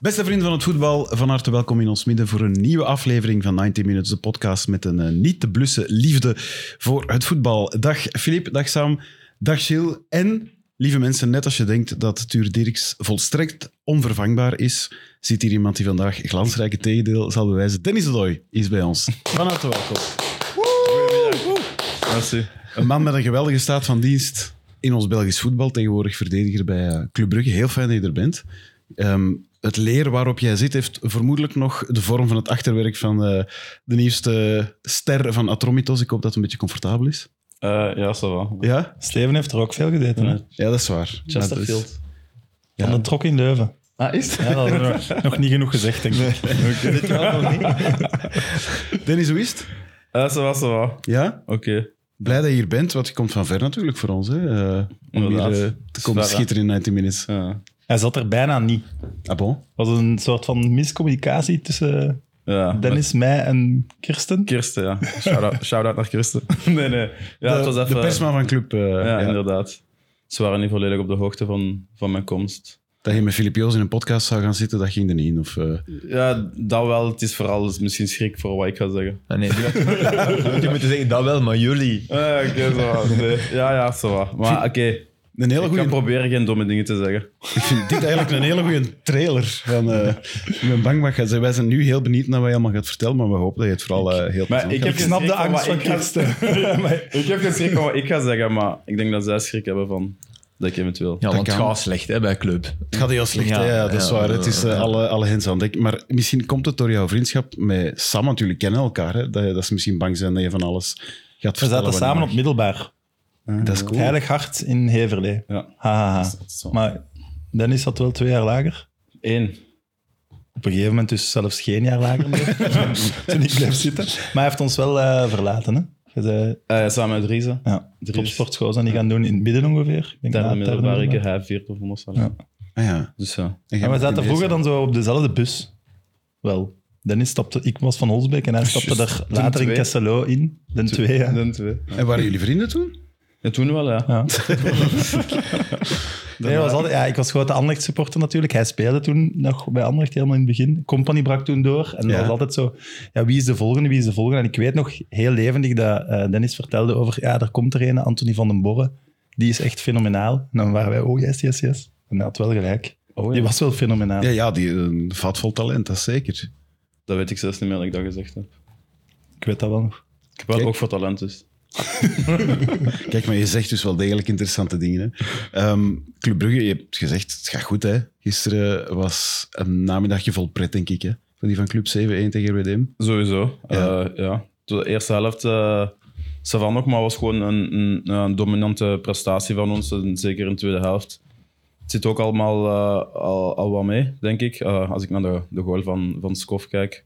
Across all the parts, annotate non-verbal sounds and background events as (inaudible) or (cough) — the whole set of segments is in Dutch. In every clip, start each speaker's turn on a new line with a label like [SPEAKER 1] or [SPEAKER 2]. [SPEAKER 1] Beste vrienden van het voetbal, van harte welkom in ons midden voor een nieuwe aflevering van 90 Minutes, de podcast met een eh, niet te blussen liefde voor het voetbal. Dag Filip, dag Sam, dag Gilles. En, lieve mensen, net als je denkt dat Tuur Dirks volstrekt onvervangbaar is, zit hier iemand die vandaag glansrijke tegendeel zal bewijzen. Dennis Doy is bij ons. Van harte welkom.
[SPEAKER 2] Merci.
[SPEAKER 1] Een man met een geweldige staat van dienst in ons Belgisch voetbal. Tegenwoordig verdediger bij eh, Club Brugge. Heel fijn dat je er bent. Ehm, het leer waarop jij zit heeft vermoedelijk nog de vorm van het achterwerk van eh, de nieuwste ster van Atromitos. Ik hoop dat het een beetje comfortabel is.
[SPEAKER 2] Eh, ja, ça va. Hm?
[SPEAKER 1] Ja?
[SPEAKER 2] Sleven heeft er ook veel gedeten, hè?
[SPEAKER 1] Ja, dat is waar.
[SPEAKER 3] Chesterfield.
[SPEAKER 1] Maar
[SPEAKER 2] Van de trok in Leuven.
[SPEAKER 3] Ah, is het?
[SPEAKER 2] Ja, dat hadden we nog- nog niet genoeg gezegd, denk (laughs) ik. Nee.
[SPEAKER 3] Weet je wel, nog niet?
[SPEAKER 1] dat is- Dennis, hoe is het?
[SPEAKER 2] Eh, ça va, ça va. Oké.
[SPEAKER 1] Ja? Blij dat je hier bent, want je komt van ver natuurlijk voor ons. Hè? eh, om hier
[SPEAKER 2] Inderdaad.
[SPEAKER 1] eh,
[SPEAKER 2] Het
[SPEAKER 1] te
[SPEAKER 2] is
[SPEAKER 1] komen
[SPEAKER 2] ver, hè.
[SPEAKER 1] schitteren in 90 minutes.
[SPEAKER 2] Ja.
[SPEAKER 3] Hij zat er bijna niet.
[SPEAKER 1] Ah bon?
[SPEAKER 3] Het was een soort van miscommunicatie tussen eh,
[SPEAKER 2] ja.
[SPEAKER 3] Dennis, mij en Kirsten.
[SPEAKER 2] Met Kirsten, (laughs) ja. Shout-out shout naar Kirsten. (laughs) nee, nee. Ja,
[SPEAKER 1] de,
[SPEAKER 2] het was even...
[SPEAKER 1] de persman van Club. eh,
[SPEAKER 2] ja,
[SPEAKER 1] ja.
[SPEAKER 2] inderdaad. Ze waren niet volledig op de hoogte van, van mijn komst.
[SPEAKER 1] Dat je met Filip Joos in een podcast zou gaan zitten, dat ging er niet in. Of, eh,
[SPEAKER 2] Ja, dat wel. Het is vooral dus misschien schrik voor wat ik ga zeggen.
[SPEAKER 4] Ah, nee, je moet moeten zeggen dat wel, maar jullie.
[SPEAKER 2] Eh, oké, ça va. Nee. Ja, ja, ça va. Maar oké,
[SPEAKER 1] een hele
[SPEAKER 2] ik ga
[SPEAKER 1] goede
[SPEAKER 2] proberen geen domme dingen te zeggen.
[SPEAKER 1] Ik vind dit eigenlijk een hele goede trailer. Van, eh, ik ben bang wat gaat zijn. Wij zijn nu heel benieuwd naar wat je allemaal gaat vertellen, maar we hopen dat je het vooral eh, heel
[SPEAKER 2] Maar
[SPEAKER 1] plezant
[SPEAKER 2] ik
[SPEAKER 1] hebt.
[SPEAKER 2] heb
[SPEAKER 3] Ik snap de
[SPEAKER 2] geschrikt
[SPEAKER 3] angst
[SPEAKER 2] van
[SPEAKER 3] van
[SPEAKER 2] wat ik (laughs)
[SPEAKER 3] Kirsten. Maar
[SPEAKER 2] Ik heb geen schrik van wat ik ga zeggen, maar ik denk dat zij schrik hebben van dat ik eventueel.
[SPEAKER 4] Ja, want het
[SPEAKER 1] kan.
[SPEAKER 4] gaat slecht hè, bij club.
[SPEAKER 1] Het gaat heel slecht,
[SPEAKER 4] Ja,
[SPEAKER 1] hè? ja, dat is
[SPEAKER 4] ja,
[SPEAKER 1] waar. Het is eh,
[SPEAKER 4] ja.
[SPEAKER 1] alle, alle hens aan dek. Maar misschien komt het door jouw vriendschap met Sam, want jullie kennen elkaar. Hè? Dat, je- dat ze misschien bang zijn dat je van alles gaat
[SPEAKER 3] We
[SPEAKER 1] vertellen.
[SPEAKER 3] zaten
[SPEAKER 1] wat je
[SPEAKER 3] samen op
[SPEAKER 1] mag.
[SPEAKER 3] middelbaar.
[SPEAKER 1] Dat is cool.
[SPEAKER 3] Heilig Hart in Heverlee.
[SPEAKER 2] Ja.
[SPEAKER 3] Ha, ha, ha.
[SPEAKER 2] Zo.
[SPEAKER 3] Maar Dennis zat wel twee jaar lager.
[SPEAKER 2] Eén.
[SPEAKER 3] Op een gegeven moment dus zelfs geen jaar lager
[SPEAKER 2] (laughs)
[SPEAKER 3] meer. toen ik bleef zitten. Maar hij heeft ons wel eh, verlaten. Hè? Je zei,
[SPEAKER 2] Eh, samen met Riese.
[SPEAKER 3] ja,
[SPEAKER 2] Drie.
[SPEAKER 3] topsportschool zijn die gaan doen in het midden ongeveer. Ik denk na
[SPEAKER 2] Derde
[SPEAKER 3] het derde
[SPEAKER 2] middelbare, ik
[SPEAKER 3] middelbaar.
[SPEAKER 2] hij vierde of honderd.
[SPEAKER 3] Ja.
[SPEAKER 1] Ah, ja.
[SPEAKER 2] Dus ja.
[SPEAKER 1] En jij
[SPEAKER 3] En we
[SPEAKER 1] bent
[SPEAKER 3] zaten
[SPEAKER 1] in
[SPEAKER 3] vroeger
[SPEAKER 1] deze.
[SPEAKER 3] dan zo op dezelfde bus. Wel. Dennis stapte, ik was van Holsbeek en hij stapte
[SPEAKER 2] Juist.
[SPEAKER 3] daar later in
[SPEAKER 2] twee.
[SPEAKER 3] Kesselo in. De twee, ja.
[SPEAKER 2] Dan twee.
[SPEAKER 1] En waren jullie vrienden toen?
[SPEAKER 2] Ja, toen wel, ja.
[SPEAKER 3] Ja. nee, was altijd, ja, ik was grote Anderlecht supporter natuurlijk. Hij speelde toen nog bij Anderlecht helemaal in het begin. Company brak toen door.
[SPEAKER 1] Ja.
[SPEAKER 3] En dat was altijd zo, ja, wie is de volgende, wie is de volgende? En ik weet nog heel levendig dat eh, Dennis vertelde over, ja, er komt er een, Anthony van den Borre. Die is echt fenomenaal. En dan waren wij, oh yes, yes, yes. En hij had wel gelijk.
[SPEAKER 2] Oh, ja.
[SPEAKER 3] Die was wel fenomenaal.
[SPEAKER 1] Ja, ja die, een vat vol talent, dat is zeker.
[SPEAKER 2] Dat weet ik zelfs niet meer dat ik dat gezegd heb.
[SPEAKER 3] Ik weet dat wel nog.
[SPEAKER 2] Ik heb wel
[SPEAKER 1] Kijk.
[SPEAKER 2] ook voor talent, dus.
[SPEAKER 1] Kijk, maar je zegt dus wel degelijk interessante dingen. Hè. Ehm, Club Brugge, je hebt gezegd, het gaat goed. Hè? Gisteren was een namiddagje vol pret, denk ik. Hè? Van die van Club 7-1 tegen RWDM.
[SPEAKER 2] Sowieso.
[SPEAKER 1] Ja.
[SPEAKER 2] Ja. ja. De eerste helft, eh ça va nog, maar was gewoon een, een, een dominante prestatie van ons. en zeker in de tweede helft. Het zit ook allemaal eh, al, al wat mee, denk ik. Eh, als ik naar de, de goal van, van Skof kijk,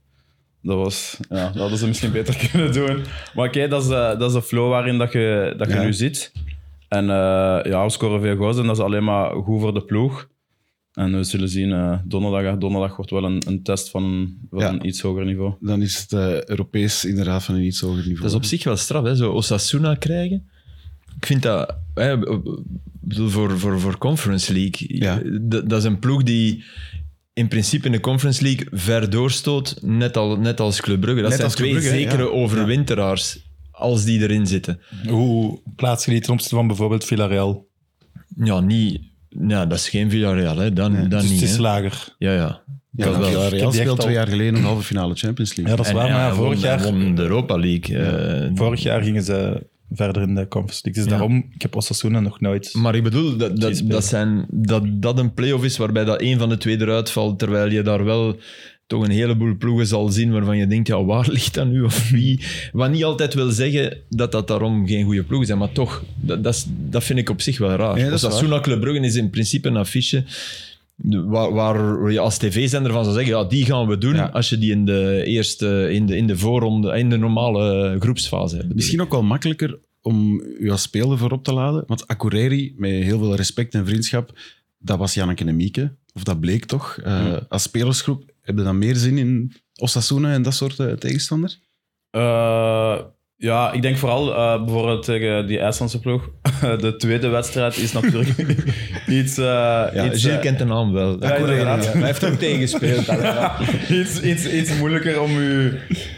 [SPEAKER 2] dat, was, ja, dat hadden ze misschien beter (laughs) kunnen doen. Maar oké, dat, is, eh, dat is de flow waarin dat je, dat je
[SPEAKER 1] Ja.
[SPEAKER 2] nu zit. En eh, ja, we scoren veel goals en dat is alleen maar goed voor de ploeg. En we zullen zien, eh, donderdag, donderdag wordt wel een, een test van, van
[SPEAKER 1] Ja.
[SPEAKER 2] een iets hoger niveau.
[SPEAKER 1] Dan is het eh, Europees inderdaad van een iets hoger niveau.
[SPEAKER 4] Dat is op zich wel straf, hè, zo Osasuna krijgen. Ik vind dat, hè, ik bedoel, voor, voor, voor Conference League,
[SPEAKER 1] Ja.
[SPEAKER 4] dat, dat is een ploeg die in principe in de Conference League ver doorstoot, net, al, net als Club Brugge. Dat
[SPEAKER 1] Net
[SPEAKER 4] zijn
[SPEAKER 1] als Club
[SPEAKER 4] twee
[SPEAKER 1] Brugge, hè,
[SPEAKER 4] zekere
[SPEAKER 1] ja.
[SPEAKER 4] overwinteraars, als die erin zitten.
[SPEAKER 3] Hoe plaats je die ten opzichte van bijvoorbeeld Villarreal?
[SPEAKER 4] Ja, niet... Nou, dat is geen Villarreal, hè. Dan,
[SPEAKER 1] Nee,
[SPEAKER 4] dan
[SPEAKER 3] dus
[SPEAKER 4] niet.
[SPEAKER 3] het is
[SPEAKER 4] hè.
[SPEAKER 3] lager.
[SPEAKER 4] Ja, ja.
[SPEAKER 1] Ja,
[SPEAKER 4] Dat
[SPEAKER 1] want
[SPEAKER 4] wel.
[SPEAKER 1] Real
[SPEAKER 3] Ik heb die echt
[SPEAKER 1] speelt
[SPEAKER 3] al-
[SPEAKER 1] twee jaar geleden een halve finale Champions League.
[SPEAKER 3] Ja, dat is
[SPEAKER 4] En-
[SPEAKER 3] waar.
[SPEAKER 4] en
[SPEAKER 3] Maar ja,
[SPEAKER 4] hij
[SPEAKER 3] vorig,
[SPEAKER 4] won-
[SPEAKER 3] jaar,
[SPEAKER 4] hij won de Europa League. eh,
[SPEAKER 3] vorig jaar gingen ze verder in de conference league. Dus
[SPEAKER 4] Ja.
[SPEAKER 3] daarom, ik heb Osasuna nog nooit...
[SPEAKER 4] Maar ik bedoel, dat,
[SPEAKER 3] Geen
[SPEAKER 4] dat,
[SPEAKER 3] speel.
[SPEAKER 4] dat, zijn, dat dat een play-off is waarbij dat één van de twee eruit valt, terwijl je daar wel toch een heleboel ploegen zal zien waarvan je denkt, ja, waar (laughs) ligt dat nu of wie? Wat niet altijd wil zeggen dat dat daarom geen goede ploegen zijn, maar toch, dat, dat, is- dat vind ik op zich wel raar.
[SPEAKER 1] Nee, dat is
[SPEAKER 4] Osasuna Club Brugge is in principe een affiche de- waar, waar je als tv-zender van zou zeggen, ja, die gaan we doen
[SPEAKER 1] Ja.
[SPEAKER 4] als je die in de eerste, in de, in de voorronde, in de normale groepsfase hebt.
[SPEAKER 1] Misschien ook wel makkelijker om u als speler voorop te laden. Want Akureyri, met heel veel respect en vriendschap, dat was Janneke en Mieke. Of dat bleek toch. Eh,
[SPEAKER 2] Hmm.
[SPEAKER 1] Als spelersgroep hebben dan meer zin in Osasuna en dat soort eh, tegenstander?
[SPEAKER 2] Eh, Ja, ik denk vooral eh, bijvoorbeeld tegen die IJslandse ploeg. (laughs) De tweede wedstrijd is natuurlijk (laughs) iets, eh,
[SPEAKER 4] Ja,
[SPEAKER 2] iets,
[SPEAKER 4] Gilles
[SPEAKER 2] eh,
[SPEAKER 4] kent de naam wel.
[SPEAKER 2] Ja, inderdaad.
[SPEAKER 4] Hij heeft ook
[SPEAKER 1] (laughs)
[SPEAKER 4] tegengespeeld.
[SPEAKER 2] (laughs) iets, iets, iets moeilijker om u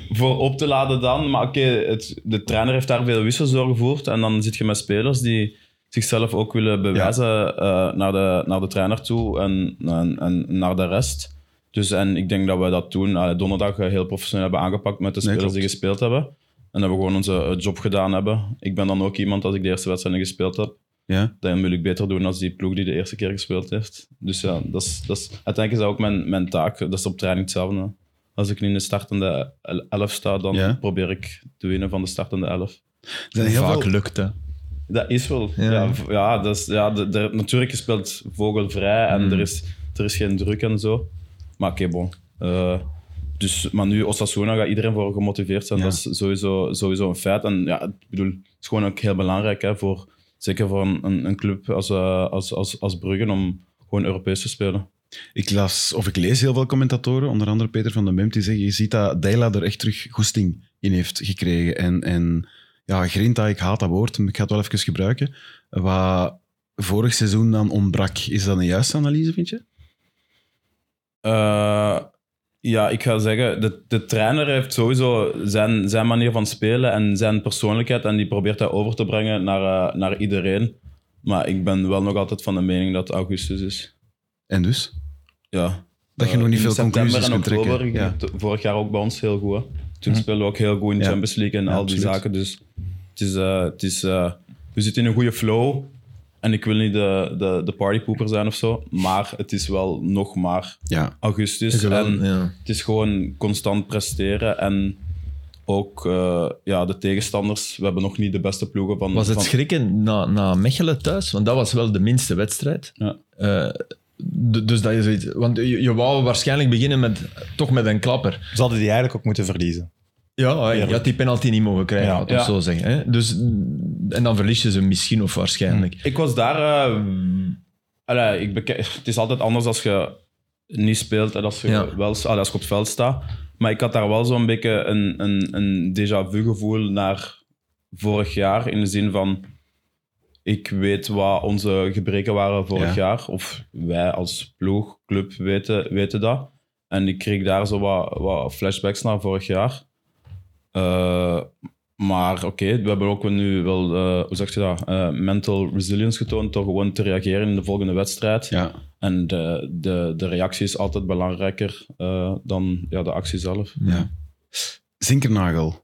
[SPEAKER 2] voor op te laden dan. Maar oké, het- de trainer heeft daar veel wissels doorgevoerd. En dan zit je met spelers die zichzelf ook willen bewijzen eh, naar, de, naar de trainer toe en, en, en naar de rest. Dus en ik denk dat we dat toen eh, donderdag eh, heel professioneel hebben aangepakt met de
[SPEAKER 1] Nee,
[SPEAKER 2] spelers die
[SPEAKER 1] klopt.
[SPEAKER 2] gespeeld hebben. En dat we gewoon onze eh, job gedaan hebben. Ik ben dan ook iemand, als ik de eerste wedstrijd niet gespeeld heb,
[SPEAKER 1] Ja.
[SPEAKER 2] dan wil ik beter doen als die ploeg die de eerste keer gespeeld heeft. Dus ja, dat is, dat is, uiteindelijk is dat ook mijn, mijn taak. Dat is op training hetzelfde. Als ik nu in de startende el- elf sta, dan
[SPEAKER 1] Ja.
[SPEAKER 2] probeer ik te winnen van de startende elf.
[SPEAKER 1] Er zijn heel
[SPEAKER 4] Vaak
[SPEAKER 1] veel...
[SPEAKER 4] lukt dat.
[SPEAKER 2] Dat is wel.
[SPEAKER 4] Ja.
[SPEAKER 2] Ja, v- ja, dat is, ja de, de- natuurlijk, je speelt vogelvrij en er, is, er is geen druk en zo. Maar oké, bon. Eh, dus, maar nu, Osasuna gaat iedereen voor gemotiveerd zijn.
[SPEAKER 1] Ja.
[SPEAKER 2] Dat is sowieso, sowieso een feit. En ja, ik bedoel, het is gewoon ook heel belangrijk, hè, voor, zeker voor een, een, een club als, eh, als, als, als Bruggen, om gewoon Europees te spelen.
[SPEAKER 1] Ik las, of ik lees heel veel commentatoren, onder andere Peter van den Bemt, die zeggen, je ziet dat Deila er echt terug goesting in heeft gekregen. En, en ja, grinta, ik haat dat woord, maar ik ga het wel even gebruiken. Wat vorig seizoen dan ontbrak, is dat een juiste analyse, vind je?
[SPEAKER 2] Eh, ja, ik ga zeggen, de, de trainer heeft sowieso zijn, zijn manier van spelen en zijn persoonlijkheid en die probeert dat over te brengen naar, eh, naar iedereen. Maar ik ben wel nog altijd van de mening dat het augustus is.
[SPEAKER 1] En dus?
[SPEAKER 2] Ja.
[SPEAKER 1] Dat je
[SPEAKER 2] Eh,
[SPEAKER 1] nog niet
[SPEAKER 2] in
[SPEAKER 1] veel
[SPEAKER 2] september
[SPEAKER 1] conclusies
[SPEAKER 2] en
[SPEAKER 1] kunt trekken.
[SPEAKER 2] oktober, ik
[SPEAKER 1] Ja. Mhm.
[SPEAKER 2] denk t- Vorig jaar ook bij ons heel goed. hè. Toen speelden we ook heel goed in de
[SPEAKER 1] Ja.
[SPEAKER 2] Champions League en
[SPEAKER 1] Ja,
[SPEAKER 2] al die
[SPEAKER 1] absoluut.
[SPEAKER 2] zaken. Dus het is, eh, het is, eh, we zitten in een goede flow. En ik wil niet de, de, de partypoeper zijn of zo. Maar het is wel nog maar
[SPEAKER 1] Ja,
[SPEAKER 2] augustus.
[SPEAKER 4] Is er wel-
[SPEAKER 2] en
[SPEAKER 4] ja.
[SPEAKER 2] het is gewoon constant presteren en ook eh, ja, de tegenstanders. We hebben nog niet de beste ploegen van.
[SPEAKER 4] Was het
[SPEAKER 2] van-
[SPEAKER 4] schrikken na, na Mechelen thuis? Want dat was wel de minste wedstrijd.
[SPEAKER 2] Ja.
[SPEAKER 4] Eh, d- dus dat is zoiets. Want je, je wou waarschijnlijk beginnen met, toch met een klapper.
[SPEAKER 3] Ze hadden die eigenlijk ook moeten verliezen.
[SPEAKER 4] Ja, je
[SPEAKER 3] Eerlijk.
[SPEAKER 4] had die penalty niet mogen krijgen,
[SPEAKER 3] Ja.
[SPEAKER 4] laat ons
[SPEAKER 2] Ja.
[SPEAKER 4] zo zeggen. Hè? Dus, mm, en dan verlies je ze misschien of waarschijnlijk.
[SPEAKER 2] Ik was daar. eh,
[SPEAKER 4] Mm.
[SPEAKER 2] allee, ik beke- het is altijd anders als je niet speelt en als je,
[SPEAKER 4] Ja.
[SPEAKER 2] wel, allee, als je op het veld staat. Maar ik had daar wel zo'n beetje een, een, een déjà vu gevoel naar vorig jaar. In de zin van. Ik weet wat onze gebreken waren vorig jaar. Of wij als ploeg, club weten, weten dat. En ik kreeg daar zo wat, wat flashbacks naar vorig jaar. Eh, maar oké, we hebben ook nu wel, eh, hoe zeg je dat, eh, mental resilience getoond door gewoon te reageren in de volgende wedstrijd.
[SPEAKER 1] ja.
[SPEAKER 2] En de, de, de reactie is altijd belangrijker eh, dan ja, de actie zelf.
[SPEAKER 1] ja. Zinkernagel.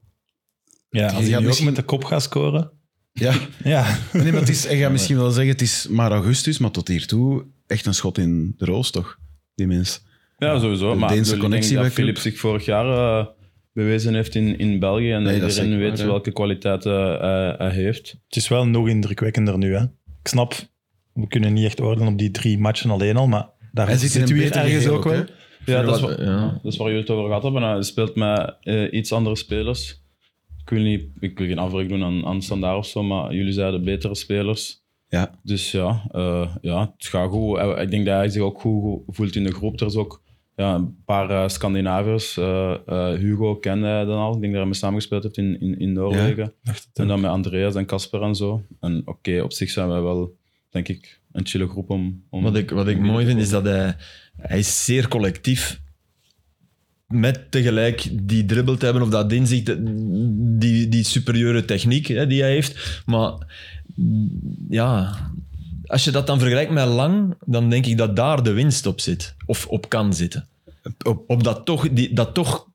[SPEAKER 3] Ja, als
[SPEAKER 1] Die
[SPEAKER 3] hij
[SPEAKER 1] gaat
[SPEAKER 3] nu
[SPEAKER 1] misschien-
[SPEAKER 3] ook met de kop gaat scoren.
[SPEAKER 1] (laughs) Ja,
[SPEAKER 3] Ja,
[SPEAKER 1] nee, maar het is, ik ga misschien wel zeggen, het is maar augustus, maar tot hiertoe echt een schot in de roos, toch? Die mens.
[SPEAKER 2] Ja, sowieso.
[SPEAKER 1] De
[SPEAKER 2] maar
[SPEAKER 1] Deense
[SPEAKER 2] ik denk
[SPEAKER 1] connectie
[SPEAKER 2] dat
[SPEAKER 1] bij club.
[SPEAKER 2] Philips zich vorig jaar eh, bewezen heeft in, in België. En
[SPEAKER 1] Nee, dat is
[SPEAKER 2] iedereen
[SPEAKER 1] zeker
[SPEAKER 2] weet
[SPEAKER 1] waar, hè.
[SPEAKER 2] welke kwaliteiten eh, hij heeft.
[SPEAKER 3] het is wel nog indrukwekkender nu. Hè. Ik snap, we kunnen niet echt oordelen op die drie matchen alleen al, maar daar
[SPEAKER 1] Hij zit in
[SPEAKER 3] zitten
[SPEAKER 1] een
[SPEAKER 3] we hier
[SPEAKER 1] beter
[SPEAKER 3] ergens
[SPEAKER 1] geheel
[SPEAKER 3] ook
[SPEAKER 1] ook,
[SPEAKER 3] wel.
[SPEAKER 1] hè?
[SPEAKER 2] Ja, dat is,
[SPEAKER 4] Wat-
[SPEAKER 2] wa-
[SPEAKER 4] ja.
[SPEAKER 2] dat is waar jullie het over gehad hebben. Hij speelt met eh, iets andere spelers. Ik wil, niet, ik wil geen afbreuk doen aan, aan standaard of zo, maar jullie zijn de betere spelers.
[SPEAKER 1] Ja.
[SPEAKER 2] Dus ja, eh, ja het gaat goed. Hij- Ik denk dat hij zich ook goed voelt in de groep. Er is ook ja, een paar eh, Scandinaviërs. Eh, eh, Hugo kende hij dan al. Ik denk dat hij mee samengespeeld heeft in, in, in Noorwegen. En dan met Andreas en Casper en zo. En oké, op zich zijn wij wel, denk ik, een chille groep om... om
[SPEAKER 4] Wat ik, wat ik mooi vind is dat hij, hij is zeer collectief met tegelijk die dribbel te hebben of dat inzicht, dat- die, die superieure techniek hè, die hij heeft. Maar ja, als je dat dan vergelijkt met Lang, dan denk ik dat daar de winst op zit. Of op kan zitten.
[SPEAKER 1] Op-
[SPEAKER 4] Op, dat, toch, die, dat toch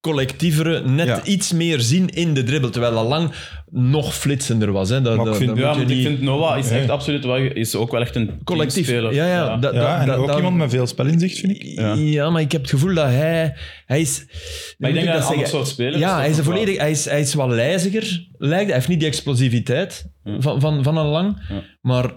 [SPEAKER 4] collectievere, net
[SPEAKER 1] Ja.
[SPEAKER 4] iets meer zien in de dribbel. Terwijl dat Lang nog flitsender was. Hè. Dat,
[SPEAKER 3] Maar ik
[SPEAKER 4] dat-
[SPEAKER 3] vind-
[SPEAKER 4] dat
[SPEAKER 2] Ja,
[SPEAKER 4] moet je
[SPEAKER 2] want ik
[SPEAKER 4] niet-
[SPEAKER 2] vind Noah is echt absoluut wel, is ook wel echt een
[SPEAKER 4] collectief. Ja,
[SPEAKER 2] teamspeler.
[SPEAKER 4] ja, dat- dat-
[SPEAKER 3] Ja, en
[SPEAKER 4] dat-
[SPEAKER 3] ook
[SPEAKER 4] dat-
[SPEAKER 3] iemand met veel spelinzicht, vind ik.
[SPEAKER 4] Ja. maar ik heb het gevoel dat hij... Hij is...
[SPEAKER 2] Maar ik denk dat
[SPEAKER 4] hoe moet
[SPEAKER 2] hij een ander
[SPEAKER 4] zeggen?
[SPEAKER 2] soort speler is
[SPEAKER 4] Ja,
[SPEAKER 2] toch
[SPEAKER 4] hij is, een
[SPEAKER 2] nog wel?
[SPEAKER 4] volledig, hij, is, hij is wat lijziger, lijkt. Hij heeft niet die explosiviteit van, van, van een lang.
[SPEAKER 2] Ja.
[SPEAKER 4] Maar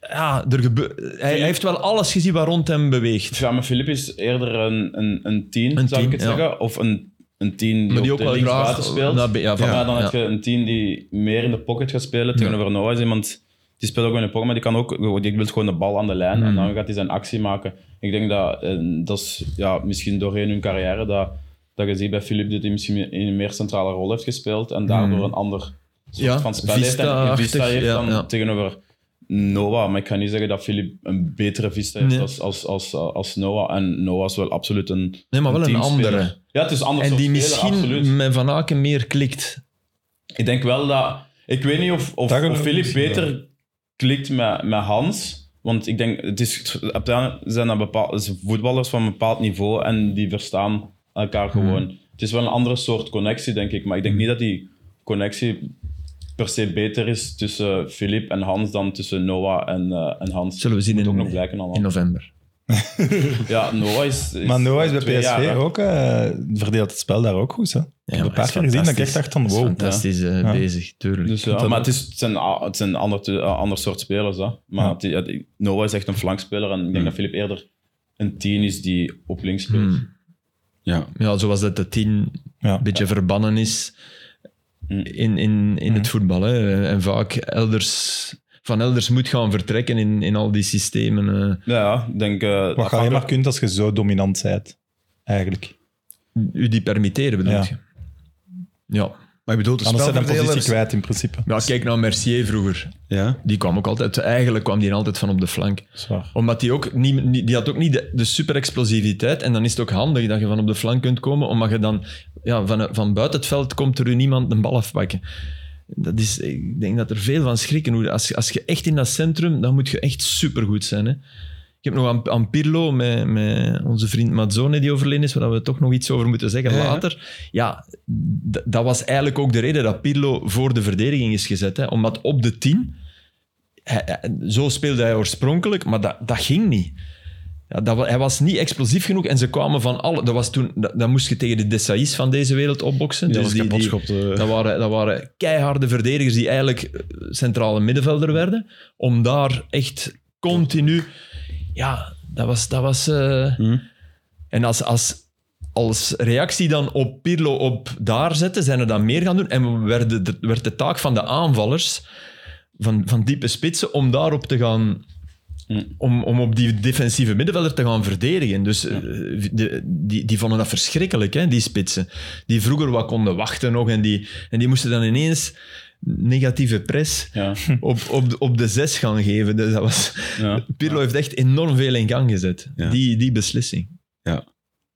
[SPEAKER 4] ja, er gebe- hij, hij heeft wel alles gezien wat rond hem beweegt.
[SPEAKER 2] Ja, maar Filip is eerder een, een, een tien,
[SPEAKER 4] Een
[SPEAKER 2] zou
[SPEAKER 4] tien,
[SPEAKER 2] ik het
[SPEAKER 4] ja.
[SPEAKER 2] zeggen. Of een, een tien die,
[SPEAKER 4] Maar die
[SPEAKER 2] op
[SPEAKER 4] ook
[SPEAKER 2] de
[SPEAKER 4] wel graag...
[SPEAKER 2] linksbuiten speelt.
[SPEAKER 4] naar be- ja, van-
[SPEAKER 2] maar dan
[SPEAKER 4] ja.
[SPEAKER 2] heb je een tien die meer in de pocket gaat spelen. Tegenover Noah is iemand die speelt ook in de pocket, maar die kan ook, die wil gewoon de bal aan de lijn
[SPEAKER 4] Hmm.
[SPEAKER 2] en dan gaat hij zijn actie maken. Ik denk dat, eh, dat is ja, misschien doorheen hun carrière, dat dat je ziet bij Philippe dat hij misschien in een meer centrale rol heeft gespeeld en daardoor een ander soort
[SPEAKER 4] Hmm. Ja,
[SPEAKER 2] van spel heeft en een
[SPEAKER 4] Vista-achtig,
[SPEAKER 2] vista heeft
[SPEAKER 4] ja,
[SPEAKER 2] dan
[SPEAKER 4] ja.
[SPEAKER 2] tegenover Noah. Maar ik kan niet zeggen dat Philippe een betere vista heeft
[SPEAKER 4] Nee.
[SPEAKER 2] als, als, als, als Noah. En Noah is wel absoluut een
[SPEAKER 4] Nee, maar wel een
[SPEAKER 2] teamspeler.
[SPEAKER 4] andere.
[SPEAKER 2] Ja, het is een ander
[SPEAKER 4] En
[SPEAKER 2] soort
[SPEAKER 4] die
[SPEAKER 2] speler,
[SPEAKER 4] misschien
[SPEAKER 2] absoluut.
[SPEAKER 4] met Van Aken meer klikt.
[SPEAKER 2] Ik denk wel dat. Ik weet niet of, of,
[SPEAKER 3] Dat geloof
[SPEAKER 2] of
[SPEAKER 3] ik
[SPEAKER 2] Filip
[SPEAKER 3] misschien
[SPEAKER 2] beter klikt met, met Hans. Want ik denk, het is, op het einde zijn dat bepaal- zijn voetballers van een bepaald niveau en die verstaan elkaar gewoon. Het is wel een andere soort connectie, denk ik. Maar ik denk niet dat die connectie per se beter is tussen Filip en Hans dan tussen Noah en, eh, en Hans.
[SPEAKER 4] Zullen we zien
[SPEAKER 2] Moet ook
[SPEAKER 4] in-
[SPEAKER 2] nog blijken allemaal.
[SPEAKER 4] In november.
[SPEAKER 2] Ja, Noah is... is
[SPEAKER 3] Maar Noah is
[SPEAKER 2] twee
[SPEAKER 3] bij PSV
[SPEAKER 2] jaar, hè.
[SPEAKER 3] ook, eh, verdeelt het spel daar ook goed. Hè?
[SPEAKER 4] Ja,
[SPEAKER 3] ik heb een paar keer gezien dat ik echt dacht van wow.
[SPEAKER 4] Fantastisch eh,
[SPEAKER 3] Ja.
[SPEAKER 4] bezig, tuurlijk.
[SPEAKER 2] Dus ja,
[SPEAKER 3] dat
[SPEAKER 2] maar
[SPEAKER 3] Hm. ook.
[SPEAKER 2] het, is, het zijn, a- het zijn ander, te- a- ander soort spelers. Hè. Maar
[SPEAKER 3] Ja. Hm.
[SPEAKER 2] het- ja, die- Noah is echt een flankspeler en ik denk dat Filip eerder een 10 is die op links speelt.
[SPEAKER 4] Hmm.
[SPEAKER 1] Ja.
[SPEAKER 4] Ja, zoals dat de tien
[SPEAKER 3] Ja.
[SPEAKER 4] een beetje verbannen is
[SPEAKER 2] Mm.
[SPEAKER 4] in, in, in het voetbal. Hè. En vaak elders, van elders moet gaan vertrekken in, in al die systemen. eh.
[SPEAKER 2] Ja, Ja, ik denk... eh,
[SPEAKER 3] Wat je alleen maar kunt als je zo dominant bent, eigenlijk.
[SPEAKER 4] U die permitteren, bedoel
[SPEAKER 3] Ja.
[SPEAKER 4] je? Ja.
[SPEAKER 1] Maar ik bedoel, de
[SPEAKER 3] Anders zijn dan positie
[SPEAKER 1] spelverdelers...
[SPEAKER 3] kwijt in principe.
[SPEAKER 4] Maar kijk naar Mercier vroeger.
[SPEAKER 1] Ja.
[SPEAKER 4] Die kwam ook altijd, eigenlijk kwam die altijd van op de flank.
[SPEAKER 3] Zwaar.
[SPEAKER 4] Omdat die ook niet, niet- die had ook niet de, de super explosiviteit. En dan is het ook handig dat je van op de flank kunt komen, omdat je dan ja, van, van buiten het veld komt er u niemand een bal afpakken. Dat is, ik denk dat er veel van schrikken. Hoe- Als, als je echt in dat centrum, dan moet je echt supergoed zijn. Hè? Ik heb nog aan, aan Pirlo, met, met onze vriend Mazzone die overleden is, waar we toch nog iets over moeten zeggen
[SPEAKER 1] Ja, ja.
[SPEAKER 4] later. Ja, d- dat was eigenlijk ook de reden dat Pirlo voor de verdediging is gezet. Hè? Omdat op de 10, hij- hij- zo speelde hij oorspronkelijk, maar dat, dat ging niet. Ja, dat, wa- hij was niet explosief genoeg en ze kwamen van alle... Dat was toen, dat, dat moest je tegen de Dessais van deze wereld opboksen.
[SPEAKER 1] Ja,
[SPEAKER 4] dus
[SPEAKER 1] als
[SPEAKER 4] die, die,
[SPEAKER 1] kapotschop, eh.
[SPEAKER 4] dat waren, dat waren keiharde verdedigers die eigenlijk eh, centrale middenvelder werden. Om daar echt continu... Ja, dat was... Dat was eh,
[SPEAKER 1] Mhm.
[SPEAKER 4] En als, als, als reactie dan op Pirlo op daar zetten, zijn er dan meer gaan doen. En werd de, de- werd de taak van de aanvallers, van, van diepe spitsen, om daarop te gaan...
[SPEAKER 2] Hm.
[SPEAKER 4] Om, om op die defensieve middenvelder te gaan verdedigen. Dus eh, de- die, die vonden dat verschrikkelijk, hè, die spitsen. Die vroeger wat konden wachten nog en die, en die moesten dan ineens negatieve press
[SPEAKER 2] Ja,
[SPEAKER 4] op, op, de- op de zes gaan geven. Dus dat was,
[SPEAKER 2] ja.
[SPEAKER 3] (laughs)
[SPEAKER 4] Pirlo heeft echt enorm veel in gang gezet,
[SPEAKER 1] Ja.
[SPEAKER 4] die, die beslissing.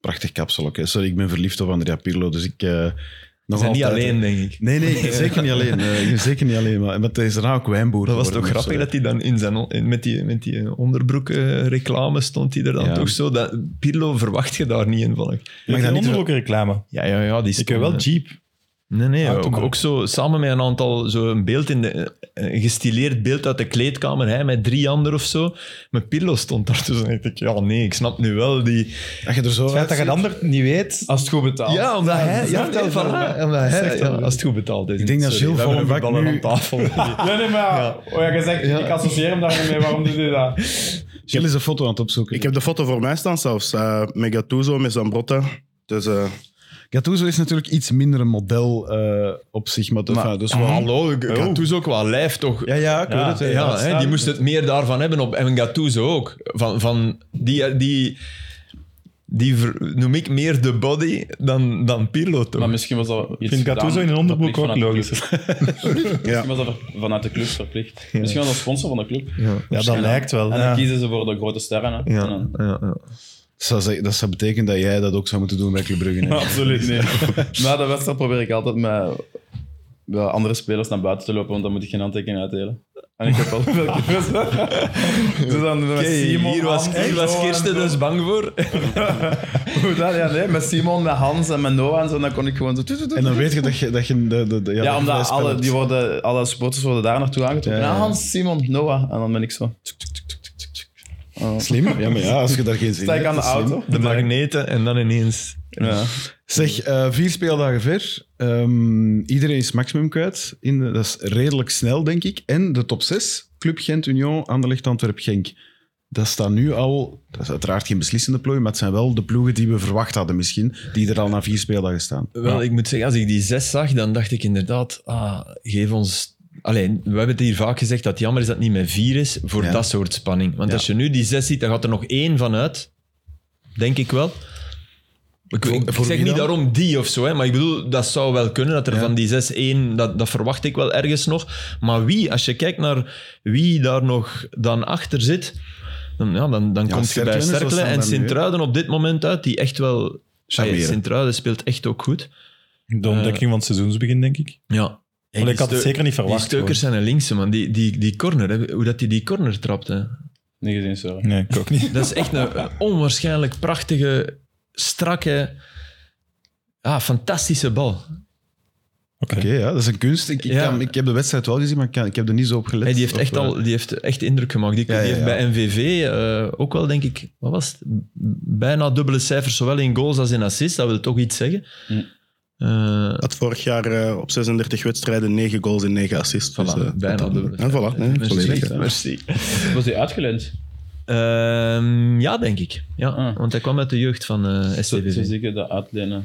[SPEAKER 1] Prachtig kapsel ook. hè. Sorry, ik ben verliefd op Andrea Pirlo, dus ik... eh, nog
[SPEAKER 4] Ze zijn niet
[SPEAKER 1] altijd-
[SPEAKER 4] alleen, denk ik.
[SPEAKER 1] Nee, nee, ik
[SPEAKER 4] (laughs)
[SPEAKER 1] ben zeker niet alleen. Eh, ik ben zeker niet alleen. Maar, maar het is daarna ook wijnboer
[SPEAKER 4] Dat was toch
[SPEAKER 1] geworden dus, eh, of zo.
[SPEAKER 4] grappig dat hij dan in zijn, on- in- met die, met die eh, onderbroek eh, reclame stond hij er dan
[SPEAKER 1] Ja.
[SPEAKER 4] toch zo. Dat, Pirlo verwacht je daar niet in, vond ik.
[SPEAKER 3] Maar
[SPEAKER 1] dat
[SPEAKER 3] ik
[SPEAKER 1] niet
[SPEAKER 3] niet ook reclame.
[SPEAKER 4] Ja, ja, ja. Die
[SPEAKER 3] Ik heb wel
[SPEAKER 4] stonden-
[SPEAKER 3] Jeep.
[SPEAKER 4] Nee, nee.
[SPEAKER 3] Ah,
[SPEAKER 4] ook,
[SPEAKER 3] toen-
[SPEAKER 4] ook zo samen met een aantal, zo een beeld in de, eh, een gestileerd beeld uit de kleedkamer, hij met drie anderen of zo. Maar Pirlo stond daar dus en dacht ik, ja nee, ik snap nu wel die...
[SPEAKER 1] Dat je er zo
[SPEAKER 3] Het feit dat je
[SPEAKER 1] uitziet.
[SPEAKER 3] het ander niet weet,
[SPEAKER 2] Als het goed betaalt.
[SPEAKER 4] Ja, omdat hij...
[SPEAKER 3] dat
[SPEAKER 4] (laughs) Ja,
[SPEAKER 3] zegt
[SPEAKER 4] nee,
[SPEAKER 3] al veel,
[SPEAKER 4] voilà,
[SPEAKER 3] hè.
[SPEAKER 4] omdat hij-
[SPEAKER 3] zegt al
[SPEAKER 4] ja,
[SPEAKER 3] veel.
[SPEAKER 4] als het goed betaald is.
[SPEAKER 1] Ik denk dat
[SPEAKER 4] Sorry,
[SPEAKER 1] Gilles
[SPEAKER 4] we hebben
[SPEAKER 1] Vollenbak
[SPEAKER 4] voetballer
[SPEAKER 1] nu-
[SPEAKER 4] aan
[SPEAKER 1] (laughs)
[SPEAKER 4] tafel.
[SPEAKER 2] Nee, nee, maar oh, ja, je zegt, ik associeer hem daar niet mee, waarom doet hij dat?
[SPEAKER 1] Gilles is een foto aan het opzoeken.
[SPEAKER 5] Ik heb de foto voor mij staan zelfs. eh met Gattuso, met Zambrotta. Dus eh,
[SPEAKER 1] Gattuso is natuurlijk iets minder een model eh, op zich. Maar, enfin, dus wel-
[SPEAKER 4] Hallo, Gattuso qua lijf toch...
[SPEAKER 1] Ja, ja, ik weet het.
[SPEAKER 4] Oh. Ja,
[SPEAKER 1] hè.
[SPEAKER 4] hè, die moest het meer daarvan hebben op en Gattuso ook. Van, van die, die, die ver- noem ik meer de body dan, dan Pirlo toch?
[SPEAKER 2] Maar misschien was dat iets
[SPEAKER 3] Ik vind Gattuso
[SPEAKER 2] gedaan
[SPEAKER 3] in een onderbroek
[SPEAKER 2] verplicht
[SPEAKER 3] ook
[SPEAKER 2] vanuit de
[SPEAKER 3] logisch.
[SPEAKER 2] club.
[SPEAKER 3] (laughs)
[SPEAKER 5] ja.
[SPEAKER 2] Misschien was dat ver- vanuit de club verplicht. Misschien was dat sponsor van de club.
[SPEAKER 3] ja, dat lijkt wel.
[SPEAKER 2] En
[SPEAKER 3] ja.
[SPEAKER 2] dan kiezen ze voor de grote sterren. Hè. En
[SPEAKER 4] ja,
[SPEAKER 2] dan-
[SPEAKER 4] ja, ja.
[SPEAKER 1] Dat zou zeggen- Dat zou betekenen dat jij dat ook zou moeten doen bij Club Brugge. hè.
[SPEAKER 2] Absoluut niet. (laughs) Na de wedstrijd probeer ik altijd met ja, andere spelers naar buiten te lopen, want dan moet ik geen handtekening uitdelen. En ik heb al veel
[SPEAKER 1] (laughs)
[SPEAKER 2] keer Dus dan met
[SPEAKER 4] Oké,
[SPEAKER 2] Simon,
[SPEAKER 4] hier was,
[SPEAKER 2] Hans,
[SPEAKER 4] hier was
[SPEAKER 2] Noah en (laughs)
[SPEAKER 4] Kirsten
[SPEAKER 2] zo.
[SPEAKER 4] dus bang voor.
[SPEAKER 2] Hoe dat? Ja, nee, met Simon, met Hans en met Noah en zo, dan kon ik gewoon zo... tu- tu- tu-
[SPEAKER 1] En dan weet je dat je... Dat je de, de, de- ja,
[SPEAKER 2] Ja,
[SPEAKER 1] dat je
[SPEAKER 2] omdat
[SPEAKER 1] spel
[SPEAKER 2] alle,
[SPEAKER 1] hebt.
[SPEAKER 2] die worden, alle supporters worden daar naartoe aangetrokken.
[SPEAKER 1] Ja, ja.
[SPEAKER 2] Ah, Hans, Simon, Noah. En dan ben ik zo...
[SPEAKER 1] Slim. Ja, maar ja, als je daar geen zin in
[SPEAKER 2] Sta ik
[SPEAKER 1] hebt,
[SPEAKER 2] aan de
[SPEAKER 1] dat is slim.
[SPEAKER 2] auto.
[SPEAKER 4] De magneten en dan ineens...
[SPEAKER 2] Ja.
[SPEAKER 1] Zeg, eh, vier speeldagen ver. Ehm, iedereen is maximum kwijt. In de- dat is redelijk snel, denk ik. En de top 6, Club Gent, Union, Anderlecht, Antwerp, Genk. Dat staat nu al... Dat is uiteraard geen beslissende plooi, maar het zijn wel de ploegen die we verwacht hadden misschien, die er al na vier speeldagen staan.
[SPEAKER 4] Wel, ik moet zeggen, als ik die zes zag, dan dacht ik inderdaad, ah, geef ons... Alleen, we hebben het hier vaak gezegd dat het jammer is dat het niet met vier is voor
[SPEAKER 1] Ja.
[SPEAKER 4] dat soort spanning. Want
[SPEAKER 1] Ja.
[SPEAKER 4] als je nu die zes ziet, dan gaat er nog één vanuit. Denk ik wel. Ik, ik zeg niet daarom die of zo, hè, maar ik bedoel, dat zou wel kunnen. Dat er van die 6-1, dat, dat verwacht ik wel ergens nog. Maar wie, als je kijkt naar wie daar nog dan achter zit, dan, ja, dan, dan
[SPEAKER 1] Ja,
[SPEAKER 4] komt je bij
[SPEAKER 1] Cerkelen is wel
[SPEAKER 4] Cerkelen
[SPEAKER 1] snel
[SPEAKER 4] en
[SPEAKER 1] dan nu, hè.
[SPEAKER 4] Sint-Truiden op dit moment uit, die echt wel...
[SPEAKER 1] Charmeren.
[SPEAKER 4] Sint-Truiden speelt echt ook goed.
[SPEAKER 3] De ontdekking van het seizoensbegin, denk ik.
[SPEAKER 4] Ja.
[SPEAKER 3] Want ik had het zeker niet
[SPEAKER 4] Die
[SPEAKER 3] verwacht.
[SPEAKER 4] steukers zijn een linkse, man. Die, die, die corner, hè. hoe dat die, die corner trapt. Hè.
[SPEAKER 2] Niet gezien, sorry.
[SPEAKER 3] gewoon. Nee, ik ook niet.
[SPEAKER 4] Dat is echt een onwaarschijnlijk prachtige, strakke, ah, fantastische bal.
[SPEAKER 3] Oké.
[SPEAKER 1] Oké, ja, dat is een kunst. Ik, ik,
[SPEAKER 4] Ja.
[SPEAKER 1] kan- ik heb de wedstrijd wel gezien, maar ik, kan- ik heb er niet zo op gelet.
[SPEAKER 4] Hey, die, heeft
[SPEAKER 1] Of,
[SPEAKER 4] echt
[SPEAKER 1] eh,
[SPEAKER 4] al, die heeft echt indruk gemaakt. Die,
[SPEAKER 1] Ja, ja,
[SPEAKER 4] die
[SPEAKER 1] ja.
[SPEAKER 4] heeft bij MVV eh, ook wel, denk ik, wat was het? Bijna dubbele cijfers, zowel in goals als in assists. Dat wil toch iets zeggen.
[SPEAKER 2] Hm.
[SPEAKER 4] Eh,
[SPEAKER 5] Had vorig jaar eh, op 36 wedstrijden 9 goals en 9 assists.
[SPEAKER 4] Voilà,
[SPEAKER 5] eh,
[SPEAKER 4] bijna
[SPEAKER 5] dat-
[SPEAKER 4] dubbel.
[SPEAKER 5] Ja, voilà, nee,
[SPEAKER 4] Merci.
[SPEAKER 5] volledig. hè.
[SPEAKER 4] Merci.
[SPEAKER 2] Was hij uitgeleend?
[SPEAKER 4] Ehm, ja, denk ik. Ja,
[SPEAKER 2] Ah.
[SPEAKER 4] Want hij kwam uit de jeugd van eh
[SPEAKER 2] Zo, zo
[SPEAKER 4] STVV.
[SPEAKER 2] zie ik dat uitlenen.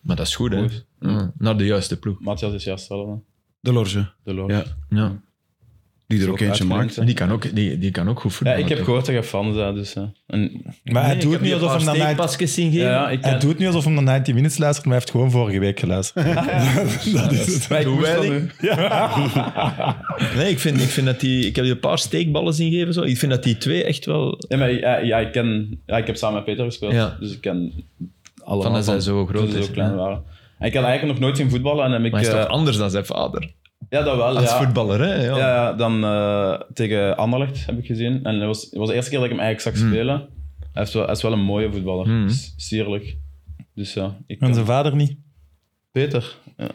[SPEAKER 4] Maar dat is goed, hè?
[SPEAKER 2] Goed.
[SPEAKER 4] Ja, naar de juiste ploeg.
[SPEAKER 2] Matthias is juist al,
[SPEAKER 1] De Lorge,
[SPEAKER 2] de Lord.
[SPEAKER 1] Ja.
[SPEAKER 4] Ja.
[SPEAKER 1] die er ook eentje
[SPEAKER 2] uitgeleend,
[SPEAKER 1] maakt.
[SPEAKER 2] hè.
[SPEAKER 4] Die, kan ook, die, die kan ook goed
[SPEAKER 2] Ja,
[SPEAKER 4] voetballen.
[SPEAKER 2] ik heb
[SPEAKER 4] toch?
[SPEAKER 2] gehoord dat je fan bent, dus...
[SPEAKER 3] eh.
[SPEAKER 2] hè. En,
[SPEAKER 3] Maar hij
[SPEAKER 4] Nee,
[SPEAKER 3] doet
[SPEAKER 4] ik heb
[SPEAKER 3] niet
[SPEAKER 4] die
[SPEAKER 3] alsof
[SPEAKER 4] een
[SPEAKER 3] hem
[SPEAKER 4] paar
[SPEAKER 3] dan uit-
[SPEAKER 4] steekpasjes zien
[SPEAKER 2] ja,
[SPEAKER 4] geven.
[SPEAKER 2] ja, ik
[SPEAKER 3] Hij
[SPEAKER 2] ken-
[SPEAKER 3] doet niet alsof hij naar 90 Minutes luistert, maar hij heeft gewoon vorige week geluisterd. dat is het.
[SPEAKER 2] Maar ik
[SPEAKER 4] (laughs) Hoe
[SPEAKER 2] moest
[SPEAKER 4] wij
[SPEAKER 2] dat
[SPEAKER 4] die- (laughs) Nee, ik vind, ik vind dat die... Ik heb die een paar steekballen zien geven. Zo. Ik vind dat die twee echt wel...
[SPEAKER 2] Ja, maar ja, ja, ik, ken, ja, ik heb samen met Peter gespeeld,
[SPEAKER 4] Ja.
[SPEAKER 2] dus ik ken allemaal
[SPEAKER 4] Van dat zij zo groot
[SPEAKER 2] toen ze
[SPEAKER 4] is,
[SPEAKER 2] zo klein
[SPEAKER 4] ja.
[SPEAKER 2] waren. En ik had eigenlijk nog nooit zien voetballen en heb ik...
[SPEAKER 4] Maar hij is
[SPEAKER 2] eh,
[SPEAKER 4] toch anders dan zijn vader?
[SPEAKER 2] ja, dat wel.
[SPEAKER 4] Als
[SPEAKER 2] ja.
[SPEAKER 4] voetballer, hè?
[SPEAKER 2] Ja,
[SPEAKER 4] Ja.
[SPEAKER 2] ja, dan eh, tegen Anderlecht heb ik gezien. En dat was, dat was de eerste keer dat ik hem eigenlijk
[SPEAKER 4] Mm.
[SPEAKER 2] zag spelen. Hij is wel, hij is wel een mooie voetballer.
[SPEAKER 4] Hmm.
[SPEAKER 2] S- Sierlijk. Dus ja, ik
[SPEAKER 3] En zijn vader niet.
[SPEAKER 2] Peter. Ja,
[SPEAKER 3] Ik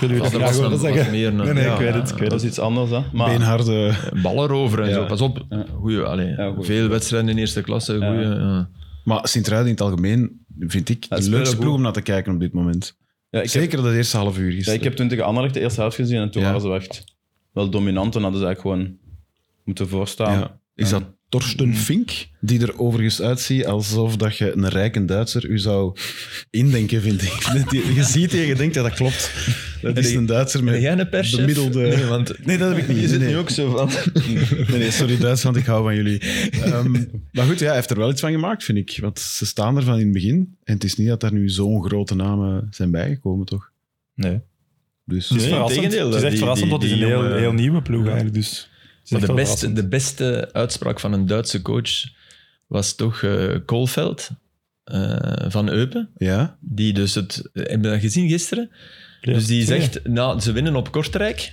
[SPEAKER 3] wil u dat graag
[SPEAKER 4] Vader was
[SPEAKER 3] horen
[SPEAKER 4] een- was
[SPEAKER 3] zeggen.
[SPEAKER 4] meer een-
[SPEAKER 3] nee, nee,
[SPEAKER 4] ja,
[SPEAKER 3] ik weet het.
[SPEAKER 4] ja.
[SPEAKER 3] Ik weet
[SPEAKER 2] dat is
[SPEAKER 3] het.
[SPEAKER 2] iets anders, hè. Maar
[SPEAKER 1] eh, Beenharde...
[SPEAKER 4] Ballen over en
[SPEAKER 1] Ja.
[SPEAKER 4] zo. Pas op. Goeie, allee,
[SPEAKER 2] Ja, goeie.
[SPEAKER 4] veel wedstrijden in eerste klasse. Goeie, ja.
[SPEAKER 1] Maar Sint-Truiden in het algemeen vind ik de
[SPEAKER 2] spelen
[SPEAKER 1] leukste
[SPEAKER 2] goed.
[SPEAKER 1] ploeg om naar te kijken op dit moment.
[SPEAKER 2] ja, ik, heb,
[SPEAKER 1] Zeker dat eerste half uur
[SPEAKER 2] ja,
[SPEAKER 1] gisteren.
[SPEAKER 2] ik heb toen tegen Anderlecht de eerste helft gezien en toen
[SPEAKER 1] Ja.
[SPEAKER 2] waren ze echt wel dominant. En hadden ze eigenlijk gewoon moeten voorstaan.
[SPEAKER 1] Ja. Mm. Is dat Torsten Fink, die er overigens uitziet alsof dat je een rijke Duitser u zou indenken, vind ik. (laughs) Dat die- Je ziet die en je denkt, ja, dat klopt. Dat is een Duitser
[SPEAKER 4] Ben
[SPEAKER 1] met
[SPEAKER 4] jij een perschef?
[SPEAKER 1] bemiddelde...
[SPEAKER 4] Nee, want...
[SPEAKER 1] Nee, dat heb ik niet.
[SPEAKER 4] Je zit
[SPEAKER 1] Nee,
[SPEAKER 4] nu
[SPEAKER 1] nee.
[SPEAKER 4] ook zo van...
[SPEAKER 1] Nee, nee, sorry Duitsland, ik hou van
[SPEAKER 4] (laughs)
[SPEAKER 1] jullie. Ehm, maar goed, ja, hij heeft er wel iets van gemaakt, vind ik. Want ze staan er van in het begin. En het is niet dat daar nu zo'n grote namen zijn bijgekomen, toch?
[SPEAKER 3] Nee.
[SPEAKER 1] Dus...
[SPEAKER 3] Het is
[SPEAKER 4] Nee,
[SPEAKER 3] verrassend.
[SPEAKER 4] integendeel,
[SPEAKER 3] Het is echt
[SPEAKER 4] die-
[SPEAKER 3] verrassend,
[SPEAKER 4] die-
[SPEAKER 3] want het is een
[SPEAKER 4] die
[SPEAKER 3] heel,
[SPEAKER 4] jongen-
[SPEAKER 3] heel nieuwe ploeg eigenlijk. Dus het is echt
[SPEAKER 4] Maar de
[SPEAKER 3] wel
[SPEAKER 4] beste,
[SPEAKER 3] verrassend.
[SPEAKER 4] de beste uitspraak van een Duitse coach was toch eh Koolveld eh, van Eupen.
[SPEAKER 1] Ja?
[SPEAKER 4] Die dus het, heb je dat gezien gisteren?
[SPEAKER 3] Ja.
[SPEAKER 4] dus die
[SPEAKER 3] Twee.
[SPEAKER 4] zegt, nou, ze winnen op Kortrijk.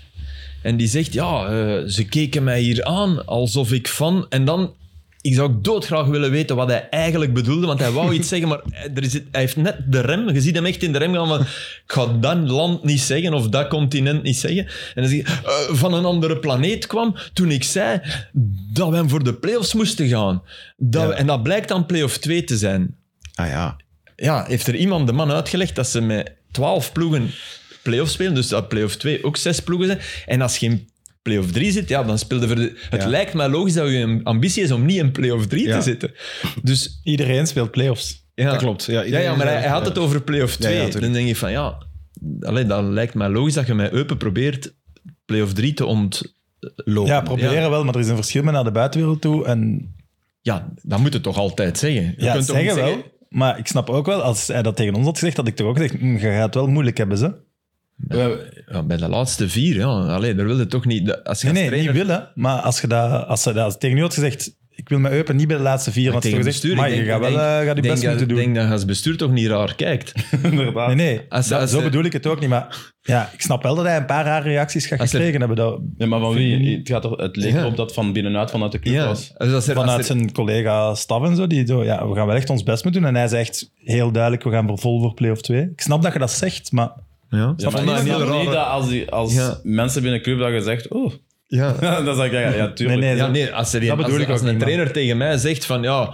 [SPEAKER 4] En die zegt, ja, eh, ze keken mij hier aan alsof ik van... En dan, ik zou ook doodgraag willen weten wat hij eigenlijk bedoelde, want hij
[SPEAKER 3] (laughs)
[SPEAKER 4] wou iets zeggen, maar er is, hij heeft net de rem, je ziet hem echt in de rem gaan van, ik ga dat land niet zeggen of dat continent niet zeggen. En dan zegt hij, eh, van een andere planeet kwam toen ik zei dat we hem voor de play-offs moesten gaan. Dat we- en dat blijkt dan play-off 2 te zijn
[SPEAKER 1] Ah ja.
[SPEAKER 4] ja, heeft er iemand de man uitgelegd dat ze met 12 ploegen play-off spelen, dus dat play-off 2 ook zes ploegen zijn. En als je in play-off 3 zit, ja, dan speelde voor de... Het
[SPEAKER 1] Ja.
[SPEAKER 4] lijkt mij logisch dat je ambitie is om niet in play-off 3
[SPEAKER 1] Ja.
[SPEAKER 4] te zitten. Dus
[SPEAKER 3] Iedereen speelt playoffs.
[SPEAKER 4] ja,
[SPEAKER 1] Dat klopt. Ja,
[SPEAKER 4] Ja, ja maar hij, hij had het over play-off
[SPEAKER 1] Ja, ja,
[SPEAKER 4] 2. dan
[SPEAKER 1] tuurlijk.
[SPEAKER 4] denk ik van, ja, allee, dat lijkt mij logisch dat je met Eupen probeert play-off 3 te ontlopen.
[SPEAKER 3] Ja, proberen
[SPEAKER 4] Ja,
[SPEAKER 3] wel, maar er is een verschil met naar de buitenwereld toe. En
[SPEAKER 4] ja, dat moet het toch altijd zeggen. Je
[SPEAKER 3] ja,
[SPEAKER 4] kunt toch niet
[SPEAKER 3] zeggen wel.
[SPEAKER 4] zeggen-
[SPEAKER 3] Maar ik snap ook wel, als hij dat tegen ons had gezegd, had ik toch ook gezegd, "Hm, je gaat het wel moeilijk hebben, ze.
[SPEAKER 4] Ja, bij de laatste vier, ja. Allee, daar wil je toch niet... dat- Als je
[SPEAKER 3] Nee,
[SPEAKER 4] als
[SPEAKER 3] nee,
[SPEAKER 4] trainer-
[SPEAKER 3] niet willen. Maar als, je dat, als ze dat tegen u had gezegd, ik wil mijn Eupen niet bij de laatste vier, want ze
[SPEAKER 4] tegen
[SPEAKER 3] hebben
[SPEAKER 4] bestuur,
[SPEAKER 3] gezegd, maar je
[SPEAKER 4] ik
[SPEAKER 3] gaat wel
[SPEAKER 4] denk-
[SPEAKER 3] eh, gaat je
[SPEAKER 4] denk
[SPEAKER 3] best
[SPEAKER 4] dat-
[SPEAKER 3] moeten doen.
[SPEAKER 4] denk dat je als bestuur toch niet raar kijkt.
[SPEAKER 2] (laughs) Inderdaad.
[SPEAKER 3] Nee, nee.
[SPEAKER 4] Als-
[SPEAKER 3] dat-
[SPEAKER 4] als
[SPEAKER 3] zo
[SPEAKER 4] de-
[SPEAKER 3] bedoel ik het ook niet. Maar ja, ik snap wel dat hij een paar rare reacties gaat
[SPEAKER 4] Als de-
[SPEAKER 3] gekregen hebben. Dat,
[SPEAKER 2] Ja, maar van
[SPEAKER 3] Vind je
[SPEAKER 2] wie?
[SPEAKER 3] niet?
[SPEAKER 2] Het, gaat er, het leek
[SPEAKER 4] Ja.
[SPEAKER 2] erop dat van binnenuit vanuit de club was.
[SPEAKER 4] Dus als er,
[SPEAKER 3] vanuit
[SPEAKER 4] als er-
[SPEAKER 3] zijn collega Staf en zo. Die zo, ja, we gaan wel echt ons best moeten doen. En hij zegt heel duidelijk, we gaan voor vol voor play-off 2. Ik snap dat je dat zegt, maar...
[SPEAKER 4] ja.
[SPEAKER 2] Ja, maar
[SPEAKER 3] Vond dat
[SPEAKER 2] ik
[SPEAKER 3] een
[SPEAKER 2] snap
[SPEAKER 3] heel
[SPEAKER 2] niet
[SPEAKER 3] rare-
[SPEAKER 2] dat als, die, als
[SPEAKER 4] Ja.
[SPEAKER 2] mensen binnen de club dat je zegt, oh, (laughs)
[SPEAKER 4] Ja.
[SPEAKER 2] dan zou ik zeggen, ja, tuurlijk.
[SPEAKER 3] Nee, nee,
[SPEAKER 4] Ja, nee, als, er een,
[SPEAKER 3] Dat
[SPEAKER 4] als,
[SPEAKER 3] bedoel ik
[SPEAKER 4] als
[SPEAKER 3] ook
[SPEAKER 4] een
[SPEAKER 3] niet,
[SPEAKER 4] trainer tegen mij zegt van ja,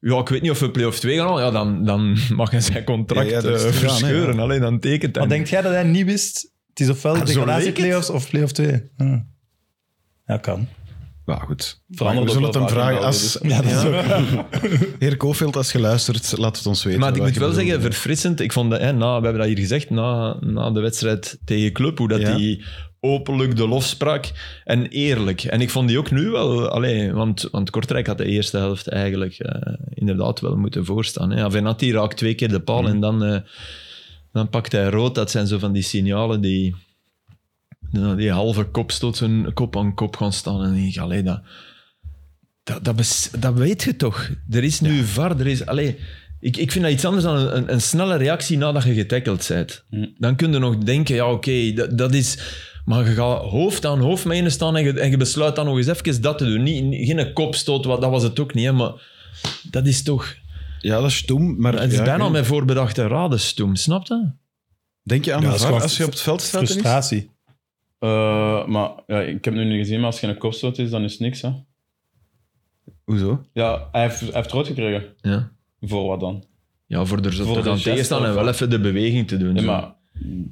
[SPEAKER 4] ja, ik weet niet of we play-off 2 gaan halen, ja, dan, dan (laughs) mag hij zijn contract
[SPEAKER 1] Ja, ja, dat is
[SPEAKER 4] eh,
[SPEAKER 1] te gaan, hè,
[SPEAKER 4] verscheuren.
[SPEAKER 1] ja.
[SPEAKER 4] Alleen dan tekent hij.
[SPEAKER 3] Maar denkt jij dat hij niet wist? Het is ofwel
[SPEAKER 4] zo
[SPEAKER 3] degradatie
[SPEAKER 4] leek het.
[SPEAKER 3] play-offs of play-off 2. Ja. ja, kan.
[SPEAKER 1] Ja, goed.
[SPEAKER 2] Verandert
[SPEAKER 1] we zullen
[SPEAKER 2] ook
[SPEAKER 1] het
[SPEAKER 2] wel
[SPEAKER 1] hem
[SPEAKER 2] vaak in
[SPEAKER 1] vragen.
[SPEAKER 2] de
[SPEAKER 1] Als,
[SPEAKER 3] Ja, dat is ook-
[SPEAKER 1] (laughs) heer Kofeld, als je luistert, laat het ons weten.
[SPEAKER 4] maar ik
[SPEAKER 1] wat
[SPEAKER 4] moet
[SPEAKER 1] je
[SPEAKER 4] wel
[SPEAKER 1] bedoelt.
[SPEAKER 4] zeggen, verfrissend. Ik vond dat, hè, na, we hebben dat hier gezegd, na, na de wedstrijd tegen Club, hoe dat
[SPEAKER 1] Ja.
[SPEAKER 4] die openlijk de lof sprak en eerlijk. En ik vond die ook nu wel, allee, want, want Kortrijk had de eerste helft eigenlijk eh, inderdaad wel moeten voorstaan. Hè. Avenatti raakt twee keer de
[SPEAKER 1] Mhm.
[SPEAKER 4] paal en dan, eh, dan pakt hij rood. Dat zijn zo van die signalen die, die- die halve kopstoten kop aan kop gaan staan. En ik denk, allee, dat, dat, dat, bes- dat weet je toch? Er is nu VAR, er is... Allee, ik, ik vind dat iets anders dan een, een, een snelle reactie nadat je getackled bent. Dan kun je nog denken, ja oké, dat, dat is... Maar je gaat hoofd aan hoofd mee staan en je, en je besluit dan nog eens even dat te doen. Niet, niet- geen kopstoot, wat, dat was het ook niet, hè, maar dat is toch...
[SPEAKER 1] Ja, dat is stom. Maar
[SPEAKER 4] Het is
[SPEAKER 1] ja,
[SPEAKER 4] bijna
[SPEAKER 1] ik-
[SPEAKER 4] met voorbedachte raden stoem, snap je?
[SPEAKER 1] Denk je aan
[SPEAKER 3] Ja,
[SPEAKER 1] de
[SPEAKER 3] dat is
[SPEAKER 1] VAR
[SPEAKER 3] gewoon
[SPEAKER 1] als je op het veld staat? Dennis?
[SPEAKER 3] Frustratie.
[SPEAKER 2] Eh, maar ja, ik heb nu niet gezien, maar als je een kopstoot is, dan is het niks. Hè?
[SPEAKER 4] Hoezo?
[SPEAKER 2] Ja, hij heeft, hij heeft rood gekregen.
[SPEAKER 4] Ja.
[SPEAKER 2] Voor wat dan?
[SPEAKER 4] Ja, voor er zo
[SPEAKER 2] Voor
[SPEAKER 4] te
[SPEAKER 2] de
[SPEAKER 4] gaan
[SPEAKER 2] geste
[SPEAKER 4] tegenstaan en
[SPEAKER 2] of-
[SPEAKER 4] wel even de beweging te doen.
[SPEAKER 2] Nee,
[SPEAKER 4] zo.
[SPEAKER 2] maar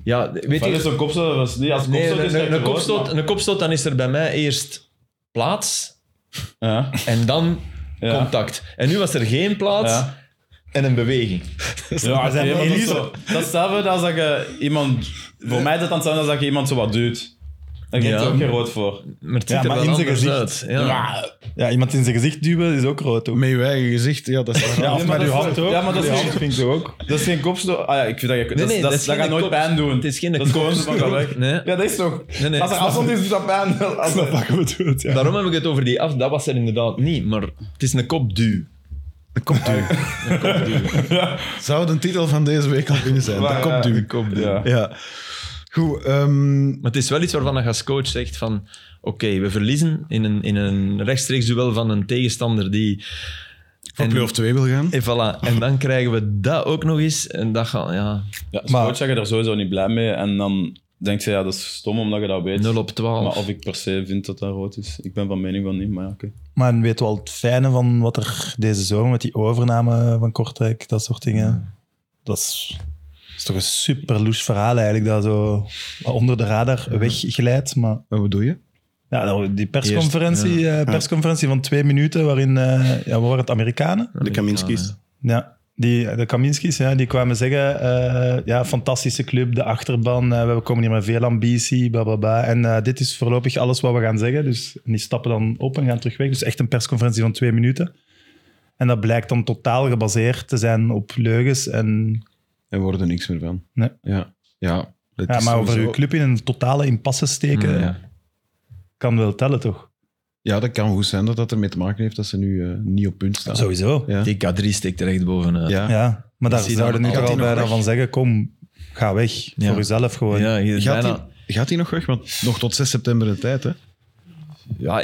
[SPEAKER 4] ja, weet
[SPEAKER 2] Weet
[SPEAKER 4] je,
[SPEAKER 2] is een kopstoot, dat is niet als
[SPEAKER 4] Nee,
[SPEAKER 2] kopstoot is
[SPEAKER 4] een,
[SPEAKER 2] direct
[SPEAKER 4] een, een
[SPEAKER 2] rood,
[SPEAKER 4] kopstoot,
[SPEAKER 2] maar-
[SPEAKER 4] een kopstoot, dan is er bij mij eerst plaats
[SPEAKER 2] Ja,
[SPEAKER 4] en dan
[SPEAKER 2] ja.
[SPEAKER 4] contact. En nu was er geen plaats
[SPEAKER 2] Ja.
[SPEAKER 4] en een beweging.
[SPEAKER 2] Ja,
[SPEAKER 3] We zijn
[SPEAKER 2] oké, maar dat, is
[SPEAKER 3] Elise.
[SPEAKER 2] zo- dat is hetzelfde als dat je iemand... Voor mij is dat dan hetzelfde als dat je iemand zo wat duwt. Daar geeft
[SPEAKER 4] Ja.
[SPEAKER 2] je ook geen rood voor.
[SPEAKER 4] Maar het ziet
[SPEAKER 3] Ja,
[SPEAKER 4] er
[SPEAKER 3] maar
[SPEAKER 4] wel
[SPEAKER 3] in zijn
[SPEAKER 4] anders uit.
[SPEAKER 3] gezicht.
[SPEAKER 4] Ja.
[SPEAKER 3] Ja, iemand in zijn gezicht duwen is ook rood. Ook.
[SPEAKER 1] Met je eigen gezicht, ja, dat is waar.
[SPEAKER 3] Ja, of
[SPEAKER 2] Nee, maar
[SPEAKER 3] met uw
[SPEAKER 2] dat is-
[SPEAKER 3] hand ook.
[SPEAKER 2] ja, maar dat is
[SPEAKER 3] Uw
[SPEAKER 2] niet-
[SPEAKER 3] hand vind ik ook.
[SPEAKER 2] Dat is geen kopstoot. Ah ja, ik vind dat je... dat,
[SPEAKER 4] nee,
[SPEAKER 2] is- dat,
[SPEAKER 4] dat
[SPEAKER 2] is-
[SPEAKER 4] is
[SPEAKER 2] dat
[SPEAKER 4] geen
[SPEAKER 2] gaat nooit
[SPEAKER 4] kop-
[SPEAKER 2] pijn doen.
[SPEAKER 4] Het is geen
[SPEAKER 2] dat is gewoon
[SPEAKER 4] kopstoot.
[SPEAKER 2] zo van weg.
[SPEAKER 4] Nee.
[SPEAKER 2] Ja, dat is toch...
[SPEAKER 4] Nee, nee.
[SPEAKER 2] Als er afstand is, doet dat pijn. Als er-
[SPEAKER 3] (laughs) Dat goed doet, ja.
[SPEAKER 4] Daarom heb ik het over die af. Dat was er inderdaad niet, maar het is een kopduw.
[SPEAKER 1] Dat komt u. (laughs) Zou de titel van deze week al kunnen zijn?
[SPEAKER 2] Maar
[SPEAKER 1] Dat komt
[SPEAKER 2] ja,
[SPEAKER 1] u.
[SPEAKER 2] dat komt u. Ja.
[SPEAKER 1] Ja. Goed, ehm,
[SPEAKER 4] Maar het is wel iets waarvan je als coach zegt van... Oké, we verliezen in een, in een rechtstreeks duel van een tegenstander die...
[SPEAKER 1] voor
[SPEAKER 4] en-
[SPEAKER 1] play of 2 wil gaan.
[SPEAKER 4] En voilà. En dan krijgen we dat ook nog eens. En dat gaat... Ja,
[SPEAKER 2] Ja, als
[SPEAKER 3] Maar-
[SPEAKER 2] coach ben je er sowieso niet blij mee. En dan denk je, ja, dat is stom omdat je dat weet.
[SPEAKER 4] 0 op 12.
[SPEAKER 2] Maar of ik per se vind dat dat rood is. Ik ben van mening van niet, maar ja, oké.
[SPEAKER 3] Maar dan weten we al het fijne van wat er deze zomer met die overname van Kortrijk, dat soort dingen. Dat is, dat is toch een super loes verhaal eigenlijk, dat zo onder de radar wegglijdt. Maar
[SPEAKER 1] Wat bedoel je?
[SPEAKER 3] ja, nou, die persconferentie, eh, persconferentie van twee minuten, waarin, eh ja, wat waren het Amerikanen?
[SPEAKER 5] De Kaminskis.
[SPEAKER 3] Ja, die, de Kaminskis, ja, die kwamen zeggen, eh, ja, fantastische club, de achterban, eh, we komen hier met veel ambitie, bla bla bla. En eh, dit is voorlopig alles wat we gaan zeggen. Dus en die stappen dan op en gaan terug weg. Dus echt een persconferentie van twee minuten. En dat blijkt dan totaal gebaseerd te zijn op leugens. En,
[SPEAKER 1] Er wordt er niks meer van.
[SPEAKER 3] Nee.
[SPEAKER 1] Ja, ja, dat
[SPEAKER 3] ja,
[SPEAKER 1] is
[SPEAKER 3] maar over
[SPEAKER 1] sowieso-
[SPEAKER 3] uw club in een totale impasse steken,
[SPEAKER 4] Mm, Ja.
[SPEAKER 3] kan wel tellen, toch?
[SPEAKER 1] Ja, dat kan goed zijn dat dat ermee te maken heeft dat ze nu eh, niet op punt staan.
[SPEAKER 3] Sowieso.
[SPEAKER 1] Ja.
[SPEAKER 4] Die K3 steekt er echt bovenuit.
[SPEAKER 1] Ja.
[SPEAKER 3] Ja, maar daar
[SPEAKER 4] zie
[SPEAKER 3] zouden
[SPEAKER 4] dan
[SPEAKER 3] nu toch
[SPEAKER 1] altijd
[SPEAKER 3] al
[SPEAKER 1] nog
[SPEAKER 3] bijna
[SPEAKER 1] weg.
[SPEAKER 3] van zeggen, kom, ga weg.
[SPEAKER 4] Ja.
[SPEAKER 3] Voor jezelf gewoon.
[SPEAKER 4] Ja, je-
[SPEAKER 1] Gaat,
[SPEAKER 4] bijna-
[SPEAKER 1] die, gaat die nog weg? Want nog tot 6 september de tijd, hè?
[SPEAKER 4] ja,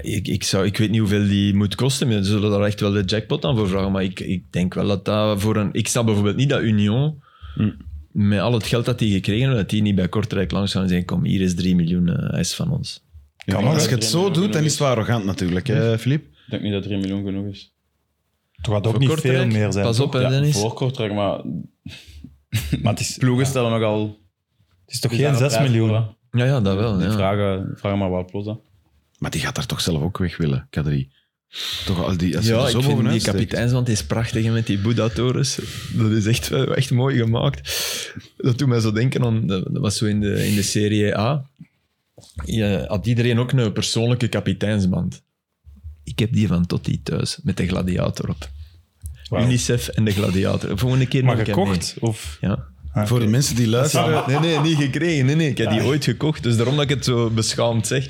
[SPEAKER 4] ik, ik, zou, ik weet niet hoeveel die moet kosten. maar Ze zullen daar echt wel de jackpot aan voor vragen. Maar ik, ik denk wel dat dat voor een... Ik snap bijvoorbeeld niet dat Union, met al het geld dat die gekregen hebben, dat die niet bij Kortrijk langs gaan en zeggen, kom, hier is 3 miljoen, eh, hij is van ons.
[SPEAKER 1] Ja,
[SPEAKER 3] Kan
[SPEAKER 1] maar
[SPEAKER 3] nog,
[SPEAKER 1] als
[SPEAKER 3] hè?
[SPEAKER 1] je het zo doet, dan is het wel arrogant natuurlijk, hè, Filip?
[SPEAKER 2] Ik denk niet dat 3 miljoen genoeg is.
[SPEAKER 3] Toch gaat ook
[SPEAKER 4] Voor
[SPEAKER 3] niet
[SPEAKER 4] Kortrijk,
[SPEAKER 3] veel meer zijn.
[SPEAKER 4] Pas op, hè,
[SPEAKER 2] Ja,
[SPEAKER 4] Dennis.
[SPEAKER 2] voor Kortrijk, maar
[SPEAKER 3] Maar het is,
[SPEAKER 2] ploegen stellen nogal...
[SPEAKER 3] het is toch geen 6 miljoen?
[SPEAKER 4] Ja, ja, dat wel.
[SPEAKER 2] Die
[SPEAKER 4] Ja.
[SPEAKER 2] Vragen, vragen maar wat plots. hè.
[SPEAKER 1] Maar die gaat daar toch zelf ook weg willen, K3. Toch, als, die, als je
[SPEAKER 4] Ja,
[SPEAKER 1] er
[SPEAKER 4] ik
[SPEAKER 1] zo
[SPEAKER 4] vind die
[SPEAKER 1] bovenuit steekt.
[SPEAKER 4] kapiteinswand is prachtig hè, met die Boeddha-torens. Dat is echt, wel- echt mooi gemaakt. Dat doet mij zo denken aan, dat dat was zo in de, in de Serie A. Je, had iedereen ook een persoonlijke kapiteinsband. Ik heb die van Totti thuis, met de gladiator op. Unicef en de gladiator. Volgende keer
[SPEAKER 3] Maar
[SPEAKER 4] neem ik hem
[SPEAKER 3] gekocht? Of...
[SPEAKER 4] mee. Ja.
[SPEAKER 3] Ah,
[SPEAKER 1] Voor de mensen die luisteren,
[SPEAKER 4] Nee, nee, niet gekregen. Nee, nee. Ik heb die ooit gekocht, dus daarom dat ik het zo beschaamd zeg.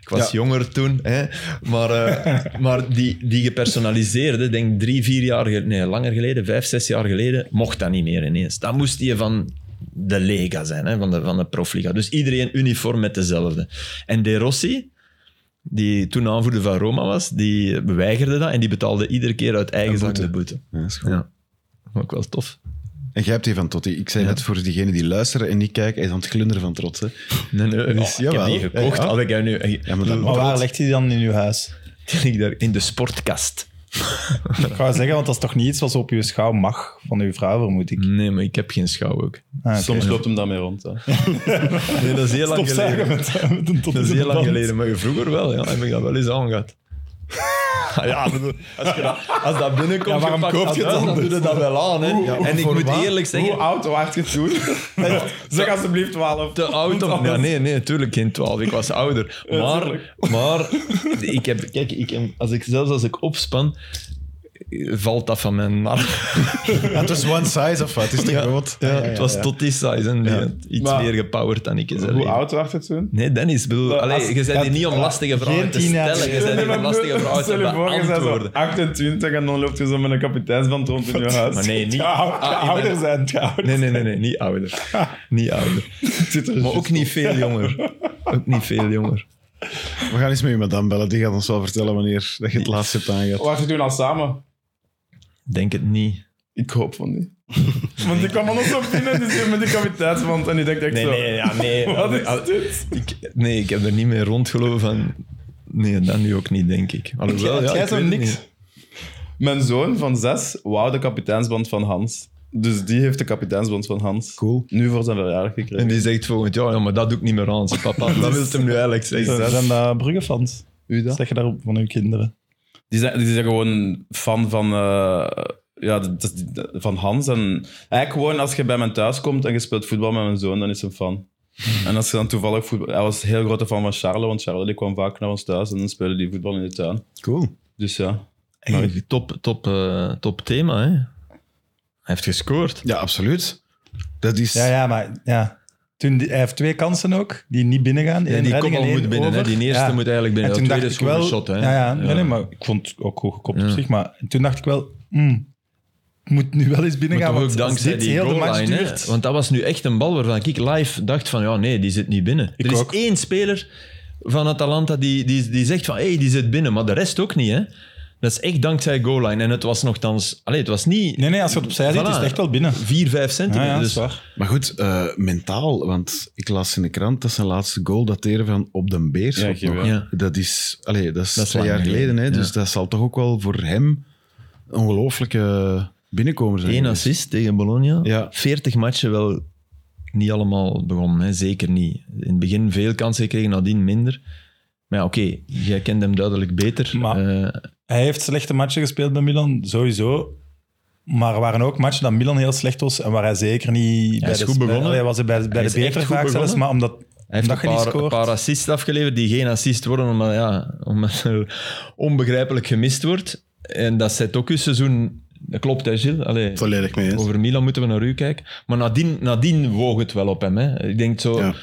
[SPEAKER 4] Ik was
[SPEAKER 1] Ja.
[SPEAKER 4] jonger toen, hè. maar, eh, maar die, die gepersonaliseerde, denk ik drie, vier jaar geleden, nee, langer geleden, vijf, zes jaar geleden, mocht dat niet meer ineens. Dan moest die van de Lega zijn, hè, van, de, van de profliga. Dus iedereen uniform met dezelfde. En De Rossi, die toen aanvoerder van Roma was, die weigerde dat en die betaalde iedere keer uit eigen zak de boete.
[SPEAKER 1] Ja, dat is goed.
[SPEAKER 4] Ja, ook wel tof.
[SPEAKER 1] En jij hebt die van Totti. Ik zei net voor diegenen die luisteren en niet kijken, hij is aan het glunderen van trots. Hè.
[SPEAKER 4] Nee, nee,
[SPEAKER 1] Dus,
[SPEAKER 4] ik heb
[SPEAKER 1] jawel.
[SPEAKER 4] die gekocht,
[SPEAKER 1] Ja, ja.
[SPEAKER 4] had ik hem nu...
[SPEAKER 1] Ja, maar
[SPEAKER 4] (laughs)
[SPEAKER 1] dan-
[SPEAKER 3] Maar waar legt hij die dan in uw huis?
[SPEAKER 4] Die ligt daar in de sportkast.
[SPEAKER 3] Ik ga zeggen, want dat is toch niet iets wat op uw schouw mag van uw vrouw, vermoed ik.
[SPEAKER 4] Nee, maar ik heb geen schouw ook.
[SPEAKER 3] Ah, oké.
[SPEAKER 2] Soms loopt hem daarmee rond. (laughs) Hè.
[SPEAKER 4] Nee, dat is heel lang
[SPEAKER 3] Stofzuigen
[SPEAKER 4] geleden.
[SPEAKER 3] met, met een tot
[SPEAKER 4] Dat is
[SPEAKER 3] in de
[SPEAKER 4] heel lang
[SPEAKER 3] band.
[SPEAKER 4] geleden, maar vroeger wel. Ja, heb ik dat wel eens aangehad. Ja, ik bedoel, als, je dat, als dat binnenkomt,
[SPEAKER 3] Ja, waarom
[SPEAKER 4] gepakt
[SPEAKER 3] koop je het
[SPEAKER 4] aan huis, dan
[SPEAKER 3] anders?
[SPEAKER 4] doe je dat wel aan. Hè. en ik moet
[SPEAKER 1] wat?
[SPEAKER 4] eerlijk zeggen,
[SPEAKER 2] oud waard je toen? (laughs) zeg alsjeblieft 12.
[SPEAKER 4] te oud om... Ja, nee, nee, natuurlijk geen 12. Ik was ouder. Maar, maar ik heb, kijk, ik, heb- als ik, zelfs als ik opspan, valt dat van mijn nar.
[SPEAKER 1] Ja, het is one size of wat? Het is te
[SPEAKER 4] Ja.
[SPEAKER 1] groot.
[SPEAKER 4] Ja,
[SPEAKER 1] Ah, ja, ja,
[SPEAKER 4] het was
[SPEAKER 1] ja.
[SPEAKER 4] tot die size en
[SPEAKER 1] Ja.
[SPEAKER 4] die- iets
[SPEAKER 2] Maar-
[SPEAKER 4] meer gepowered dan ik is.
[SPEAKER 2] Hoe oud was het toen?
[SPEAKER 4] Nee, Dennis, bedoel,
[SPEAKER 2] Maar
[SPEAKER 4] allee,
[SPEAKER 2] als-
[SPEAKER 4] je zei
[SPEAKER 3] ja,
[SPEAKER 4] die niet om lastige vragen te
[SPEAKER 3] tien jaar.
[SPEAKER 2] (laughs)
[SPEAKER 4] stellen, je zei
[SPEAKER 2] Nee,
[SPEAKER 4] die
[SPEAKER 2] maar
[SPEAKER 4] om lastige vragen te
[SPEAKER 2] Stel je voor, je bent zo
[SPEAKER 4] beantwoorden.
[SPEAKER 2] 28 en dan loopt je zo met een kapiteinsband rond in je huis.
[SPEAKER 4] Maar nee, niet.
[SPEAKER 2] Ja,
[SPEAKER 4] Ah, ik ben-
[SPEAKER 2] ouder zijn, het gaat ouder
[SPEAKER 4] Nee, nee, nee, nee, niet
[SPEAKER 2] (laughs)
[SPEAKER 4] ouder. Niet ouder.
[SPEAKER 2] Dus
[SPEAKER 4] Maar ook niet veel jonger. Ook niet veel jonger.
[SPEAKER 1] We gaan eens met je madame bellen. Die gaat ons wel vertellen wanneer dat je het laatst hebt
[SPEAKER 3] Oh.
[SPEAKER 1] aangehad.
[SPEAKER 2] Wat je toen al samen?
[SPEAKER 4] Denk het niet.
[SPEAKER 2] Ik hoop van
[SPEAKER 4] (laughs)
[SPEAKER 2] niet. Want die kwam dan ook zo binnen, dus met die kapiteinsband. En ik dacht echt
[SPEAKER 4] Nee,
[SPEAKER 2] zo...
[SPEAKER 4] nee, ja,
[SPEAKER 2] (laughs)
[SPEAKER 4] nee.
[SPEAKER 2] Wat is
[SPEAKER 4] Al-
[SPEAKER 2] dit?
[SPEAKER 4] ik, nee, ik heb er niet meer rondgelopen van... Nee, dat nu ook niet, denk ik. Alhoewel, ja,
[SPEAKER 2] jij
[SPEAKER 4] ik
[SPEAKER 2] zo
[SPEAKER 4] weet het
[SPEAKER 2] niks?
[SPEAKER 4] niet.
[SPEAKER 2] Mijn zoon van zes wou de kapiteinsband van Hans. Dus die heeft de kapiteinsband van Hans.
[SPEAKER 1] Cool.
[SPEAKER 2] Nu voor zijn verjaardag gekregen.
[SPEAKER 4] En die zegt volgend jaar, ja, maar dat doe ik niet meer aan.
[SPEAKER 2] (laughs)
[SPEAKER 4] Zeg, Papa,
[SPEAKER 2] Dus-
[SPEAKER 4] wat wil hem nu eigenlijk zeggen?
[SPEAKER 3] Ze zijn daar eh, Brugge-fans.
[SPEAKER 2] U dat?
[SPEAKER 3] Zeg je daarop van hun kinderen.
[SPEAKER 2] Die zijn, die zijn gewoon fan van, eh, ja, dat is die- dat- van Hans. En eigenlijk gewoon als je bij mijn thuis komt en je speelt voetbal met mijn zoon, dan is hij fan. En als je dan toevallig voetbal... Hij was een heel grote fan van Charles, want Charles die kwam vaak naar ons thuis en dan speelde die voetbal in de tuin.
[SPEAKER 1] Cool.
[SPEAKER 2] Dus ja.
[SPEAKER 4] Hey, top, top, eh, top thema, hè? Hij heeft gescoord.
[SPEAKER 1] Ja, absoluut. Dat is...
[SPEAKER 3] Ja, ja, maar ja. Toen die- hij heeft twee kansen ook, die niet binnengaan.
[SPEAKER 4] Ja,
[SPEAKER 3] Eén
[SPEAKER 4] die
[SPEAKER 3] redding
[SPEAKER 4] kopbal
[SPEAKER 3] en één
[SPEAKER 4] moet binnen. Hè.
[SPEAKER 3] over.
[SPEAKER 4] Die eerste
[SPEAKER 3] Ja.
[SPEAKER 4] moet eigenlijk binnen.
[SPEAKER 3] En
[SPEAKER 4] De
[SPEAKER 3] toen dacht
[SPEAKER 4] tweede is
[SPEAKER 3] ik
[SPEAKER 4] gewoon
[SPEAKER 3] wel...
[SPEAKER 4] een shot. Hè.
[SPEAKER 3] Ja, ja, nee, nee, maar ik vond het ook goed gekopt
[SPEAKER 4] Ja.
[SPEAKER 3] op zich. Maar toen dacht ik wel, mm, het moet nu wel eens binnen
[SPEAKER 4] Maar
[SPEAKER 3] gaan.
[SPEAKER 4] toch
[SPEAKER 3] Want als
[SPEAKER 4] ook dankzij
[SPEAKER 3] dit
[SPEAKER 4] die
[SPEAKER 3] heel de match
[SPEAKER 4] goalline. hè.
[SPEAKER 3] duurt.
[SPEAKER 4] Want dat was nu echt een bal waarvan ik live dacht van... Ja, nee, die zit niet binnen.
[SPEAKER 3] Ik
[SPEAKER 4] er is
[SPEAKER 3] ook.
[SPEAKER 4] één speler van Atalanta die, die, die zegt van... Hé, hey, die zit binnen. Maar de rest ook niet, hè. Dat is echt dankzij goalline. En het was nogthans... Allee, het was niet
[SPEAKER 3] Nee, nee, als je het opzij zit,
[SPEAKER 4] Voilà.
[SPEAKER 3] is het echt wel binnen.
[SPEAKER 4] 4, 5
[SPEAKER 3] Ja,
[SPEAKER 4] centimeter.
[SPEAKER 3] ja, dat is
[SPEAKER 4] dus
[SPEAKER 3] waar.
[SPEAKER 1] Maar goed, eh, mentaal. Want ik las in de krant dat zijn laatste goal dateren van op de
[SPEAKER 2] Ja,
[SPEAKER 1] Beerschot.
[SPEAKER 2] je
[SPEAKER 1] nog.
[SPEAKER 2] wel.
[SPEAKER 4] Ja.
[SPEAKER 1] Dat is, allee, dat is
[SPEAKER 4] Dat is
[SPEAKER 1] twee
[SPEAKER 4] lang
[SPEAKER 1] jaar geleden.
[SPEAKER 4] geleden,
[SPEAKER 1] hè, dus
[SPEAKER 4] ja.
[SPEAKER 1] dat zal toch ook wel voor hem een ongelooflijke binnenkomer zijn.
[SPEAKER 4] Eén
[SPEAKER 1] geweest.
[SPEAKER 4] assist tegen Bologna.
[SPEAKER 1] Ja.
[SPEAKER 4] 40 matchen wel niet allemaal begonnen, hè? zeker niet. In het begin veel kansen gekregen, nadien minder. Maar ja, oké, jij kent hem duidelijk beter.
[SPEAKER 3] Maar-
[SPEAKER 4] Eh,
[SPEAKER 3] Hij heeft slechte matchen gespeeld bij Milan, sowieso. Maar er waren ook matchen dat Milan heel slecht was en waar hij zeker niet... bij
[SPEAKER 4] is
[SPEAKER 3] de-
[SPEAKER 4] goed begonnen.
[SPEAKER 3] bij- Hij was er bij, bij
[SPEAKER 4] is
[SPEAKER 3] de
[SPEAKER 4] echt
[SPEAKER 3] beter
[SPEAKER 4] goed
[SPEAKER 3] vaak zelfs,
[SPEAKER 4] begonnen.
[SPEAKER 3] maar omdat,
[SPEAKER 4] hij heeft
[SPEAKER 3] omdat je
[SPEAKER 4] een
[SPEAKER 3] niet
[SPEAKER 4] paar, een
[SPEAKER 3] scoort.
[SPEAKER 4] paar assists afgeleverd die geen assist worden, omdat, ja, omdat er onbegrijpelijk gemist wordt. En dat zet ook uw seizoen... Dat klopt, hè, Gilles? Allee.
[SPEAKER 5] Volledig mee eens.
[SPEAKER 4] Over Milan moeten we naar u kijken. Maar nadien, nadien woog het wel op hem. Hè. Ik denk zo...
[SPEAKER 5] Ja.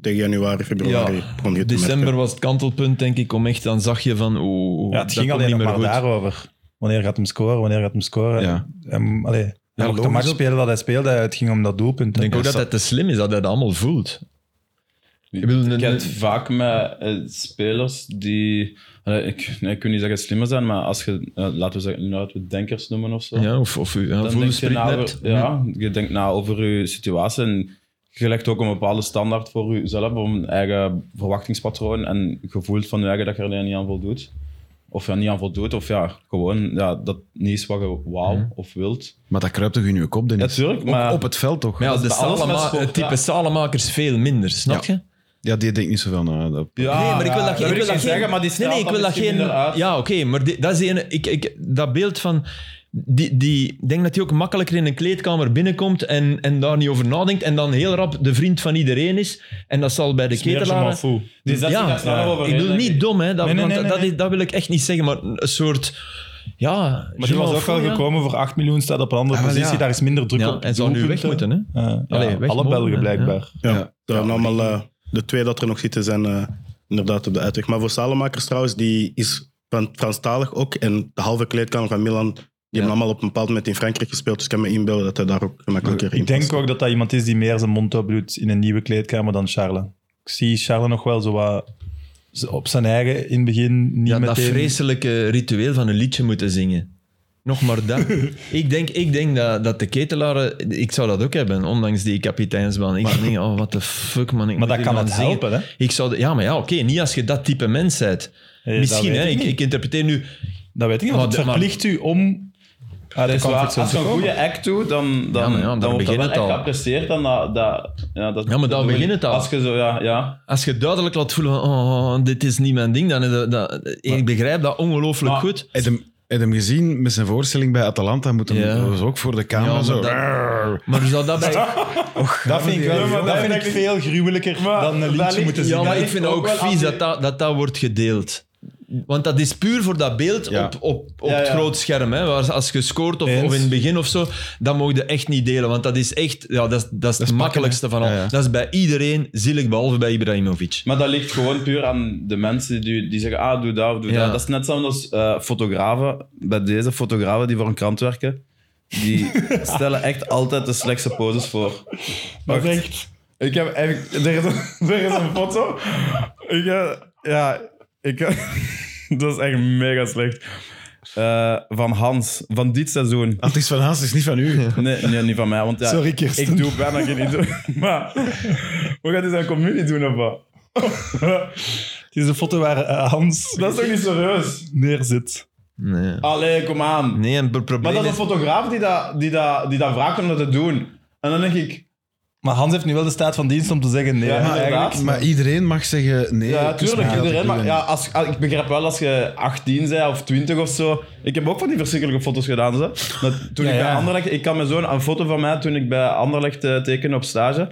[SPEAKER 5] Tegen januari, februari begon je te
[SPEAKER 4] december
[SPEAKER 5] merken.
[SPEAKER 4] was het kantelpunt, denk ik, om echt... Dan zag je van, oeh, oeh,
[SPEAKER 3] Ja, het
[SPEAKER 4] dat
[SPEAKER 3] ging
[SPEAKER 4] komt
[SPEAKER 3] alleen
[SPEAKER 4] niet
[SPEAKER 3] nog
[SPEAKER 4] meer
[SPEAKER 3] maar
[SPEAKER 4] goed.
[SPEAKER 3] daarover. Wanneer gaat hem scoren, wanneer gaat hem scoren.
[SPEAKER 1] Ja.
[SPEAKER 3] En, allee, hij mocht de
[SPEAKER 1] logisch.
[SPEAKER 3] match spelen dat hij speelde, het ging om dat doelpunt.
[SPEAKER 4] Ik denk ook
[SPEAKER 3] Ja,
[SPEAKER 4] dat het te slim is dat hij dat allemaal voelt. Ik bedoel, een-
[SPEAKER 2] Ik heb het vaak met eh, spelers die... eh, ik, nee, ik kan niet zeggen slimmer zijn, maar als je... eh, laten we zeggen, laten we denkers noemen of zo.
[SPEAKER 4] ja, of, of u ja,
[SPEAKER 2] dan denk je,
[SPEAKER 4] voelsprit
[SPEAKER 2] na
[SPEAKER 4] hebt.
[SPEAKER 2] over- ja, je denkt na over je situatie en je legt ook een bepaalde standaard voor jezelf, om een eigen verwachtingspatroon en gevoel van je eigen dat je er niet aan voldoet. Of ja, niet aan voldoet, of ja, gewoon ja, dat niet is wat je wou
[SPEAKER 4] Mhm.
[SPEAKER 2] of wilt.
[SPEAKER 1] Maar dat kruipt toch in je kop, Dennis?
[SPEAKER 2] Ja, tuurlijk,
[SPEAKER 1] Ook
[SPEAKER 2] maar-
[SPEAKER 1] Op het veld toch?
[SPEAKER 4] Maar ja, dus-
[SPEAKER 2] Dat
[SPEAKER 4] de
[SPEAKER 2] is bij alles
[SPEAKER 4] salama-
[SPEAKER 2] met sport,
[SPEAKER 4] het type
[SPEAKER 2] ja.
[SPEAKER 4] salamakers veel minder, snap je?
[SPEAKER 1] Ja, die denkt niet zoveel naar. dat-
[SPEAKER 4] nee, maar ik wil dat, geen-
[SPEAKER 2] wil
[SPEAKER 4] ik wil
[SPEAKER 2] ik
[SPEAKER 4] dat
[SPEAKER 2] niet
[SPEAKER 4] geen...
[SPEAKER 2] zeggen, maar die
[SPEAKER 4] nee,
[SPEAKER 2] straalt
[SPEAKER 4] nee, ik
[SPEAKER 2] dat
[SPEAKER 4] wil dat
[SPEAKER 2] misschien
[SPEAKER 4] geen...
[SPEAKER 2] inderdaad.
[SPEAKER 4] Ja, oké, maar die- dat is de ene... Ik, ik, dat beeld van... Die, die, ik denk dat hij ook makkelijker in een kleedkamer binnenkomt en, en daar niet over nadenkt en dan heel rap de vriend van iedereen is. En dat zal bij de
[SPEAKER 3] meer je m'en
[SPEAKER 4] ketelaren...
[SPEAKER 3] fout.
[SPEAKER 2] Die zet zich daar snel overheen,
[SPEAKER 4] ik bedoel
[SPEAKER 2] denk
[SPEAKER 4] niet
[SPEAKER 2] ik.
[SPEAKER 4] dom, hè, dat,
[SPEAKER 3] Nee, nee,
[SPEAKER 4] want
[SPEAKER 3] nee, nee,
[SPEAKER 4] dat,
[SPEAKER 3] nee.
[SPEAKER 4] is- dat wil ik echt niet zeggen, maar een soort. Ja,
[SPEAKER 3] Maar die was ook wel
[SPEAKER 4] Giroud, ja.
[SPEAKER 3] gekomen voor 8 miljoen, staat op een andere
[SPEAKER 1] Ah, wel,
[SPEAKER 3] positie.
[SPEAKER 1] ja.
[SPEAKER 3] Daar is minder druk
[SPEAKER 4] Ja,
[SPEAKER 3] op.
[SPEAKER 4] en zou nu weg
[SPEAKER 3] doelpunten.
[SPEAKER 4] moeten, hè?
[SPEAKER 3] Eh, ja,
[SPEAKER 4] Allee, weg
[SPEAKER 3] alle
[SPEAKER 4] mogen,
[SPEAKER 3] Belgen
[SPEAKER 4] hè,
[SPEAKER 3] blijkbaar.
[SPEAKER 5] Ja. Daar hebben allemaal eh, de twee dat er nog zitten zijn eh, inderdaad op de uitweg. Maar voor Salemakers trouwens, die is van Franstalig ook. En de halve kleedkamer van Milan, die hebben allemaal op een bepaald moment in Frankrijk gespeeld. Dus ik kan me inbeelden dat hij daar ook gemakkelijker in
[SPEAKER 3] Ik denk
[SPEAKER 5] past.
[SPEAKER 3] ook dat dat iemand is die meer zijn mond op doet in een nieuwe kleedkamer dan Charles. Ik zie Charles nog wel zo wat z- op zijn eigen in het begin. Niet
[SPEAKER 4] Ja, dat
[SPEAKER 3] meteen.
[SPEAKER 4] vreselijke ritueel van een liedje moeten zingen. Nog maar dat.
[SPEAKER 3] (laughs)
[SPEAKER 4] ik denk, ik denk dat, dat de ketelaren... Ik zou dat ook hebben, ondanks die kapiteinsbaan. Ik zou denken, oh, what the fuck, man.
[SPEAKER 3] Maar
[SPEAKER 4] ik moet
[SPEAKER 3] dat
[SPEAKER 4] hier
[SPEAKER 3] kan
[SPEAKER 4] gaan
[SPEAKER 3] het
[SPEAKER 4] zingen.
[SPEAKER 3] helpen, hè?
[SPEAKER 4] Ik zou, ja, maar ja, oké, niet als je dat type mens bent.
[SPEAKER 3] Eh, dat
[SPEAKER 4] Misschien,
[SPEAKER 3] weet
[SPEAKER 4] hè.
[SPEAKER 3] ik
[SPEAKER 4] Ik,
[SPEAKER 3] niet.
[SPEAKER 4] ik interpreteer nu...
[SPEAKER 3] Dat weet ik niet,
[SPEAKER 4] Maar
[SPEAKER 3] want het
[SPEAKER 4] de- maar-
[SPEAKER 3] verplicht u om uit de
[SPEAKER 2] Dus waar-
[SPEAKER 3] comfortzone
[SPEAKER 2] als je
[SPEAKER 3] te
[SPEAKER 2] een
[SPEAKER 3] komen.
[SPEAKER 2] goede act doet, dan, dan,
[SPEAKER 4] Ja, maar ja,
[SPEAKER 2] dan
[SPEAKER 4] daar
[SPEAKER 2] wordt dat
[SPEAKER 4] begint
[SPEAKER 2] wel
[SPEAKER 4] het
[SPEAKER 2] echt
[SPEAKER 4] al.
[SPEAKER 2] geapprecieerd. Dan dat, dat, ja, dat,
[SPEAKER 4] Ja, maar daar
[SPEAKER 2] dat-
[SPEAKER 4] begint het al.
[SPEAKER 2] Als je zo, ja, ja.
[SPEAKER 4] Als je duidelijk laat voelen van, oh, dit is niet mijn ding, dan... Dat, dat- ik begrijp dat ongelooflijk
[SPEAKER 2] Maar-
[SPEAKER 4] goed.
[SPEAKER 1] Heb je hem, heb je hem gezien met zijn voorstelling bij Atalanta? Moet hem
[SPEAKER 4] Ja.
[SPEAKER 1] dat was ook voor de camera
[SPEAKER 4] maar
[SPEAKER 1] zo.
[SPEAKER 4] dat- Maar zou
[SPEAKER 3] (laughs)
[SPEAKER 4] dat bij...
[SPEAKER 3] Dat vind ik, wel,
[SPEAKER 2] Ja, maar
[SPEAKER 3] dat
[SPEAKER 2] dat
[SPEAKER 3] vind
[SPEAKER 2] ligt-
[SPEAKER 3] ik veel gruwelijker dan een
[SPEAKER 2] dat
[SPEAKER 3] liedje
[SPEAKER 2] ligt-
[SPEAKER 3] moeten
[SPEAKER 2] ja,
[SPEAKER 3] zingen.
[SPEAKER 4] Ja, maar
[SPEAKER 2] dat
[SPEAKER 4] ik
[SPEAKER 2] is
[SPEAKER 4] vind het
[SPEAKER 2] ook
[SPEAKER 4] ook
[SPEAKER 2] wel anti-
[SPEAKER 4] vies dat dat, dat dat wordt gedeeld. Want dat is puur voor dat beeld
[SPEAKER 1] Ja.
[SPEAKER 4] op, op, op
[SPEAKER 2] Ja,
[SPEAKER 4] het
[SPEAKER 2] ja.
[SPEAKER 4] groot scherm. Hè, waar als je scoort of,
[SPEAKER 3] Eens.
[SPEAKER 4] of in het begin of zo, dat mogen je echt niet delen. Want dat is echt ja, dat is, dat is het makkelijkste van al.
[SPEAKER 1] Ja, ja.
[SPEAKER 4] Dat is bij iedereen zielig, behalve bij Ibrahimovic.
[SPEAKER 2] Maar dat ligt gewoon puur aan de mensen die, die zeggen, ah, doe dat of doe
[SPEAKER 4] Ja.
[SPEAKER 2] dat. Dat is net zo als eh, fotografen, bij deze fotografen die voor een krant werken, die stellen echt altijd de slechtste poses voor.
[SPEAKER 3] Dat is
[SPEAKER 2] Wacht.
[SPEAKER 3] echt...
[SPEAKER 2] Ik heb echt... Er is een, (laughs) er is een foto. Ik heb- ja, ik heb- (laughs) Dat is echt mega slecht. Eh, van Hans, van dit seizoen.
[SPEAKER 1] Ah, Het is van Haas, het is niet van
[SPEAKER 2] (laughs)
[SPEAKER 1] u.
[SPEAKER 2] Nee, nee, niet van mij, want ja,
[SPEAKER 5] Sorry, Kirsten.
[SPEAKER 2] ik doe bijna geen intro. Maar, we gaan dit aan community doen of wat?
[SPEAKER 3] (laughs) Het is een foto waar eh, Hans
[SPEAKER 2] Dat is toch niet serieus?
[SPEAKER 3] neerzit.
[SPEAKER 4] Nee,
[SPEAKER 2] Allee, kom aan.
[SPEAKER 4] nee en het
[SPEAKER 2] Maar
[SPEAKER 4] probleem
[SPEAKER 2] dat is
[SPEAKER 4] is...
[SPEAKER 2] een fotograaf die dat, die dat, die dat vraagt om dat te doen. En dan denk ik,
[SPEAKER 3] Maar Hans heeft nu wel de staat van dienst om te zeggen nee.
[SPEAKER 2] Ja,
[SPEAKER 3] hè,
[SPEAKER 2] maar
[SPEAKER 3] eigenlijk.
[SPEAKER 2] inderdaad.
[SPEAKER 1] Maar iedereen mag zeggen nee.
[SPEAKER 2] ja,
[SPEAKER 1] kus
[SPEAKER 2] tuurlijk,
[SPEAKER 1] mij, dat
[SPEAKER 2] iedereen.
[SPEAKER 1] doe
[SPEAKER 2] Maar
[SPEAKER 1] ik
[SPEAKER 2] ja, als, als- ik begrijp wel als je 18 bent of 20 of zo. Ik heb ook van die verschrikkelijke foto's gedaan. Zo. Dat, toen
[SPEAKER 3] Ja,
[SPEAKER 2] ik bij
[SPEAKER 3] ja.
[SPEAKER 2] Anderlecht... Ik kan me zo'n een foto van mij toen ik bij Anderlecht eh, tekende op stage.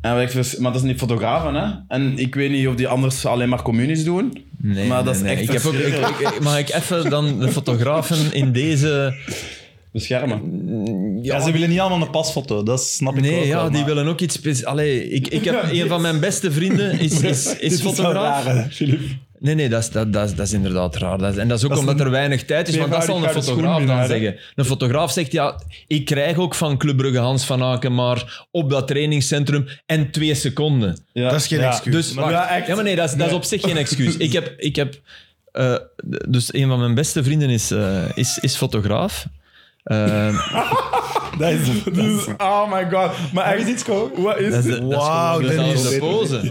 [SPEAKER 2] En we dachten, maar dat zijn niet fotografen, hè? En ik weet niet of die anders alleen maar communies doen.
[SPEAKER 4] Nee,
[SPEAKER 2] maar dat
[SPEAKER 4] nee,
[SPEAKER 2] is
[SPEAKER 4] nee.
[SPEAKER 2] echt
[SPEAKER 4] ik heb ook, ik, ik- ik- Mag ik even dan de fotografen in deze...
[SPEAKER 2] Beschermen.
[SPEAKER 3] Ja, ze willen niet allemaal een pasfoto, dat snap ik ook
[SPEAKER 4] Nee, ja,
[SPEAKER 3] wel,
[SPEAKER 4] die
[SPEAKER 3] maar-
[SPEAKER 4] willen ook iets speciaals. Allee, ik, ik heb een van mijn beste vrienden is, is,
[SPEAKER 3] Dit
[SPEAKER 4] is
[SPEAKER 3] wel
[SPEAKER 4] fotograaf.
[SPEAKER 3] raar, hè, Filip.
[SPEAKER 4] Nee, nee, dat is, dat, dat is, dat is inderdaad raar. Dat is, en dat is ook
[SPEAKER 3] Dat is
[SPEAKER 4] omdat
[SPEAKER 3] een
[SPEAKER 4] er weinig tijd is, want dat zal een
[SPEAKER 3] tweevoudig
[SPEAKER 4] fotograaf dan
[SPEAKER 3] gouden
[SPEAKER 4] zeggen. Een fotograaf zegt, ja, ik krijg ook van Club Brugge Hans van Aken maar op dat trainingscentrum en twee seconden.
[SPEAKER 1] Dat is geen
[SPEAKER 3] Ja.
[SPEAKER 1] excuus.
[SPEAKER 4] Dus,
[SPEAKER 3] Maar
[SPEAKER 4] wacht.
[SPEAKER 3] ja, echt.
[SPEAKER 4] ja, maar nee, dat is, dat is op zich geen excuus. Ik heb, ik heb eh, d- dus een van mijn beste vrienden is, eh, is, is fotograaf. Eh,
[SPEAKER 3] Dat is, dat is,
[SPEAKER 2] Oh my god. Maar
[SPEAKER 3] is
[SPEAKER 2] echt,
[SPEAKER 3] iets gehoord?
[SPEAKER 2] wat is
[SPEAKER 4] dat is-
[SPEAKER 2] dit?
[SPEAKER 4] dat is gewoon
[SPEAKER 1] Dennis.
[SPEAKER 4] dezelfde pose.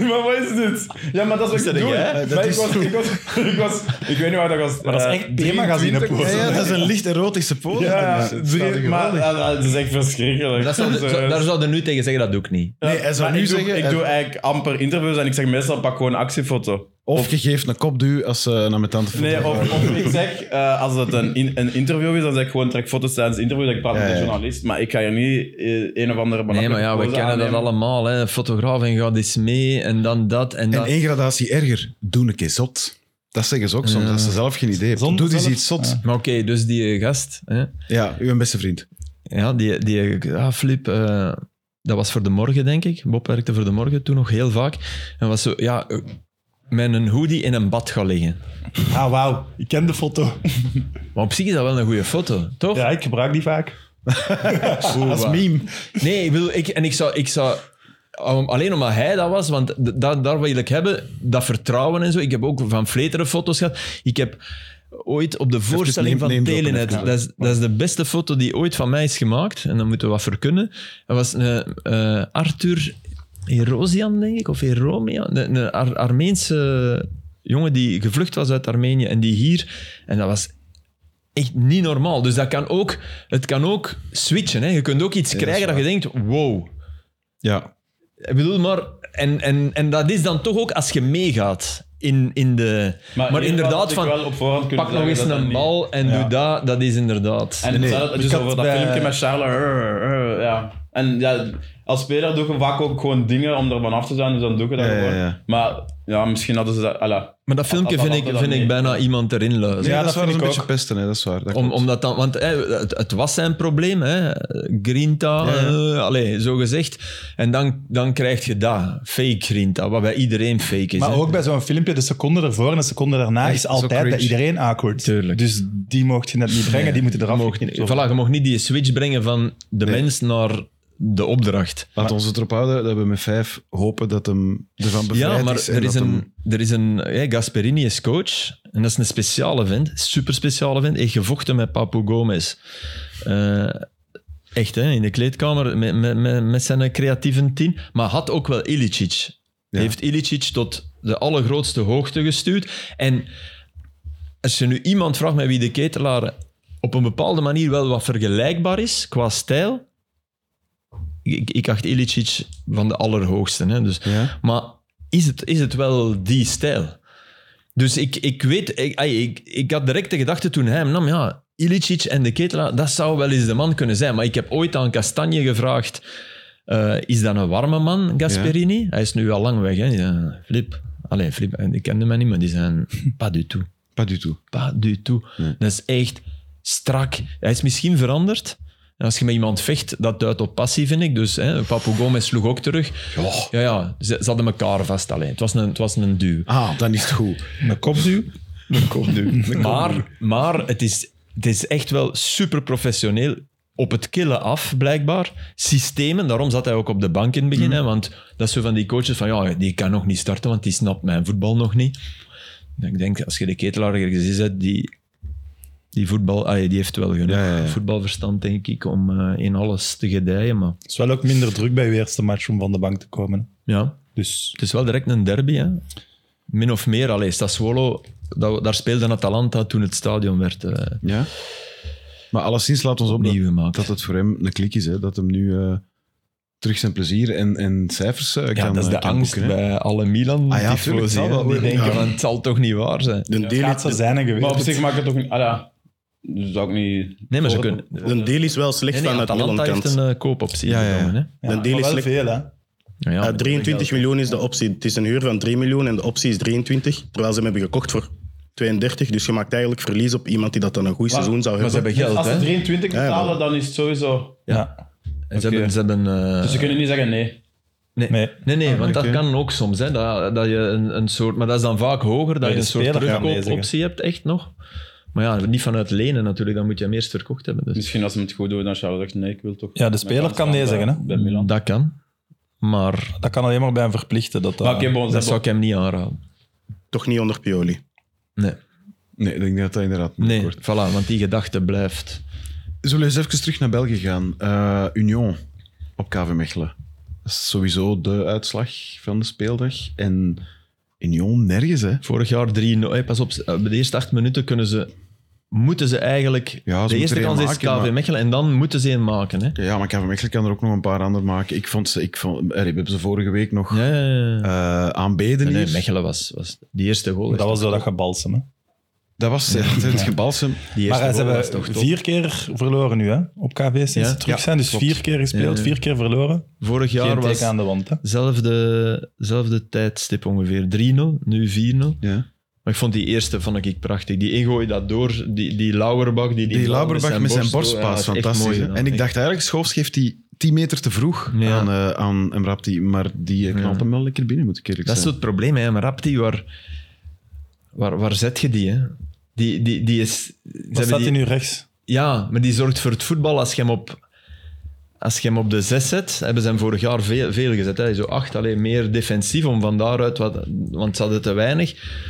[SPEAKER 2] maar wat is dit? Ja, maar dat is wat ik
[SPEAKER 4] dat
[SPEAKER 2] doe.
[SPEAKER 4] jij?
[SPEAKER 2] Maar ik was, ik was, ik was, ik weet niet waar dat was.
[SPEAKER 3] Maar dat is
[SPEAKER 2] eh,
[SPEAKER 3] echt B-magazine
[SPEAKER 2] 23.
[SPEAKER 3] pose.
[SPEAKER 1] Ja, ja, dat is een licht erotische pose.
[SPEAKER 2] Ja, ja,
[SPEAKER 1] Dus het staat er
[SPEAKER 2] drie-
[SPEAKER 1] geweldig.
[SPEAKER 2] maar ja, dat is echt verschrikkelijk.
[SPEAKER 4] Dat zou,
[SPEAKER 2] Dus,
[SPEAKER 4] zo-
[SPEAKER 2] eh,
[SPEAKER 4] daar zouden nu tegen zeggen, dat doe ik niet.
[SPEAKER 1] nee, hij zou
[SPEAKER 2] maar
[SPEAKER 1] nu
[SPEAKER 2] ik
[SPEAKER 1] zeggen... eh,
[SPEAKER 2] Doe, ik
[SPEAKER 1] hij-
[SPEAKER 2] doe eigenlijk amper interviews en ik zeg meestal pak gewoon een actiefoto.
[SPEAKER 1] Of je geeft een kopduw als ze naar mijn tante
[SPEAKER 2] Nee,
[SPEAKER 1] voelt.
[SPEAKER 2] of, of ik zeg, eh, als het een, in- een interview is, dan zeg ik gewoon trek foto's tijdens het interview. Dat ik praat
[SPEAKER 1] Ja,
[SPEAKER 2] met een
[SPEAKER 1] ja.
[SPEAKER 2] journalist, maar ik ga hier niet eh, een of andere
[SPEAKER 4] Nee,
[SPEAKER 2] belachelijke
[SPEAKER 4] maar ja, we
[SPEAKER 2] pose
[SPEAKER 4] kennen dat
[SPEAKER 2] aannemen.
[SPEAKER 4] allemaal. Hè. Fotograaf en gaat eens mee en dan dat en
[SPEAKER 1] En
[SPEAKER 4] dat.
[SPEAKER 1] één gradatie erger, doe een keer zot. Dat zeggen ze ook soms, als ze zelf geen idee hebben.
[SPEAKER 3] Zonder
[SPEAKER 1] Doe eens
[SPEAKER 3] zelf-
[SPEAKER 1] iets zot.
[SPEAKER 3] Ja.
[SPEAKER 1] Ja,
[SPEAKER 4] Maar oké, dus die eh, gast, hè.
[SPEAKER 1] uw beste vriend.
[SPEAKER 4] ja, die, die ah, Flip, eh, dat was voor de morgen, denk ik. Bob werkte voor de morgen toen nog heel vaak. En was zo, ja, eh, met een hoodie in een bad gaan liggen.
[SPEAKER 3] Ah, wauw. Ik ken de foto.
[SPEAKER 4] Maar op zich is dat wel een goede foto, toch?
[SPEAKER 3] Ja, ik gebruik die vaak.
[SPEAKER 1] Als
[SPEAKER 4] waar.
[SPEAKER 1] meme.
[SPEAKER 4] Nee, ik bedoel, ik, en ik zou, ik zou... om- Alleen omdat hij dat was, want d- dat, daar wil ik hebben, dat vertrouwen en zo. Ik heb ook van Vleteren foto's gehad. Ik heb ooit op de voorstelling
[SPEAKER 1] neem- neem
[SPEAKER 4] van
[SPEAKER 1] droppen,
[SPEAKER 4] Telenet,
[SPEAKER 1] even.
[SPEAKER 4] dat is, dat is de beste foto die ooit van mij is gemaakt, en daar moeten we wat voor kunnen. Dat was een, eh, Arthur Erosian, denk ik, of Eromian, een, een Ar- Armeense jongen die gevlucht was uit Armenië en die hier... En dat was echt niet normaal. Dus dat kan ook, het kan ook switchen. Hè. Je kunt ook iets krijgen dat, je denkt, wow.
[SPEAKER 1] Ja.
[SPEAKER 4] Ik bedoel maar, en, en, en dat is dan toch ook als je meegaat in, in de... Maar,
[SPEAKER 2] in ieder geval
[SPEAKER 4] inderdaad,
[SPEAKER 2] had ik
[SPEAKER 4] van,
[SPEAKER 2] wel op voorhand kunnen
[SPEAKER 4] pak nog eens
[SPEAKER 2] zeggen dat
[SPEAKER 4] een
[SPEAKER 2] dat niet-
[SPEAKER 4] bal en
[SPEAKER 3] Ja.
[SPEAKER 4] doe dat, dat is inderdaad...
[SPEAKER 2] En
[SPEAKER 1] Nee.
[SPEAKER 2] hetzelfde,
[SPEAKER 3] Ik
[SPEAKER 2] dus
[SPEAKER 3] had
[SPEAKER 2] over dat
[SPEAKER 3] bij-
[SPEAKER 2] filmpje met Charlotte. eh, eh, ja. En ja, als speler doe je vaak ook gewoon dingen om er van af te zijn, dus dan doe je dat
[SPEAKER 1] Ja, ja,
[SPEAKER 2] gewoon.
[SPEAKER 1] ja.
[SPEAKER 2] Maar ja, misschien hadden ze dat... Alla.
[SPEAKER 4] maar dat filmpje
[SPEAKER 2] dat- dat-
[SPEAKER 4] vind, ik,
[SPEAKER 2] dat-
[SPEAKER 4] vind ik
[SPEAKER 2] nee.
[SPEAKER 4] bijna iemand erin
[SPEAKER 1] Nee,
[SPEAKER 4] luisteren.
[SPEAKER 1] dat,
[SPEAKER 3] dat
[SPEAKER 1] is waar, dat
[SPEAKER 3] vind
[SPEAKER 1] is een
[SPEAKER 3] ik
[SPEAKER 1] beetje
[SPEAKER 3] ook.
[SPEAKER 1] pesten, hè, dat is waar. Dat
[SPEAKER 4] Om,
[SPEAKER 1] klopt.
[SPEAKER 4] omdat dan, want hè, het, het was zijn probleem, hè. Grinta,
[SPEAKER 1] Ja, ja.
[SPEAKER 4] eh, allee, zo gezegd. En dan, dan krijg je dat, fake Grinta, wat bij iedereen fake is.
[SPEAKER 3] Maar
[SPEAKER 4] hè.
[SPEAKER 3] ook bij zo'n filmpje, de seconde ervoor en de seconde daarna is
[SPEAKER 1] zo
[SPEAKER 3] altijd bij
[SPEAKER 1] cringe.
[SPEAKER 3] iedereen awkward.
[SPEAKER 4] Tuurlijk.
[SPEAKER 3] Dus die mocht je net niet brengen, die moeten eraf.
[SPEAKER 4] Mocht, voilà, je mag niet die switch brengen van de mens naar de opdracht.
[SPEAKER 1] Laat ons het erop houden dat we met vijf hopen dat hem ervan bevrijd
[SPEAKER 4] Ja, maar
[SPEAKER 1] is. en
[SPEAKER 4] er is
[SPEAKER 1] dat
[SPEAKER 4] een...
[SPEAKER 1] hem-
[SPEAKER 4] Er is een hè, Gasperini is coach. En dat is een speciale vent. Super speciale vent. Echt gevochten met Papu Gomez. Eh, echt, hè, in de kleedkamer met, met, met, met zijn creatieve team. Maar had ook wel Ilicic.
[SPEAKER 1] Ja.
[SPEAKER 4] Heeft Ilicic tot de allergrootste hoogte gestuurd. En als je nu iemand vraagt met wie de ketelaar op een bepaalde manier wel wat vergelijkbaar is qua stijl. Ik, ik acht Ilicic van de allerhoogste. Hè, dus
[SPEAKER 1] Ja?
[SPEAKER 4] maar is het, is het wel die stijl? Dus ik, ik weet, ik, ai, ik, ik had direct de gedachte toen hij hem nam, ja, Ilicic en de Ketela, dat zou wel eens de man kunnen zijn. Maar ik heb ooit aan Castagne gevraagd, eh, is dat een warme man, Gasperini? Hij is nu al lang weg, hè? Ja, Flip. Alleen Flip, en die kende mij niet, maar die zijn pas du tout.
[SPEAKER 1] Pas du tout.
[SPEAKER 4] Pas du tout.
[SPEAKER 1] Nee.
[SPEAKER 4] Dat is echt strak. Hij is misschien veranderd. En als je met iemand vecht, dat duidt op passie, vind ik. Dus hè, Papu Gomez sloeg ook terug. Ja, ja, ze, ze hadden elkaar vast alleen. Het was een, het was een duw.
[SPEAKER 1] Ah, dan is het goed.
[SPEAKER 3] Een kopduw.
[SPEAKER 4] Maar, maar het, is, het is echt wel super professioneel. Op het killen af, blijkbaar. Systemen, daarom zat hij ook op de bank in het
[SPEAKER 1] Mm.
[SPEAKER 4] begin. Hè, want dat is zo van die coaches van, ja, die kan nog niet starten, want die snapt mijn voetbal nog niet. En ik denk, als je de ketelaar ergens is, hè, die, die, voetbal, ah, die heeft wel genoeg
[SPEAKER 1] Ja, ja, ja.
[SPEAKER 4] voetbalverstand, denk ik, om eh, in alles te gedijen. Maar
[SPEAKER 3] Het is wel ook minder druk bij je eerste match om van de bank te komen.
[SPEAKER 4] ja,
[SPEAKER 3] Dus
[SPEAKER 4] het is wel direct een derby. Hè. Min of meer, allee, Sassuolo, dat, daar speelde Atalanta toen het stadion werd eh,
[SPEAKER 1] Ja. Maar alleszins laat ons op dat,
[SPEAKER 4] opnieuw gemaakt.
[SPEAKER 1] dat het voor hem een klik is. Hè? Dat hem nu eh, terug zijn plezier en, en cijfers eh, kan
[SPEAKER 4] Ja, dat is
[SPEAKER 1] eh,
[SPEAKER 4] de
[SPEAKER 1] kan
[SPEAKER 4] angst
[SPEAKER 1] boeken, hè.
[SPEAKER 4] bij alle milan
[SPEAKER 1] Ah ja,
[SPEAKER 4] tifosi,
[SPEAKER 1] tuurlijk, het zal
[SPEAKER 4] hè.
[SPEAKER 1] wel,
[SPEAKER 4] Die
[SPEAKER 1] ja.
[SPEAKER 4] denken
[SPEAKER 5] Ja.
[SPEAKER 4] van, het zal toch niet waar zijn.
[SPEAKER 5] De
[SPEAKER 3] het
[SPEAKER 5] deal,
[SPEAKER 3] gaat zo
[SPEAKER 5] is-
[SPEAKER 3] zijn geweest.
[SPEAKER 2] Maar op zich maakt het toch niet... Ah ja, dat zou ik niet...
[SPEAKER 4] Nee, maar ze
[SPEAKER 2] voor-
[SPEAKER 4] kunnen...
[SPEAKER 5] de deal is wel
[SPEAKER 4] Nee,
[SPEAKER 5] slecht
[SPEAKER 4] nee,
[SPEAKER 5] vanuit
[SPEAKER 4] Atalanta
[SPEAKER 5] Milan-kant.
[SPEAKER 4] heeft een eh, koopoptie
[SPEAKER 1] Ja, ja, ja.
[SPEAKER 4] genomen, hè.
[SPEAKER 3] Ja,
[SPEAKER 5] de deal
[SPEAKER 3] maar
[SPEAKER 5] is
[SPEAKER 3] wel
[SPEAKER 5] slecht.
[SPEAKER 3] veel, hè.
[SPEAKER 4] Ja, ja,
[SPEAKER 5] Ja,
[SPEAKER 4] maar-
[SPEAKER 5] 23 Eh, miljoen is de optie. Het is een huur van 3 miljoen en de optie is 23. Terwijl ze hem hebben gekocht voor 32. Dus je maakt eigenlijk verlies op iemand die dat dan een goed seizoen zou
[SPEAKER 4] Maar ze
[SPEAKER 5] hebben.
[SPEAKER 4] hebben
[SPEAKER 2] Dus
[SPEAKER 4] geld,
[SPEAKER 2] als ze
[SPEAKER 4] hè.
[SPEAKER 2] 23
[SPEAKER 5] Ja, ja.
[SPEAKER 2] betalen, dan is het sowieso...
[SPEAKER 3] Ja.
[SPEAKER 4] En Ze
[SPEAKER 2] Oké.
[SPEAKER 4] hebben... Ze hebben eh,
[SPEAKER 2] Dus ze kunnen niet zeggen nee.
[SPEAKER 4] nee, nee,
[SPEAKER 3] Nee.
[SPEAKER 4] nee, want
[SPEAKER 1] Ah, oké.
[SPEAKER 4] dat kan ook soms, hè. Dat, dat je een, een soort... Maar dat is dan vaak hoger, dat
[SPEAKER 3] Bij
[SPEAKER 4] je
[SPEAKER 3] de
[SPEAKER 4] een soort
[SPEAKER 3] speler gaan
[SPEAKER 4] terugkoopoptie hebt, echt nog. Maar ja, niet vanuit lenen natuurlijk, dan moet je hem eerst verkocht hebben. Dus.
[SPEAKER 2] Misschien als ze het goed doen, dan Charles zegt nee, ik wil toch...
[SPEAKER 3] Ja, de speler
[SPEAKER 2] mijn kans
[SPEAKER 3] kan nee
[SPEAKER 2] staan bij-
[SPEAKER 3] zeggen, hè?
[SPEAKER 2] Bij Milan.
[SPEAKER 4] Dat kan. Maar
[SPEAKER 3] Dat kan alleen maar bij een verplichte. Dat, eh, dat-
[SPEAKER 2] Maar oké, bon, ze
[SPEAKER 4] dat
[SPEAKER 2] hebben-
[SPEAKER 4] zou ik hem niet aanraden.
[SPEAKER 5] Toch niet onder Pioli.
[SPEAKER 4] Nee,
[SPEAKER 1] Nee, ik denk dat dat inderdaad niet
[SPEAKER 4] nee
[SPEAKER 1] wordt.
[SPEAKER 4] voilà, want die gedachte blijft.
[SPEAKER 1] Zullen we eens even terug naar België gaan? Eh, Union op KV Mechelen. Dat is sowieso de uitslag van de speeldag. En Union nergens, hè?
[SPEAKER 4] Vorig jaar 3-0. Hey, pas op, eh, bij de eerste acht minuten kunnen ze, moeten ze eigenlijk...
[SPEAKER 1] Ja, ze
[SPEAKER 4] de eerste
[SPEAKER 1] moeten er een
[SPEAKER 4] kans is KV
[SPEAKER 1] maken, maar-
[SPEAKER 4] Mechelen en dan moeten ze een maken. Hè?
[SPEAKER 1] Ja, maar KV Mechelen kan er ook nog een paar andere maken. Ik vond ze... Ik vond, eh, we hebben ze vorige week nog
[SPEAKER 4] Ja, ja, ja.
[SPEAKER 1] eh, aanbeden
[SPEAKER 4] nee, nee,
[SPEAKER 1] hier.
[SPEAKER 4] Mechelen was, was... Die eerste goal,
[SPEAKER 3] dat
[SPEAKER 4] is-
[SPEAKER 3] was door dat gebalsem. Hè.
[SPEAKER 1] Dat was ja, het is gebalsem.
[SPEAKER 4] die
[SPEAKER 3] Maar
[SPEAKER 4] eerste
[SPEAKER 3] eh, ze
[SPEAKER 4] goal was
[SPEAKER 3] hebben
[SPEAKER 4] toch top.
[SPEAKER 3] vier keer verloren nu hè, op KV sinds
[SPEAKER 4] Ja,
[SPEAKER 3] ze terug
[SPEAKER 1] ja,
[SPEAKER 3] zijn. Dus
[SPEAKER 1] klopt.
[SPEAKER 3] vier keer gespeeld,
[SPEAKER 4] Ja.
[SPEAKER 3] vier keer verloren.
[SPEAKER 4] Vorig jaar
[SPEAKER 3] Geen
[SPEAKER 4] was
[SPEAKER 3] teken aan de wand. Hè.
[SPEAKER 4] zelfde, zelfde tijdstip ongeveer 3-0, nu 4-0.
[SPEAKER 1] Ja.
[SPEAKER 4] Maar ik vond die eerste vond ik prachtig. Die ingooi dat door, die, die Lauerbach... Die,
[SPEAKER 1] Die Lauberbach met zijn
[SPEAKER 4] borst- oh
[SPEAKER 1] borstpaas,
[SPEAKER 4] ja, dat is echt
[SPEAKER 1] fantastisch.
[SPEAKER 4] mooi
[SPEAKER 1] hè?
[SPEAKER 4] gedaan.
[SPEAKER 1] en ik
[SPEAKER 4] Echt.
[SPEAKER 1] dacht eigenlijk, Schoofs geeft die 10 meter te vroeg
[SPEAKER 4] Ja.
[SPEAKER 1] aan, eh aan Mrapti. Maar die eh, knalt
[SPEAKER 4] Ja.
[SPEAKER 1] hem wel lekker binnen, moet ik eerlijk
[SPEAKER 4] Dat is
[SPEAKER 1] zijn.
[SPEAKER 4] het probleem, hè. Maar Rapti, waar, waar, waar zet je die, hè? Die, die, die is... ze hebben
[SPEAKER 3] Wat staat
[SPEAKER 4] die-
[SPEAKER 3] hij nu rechts?
[SPEAKER 4] Ja, maar die zorgt voor het voetbal als je hem op... Als je hem op de zes zet, hebben ze hem vorig jaar veel, veel gezet. Hè. Zo acht, alleen meer defensief, om van daaruit wat, want ze hadden te weinig.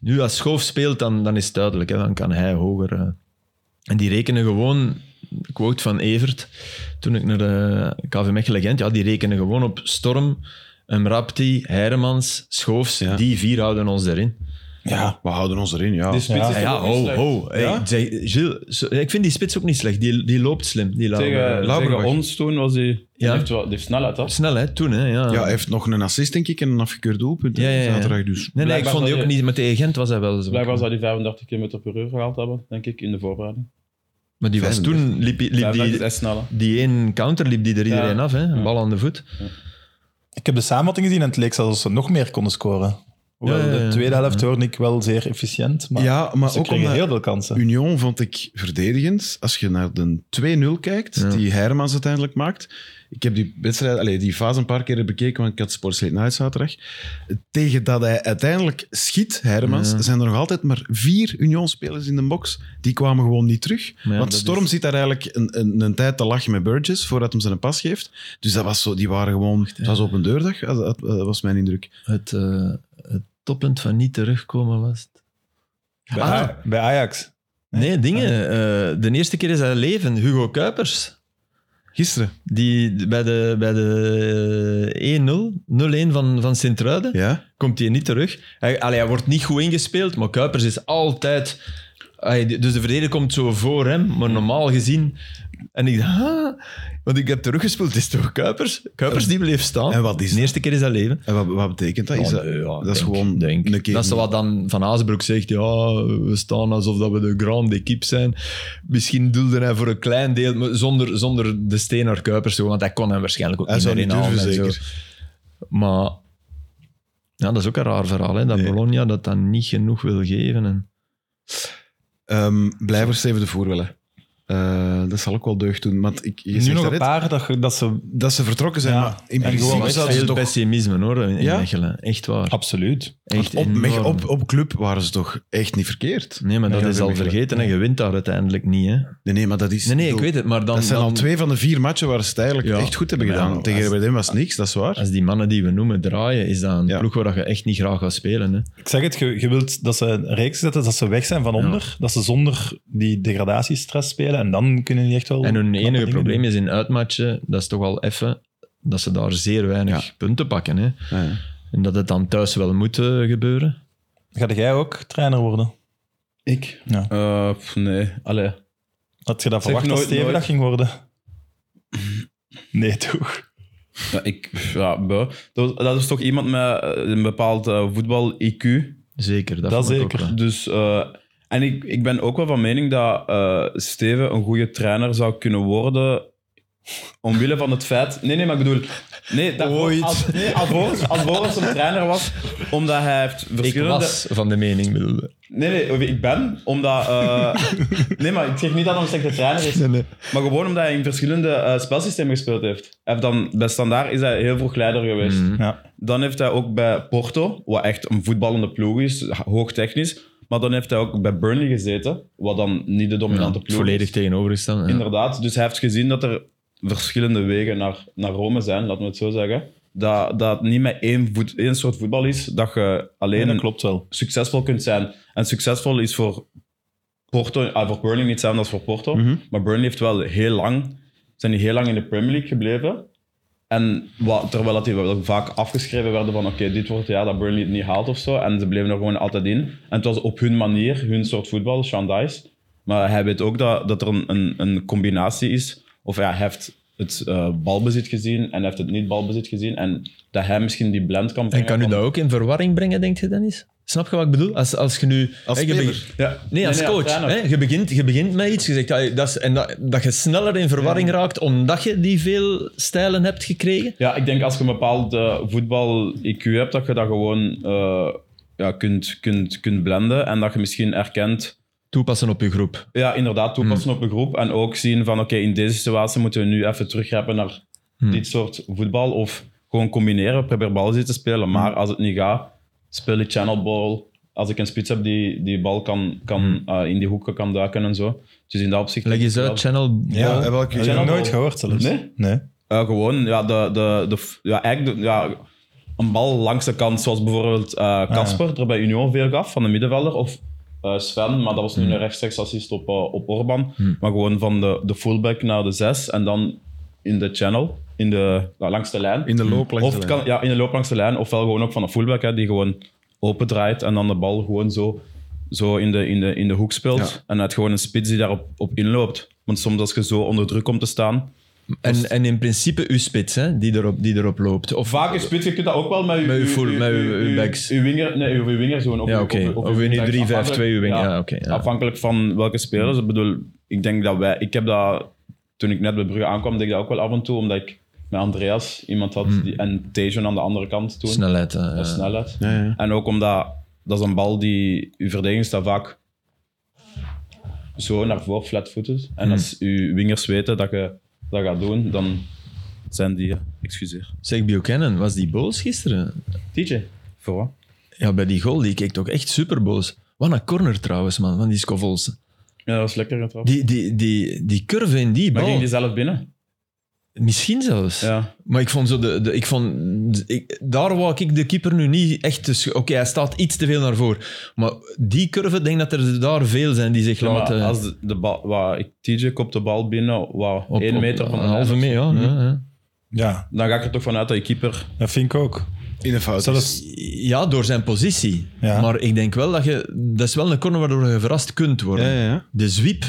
[SPEAKER 4] Nu, als Schoof speelt, dan, dan is het duidelijk. Hè. Dan kan hij hoger. eh. En die rekenen gewoon, quote van Evert, toen ik naar de KV Mechelen Gent, ja, die rekenen gewoon op Storm, Mrapti, Heiremans, Schoofs.
[SPEAKER 1] Ja.
[SPEAKER 4] Die vier houden ons erin.
[SPEAKER 3] Ja,
[SPEAKER 1] We houden ons erin, ja.
[SPEAKER 3] Dus-
[SPEAKER 4] Ja,
[SPEAKER 3] Ja,
[SPEAKER 4] ja,
[SPEAKER 2] niet
[SPEAKER 4] ho,
[SPEAKER 2] slecht.
[SPEAKER 4] ho. Hey,
[SPEAKER 3] Ja?
[SPEAKER 4] zeg, Gilles, zo- ik vind die spits ook niet slecht. Die, die loopt slim. Die
[SPEAKER 2] Tegen,
[SPEAKER 4] Lauber-
[SPEAKER 2] tegen ons toen was hij... Die,
[SPEAKER 4] Ja.
[SPEAKER 2] heeft wel- die heeft snelheid, hè?
[SPEAKER 4] Snel, hè? Toen, hè? Ja.
[SPEAKER 1] ja, hij heeft nog een assist, denk ik, en een afgekeurd doelpunt hè,
[SPEAKER 4] Ja, ja, ja.
[SPEAKER 1] zaterdag. Dus
[SPEAKER 4] nee, nee, ik
[SPEAKER 2] Blijkbaar
[SPEAKER 4] vond die
[SPEAKER 2] zal
[SPEAKER 4] ook
[SPEAKER 2] je-
[SPEAKER 4] niet... Maar tegen Gent was hij wel zo.
[SPEAKER 2] Blijkbaar zou die 35 km per uur gehaald hebben, denk ik, in de voorbereiding.
[SPEAKER 4] Maar die was
[SPEAKER 1] 35.
[SPEAKER 4] toen... Liep, liep
[SPEAKER 2] Ja, dat
[SPEAKER 4] die,
[SPEAKER 2] is echt snel, hè?
[SPEAKER 4] die één counter liep die er iedereen af, hè?
[SPEAKER 2] Ja.
[SPEAKER 4] Bal aan de voet.
[SPEAKER 3] ik heb de samenvatting gezien en het leek alsof ze nog meer konden scoren. Hoewel,
[SPEAKER 4] Ja, ja, ja.
[SPEAKER 3] de tweede helft hoorde ik wel zeer efficiënt, maar,
[SPEAKER 1] ja, maar
[SPEAKER 3] ze
[SPEAKER 1] ook
[SPEAKER 3] kregen
[SPEAKER 1] omdat
[SPEAKER 3] heel veel kansen.
[SPEAKER 1] Union vond ik verdedigend. Als je naar de 2-0 kijkt,
[SPEAKER 4] Ja.
[SPEAKER 1] die Hermans uiteindelijk maakt. Ik heb die wedstrijd, allee, die fase een paar keer bekeken, want ik had Sports Late Night zaterdag. Tegen dat hij uiteindelijk schiet, Hermans,
[SPEAKER 4] Ja.
[SPEAKER 1] zijn er nog altijd maar vier Union-spelers in de box. Die kwamen gewoon niet terug.
[SPEAKER 4] Maar ja,
[SPEAKER 1] want
[SPEAKER 4] dat
[SPEAKER 1] Storm
[SPEAKER 4] is-
[SPEAKER 1] zit daar eigenlijk een, een, een tijd te lachen met Burgess, voordat hem zijn pas geeft. Dus dat was zo, die waren gewoon... Het was op een deurdag, dat, dat- dat was mijn indruk.
[SPEAKER 4] Het, eh, het toppunt van niet terugkomen was het.
[SPEAKER 3] Bij,
[SPEAKER 4] Ah.
[SPEAKER 3] A- bij Ajax.
[SPEAKER 4] Nee, dingen. eh, de eerste keer is hij leven. Hugo Kuipers.
[SPEAKER 1] Gisteren.
[SPEAKER 4] Die bij de, bij de eh, 1-0, 0-1 van, van Sint-Truiden.
[SPEAKER 1] Ja?
[SPEAKER 4] komt hij niet terug. Hij, allee, hij wordt niet goed ingespeeld, maar Kuipers is altijd. allee, de- dus de verdediger komt zo voor hem, maar normaal gezien. En ik dacht, ah, want ik heb teruggespeeld, het is toch Kuipers? Kuipers die bleef staan.
[SPEAKER 1] En wat is
[SPEAKER 4] de eerste keer is dat leven.
[SPEAKER 1] En wat, wat betekent dat? Is
[SPEAKER 4] Ja,
[SPEAKER 1] dat,
[SPEAKER 4] Oh, nee, ja,
[SPEAKER 1] dat
[SPEAKER 4] denk-
[SPEAKER 1] is gewoon
[SPEAKER 4] denk.
[SPEAKER 1] een keer...
[SPEAKER 4] Dat is wat dan Van Azenbroek zegt. Ja, we staan alsof dat we de grande equipe zijn. Misschien doelde hij voor een klein deel, maar zonder, zonder de steen naar Kuipers. te gooien, Want hij kon hem waarschijnlijk ook
[SPEAKER 1] Hij
[SPEAKER 4] niet
[SPEAKER 1] zou
[SPEAKER 4] meer
[SPEAKER 1] niet durven,
[SPEAKER 4] inhalen. en zo.
[SPEAKER 1] zeker.
[SPEAKER 4] Maar Ja, dat is ook een raar verhaal, hè? dat
[SPEAKER 1] Nee.
[SPEAKER 4] Bologna dat dan niet genoeg wil geven. En...
[SPEAKER 1] Ehm blijver Steven de Voer willen. Eh, dat zal ook wel deugd doen. Want ik, je
[SPEAKER 3] nu
[SPEAKER 1] zegt
[SPEAKER 3] nog
[SPEAKER 1] daarnet
[SPEAKER 3] een paar dat, ge- dat ze...
[SPEAKER 1] dat ze vertrokken zijn,
[SPEAKER 3] Ja.
[SPEAKER 1] maar in
[SPEAKER 3] En gewoon
[SPEAKER 1] principe
[SPEAKER 4] was
[SPEAKER 1] zouden ze
[SPEAKER 4] veel
[SPEAKER 1] toch...
[SPEAKER 4] pessimisme hoor, in, in
[SPEAKER 1] Ja?
[SPEAKER 4] Mechelen. Echt waar.
[SPEAKER 3] Absoluut.
[SPEAKER 4] Echt
[SPEAKER 1] op, Mech-
[SPEAKER 4] enorm.
[SPEAKER 1] op, op club waren ze toch echt niet verkeerd?
[SPEAKER 4] Nee, maar dat
[SPEAKER 1] Ja,
[SPEAKER 4] is
[SPEAKER 1] bij
[SPEAKER 4] al
[SPEAKER 1] Mechelen.
[SPEAKER 4] vergeten en je wint daar uiteindelijk niet. Hè?
[SPEAKER 1] Nee, nee, maar dat is...
[SPEAKER 4] Nee, nee, ik
[SPEAKER 1] bedoel,
[SPEAKER 4] weet het, maar dan...
[SPEAKER 1] dat zijn al
[SPEAKER 4] dan-
[SPEAKER 1] twee van de vier matchen waar ze het eigenlijk
[SPEAKER 4] Ja.
[SPEAKER 1] echt goed hebben
[SPEAKER 4] Ja,
[SPEAKER 1] gedaan.
[SPEAKER 4] maar
[SPEAKER 1] Tegen
[SPEAKER 4] als-
[SPEAKER 1] RWDM was niks, dat is waar.
[SPEAKER 4] Als die mannen die we noemen draaien, is dat een
[SPEAKER 1] Ja.
[SPEAKER 4] ploeg waar je echt niet graag gaat spelen. Hè?
[SPEAKER 3] Ik zeg het, je, je wilt dat ze een reeks zetten, dat ze weg zijn van onder, dat ze zonder die degradatiestress spelen en dan kunnen die echt wel...
[SPEAKER 4] En hun
[SPEAKER 3] knappe
[SPEAKER 4] enige
[SPEAKER 3] dingen
[SPEAKER 4] probleem
[SPEAKER 3] doen.
[SPEAKER 4] is in uitmatchen, dat is toch al even, dat ze daar zeer weinig punten pakken. Hè?
[SPEAKER 1] Ja, ja.
[SPEAKER 4] En dat het dan thuis wel moet eh, gebeuren.
[SPEAKER 3] Ga jij ook trainer worden?
[SPEAKER 2] Ik? Eh,
[SPEAKER 3] Ja.
[SPEAKER 2] nee, allee.
[SPEAKER 3] Had je
[SPEAKER 2] Zeg,
[SPEAKER 3] dat verwacht dat
[SPEAKER 2] nooit,
[SPEAKER 3] Steven
[SPEAKER 2] nooit.
[SPEAKER 3] dat ging worden?
[SPEAKER 2] (laughs)
[SPEAKER 3] Nee, toch?
[SPEAKER 2] Ja, ik, ja, buh. dat, was- dat is toch iemand met eh, een bepaald voetbal-IQ.
[SPEAKER 4] Zeker. Dat,
[SPEAKER 3] Dat
[SPEAKER 4] vond ik ook
[SPEAKER 3] zeker.
[SPEAKER 4] wel.
[SPEAKER 2] Dus, eh, en ik, ik ben ook wel van mening dat eh, Steven een goede trainer zou kunnen worden. Omwille van het feit. Nee, nee, maar ik bedoel. Nee, dat,
[SPEAKER 4] Ooit.
[SPEAKER 2] Als, nee, alvorens, alvorens een trainer was, omdat hij heeft
[SPEAKER 4] Ik
[SPEAKER 2] verschillende.
[SPEAKER 4] was van de mening, bedoelde.
[SPEAKER 2] Nee, nee, ik ben, omdat... eh, (laughs) nee, maar ik zeg niet dat hij een slechte trainer is. Maar gewoon omdat hij in verschillende eh, spelsystemen gespeeld heeft. Hij heeft dan, bij Standaard is hij heel vroeg leider geweest.
[SPEAKER 4] Mhm.
[SPEAKER 3] Ja.
[SPEAKER 2] Dan heeft hij ook bij Porto, wat echt een voetballende ploeg is, hoogtechnisch. Maar dan heeft hij ook bij Burnley gezeten, wat dan niet de dominante ploeg
[SPEAKER 4] Volledig
[SPEAKER 2] is.
[SPEAKER 4] tegenovergesteld. Ja.
[SPEAKER 2] Inderdaad, dus hij heeft gezien dat er verschillende wegen naar, naar Rome zijn, laten we het zo zeggen. Dat, dat het niet met één, voet, één soort voetbal is, dat je alleen
[SPEAKER 3] dat
[SPEAKER 2] een
[SPEAKER 3] klopt wel.
[SPEAKER 2] succesvol kunt zijn. En succesvol is voor Porto, ah, voor Burnley niet hetzelfde als voor Porto.
[SPEAKER 3] Mhm.
[SPEAKER 2] Maar Burnley heeft wel heel lang, zijn die heel lang in de Premier League gebleven. En wat, terwijl dat die wel vaak afgeschreven werden van oké, dit wordt het jaar dat Burnley het niet haalt of zo. En ze bleven er gewoon altijd in. En het was op hun manier, hun soort voetbal, Sean Dice. Maar hij weet ook dat, dat er een, een, een combinatie is. Of ja, hij heeft het eh, balbezit gezien en hij heeft het niet balbezit gezien. En dat hij misschien die blend kan
[SPEAKER 4] En
[SPEAKER 2] brengen.
[SPEAKER 4] kan u
[SPEAKER 2] van-
[SPEAKER 4] dat ook in verwarring brengen, denk je, Dennis? Snap je wat ik bedoel? Als, als je nu...
[SPEAKER 1] Als
[SPEAKER 4] hè, je
[SPEAKER 1] speler.
[SPEAKER 4] beg-
[SPEAKER 2] Ja.
[SPEAKER 4] Nee, als coach.
[SPEAKER 2] trainer.
[SPEAKER 4] hè, je, begint, je begint met iets, je zegt, ah, dat is, en dat, dat je sneller in verwarring raakt omdat je die veel stijlen hebt gekregen.
[SPEAKER 2] Ja, ik denk als je een bepaald eh, voetbal-IQ hebt, dat je dat gewoon eh, ja, kunt, kunt, kunt blenden. En dat je misschien erkent,
[SPEAKER 4] Toepassen op je groep.
[SPEAKER 2] ja, inderdaad, toepassen
[SPEAKER 4] Hmm.
[SPEAKER 2] op een groep. En ook zien van, oké, in deze situatie moeten we nu even teruggrijpen naar
[SPEAKER 4] Hmm.
[SPEAKER 2] dit soort voetbal. Of gewoon combineren, probeer bal zitten spelen.
[SPEAKER 4] Hmm.
[SPEAKER 2] Maar als het niet gaat, speel ik channelball. Als ik een spits heb die die bal kan, kan, eh, in die hoeken kan duiken en zo. Dus in dat opzicht...
[SPEAKER 4] Hmm. Leg eens
[SPEAKER 2] Ja.
[SPEAKER 4] uit, channel...
[SPEAKER 3] Ja,
[SPEAKER 1] en welke-
[SPEAKER 3] heb je nog
[SPEAKER 2] Channel-
[SPEAKER 3] nooit gehoord zelfs.
[SPEAKER 2] Nee?
[SPEAKER 3] Nee.
[SPEAKER 2] Eh, gewoon, ja, de, de, de, f- ja, eigenlijk de- ja, een bal langs de kant, zoals bijvoorbeeld
[SPEAKER 1] Ah,
[SPEAKER 2] eh, Casper er bij Union veel gaf van de middenvelder. Of eh, Sven, maar dat was nu
[SPEAKER 1] Hmm.
[SPEAKER 2] een rechtstreeks assist op, eh, op Orban. Maar gewoon van de, de fullback naar de zes en dan in de channel, in de, nou, langs de lijn.
[SPEAKER 1] In de
[SPEAKER 4] Hmm.
[SPEAKER 1] loop langs
[SPEAKER 2] of
[SPEAKER 1] de
[SPEAKER 2] het
[SPEAKER 1] lijn.
[SPEAKER 2] kan, ja, in de loop langs de lijn, ofwel gewoon ook van de fullback hè, die gewoon opendraait en dan de bal gewoon zo, zo in, de, in, de, in de hoek speelt. En het gewoon een spits die daarop op inloopt. Want soms als je zo onder druk komt te staan,
[SPEAKER 4] En, en in principe uw spits, hè, die, erop, die erop loopt. Of
[SPEAKER 2] Vaak is spits, je kunt dat ook wel met je,
[SPEAKER 4] Met je full- met je- je backs.
[SPEAKER 2] Je winger, nee, je winger doen.
[SPEAKER 4] Ja, oké. Of je nu 3-5-2 je winger- ja, oké, ja.
[SPEAKER 2] Afhankelijk van welke spelers. Ik bedoel, ik denk dat wij... Ik heb dat, toen ik net bij Brugge aankwam, deed ik dat ook wel af en toe, omdat ik met Andreas iemand had die, en Tejon aan de andere kant toen.
[SPEAKER 4] snelheid. hè,
[SPEAKER 2] Dat is
[SPEAKER 4] Hmm. ja.
[SPEAKER 2] snelheid.
[SPEAKER 1] Ja, ja.
[SPEAKER 2] En ook omdat dat is een bal die uw verdediging staat vaak zo naar voren, flatfooted. En
[SPEAKER 4] Hmm.
[SPEAKER 2] als uw wingers weten dat je dat gaat doen, dan zijn die... Excuseer.
[SPEAKER 4] Zeg, Buchanan, was die boos gisteren?
[SPEAKER 2] DJ. Voor wat?
[SPEAKER 4] Ja, bij die goal, die keek toch echt super boos. Wat een corner trouwens, man, van die Scovolsen.
[SPEAKER 2] Ja, dat was lekker getrapt.
[SPEAKER 4] Die, die, die, die curve in die
[SPEAKER 2] maar
[SPEAKER 4] bal,
[SPEAKER 2] ging die zelf binnen?
[SPEAKER 4] misschien zelfs.
[SPEAKER 2] Ja.
[SPEAKER 4] Maar ik vond zo de... de ik vond, ik, daar wou ik de keeper nu niet echt... te sch- Oké, hij staat iets te veel naar voren. Maar die curve, ik denk dat er daar veel zijn die zich laten...
[SPEAKER 2] als de, de bal... Waar, ik, TJ kopt de bal binnen, waar,
[SPEAKER 4] op-
[SPEAKER 2] één
[SPEAKER 4] op-
[SPEAKER 2] meter van de
[SPEAKER 4] Een halve
[SPEAKER 2] lijn. Mhm.
[SPEAKER 4] meter, ja. ja, ja.
[SPEAKER 3] Ja,
[SPEAKER 2] Dan ga ik er toch vanuit dat je keeper...
[SPEAKER 3] dat vind ik ook.
[SPEAKER 1] In de fout.
[SPEAKER 3] Zelfs
[SPEAKER 4] Ja, door zijn positie.
[SPEAKER 3] Ja.
[SPEAKER 4] Maar ik denk wel dat je... Dat is wel een corner waardoor je verrast kunt worden.
[SPEAKER 1] Ja, ja, ja.
[SPEAKER 4] De zwiep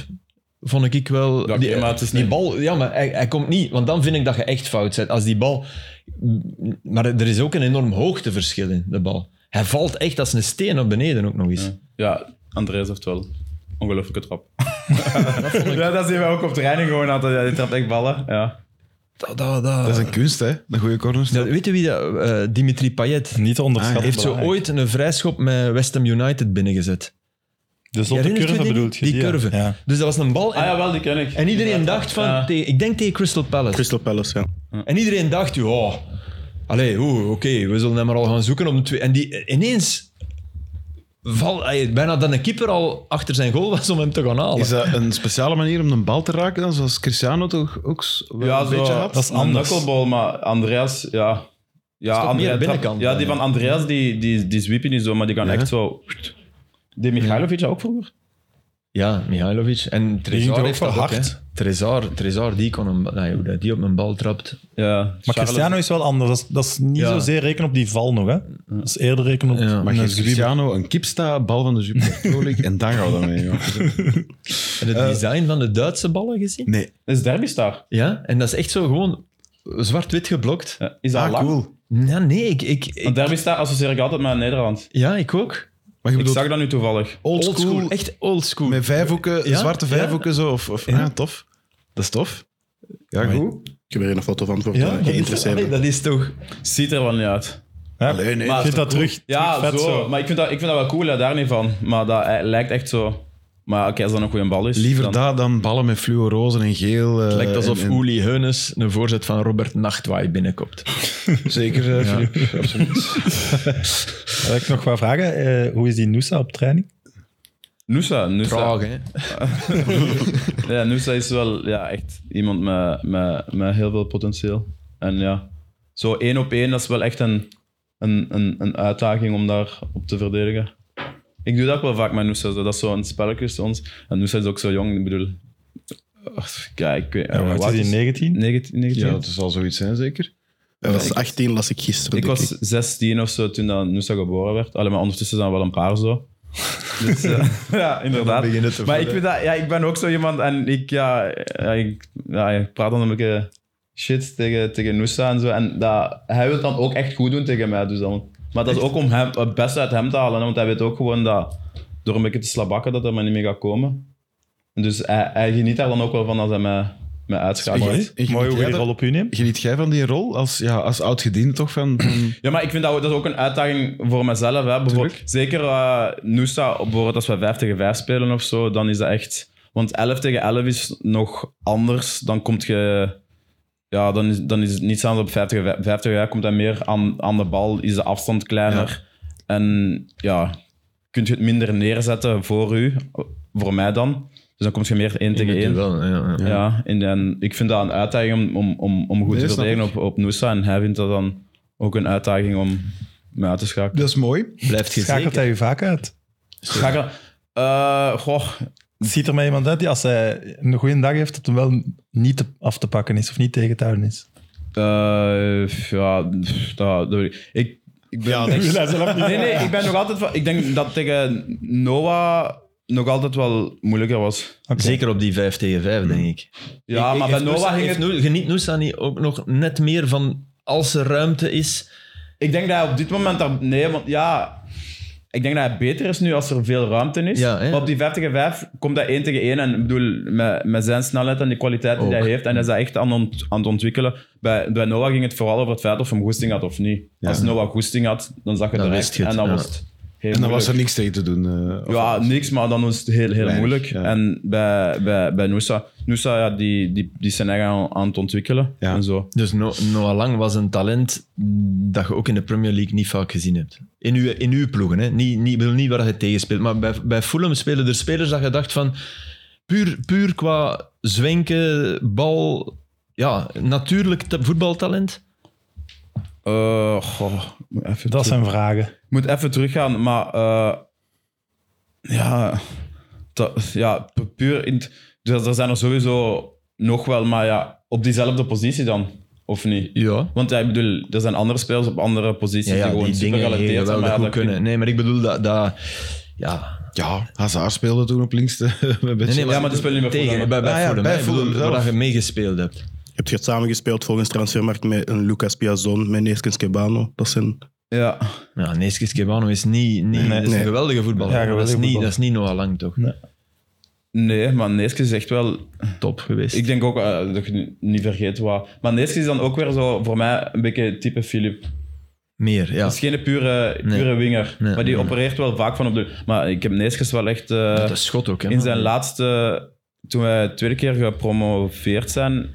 [SPEAKER 4] vond ik wel...
[SPEAKER 2] Ja, oké,
[SPEAKER 4] die,
[SPEAKER 2] maar het is
[SPEAKER 4] die
[SPEAKER 2] niet-
[SPEAKER 4] bal... Ja, maar hij, hij komt niet... Want dan vind ik dat je echt fout bent. Als die bal... Maar er is ook een enorm hoogteverschil in de bal. Hij valt echt als een steen naar beneden ook nog eens.
[SPEAKER 2] Ja, Andreas heeft wel ongelooflijke trap. dat, ja, dat zien we ook op training gewoon altijd. Ja, die trapt echt ballen. Ja.
[SPEAKER 4] Da, da, da.
[SPEAKER 1] Dat is een kunst, hè? Een goede corner.
[SPEAKER 4] Ja, weet je wie dat... eh, Dimitri Payet.
[SPEAKER 3] Niet te onderschatten.
[SPEAKER 4] Ah, Heeft zo
[SPEAKER 3] belangrijk.
[SPEAKER 4] ooit een vrijschop met West Ham United binnengezet.
[SPEAKER 3] De zotte
[SPEAKER 4] Herinnert
[SPEAKER 3] curve
[SPEAKER 4] je die?
[SPEAKER 3] bedoelt je?
[SPEAKER 4] Die curve.
[SPEAKER 3] Ja.
[SPEAKER 4] Dus dat was een bal.
[SPEAKER 2] Ah
[SPEAKER 4] en-
[SPEAKER 2] ja, wel, die ken ik.
[SPEAKER 4] En iedereen dacht van,
[SPEAKER 2] Ja.
[SPEAKER 4] tegen- ik denk tegen Crystal Palace.
[SPEAKER 5] Crystal Palace, ja.
[SPEAKER 4] En iedereen dacht, ja, allee, oeh, oké, we zullen hem maar al gaan zoeken om twee. En die ineens val, allee, bijna dat een keeper al achter zijn goal was om hem te gaan halen.
[SPEAKER 1] Is dat een speciale manier om een bal te raken, dan, zoals Cristiano toch ook s- wel
[SPEAKER 2] Ja,
[SPEAKER 1] een
[SPEAKER 2] zo,
[SPEAKER 1] beetje had?
[SPEAKER 3] dat is
[SPEAKER 2] een
[SPEAKER 3] anders.
[SPEAKER 2] knuckleball, maar Andreas, ja. Ja,
[SPEAKER 4] toch meer
[SPEAKER 2] trapt-
[SPEAKER 4] binnenkant,
[SPEAKER 2] Ja, die
[SPEAKER 4] eh.
[SPEAKER 2] van Andreas, die, die, die zwiepen niet zo, maar die kan
[SPEAKER 1] Ja.
[SPEAKER 2] echt zo... Die Michailovic ook vroeger?
[SPEAKER 4] Ja, Mihailovic. En
[SPEAKER 3] er
[SPEAKER 4] Trezor
[SPEAKER 3] ook
[SPEAKER 4] heeft
[SPEAKER 3] van
[SPEAKER 4] dat ook, hè.
[SPEAKER 3] hard.
[SPEAKER 4] Trezor, Trezor, die kon hem, nou, hoe dat die op mijn bal trapt.
[SPEAKER 2] Ja.
[SPEAKER 3] Maar
[SPEAKER 2] Charles-
[SPEAKER 3] Cristiano is wel anders. Dat is, dat is niet
[SPEAKER 4] Ja.
[SPEAKER 3] zozeer rekenen op die val nog. Hè. Dat is eerder rekenen op
[SPEAKER 4] Ja.
[SPEAKER 3] een
[SPEAKER 1] Maar geef
[SPEAKER 3] zwieber.
[SPEAKER 1] Cristiano een kipsta, bal van de Jupiler Pro League, en daar gaan we dan mee. joh.
[SPEAKER 4] Heb
[SPEAKER 1] Eh,
[SPEAKER 4] je het design van de Duitse ballen gezien?
[SPEAKER 1] (laughs) Nee,
[SPEAKER 2] Dat is Derbystar.
[SPEAKER 4] Ja, en dat is echt zo gewoon zwart-wit geblokt.
[SPEAKER 2] Ja. Is dat
[SPEAKER 1] ah,
[SPEAKER 2] lang?
[SPEAKER 1] cool.
[SPEAKER 4] Ja, nee, ik... ik,
[SPEAKER 2] Want
[SPEAKER 4] ik
[SPEAKER 2] Derbystar associeer ik altijd met Nederland.
[SPEAKER 4] ja, ik ook.
[SPEAKER 1] Maar je
[SPEAKER 2] Ik
[SPEAKER 1] bedoelt
[SPEAKER 2] zag dat nu toevallig.
[SPEAKER 1] old
[SPEAKER 4] Oldschool,
[SPEAKER 1] school,
[SPEAKER 4] echt oldschool.
[SPEAKER 1] met vijfhoeken,
[SPEAKER 4] Ja,
[SPEAKER 1] zwarte
[SPEAKER 4] ja.
[SPEAKER 1] vijfhoeken zo? Of, of, ja. tof. Dat is tof. Ja,
[SPEAKER 3] Mooi.
[SPEAKER 1] goed.
[SPEAKER 5] Ik heb er hier een foto van voor eh,
[SPEAKER 4] Ja,
[SPEAKER 5] ja,
[SPEAKER 4] dat is, allee,
[SPEAKER 5] geïnteresseerden.
[SPEAKER 4] dat is toch...
[SPEAKER 2] Ziet er wel niet uit.
[SPEAKER 3] Ja.
[SPEAKER 1] Allee, nee,
[SPEAKER 3] maar
[SPEAKER 2] dat
[SPEAKER 3] vind
[SPEAKER 2] is
[SPEAKER 3] dat terug,
[SPEAKER 2] Ja,
[SPEAKER 3] terug vet
[SPEAKER 2] zo.
[SPEAKER 3] zo.
[SPEAKER 2] Maar ik vind, dat, ik vind dat wel cool, hè, daar niet van. Maar dat eh, lijkt echt zo... Maar oké, als dat een goede bal is...
[SPEAKER 1] Liever
[SPEAKER 2] dan-
[SPEAKER 1] dat dan ballen met fluorozen en geel. eh,
[SPEAKER 4] Het lijkt alsof
[SPEAKER 1] en- en-
[SPEAKER 4] Uli Heunes een voorzet van Robert Nachtwaai binnenkomt.
[SPEAKER 1] Zeker, eh, Philippe, absoluut.
[SPEAKER 3] Wil ik nog wat vragen? Eh, hoe is die Noosa op training?
[SPEAKER 2] Nusa, Nusa.
[SPEAKER 4] Traag, hè?
[SPEAKER 2] Ja, Nusa is wel ja, echt iemand met, met, met heel veel potentieel. En ja, zo één op één, dat is wel echt een, een, een, een uitdaging om daar op te verdedigen. Ik doe dat ook wel vaak met Nusa. Zo. Dat is zo'n spelletje tussen ons. En Nusa is ook zo jong, ik bedoel... eh, Kijk, ik weet
[SPEAKER 3] Ja,
[SPEAKER 2] eh,
[SPEAKER 3] wat
[SPEAKER 2] wat
[SPEAKER 3] is die, 19?
[SPEAKER 2] 19? 19?
[SPEAKER 1] Ja, dat zal zoiets zijn, zeker.
[SPEAKER 5] Hij was 18, las ik gisteren.
[SPEAKER 2] Ik
[SPEAKER 5] denk
[SPEAKER 2] was 16 of zo toen dat Nusa geboren werd. Allee, maar ondertussen zijn er wel een paar zo.
[SPEAKER 1] (laughs)
[SPEAKER 2] Dus, eh, ja, inderdaad.
[SPEAKER 1] begint het te
[SPEAKER 2] maar ik,
[SPEAKER 1] voelen.
[SPEAKER 2] vind dat, ja, ik ben ook zo iemand en ik, ja, ja, ik, ja, ik praat dan een beetje shit tegen, tegen Nusa en zo. En dat, hij wil het dan ook echt goed doen tegen mij. Dus dan, maar dat is ook om hem, het beste uit hem te halen. hè, Want hij weet ook gewoon dat door een beetje te slabakken dat hij mij niet meer gaat komen. Dus hij, hij geniet daar dan ook wel van als hij mij, mij uitschakelt.
[SPEAKER 1] Mooi. Ik-
[SPEAKER 3] Mooi hoe je
[SPEAKER 1] ja,
[SPEAKER 3] die
[SPEAKER 1] dat-
[SPEAKER 3] rol op u neemt.
[SPEAKER 1] Geniet jij van die rol als, ja, als oud gediend toch? Van, van-
[SPEAKER 2] Ja, maar ik vind dat, ook- dat is ook een uitdaging voor mezelf. Hè. Bijvoorbeeld-
[SPEAKER 1] Tuurlijk.
[SPEAKER 2] zeker eh Noosa, bijvoorbeeld als we 5 tegen 5 spelen of zo, dan is dat echt... Want 11 tegen 11 is nog anders. Dan komt je... Ja, dan is, dan is het niet anders op 5 tegen 5. 5 tegen 5 komt hij meer aan, aan de bal, is de afstand kleiner. En ja, kun je het minder neerzetten voor u, voor mij dan. Dus dan kom je meer 1 tegen 1.
[SPEAKER 4] Wel, ja, ja.
[SPEAKER 2] Ja, en dan, ik vind dat een uitdaging om, om, om, om goed
[SPEAKER 1] Nee,
[SPEAKER 2] te
[SPEAKER 1] snap
[SPEAKER 2] verdedigen
[SPEAKER 1] ik.
[SPEAKER 2] op, op Noosa. En hij vindt dat dan ook een uitdaging om me uit te schakelen.
[SPEAKER 1] (clears throat) dat is mooi.
[SPEAKER 4] Blijft
[SPEAKER 3] Schakelt
[SPEAKER 4] gezegd.
[SPEAKER 3] hij u vaak uit?
[SPEAKER 4] Dus-
[SPEAKER 2] Schakelen. Eh, goh,
[SPEAKER 3] Ziet er mij iemand uit die als hij een goede dag heeft, dat hem wel niet te- af te pakken is of niet tegen te houden is?
[SPEAKER 2] eh, ja, pff, dat, dat weet ik. ik. Ik ben echt- (laughs) Nee, nee, ik ben nog altijd van... Ik denk dat tegen Noah nog altijd wel moeilijker was.
[SPEAKER 3] Oké.
[SPEAKER 4] Zeker op die 5 tegen 5, denk ik.
[SPEAKER 2] Ja, maar bij Noah ging het...
[SPEAKER 4] heeft Noosa- Geniet Noosa niet ook nog net meer van als er ruimte is?
[SPEAKER 2] Ik denk dat hij op dit moment daar... Nee, want ja... Ik denk dat hij beter is nu als er veel ruimte is.
[SPEAKER 4] Ja, hè?
[SPEAKER 2] maar op die 5 tegen 5 komt dat 1 tegen 1. En ik bedoel, met, met zijn snelheid en die kwaliteit die
[SPEAKER 4] Ook.
[SPEAKER 2] hij heeft. En hij is dat echt aan, ont- aan het ontwikkelen. Bij, bij Noah ging het vooral over het feit of hij goesting had of niet. Als Noah goesting had, dan zag je
[SPEAKER 4] Dan
[SPEAKER 2] dat
[SPEAKER 4] wist
[SPEAKER 2] echt.
[SPEAKER 4] je het,
[SPEAKER 2] En dan
[SPEAKER 4] ja.
[SPEAKER 2] was het heel
[SPEAKER 1] En dan was
[SPEAKER 2] moeilijk.
[SPEAKER 1] er niks tegen te doen. eh, of-
[SPEAKER 2] Ja, niks, maar dan was het heel, heel
[SPEAKER 1] Weinig,
[SPEAKER 2] moeilijk.
[SPEAKER 1] ja.
[SPEAKER 2] En bij, bij, bij Noosa, Noosa ja, die, die, die zijn eigen aan, aan het ontwikkelen.
[SPEAKER 1] Ja.
[SPEAKER 2] En zo.
[SPEAKER 4] Dus No- Noah Lang was een talent dat je ook in de Premier League niet vaak gezien hebt. In uw, in uw ploegen, hè. Niet, niet, ik bedoel niet waar je tegen speelt. Maar bij, bij Fulham spelen er spelers dat je dacht van... Puur, puur qua zwenken, bal... Ja, natuurlijk ta- voetbaltalent.
[SPEAKER 2] Eh, goh, moet even
[SPEAKER 3] Dat zijn vragen.
[SPEAKER 2] Ik moet even teruggaan, maar eh, ja, dat, ja, pu- puur in. t- Dus er zijn er sowieso nog wel, maar ja, op diezelfde positie dan, of niet?
[SPEAKER 4] Ja.
[SPEAKER 2] Want ja, ik bedoel, er zijn andere spelers op andere posities
[SPEAKER 4] Ja, ja
[SPEAKER 2] die
[SPEAKER 4] die
[SPEAKER 2] gewoon
[SPEAKER 4] dingen
[SPEAKER 2] super
[SPEAKER 4] die
[SPEAKER 2] gerelateerd zijn.
[SPEAKER 4] geweldig
[SPEAKER 2] Maar ja,
[SPEAKER 4] goed
[SPEAKER 2] dat
[SPEAKER 4] kunnen.
[SPEAKER 2] kun-
[SPEAKER 4] Nee, maar ik bedoel dat... dat ja,
[SPEAKER 1] ja, Hazard speelde toen op links. eh, (laughs) met Benzema.
[SPEAKER 2] maar- Ja, die spelen niet bij
[SPEAKER 4] tegen,
[SPEAKER 2] Fulham, hè?
[SPEAKER 4] Bij, bij
[SPEAKER 1] Ah, ja,
[SPEAKER 4] Fulham,
[SPEAKER 1] bij
[SPEAKER 4] hè. Ik bedoel,
[SPEAKER 1] Fulham zelf.
[SPEAKER 4] Waar je meegespeeld hebt.
[SPEAKER 5] ik. Heb je het samengespeeld volgens transfermarkt met een Lucas Piazon, met Neeskens Kebano? Dat zijn
[SPEAKER 2] Ja,
[SPEAKER 4] Ja, Neeskis Kebano is niet... niet
[SPEAKER 3] Nee,
[SPEAKER 4] dat is
[SPEAKER 5] nee.
[SPEAKER 4] een geweldige voetballer.
[SPEAKER 3] Ja,
[SPEAKER 4] maar dat,
[SPEAKER 3] geweldige
[SPEAKER 4] is niet,
[SPEAKER 3] voetballer.
[SPEAKER 4] dat is niet Noah Lang, toch?
[SPEAKER 2] Nee, maar Neeskens is echt wel
[SPEAKER 4] top geweest.
[SPEAKER 2] Ik denk ook eh, dat je nu niet vergeet wat. Maar Neeskens is dan ook weer zo voor mij een beetje type Philip.
[SPEAKER 4] Meer, ja.
[SPEAKER 2] Dat is geen pure,
[SPEAKER 4] Nee.
[SPEAKER 2] pure winger.
[SPEAKER 4] Nee,
[SPEAKER 2] maar die
[SPEAKER 4] nee.
[SPEAKER 2] opereert wel vaak van op de. Maar ik heb Neeskens wel echt. eh,
[SPEAKER 4] Dat is schot ook, hè.
[SPEAKER 2] in
[SPEAKER 4] man.
[SPEAKER 2] zijn laatste. Toen wij de tweede keer gepromoveerd zijn.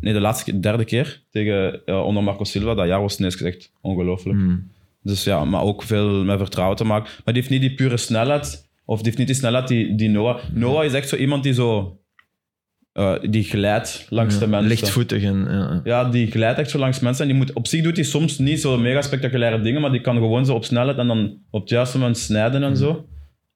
[SPEAKER 2] Nee, de laatste, keer- derde keer tegen eh, onder Marco Silva. Dat jaar was Neeskens echt ongelooflijk.
[SPEAKER 3] Mm.
[SPEAKER 4] Hmm.
[SPEAKER 2] Dus ja, maar ook veel met vertrouwen te maken. Maar die heeft niet die pure snelheid. Of die heeft niet die snelheid die, die Noah.
[SPEAKER 3] Mm.
[SPEAKER 2] Noah is echt zo iemand die zo. eh, die glijdt langs
[SPEAKER 3] Mm.
[SPEAKER 4] Ja,
[SPEAKER 2] de mensen.
[SPEAKER 4] Lichtvoetig en... ja, Ja.
[SPEAKER 2] Ja, die glijdt echt zo langs mensen. En die moet, op zich doet hij soms niet zo mega spectaculaire dingen, maar die kan gewoon zo op snelheid en dan op het juiste moment snijden en zo. En
[SPEAKER 3] Mm.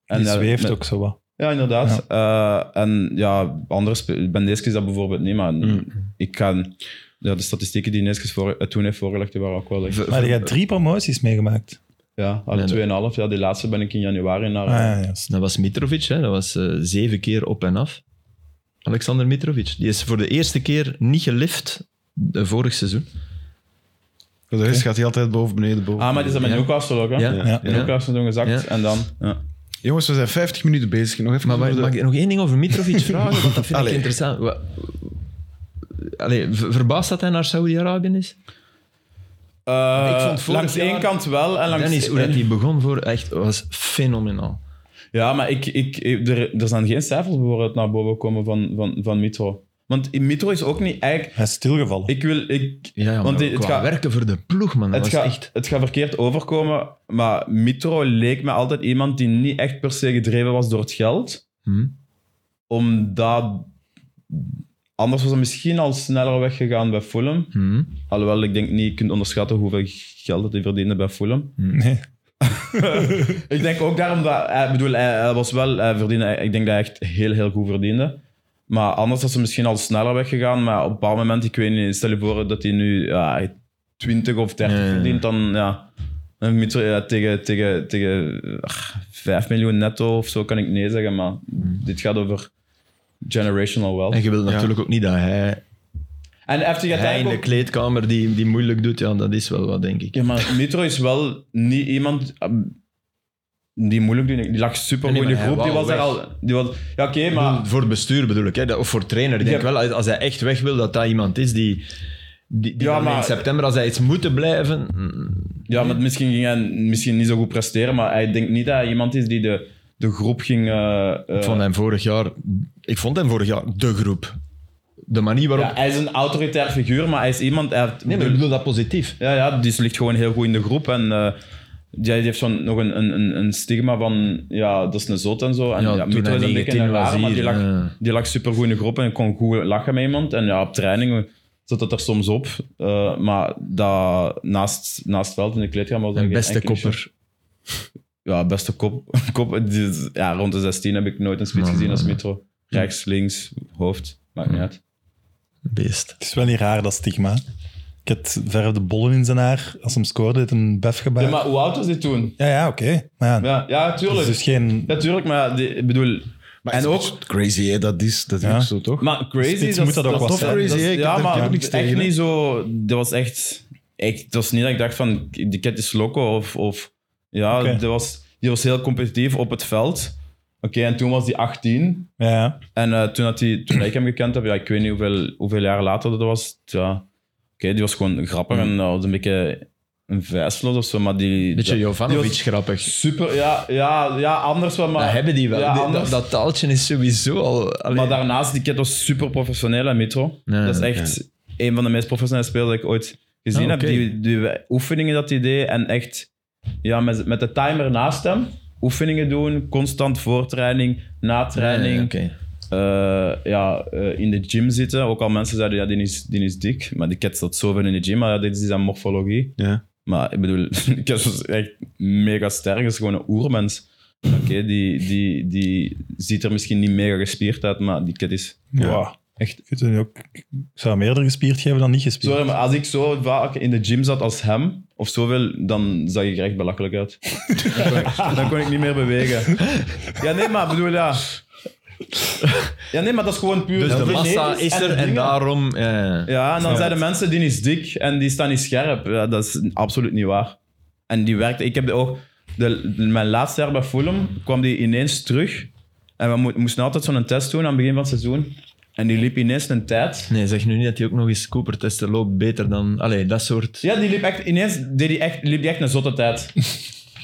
[SPEAKER 2] eh,
[SPEAKER 3] Die
[SPEAKER 2] ja,
[SPEAKER 3] zweeft
[SPEAKER 2] met-
[SPEAKER 3] ook zo wat.
[SPEAKER 2] Ja, inderdaad. Eh, en ja, andere spe- bij Neeskens is dat bijvoorbeeld niet, maar
[SPEAKER 4] Mm.
[SPEAKER 2] ik kan... Ja, de statistieken die Neeskens voor, eh, toen heeft voorgelegd, die waren ook wel echt...
[SPEAKER 3] Maar je hebt drie promoties meegemaakt.
[SPEAKER 2] Ja,
[SPEAKER 4] Nee,
[SPEAKER 2] alle
[SPEAKER 4] dat-
[SPEAKER 2] 2,5. Ja, die laatste ben ik in januari naar... eh,
[SPEAKER 3] Ah, ja, ja.
[SPEAKER 4] Dat was Mitrovic, hè. dat was eh, zeven keer op en af. Alexander Mitrovic. Die is voor de eerste keer niet gelift eh, vorig seizoen.
[SPEAKER 1] Voor de rest gaat hij altijd boven, beneden, boven.
[SPEAKER 2] Ah, maar die is dat met
[SPEAKER 4] Ja.
[SPEAKER 2] Newcastle ook, hè?
[SPEAKER 4] Ja,
[SPEAKER 1] Ja.
[SPEAKER 4] ja.
[SPEAKER 2] In Newcastle toen gezakt
[SPEAKER 4] Ja.
[SPEAKER 2] en dan... Ja.
[SPEAKER 1] Jongens, we zijn 50 minuten bezig. Nog even
[SPEAKER 4] Maar mag,
[SPEAKER 1] over de-
[SPEAKER 4] mag ik nog één ding
[SPEAKER 2] (laughs)
[SPEAKER 4] over Mitrovic vragen? Want dat vind
[SPEAKER 1] Allee.
[SPEAKER 4] ik interessant. Wa- Allee, ver- verbaast dat hij naar Saudi-Arabië is?
[SPEAKER 2] Eh,
[SPEAKER 4] Ik vond vorig
[SPEAKER 2] langs
[SPEAKER 4] jaar-
[SPEAKER 2] één kant wel en langs...
[SPEAKER 4] Dennis, hoe dat hij begon voor, echt, was fenomenaal.
[SPEAKER 2] Ja, maar ik, ik, ik- er, er zijn geen cijfers bijvoorbeeld naar boven komen van, van, van Mitro. Want in Mitro is ook niet eigenlijk.
[SPEAKER 3] Hij is stilgevallen.
[SPEAKER 2] Ik wil. Ik,
[SPEAKER 4] Ja, ja maar
[SPEAKER 2] Want die- het
[SPEAKER 4] het
[SPEAKER 2] gaat-
[SPEAKER 4] gaat werken voor de ploeg, man. Dat
[SPEAKER 2] het,
[SPEAKER 4] was
[SPEAKER 2] gaat
[SPEAKER 4] echt...
[SPEAKER 2] het gaat verkeerd overkomen, maar Mitro leek me altijd iemand die niet echt per se gedreven was door het geld.
[SPEAKER 4] Hm?
[SPEAKER 2] Omdat. Anders was hij misschien al sneller weggegaan bij Fulham.
[SPEAKER 4] Hm?
[SPEAKER 2] Alhoewel, ik denk niet, je kunt onderschatten hoeveel geld dat hij verdiende bij Fulham.
[SPEAKER 3] Nee.
[SPEAKER 2] Ik denk ook daarom dat hij, bedoel, hij, hij was wel, hij verdiende, eh, ik denk dat hij echt heel, heel goed verdiende. Maar anders was ze misschien al sneller weggegaan. Maar op een bepaald moment, ik weet niet, stel je voor dat hij nu ja, 20 of 30
[SPEAKER 4] Ja, ja, ja.
[SPEAKER 2] verdient, dan ja. dan moet je, ja, tegen, tegen, tegen ach, 5 miljoen netto of zo kan ik nee zeggen. Maar dit gaat over generational wealth.
[SPEAKER 4] Hmm. En je wilt
[SPEAKER 1] Ja.
[SPEAKER 4] natuurlijk ook niet dat hij,
[SPEAKER 2] En heeft hij
[SPEAKER 4] hij in
[SPEAKER 2] uiteindelijk
[SPEAKER 4] de
[SPEAKER 2] ook-
[SPEAKER 4] kleedkamer die, die moeilijk doet. Ja, dat is wel wat, denk ik.
[SPEAKER 2] Ja, maar Mitro is wel niet iemand ehm, die moeilijk doet. Die lag super
[SPEAKER 4] Nee,
[SPEAKER 2] goed
[SPEAKER 4] nee,
[SPEAKER 2] in de
[SPEAKER 4] maar hij
[SPEAKER 2] groep. Die
[SPEAKER 4] wou
[SPEAKER 2] was daar
[SPEAKER 4] weg.
[SPEAKER 2] al. Die was, ja, oké, maar.
[SPEAKER 4] Voor het bestuur bedoel ik, hè? Dat- of voor trainer. Ik denk
[SPEAKER 2] Ja.
[SPEAKER 4] wel, als- als hij echt weg wil, dat dat iemand is die... die, die
[SPEAKER 2] Ja,
[SPEAKER 4] dan
[SPEAKER 2] maar-
[SPEAKER 4] In september, als hij iets moet blijven...
[SPEAKER 2] Ja, maar misschien ging hij misschien niet zo goed presteren, maar hij denkt niet dat hij iemand is die de, de groep ging... eh, eh,
[SPEAKER 4] Ik vond hem vorig jaar... Ik vond hem vorig jaar de groep. De manier waarop...
[SPEAKER 2] ja, hij is een autoritair figuur, maar hij is iemand... Hij heeft,
[SPEAKER 4] nee, maar ik bedoel dat positief.
[SPEAKER 2] Ja, ja, die ligt gewoon heel goed in de groep en eh, die die heeft zo'n, nog een, een- een, een stigma van, ja, dat is een zot en zo. En,
[SPEAKER 4] Ja,
[SPEAKER 2] ja,
[SPEAKER 4] toen
[SPEAKER 2] Mito
[SPEAKER 4] hij
[SPEAKER 2] is een
[SPEAKER 4] 19
[SPEAKER 2] beetje een
[SPEAKER 4] was
[SPEAKER 2] raar, maar die
[SPEAKER 4] hier,
[SPEAKER 2] lag,
[SPEAKER 4] ja.
[SPEAKER 2] die lag supergoed in de groep en kon goed lachen met iemand. En ja, op training zat dat er soms op, eh, maar dat, naast, naast het veld in de kleedkamer... was dat
[SPEAKER 4] Een
[SPEAKER 2] geen
[SPEAKER 4] beste
[SPEAKER 2] enkele
[SPEAKER 4] kopper.
[SPEAKER 2] Ja, beste kop. (laughs) kop die is- ja, rond de 16 heb ik nooit een spits
[SPEAKER 4] Man,
[SPEAKER 2] gezien
[SPEAKER 4] man,
[SPEAKER 2] als
[SPEAKER 4] man.
[SPEAKER 2] Mitro. Rechts, links, hoofd. Maakt niet uit.
[SPEAKER 4] Beest.
[SPEAKER 3] Het is wel niet raar, dat stigma. Ik had verf de bollen in zijn haar. Als hem scoorde, deed een bef gebaar.
[SPEAKER 2] Ja,
[SPEAKER 3] Ja,
[SPEAKER 2] maar hoe oud was dit toen?
[SPEAKER 3] ja, oké. Maar ja,
[SPEAKER 2] Ja, ja
[SPEAKER 3] dat
[SPEAKER 2] tuurlijk.
[SPEAKER 3] is dus geen...
[SPEAKER 2] Ja, tuurlijk, maar die- ik bedoel...
[SPEAKER 1] Maar
[SPEAKER 2] en
[SPEAKER 1] is
[SPEAKER 2] ook...
[SPEAKER 1] het Crazy, hè? dat is, dat is
[SPEAKER 3] Ja.
[SPEAKER 1] ook zo, toch?
[SPEAKER 2] Maar crazy...
[SPEAKER 3] Spits moet dat ook wel
[SPEAKER 2] is-
[SPEAKER 3] zijn.
[SPEAKER 1] Tof crazy,
[SPEAKER 2] dat is-
[SPEAKER 1] hè? Ik
[SPEAKER 2] Ja,
[SPEAKER 1] heb- ik
[SPEAKER 2] maar
[SPEAKER 1] heb niks
[SPEAKER 2] echt
[SPEAKER 1] tegen, hè.
[SPEAKER 2] niet zo... Dat was echt... echt dat was niet dat ik dacht van, die cat is loco of... of ja,
[SPEAKER 3] Oké.
[SPEAKER 2] die, was, die was heel competitief op het veld. Oké, en toen was die 18.
[SPEAKER 3] Ja, ja.
[SPEAKER 2] En eh, toen, had hij, toen ik hem gekend heb, ja, ik weet niet hoeveel, hoeveel jaar later dat was. Ja, oké, die was gewoon grappig en dat was een beetje een vijsloos of zo, maar die...
[SPEAKER 4] Mm. Beetje
[SPEAKER 2] dat-
[SPEAKER 4] Jovanovic
[SPEAKER 2] die was
[SPEAKER 4] grappig.
[SPEAKER 2] Super, ja, ja, ja, anders wel, maar...
[SPEAKER 4] dat hebben die wel.
[SPEAKER 2] Ja,
[SPEAKER 4] Die-
[SPEAKER 2] anders.
[SPEAKER 4] dat, dat taaltje is sowieso al... allee.
[SPEAKER 2] maar daarnaast, die kid was super professioneel en Mitro.
[SPEAKER 4] Ja,
[SPEAKER 2] dat is echt een van de meest professionele spelers die ik ooit gezien
[SPEAKER 4] Ah,
[SPEAKER 2] heb.
[SPEAKER 4] oké.
[SPEAKER 2] Die, die oefeningen dat hij deed en echt ja, met, met de timer naast hem oefeningen doen, constant voortraining, natraining.
[SPEAKER 4] Ja, oké.
[SPEAKER 2] eh, ja, eh, in de gym zitten. Ook al mensen zeiden, ja, die is, die is dik. Maar die cat zat zoveel in de gym. Maar ja, dit is zijn morfologie.
[SPEAKER 1] Ja.
[SPEAKER 2] Maar ik bedoel, (laughs) die cat is echt mega sterk. is gewoon een oermens. Oké, die, die, die ziet er misschien niet mega gespierd uit, maar die cat is...
[SPEAKER 3] Wow.
[SPEAKER 2] Echt.
[SPEAKER 3] Ik, vind het ook, ik zou hem eerder gespierd geven dan niet gespierd.
[SPEAKER 2] Sorry, maar als ik zo vaak in de gym zat als hem, of zoveel, dan zag ik er echt belachelijk
[SPEAKER 4] (laughs)
[SPEAKER 2] uit. Dan kon ik, dan kon ik niet meer bewegen. Ja, nee, maar ik bedoel, ja... Ja, nee, maar dat is gewoon puur...
[SPEAKER 4] Dus de massa
[SPEAKER 2] genetisch
[SPEAKER 4] is
[SPEAKER 2] en
[SPEAKER 4] er
[SPEAKER 2] de
[SPEAKER 4] en
[SPEAKER 2] dingen.
[SPEAKER 4] daarom... eh,
[SPEAKER 2] Ja, en dan zijn de mensen die is dik en die staan niet scherp. Ja, dat is absoluut niet waar. En die werkte. Ik heb ook de, mijn laatste jaar bij Fulham kwam die ineens terug. En we mo- moesten altijd zo'n test doen aan het begin van het seizoen. En die liep ineens een tijd.
[SPEAKER 4] Nee, zeg nu niet dat hij ook nog eens Cooper testen loopt beter dan... Allee, dat soort...
[SPEAKER 2] Ja, die liep echt, ineens deed die echt, liep die echt een zotte
[SPEAKER 4] (laughs)
[SPEAKER 2] tijd.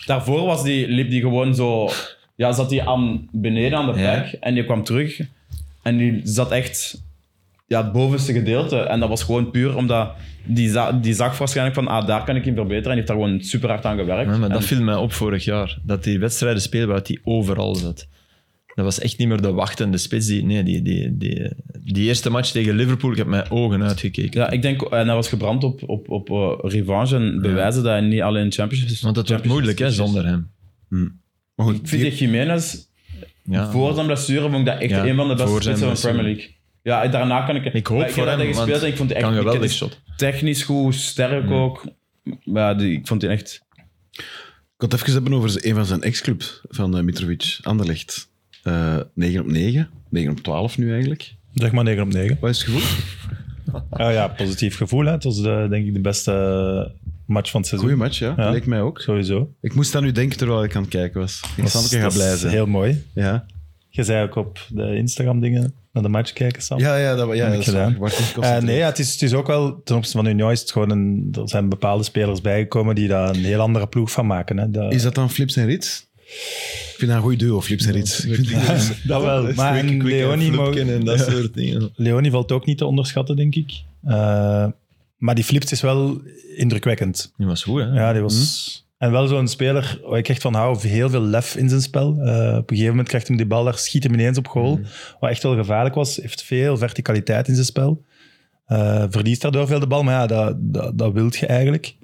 [SPEAKER 2] Daarvoor was die, liep die gewoon zo... Ja, zat die aan, beneden aan de
[SPEAKER 4] Ja.
[SPEAKER 2] plek en die kwam terug. En die zat echt ja, het bovenste gedeelte. En dat was gewoon puur omdat... Die, za- die zag waarschijnlijk van, ah, daar kan ik in verbeteren. En die heeft daar gewoon super hard aan gewerkt.
[SPEAKER 4] Ja, maar dat
[SPEAKER 2] En-
[SPEAKER 4] viel mij op vorig jaar. Dat die wedstrijden spelen waar hij overal zat. Dat was echt niet meer de wachtende spits. Die, nee, die, die, die, die eerste match tegen Liverpool, ik heb mijn ogen uitgekeken.
[SPEAKER 2] ja, ik denk... En hij was gebrand op, op, op eh, revanche en bewijzen dat hij niet alleen championship is.
[SPEAKER 4] Want dat wordt moeilijk hè, zonder hem.
[SPEAKER 1] Maar goed,
[SPEAKER 2] Ik vind dat Jiménez
[SPEAKER 4] Ja.
[SPEAKER 2] Voor zijn blessure vond ik dat echt
[SPEAKER 4] Ja,
[SPEAKER 2] een van de beste
[SPEAKER 4] voor zijn
[SPEAKER 2] spitsen van de Premier
[SPEAKER 4] blessure.
[SPEAKER 2] League. Ja, en daarna kan ik...
[SPEAKER 4] Ik hoop
[SPEAKER 2] Maar
[SPEAKER 4] voor
[SPEAKER 2] heb
[SPEAKER 4] hem,
[SPEAKER 2] dat
[SPEAKER 4] want
[SPEAKER 2] gespeeld en ik vond die echt
[SPEAKER 4] kan
[SPEAKER 2] ik
[SPEAKER 4] geweldig
[SPEAKER 2] vind die
[SPEAKER 4] shot. Mm.
[SPEAKER 2] Technisch goed, sterk ook. Maar die, ik vond die echt...
[SPEAKER 1] Ik had het even hebben over z- een van zijn ex-clubs van eh, Mitrovic, Anderlecht. Eh 9 op 9, 9 op 12 nu eigenlijk.
[SPEAKER 3] Zeg maar 9 op 9.
[SPEAKER 1] Wat is het gevoel? (laughs)
[SPEAKER 3] Ja, Ah ja, positief gevoel. Hè. Het was de, denk ik de beste eh, match van het seizoen.
[SPEAKER 1] Goeie match, ja.
[SPEAKER 3] Ja.
[SPEAKER 1] Leek mij ook.
[SPEAKER 3] Sowieso.
[SPEAKER 1] Ik moest aan u denken terwijl ik aan het kijken was. Ik zou
[SPEAKER 3] Dat
[SPEAKER 1] ook
[SPEAKER 3] is-
[SPEAKER 1] gaan
[SPEAKER 3] dat
[SPEAKER 1] blij
[SPEAKER 3] is
[SPEAKER 1] zijn.
[SPEAKER 3] Heel mooi.
[SPEAKER 1] Ja.
[SPEAKER 3] Je zei ook op de Instagram-dingen naar de match kijken, Sam.
[SPEAKER 1] Ja, ja, dat, ja,
[SPEAKER 3] Heb
[SPEAKER 1] dat
[SPEAKER 3] ik
[SPEAKER 1] is
[SPEAKER 3] gedaan.
[SPEAKER 1] waar. Waar-
[SPEAKER 3] Eh, nee, ja, het, is, het is ook wel ten opzichte van Union is het gewoon een, er zijn bepaalde spelers bijgekomen die daar een heel andere ploeg van maken. Hè. Dat,
[SPEAKER 1] Is dat dan Flips en Rits? Ik vind dat een goede duo, Flips en Rits. Ik vind die-
[SPEAKER 3] (laughs) dat wel. Maar en Leonie, mag-
[SPEAKER 4] en dat soort dingen.
[SPEAKER 3] Leonie valt ook niet te onderschatten, denk ik. Eh, maar die flips is wel indrukwekkend.
[SPEAKER 4] Die was goed hè.
[SPEAKER 3] Ja, die was.
[SPEAKER 4] Mhm.
[SPEAKER 3] En wel zo'n speler waar ik echt van hou, heel veel lef in zijn spel. Eh, op een gegeven moment krijgt hem die bal, daar schiet hem ineens op goal.
[SPEAKER 4] Mhm.
[SPEAKER 3] Wat echt wel gevaarlijk was, heeft veel verticaliteit in zijn spel. Eh verliest daardoor veel de bal, maar ja, dat, dat, dat wilt je eigenlijk.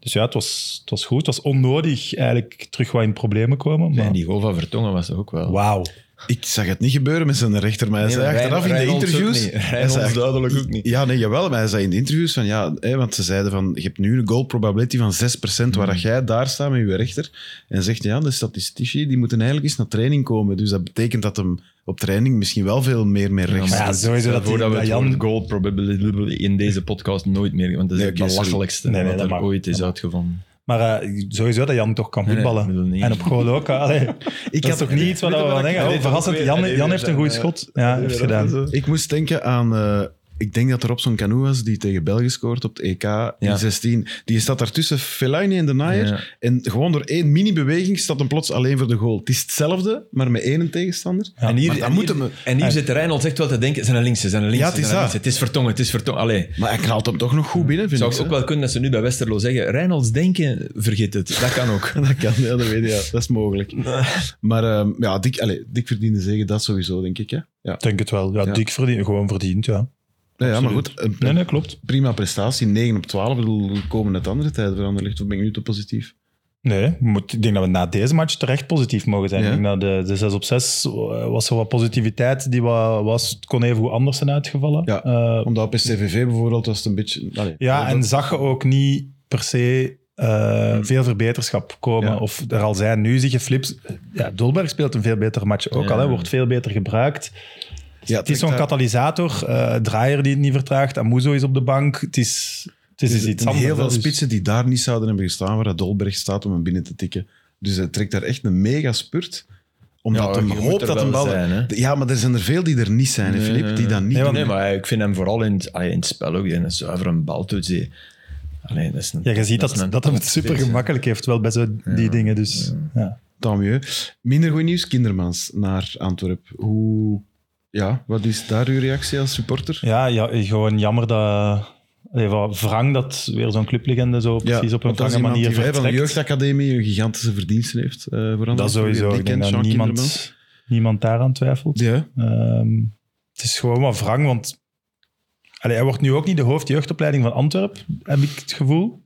[SPEAKER 3] Dus ja, het was, het was goed. Het was onnodig eigenlijk terug wat in problemen komen. Maar...
[SPEAKER 4] En die goal van Vertongen was ook wel...
[SPEAKER 3] Wauw.
[SPEAKER 1] Ik zag het niet gebeuren met zijn rechter, maar hij
[SPEAKER 4] Nee,
[SPEAKER 1] zei
[SPEAKER 4] maar Rijn-
[SPEAKER 1] achteraf in de
[SPEAKER 4] Reynolds ook
[SPEAKER 1] interviews...
[SPEAKER 4] niet.
[SPEAKER 1] hij
[SPEAKER 4] Reynolds
[SPEAKER 1] zei echt-
[SPEAKER 4] duidelijk ook niet.
[SPEAKER 1] Ja, nee, jawel, maar hij zei in de interviews van ja, hè, want ze zeiden van je hebt nu een goal probability van 6% waar
[SPEAKER 4] Hmm.
[SPEAKER 1] dat jij daar staat met je rechter. En zegt ja, de statistici die moeten eigenlijk eens naar training komen. Dus dat betekent dat hem op training misschien wel veel meer met rechts
[SPEAKER 3] maar ja, sowieso
[SPEAKER 4] Stel
[SPEAKER 3] dat die-
[SPEAKER 4] voor dat we
[SPEAKER 3] dat
[SPEAKER 4] het
[SPEAKER 3] Jan-
[SPEAKER 4] woord goal probability in deze podcast nooit meer... Want dat is
[SPEAKER 1] Nee,
[SPEAKER 4] het
[SPEAKER 1] oké, sorry.
[SPEAKER 4] belachelijkste
[SPEAKER 3] Nee, nee,
[SPEAKER 4] wat
[SPEAKER 3] dat
[SPEAKER 4] er
[SPEAKER 3] mag.
[SPEAKER 4] ooit is uitgevonden.
[SPEAKER 3] Maar eh, sowieso dat Jan toch kan
[SPEAKER 4] nee,
[SPEAKER 3] voetballen.
[SPEAKER 4] ik bedoel niet.
[SPEAKER 3] en op goal ook. hè.
[SPEAKER 4] (laughs)
[SPEAKER 3] Allee,
[SPEAKER 1] Ik
[SPEAKER 3] dat is
[SPEAKER 1] had-
[SPEAKER 3] toch niet iets wat we wel
[SPEAKER 4] Weet je wat ik-
[SPEAKER 3] denken?
[SPEAKER 4] hij
[SPEAKER 3] Oh,
[SPEAKER 4] deed
[SPEAKER 3] verrassend,
[SPEAKER 4] ook weer-
[SPEAKER 3] Jan,
[SPEAKER 4] hij deed
[SPEAKER 3] Jan
[SPEAKER 4] weer
[SPEAKER 3] heeft een
[SPEAKER 4] zijn,
[SPEAKER 3] goede
[SPEAKER 4] eh,
[SPEAKER 3] schot. Ja, heeft gedaan.
[SPEAKER 1] Ik moest denken aan. eh, ik denk dat er op zo'n canoe was die tegen België scoort op het EK
[SPEAKER 4] Ja.
[SPEAKER 1] in 16. Die staat daartussen Fellaini en de Naaier.
[SPEAKER 4] Ja.
[SPEAKER 1] En gewoon door één mini-beweging staat hem plots alleen voor de goal. Het is hetzelfde, maar met één tegenstander.
[SPEAKER 4] en
[SPEAKER 1] maar
[SPEAKER 4] hier,
[SPEAKER 1] dat
[SPEAKER 4] en
[SPEAKER 1] moet
[SPEAKER 4] hier,
[SPEAKER 1] hem-
[SPEAKER 4] en hier zit Reynolds echt wel te denken, zijn er links, zijn er links,
[SPEAKER 1] Ja, het is
[SPEAKER 4] zijn er
[SPEAKER 1] dat.
[SPEAKER 4] links. Het is vertongen, het is vertongen. Allee,
[SPEAKER 1] Maar hij knalt hem toch nog goed binnen, vind
[SPEAKER 4] zou
[SPEAKER 1] ik.
[SPEAKER 4] ik ook
[SPEAKER 1] hè?
[SPEAKER 4] wel kunnen dat ze nu bij Westerlo zeggen, Reynolds denken, vergeet het. Dat kan ook.
[SPEAKER 1] (laughs) Dat kan, ja, dat weet je. ja. Dat is mogelijk. Maar ehm, ja, dik, allez, dik verdiende zeggen, dat sowieso, denk ik. Hè? Ja.
[SPEAKER 3] Ik denk het wel. Ja,
[SPEAKER 1] Ja.
[SPEAKER 3] dik verdient, gewoon verdiend, ja.
[SPEAKER 1] Ja, ja, maar goed,
[SPEAKER 3] Absoluut.
[SPEAKER 1] een
[SPEAKER 3] Nee, nee, klopt.
[SPEAKER 1] prima prestatie. 9 op 12, Ik bedoel, komen het andere tijden veranderd ligt. Of ben ik nu te positief?
[SPEAKER 3] Nee, we moeten- ik denk dat we na deze match terecht positief mogen zijn.
[SPEAKER 1] Ja.
[SPEAKER 3] Ik denk dat de, de 6 op 6 eh, was er wat positiviteit. Die wa- was, het kon even hoe anders zijn uitgevallen.
[SPEAKER 1] Ja.
[SPEAKER 3] Eh,
[SPEAKER 1] Omdat op STVV bijvoorbeeld was het een beetje... Allez,
[SPEAKER 3] ja,
[SPEAKER 1] dat-
[SPEAKER 3] en zag je ook niet per se eh, veel verbeterschap komen.
[SPEAKER 1] Ja.
[SPEAKER 3] Of er al zijn. Nu zie je flips. Ja, Dolberg speelt een veel betere match ook
[SPEAKER 4] Ja.
[SPEAKER 3] al. Hè, wordt veel beter gebruikt.
[SPEAKER 1] Ja,
[SPEAKER 3] Het is zo'n
[SPEAKER 1] trekt daar-
[SPEAKER 3] katalysator. eh draaier die het niet vertraagt. Amuzo is op de bank. Het is, het is,
[SPEAKER 1] Er
[SPEAKER 3] dus iets
[SPEAKER 1] zijn
[SPEAKER 3] anders.
[SPEAKER 1] heel
[SPEAKER 3] hè,
[SPEAKER 1] veel
[SPEAKER 3] dus-
[SPEAKER 1] spitsen die daar niet zouden hebben gestaan, waar dat Dolberg staat om hem binnen te tikken. Dus hij trekt daar echt een mega spurt. Omdat
[SPEAKER 4] Ja,
[SPEAKER 1] hij
[SPEAKER 4] je moet
[SPEAKER 1] hoopt
[SPEAKER 4] er
[SPEAKER 1] dat een
[SPEAKER 4] wel
[SPEAKER 1] bal...
[SPEAKER 4] zijn, hè.
[SPEAKER 1] ja, maar er zijn er veel die er niet zijn, hè,
[SPEAKER 4] Nee,
[SPEAKER 1] Filip,
[SPEAKER 4] nee,
[SPEAKER 1] die dat niet
[SPEAKER 3] Nee, want-
[SPEAKER 1] doen.
[SPEAKER 4] Nee, maar ik vind hem vooral in het, allee, in het spel ook. Die een zuivere baltoets. die- Allee, dat is een,
[SPEAKER 3] Ja, je ziet dat,
[SPEAKER 4] is
[SPEAKER 3] dat,
[SPEAKER 4] een
[SPEAKER 3] hem het
[SPEAKER 4] topspits,
[SPEAKER 3] super gemakkelijk heeft, wel bij zo die dingen. Dus, ja.
[SPEAKER 1] Tant mieux. Minder goed nieuws, Kindermans naar Antwerpen. Hoe... Ja, wat is daar uw reactie als supporter?
[SPEAKER 3] Ja, ja, gewoon jammer dat... Allee, wat wrang dat weer zo'n clublegende zo precies op een
[SPEAKER 1] want dat is
[SPEAKER 3] wrange
[SPEAKER 1] iemand
[SPEAKER 3] manier
[SPEAKER 1] die wij van de
[SPEAKER 3] vertrekt.
[SPEAKER 1] jeugdacademie een gigantische verdienste heeft. eh voor
[SPEAKER 3] Dat
[SPEAKER 1] Anderlecht.
[SPEAKER 3] sowieso. Ik
[SPEAKER 1] Dick en
[SPEAKER 3] denk dat
[SPEAKER 1] Sean Kindermans.
[SPEAKER 3] niemand, niemand daaraan twijfelt.
[SPEAKER 1] Ja,
[SPEAKER 3] Ehm, het is gewoon wat wrang, want... Allee, hij wordt nu ook niet de hoofdjeugdopleiding van Antwerpen, heb ik het gevoel.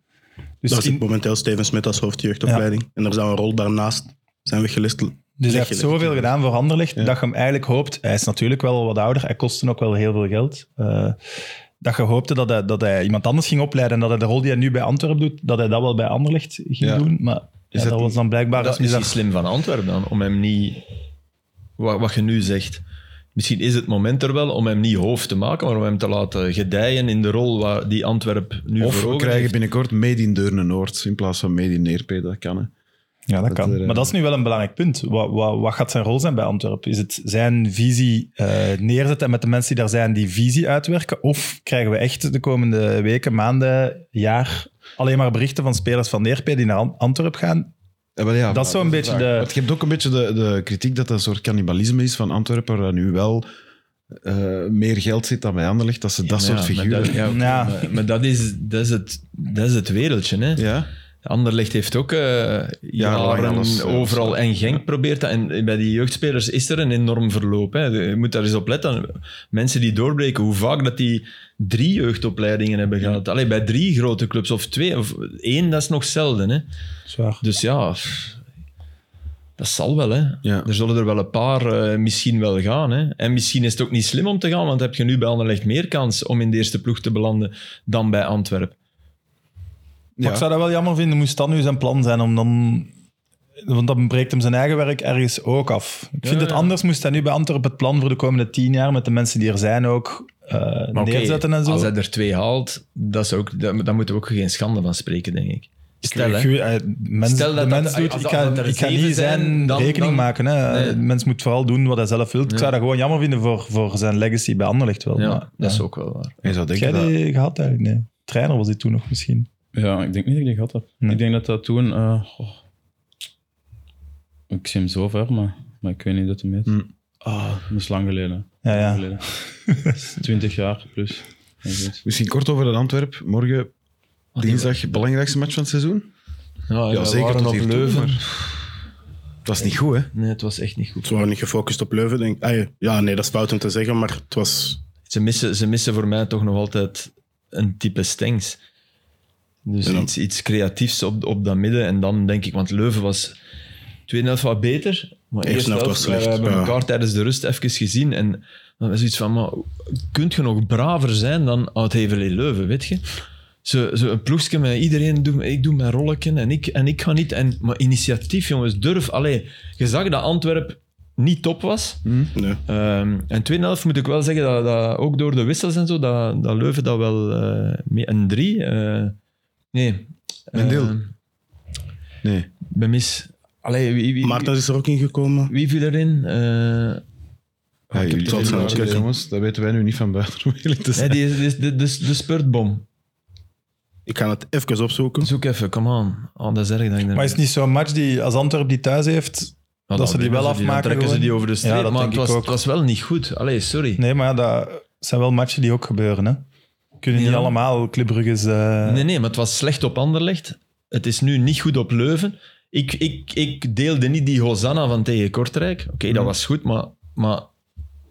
[SPEAKER 3] Dus,
[SPEAKER 5] Daar zit
[SPEAKER 3] in-
[SPEAKER 5] momenteel Steven Smit als hoofdjeugdopleiding. En er zou een rol daarnaast zijn weggelist.
[SPEAKER 3] dus hij
[SPEAKER 5] leg
[SPEAKER 3] heeft
[SPEAKER 5] je leg.
[SPEAKER 3] zoveel gedaan voor Anderlecht,
[SPEAKER 1] Ja.
[SPEAKER 3] dat je hem eigenlijk hoopt... Hij is natuurlijk wel wat ouder, hij kostte ook wel heel veel geld. eh, dat je hoopte dat hij, dat hij iemand anders ging opleiden en dat hij de rol die hij nu bij Antwerpen doet, dat hij dat wel bij Anderlecht ging
[SPEAKER 1] Ja.
[SPEAKER 3] doen. Maar ja,
[SPEAKER 1] dat
[SPEAKER 3] dat was dan blijkbaar...
[SPEAKER 4] Dat is
[SPEAKER 3] is
[SPEAKER 4] misschien
[SPEAKER 3] dat-
[SPEAKER 4] slim van Antwerpen dan, om hem niet... Wat, wat je nu zegt. Misschien is het moment er wel om hem niet hoofd te maken, maar om hem te laten gedijen in de rol waar die Antwerp nu
[SPEAKER 1] Of
[SPEAKER 4] voor
[SPEAKER 1] we
[SPEAKER 4] ogen
[SPEAKER 1] krijgen
[SPEAKER 4] heeft.
[SPEAKER 1] binnenkort Made in Deurne-Noord in plaats van Made in Neerpe. Dat kan, hè.
[SPEAKER 3] Ja, dat,
[SPEAKER 1] Dat
[SPEAKER 3] kan.
[SPEAKER 1] er, eh,
[SPEAKER 3] maar dat is nu wel een belangrijk punt. Wat, wat, wat gaat zijn rol zijn bij Antwerpen? Is het zijn visie eh, neerzetten en met de mensen die daar zijn die visie uitwerken? Of krijgen we echt de komende weken, maanden, jaar alleen maar berichten van spelers van Neerpe die naar Ant- Antwerpen gaan?
[SPEAKER 1] Ja, wel ja,
[SPEAKER 3] dat is
[SPEAKER 1] maar-
[SPEAKER 3] zo'n beetje
[SPEAKER 1] Want
[SPEAKER 3] de...
[SPEAKER 1] je hebt ook een beetje de, de kritiek dat dat een soort cannibalisme is van Antwerpen, waar nu wel eh, meer geld zit dan bij Anderlecht, dat ze dat
[SPEAKER 4] Ja,
[SPEAKER 1] soort
[SPEAKER 4] maar
[SPEAKER 1] figuren...
[SPEAKER 4] dat- ja, oké,
[SPEAKER 3] Ja.
[SPEAKER 4] Maar, Eh, maar dat, is, dat, is het, dat is het wereldje. Hè?
[SPEAKER 1] ja?
[SPEAKER 4] Anderlecht heeft ook eh jaren
[SPEAKER 1] alles, eh,
[SPEAKER 4] overal en Genk probeert dat. En eh, bij die jeugdspelers is er een enorm verloop. Hè. Je moet daar eens op letten. Mensen die doorbreken, hoe vaak dat die drie jeugdopleidingen hebben gehad. Allee, bij drie grote clubs of twee of één, dat is nog zelden. Hè.
[SPEAKER 3] Zwaar.
[SPEAKER 4] Dus ja, pff, dat zal wel. Hè.
[SPEAKER 1] Ja.
[SPEAKER 4] Er zullen er wel een paar eh, misschien wel gaan. Hè. En misschien is het ook niet slim om te gaan, want heb je nu bij Anderlecht meer kans om in de eerste ploeg te belanden dan bij Antwerpen.
[SPEAKER 3] Maar ik zou dat wel jammer vinden, moest dat nu zijn plan zijn om dan... Want dan breekt hem zijn eigen werk ergens ook af. Ik vind
[SPEAKER 4] Ja,
[SPEAKER 3] het
[SPEAKER 4] ja.
[SPEAKER 3] anders, moest hij nu bij Antwerpen het plan voor de komende tien jaar met de mensen die er zijn ook eh,
[SPEAKER 4] Maar oké,
[SPEAKER 3] neerzetten en zo.
[SPEAKER 4] Als hij er twee haalt, dat is ook, daar, daar moeten we ook geen schande van spreken, denk ik. Stel, hè.
[SPEAKER 3] Ik- eh, mens-
[SPEAKER 4] Stel dat
[SPEAKER 3] de mens
[SPEAKER 4] dat-
[SPEAKER 3] doet,
[SPEAKER 4] als
[SPEAKER 3] ik
[SPEAKER 4] dat-
[SPEAKER 3] ga,
[SPEAKER 4] dat er
[SPEAKER 3] ik ga
[SPEAKER 4] zeven
[SPEAKER 3] niet
[SPEAKER 4] zijn,
[SPEAKER 3] zijn
[SPEAKER 4] dan-
[SPEAKER 3] rekening
[SPEAKER 4] dan-
[SPEAKER 3] maken. Hè.
[SPEAKER 4] Nee.
[SPEAKER 3] De mens moet vooral doen wat hij zelf wil. Ik
[SPEAKER 4] Ja.
[SPEAKER 3] zou dat gewoon jammer vinden voor, voor zijn legacy bij Anderlecht wel.
[SPEAKER 4] Ja,
[SPEAKER 3] maar,
[SPEAKER 4] dat is
[SPEAKER 3] ja.
[SPEAKER 4] ook wel waar.
[SPEAKER 1] Je zou
[SPEAKER 3] Heb jij
[SPEAKER 1] denken dat...
[SPEAKER 3] die gehad eigenlijk? Nee. Trainer was hij toen nog misschien.
[SPEAKER 2] Ja, ik denk niet dat ik die gehad heb.
[SPEAKER 3] Nee.
[SPEAKER 2] Ik denk dat dat toen... eh, goh. Ik zie hem zo ver, maar, maar ik weet niet dat hij meet.
[SPEAKER 1] Hm.
[SPEAKER 4] Mm.
[SPEAKER 2] Ah, dat is lang geleden.
[SPEAKER 3] Ja, ja.
[SPEAKER 2] Lang geleden. (laughs) 20 jaar plus. En zoiets.
[SPEAKER 1] Misschien kort over een Antwerp. Morgen,
[SPEAKER 3] Oh,
[SPEAKER 1] dinsdag, belangrijkste match van het seizoen?
[SPEAKER 4] Ja, we
[SPEAKER 1] zeker
[SPEAKER 4] waren
[SPEAKER 1] tot
[SPEAKER 4] op
[SPEAKER 1] hier toe,
[SPEAKER 4] Leuven.
[SPEAKER 1] Dat is niet goed, hè?
[SPEAKER 4] Nee, het was echt niet goed.
[SPEAKER 5] Ze waren niet gefocust op Leuven, denk ik. Ah, ja. ja, nee, dat is fout om te zeggen, maar het was...
[SPEAKER 4] Ze missen, ze missen voor mij toch nog altijd een type Stengs. Dus
[SPEAKER 5] Ja.
[SPEAKER 4] iets, iets creatiefs op, op dat midden. En dan denk ik, want Leuven was tweede helft wat beter. Maar
[SPEAKER 5] Eerste
[SPEAKER 4] eerste
[SPEAKER 5] helft
[SPEAKER 4] helft,
[SPEAKER 5] was slecht,
[SPEAKER 4] we hebben
[SPEAKER 5] ja.
[SPEAKER 4] elkaar tijdens de rust even gezien. En dan was iets van, maar kunt je nog braver zijn dan oud Heverlee Leuven, weet je? Zo, zo een ploegje met iedereen, doe, ik doe mijn rolletje en ik, en ik ga niet. En, maar initiatief, jongens, durf. Allee, je zag dat Antwerp niet top was.
[SPEAKER 5] Nee.
[SPEAKER 4] Ehm, en tweede helft moet ik wel zeggen dat, dat ook door de wissels en zo, dat, dat Leuven dat wel eh, mee. Een drie. eh, nee.
[SPEAKER 1] Mendil.
[SPEAKER 4] Eh,
[SPEAKER 1] Nee.
[SPEAKER 4] ben mis. Allee, wie, wie,
[SPEAKER 5] Maarten is er ook ingekomen.
[SPEAKER 4] wie viel erin? Eh,
[SPEAKER 1] Ja,
[SPEAKER 4] ik heb
[SPEAKER 1] jullie
[SPEAKER 4] het
[SPEAKER 1] zijn
[SPEAKER 5] niet
[SPEAKER 1] aardig,
[SPEAKER 5] gezien.
[SPEAKER 1] jongens. Dat weten wij nu niet van buiten, om eerlijk te
[SPEAKER 4] nee,
[SPEAKER 1] zijn.
[SPEAKER 4] die is, die is- de, de, de spurtbom.
[SPEAKER 5] Ik ga het even opzoeken.
[SPEAKER 4] Zoek even, come on. Oh, dat is erg dat ik
[SPEAKER 3] Maar is het niet zo'n match die, als Antwerp die thuis heeft... dat ze die wel afmaken
[SPEAKER 4] trekken ze
[SPEAKER 3] gewoon?
[SPEAKER 4] die over de streep.
[SPEAKER 3] Ja, dat
[SPEAKER 4] maar
[SPEAKER 3] denk
[SPEAKER 4] het was,
[SPEAKER 3] ik ook.
[SPEAKER 4] het was wel niet goed. Allee, sorry.
[SPEAKER 3] Nee, maar ja, dat zijn wel matchen die ook gebeuren. Hè. Kunnen niet
[SPEAKER 4] Ja.
[SPEAKER 3] allemaal Club Brugge's... eh,
[SPEAKER 4] Nee, nee, maar het was slecht op Anderlecht. Het is nu niet goed op Leuven. Ik, ik, ik deelde niet die Hosanna van tegen Kortrijk. Oké,
[SPEAKER 3] Mm.
[SPEAKER 4] dat was goed, maar, maar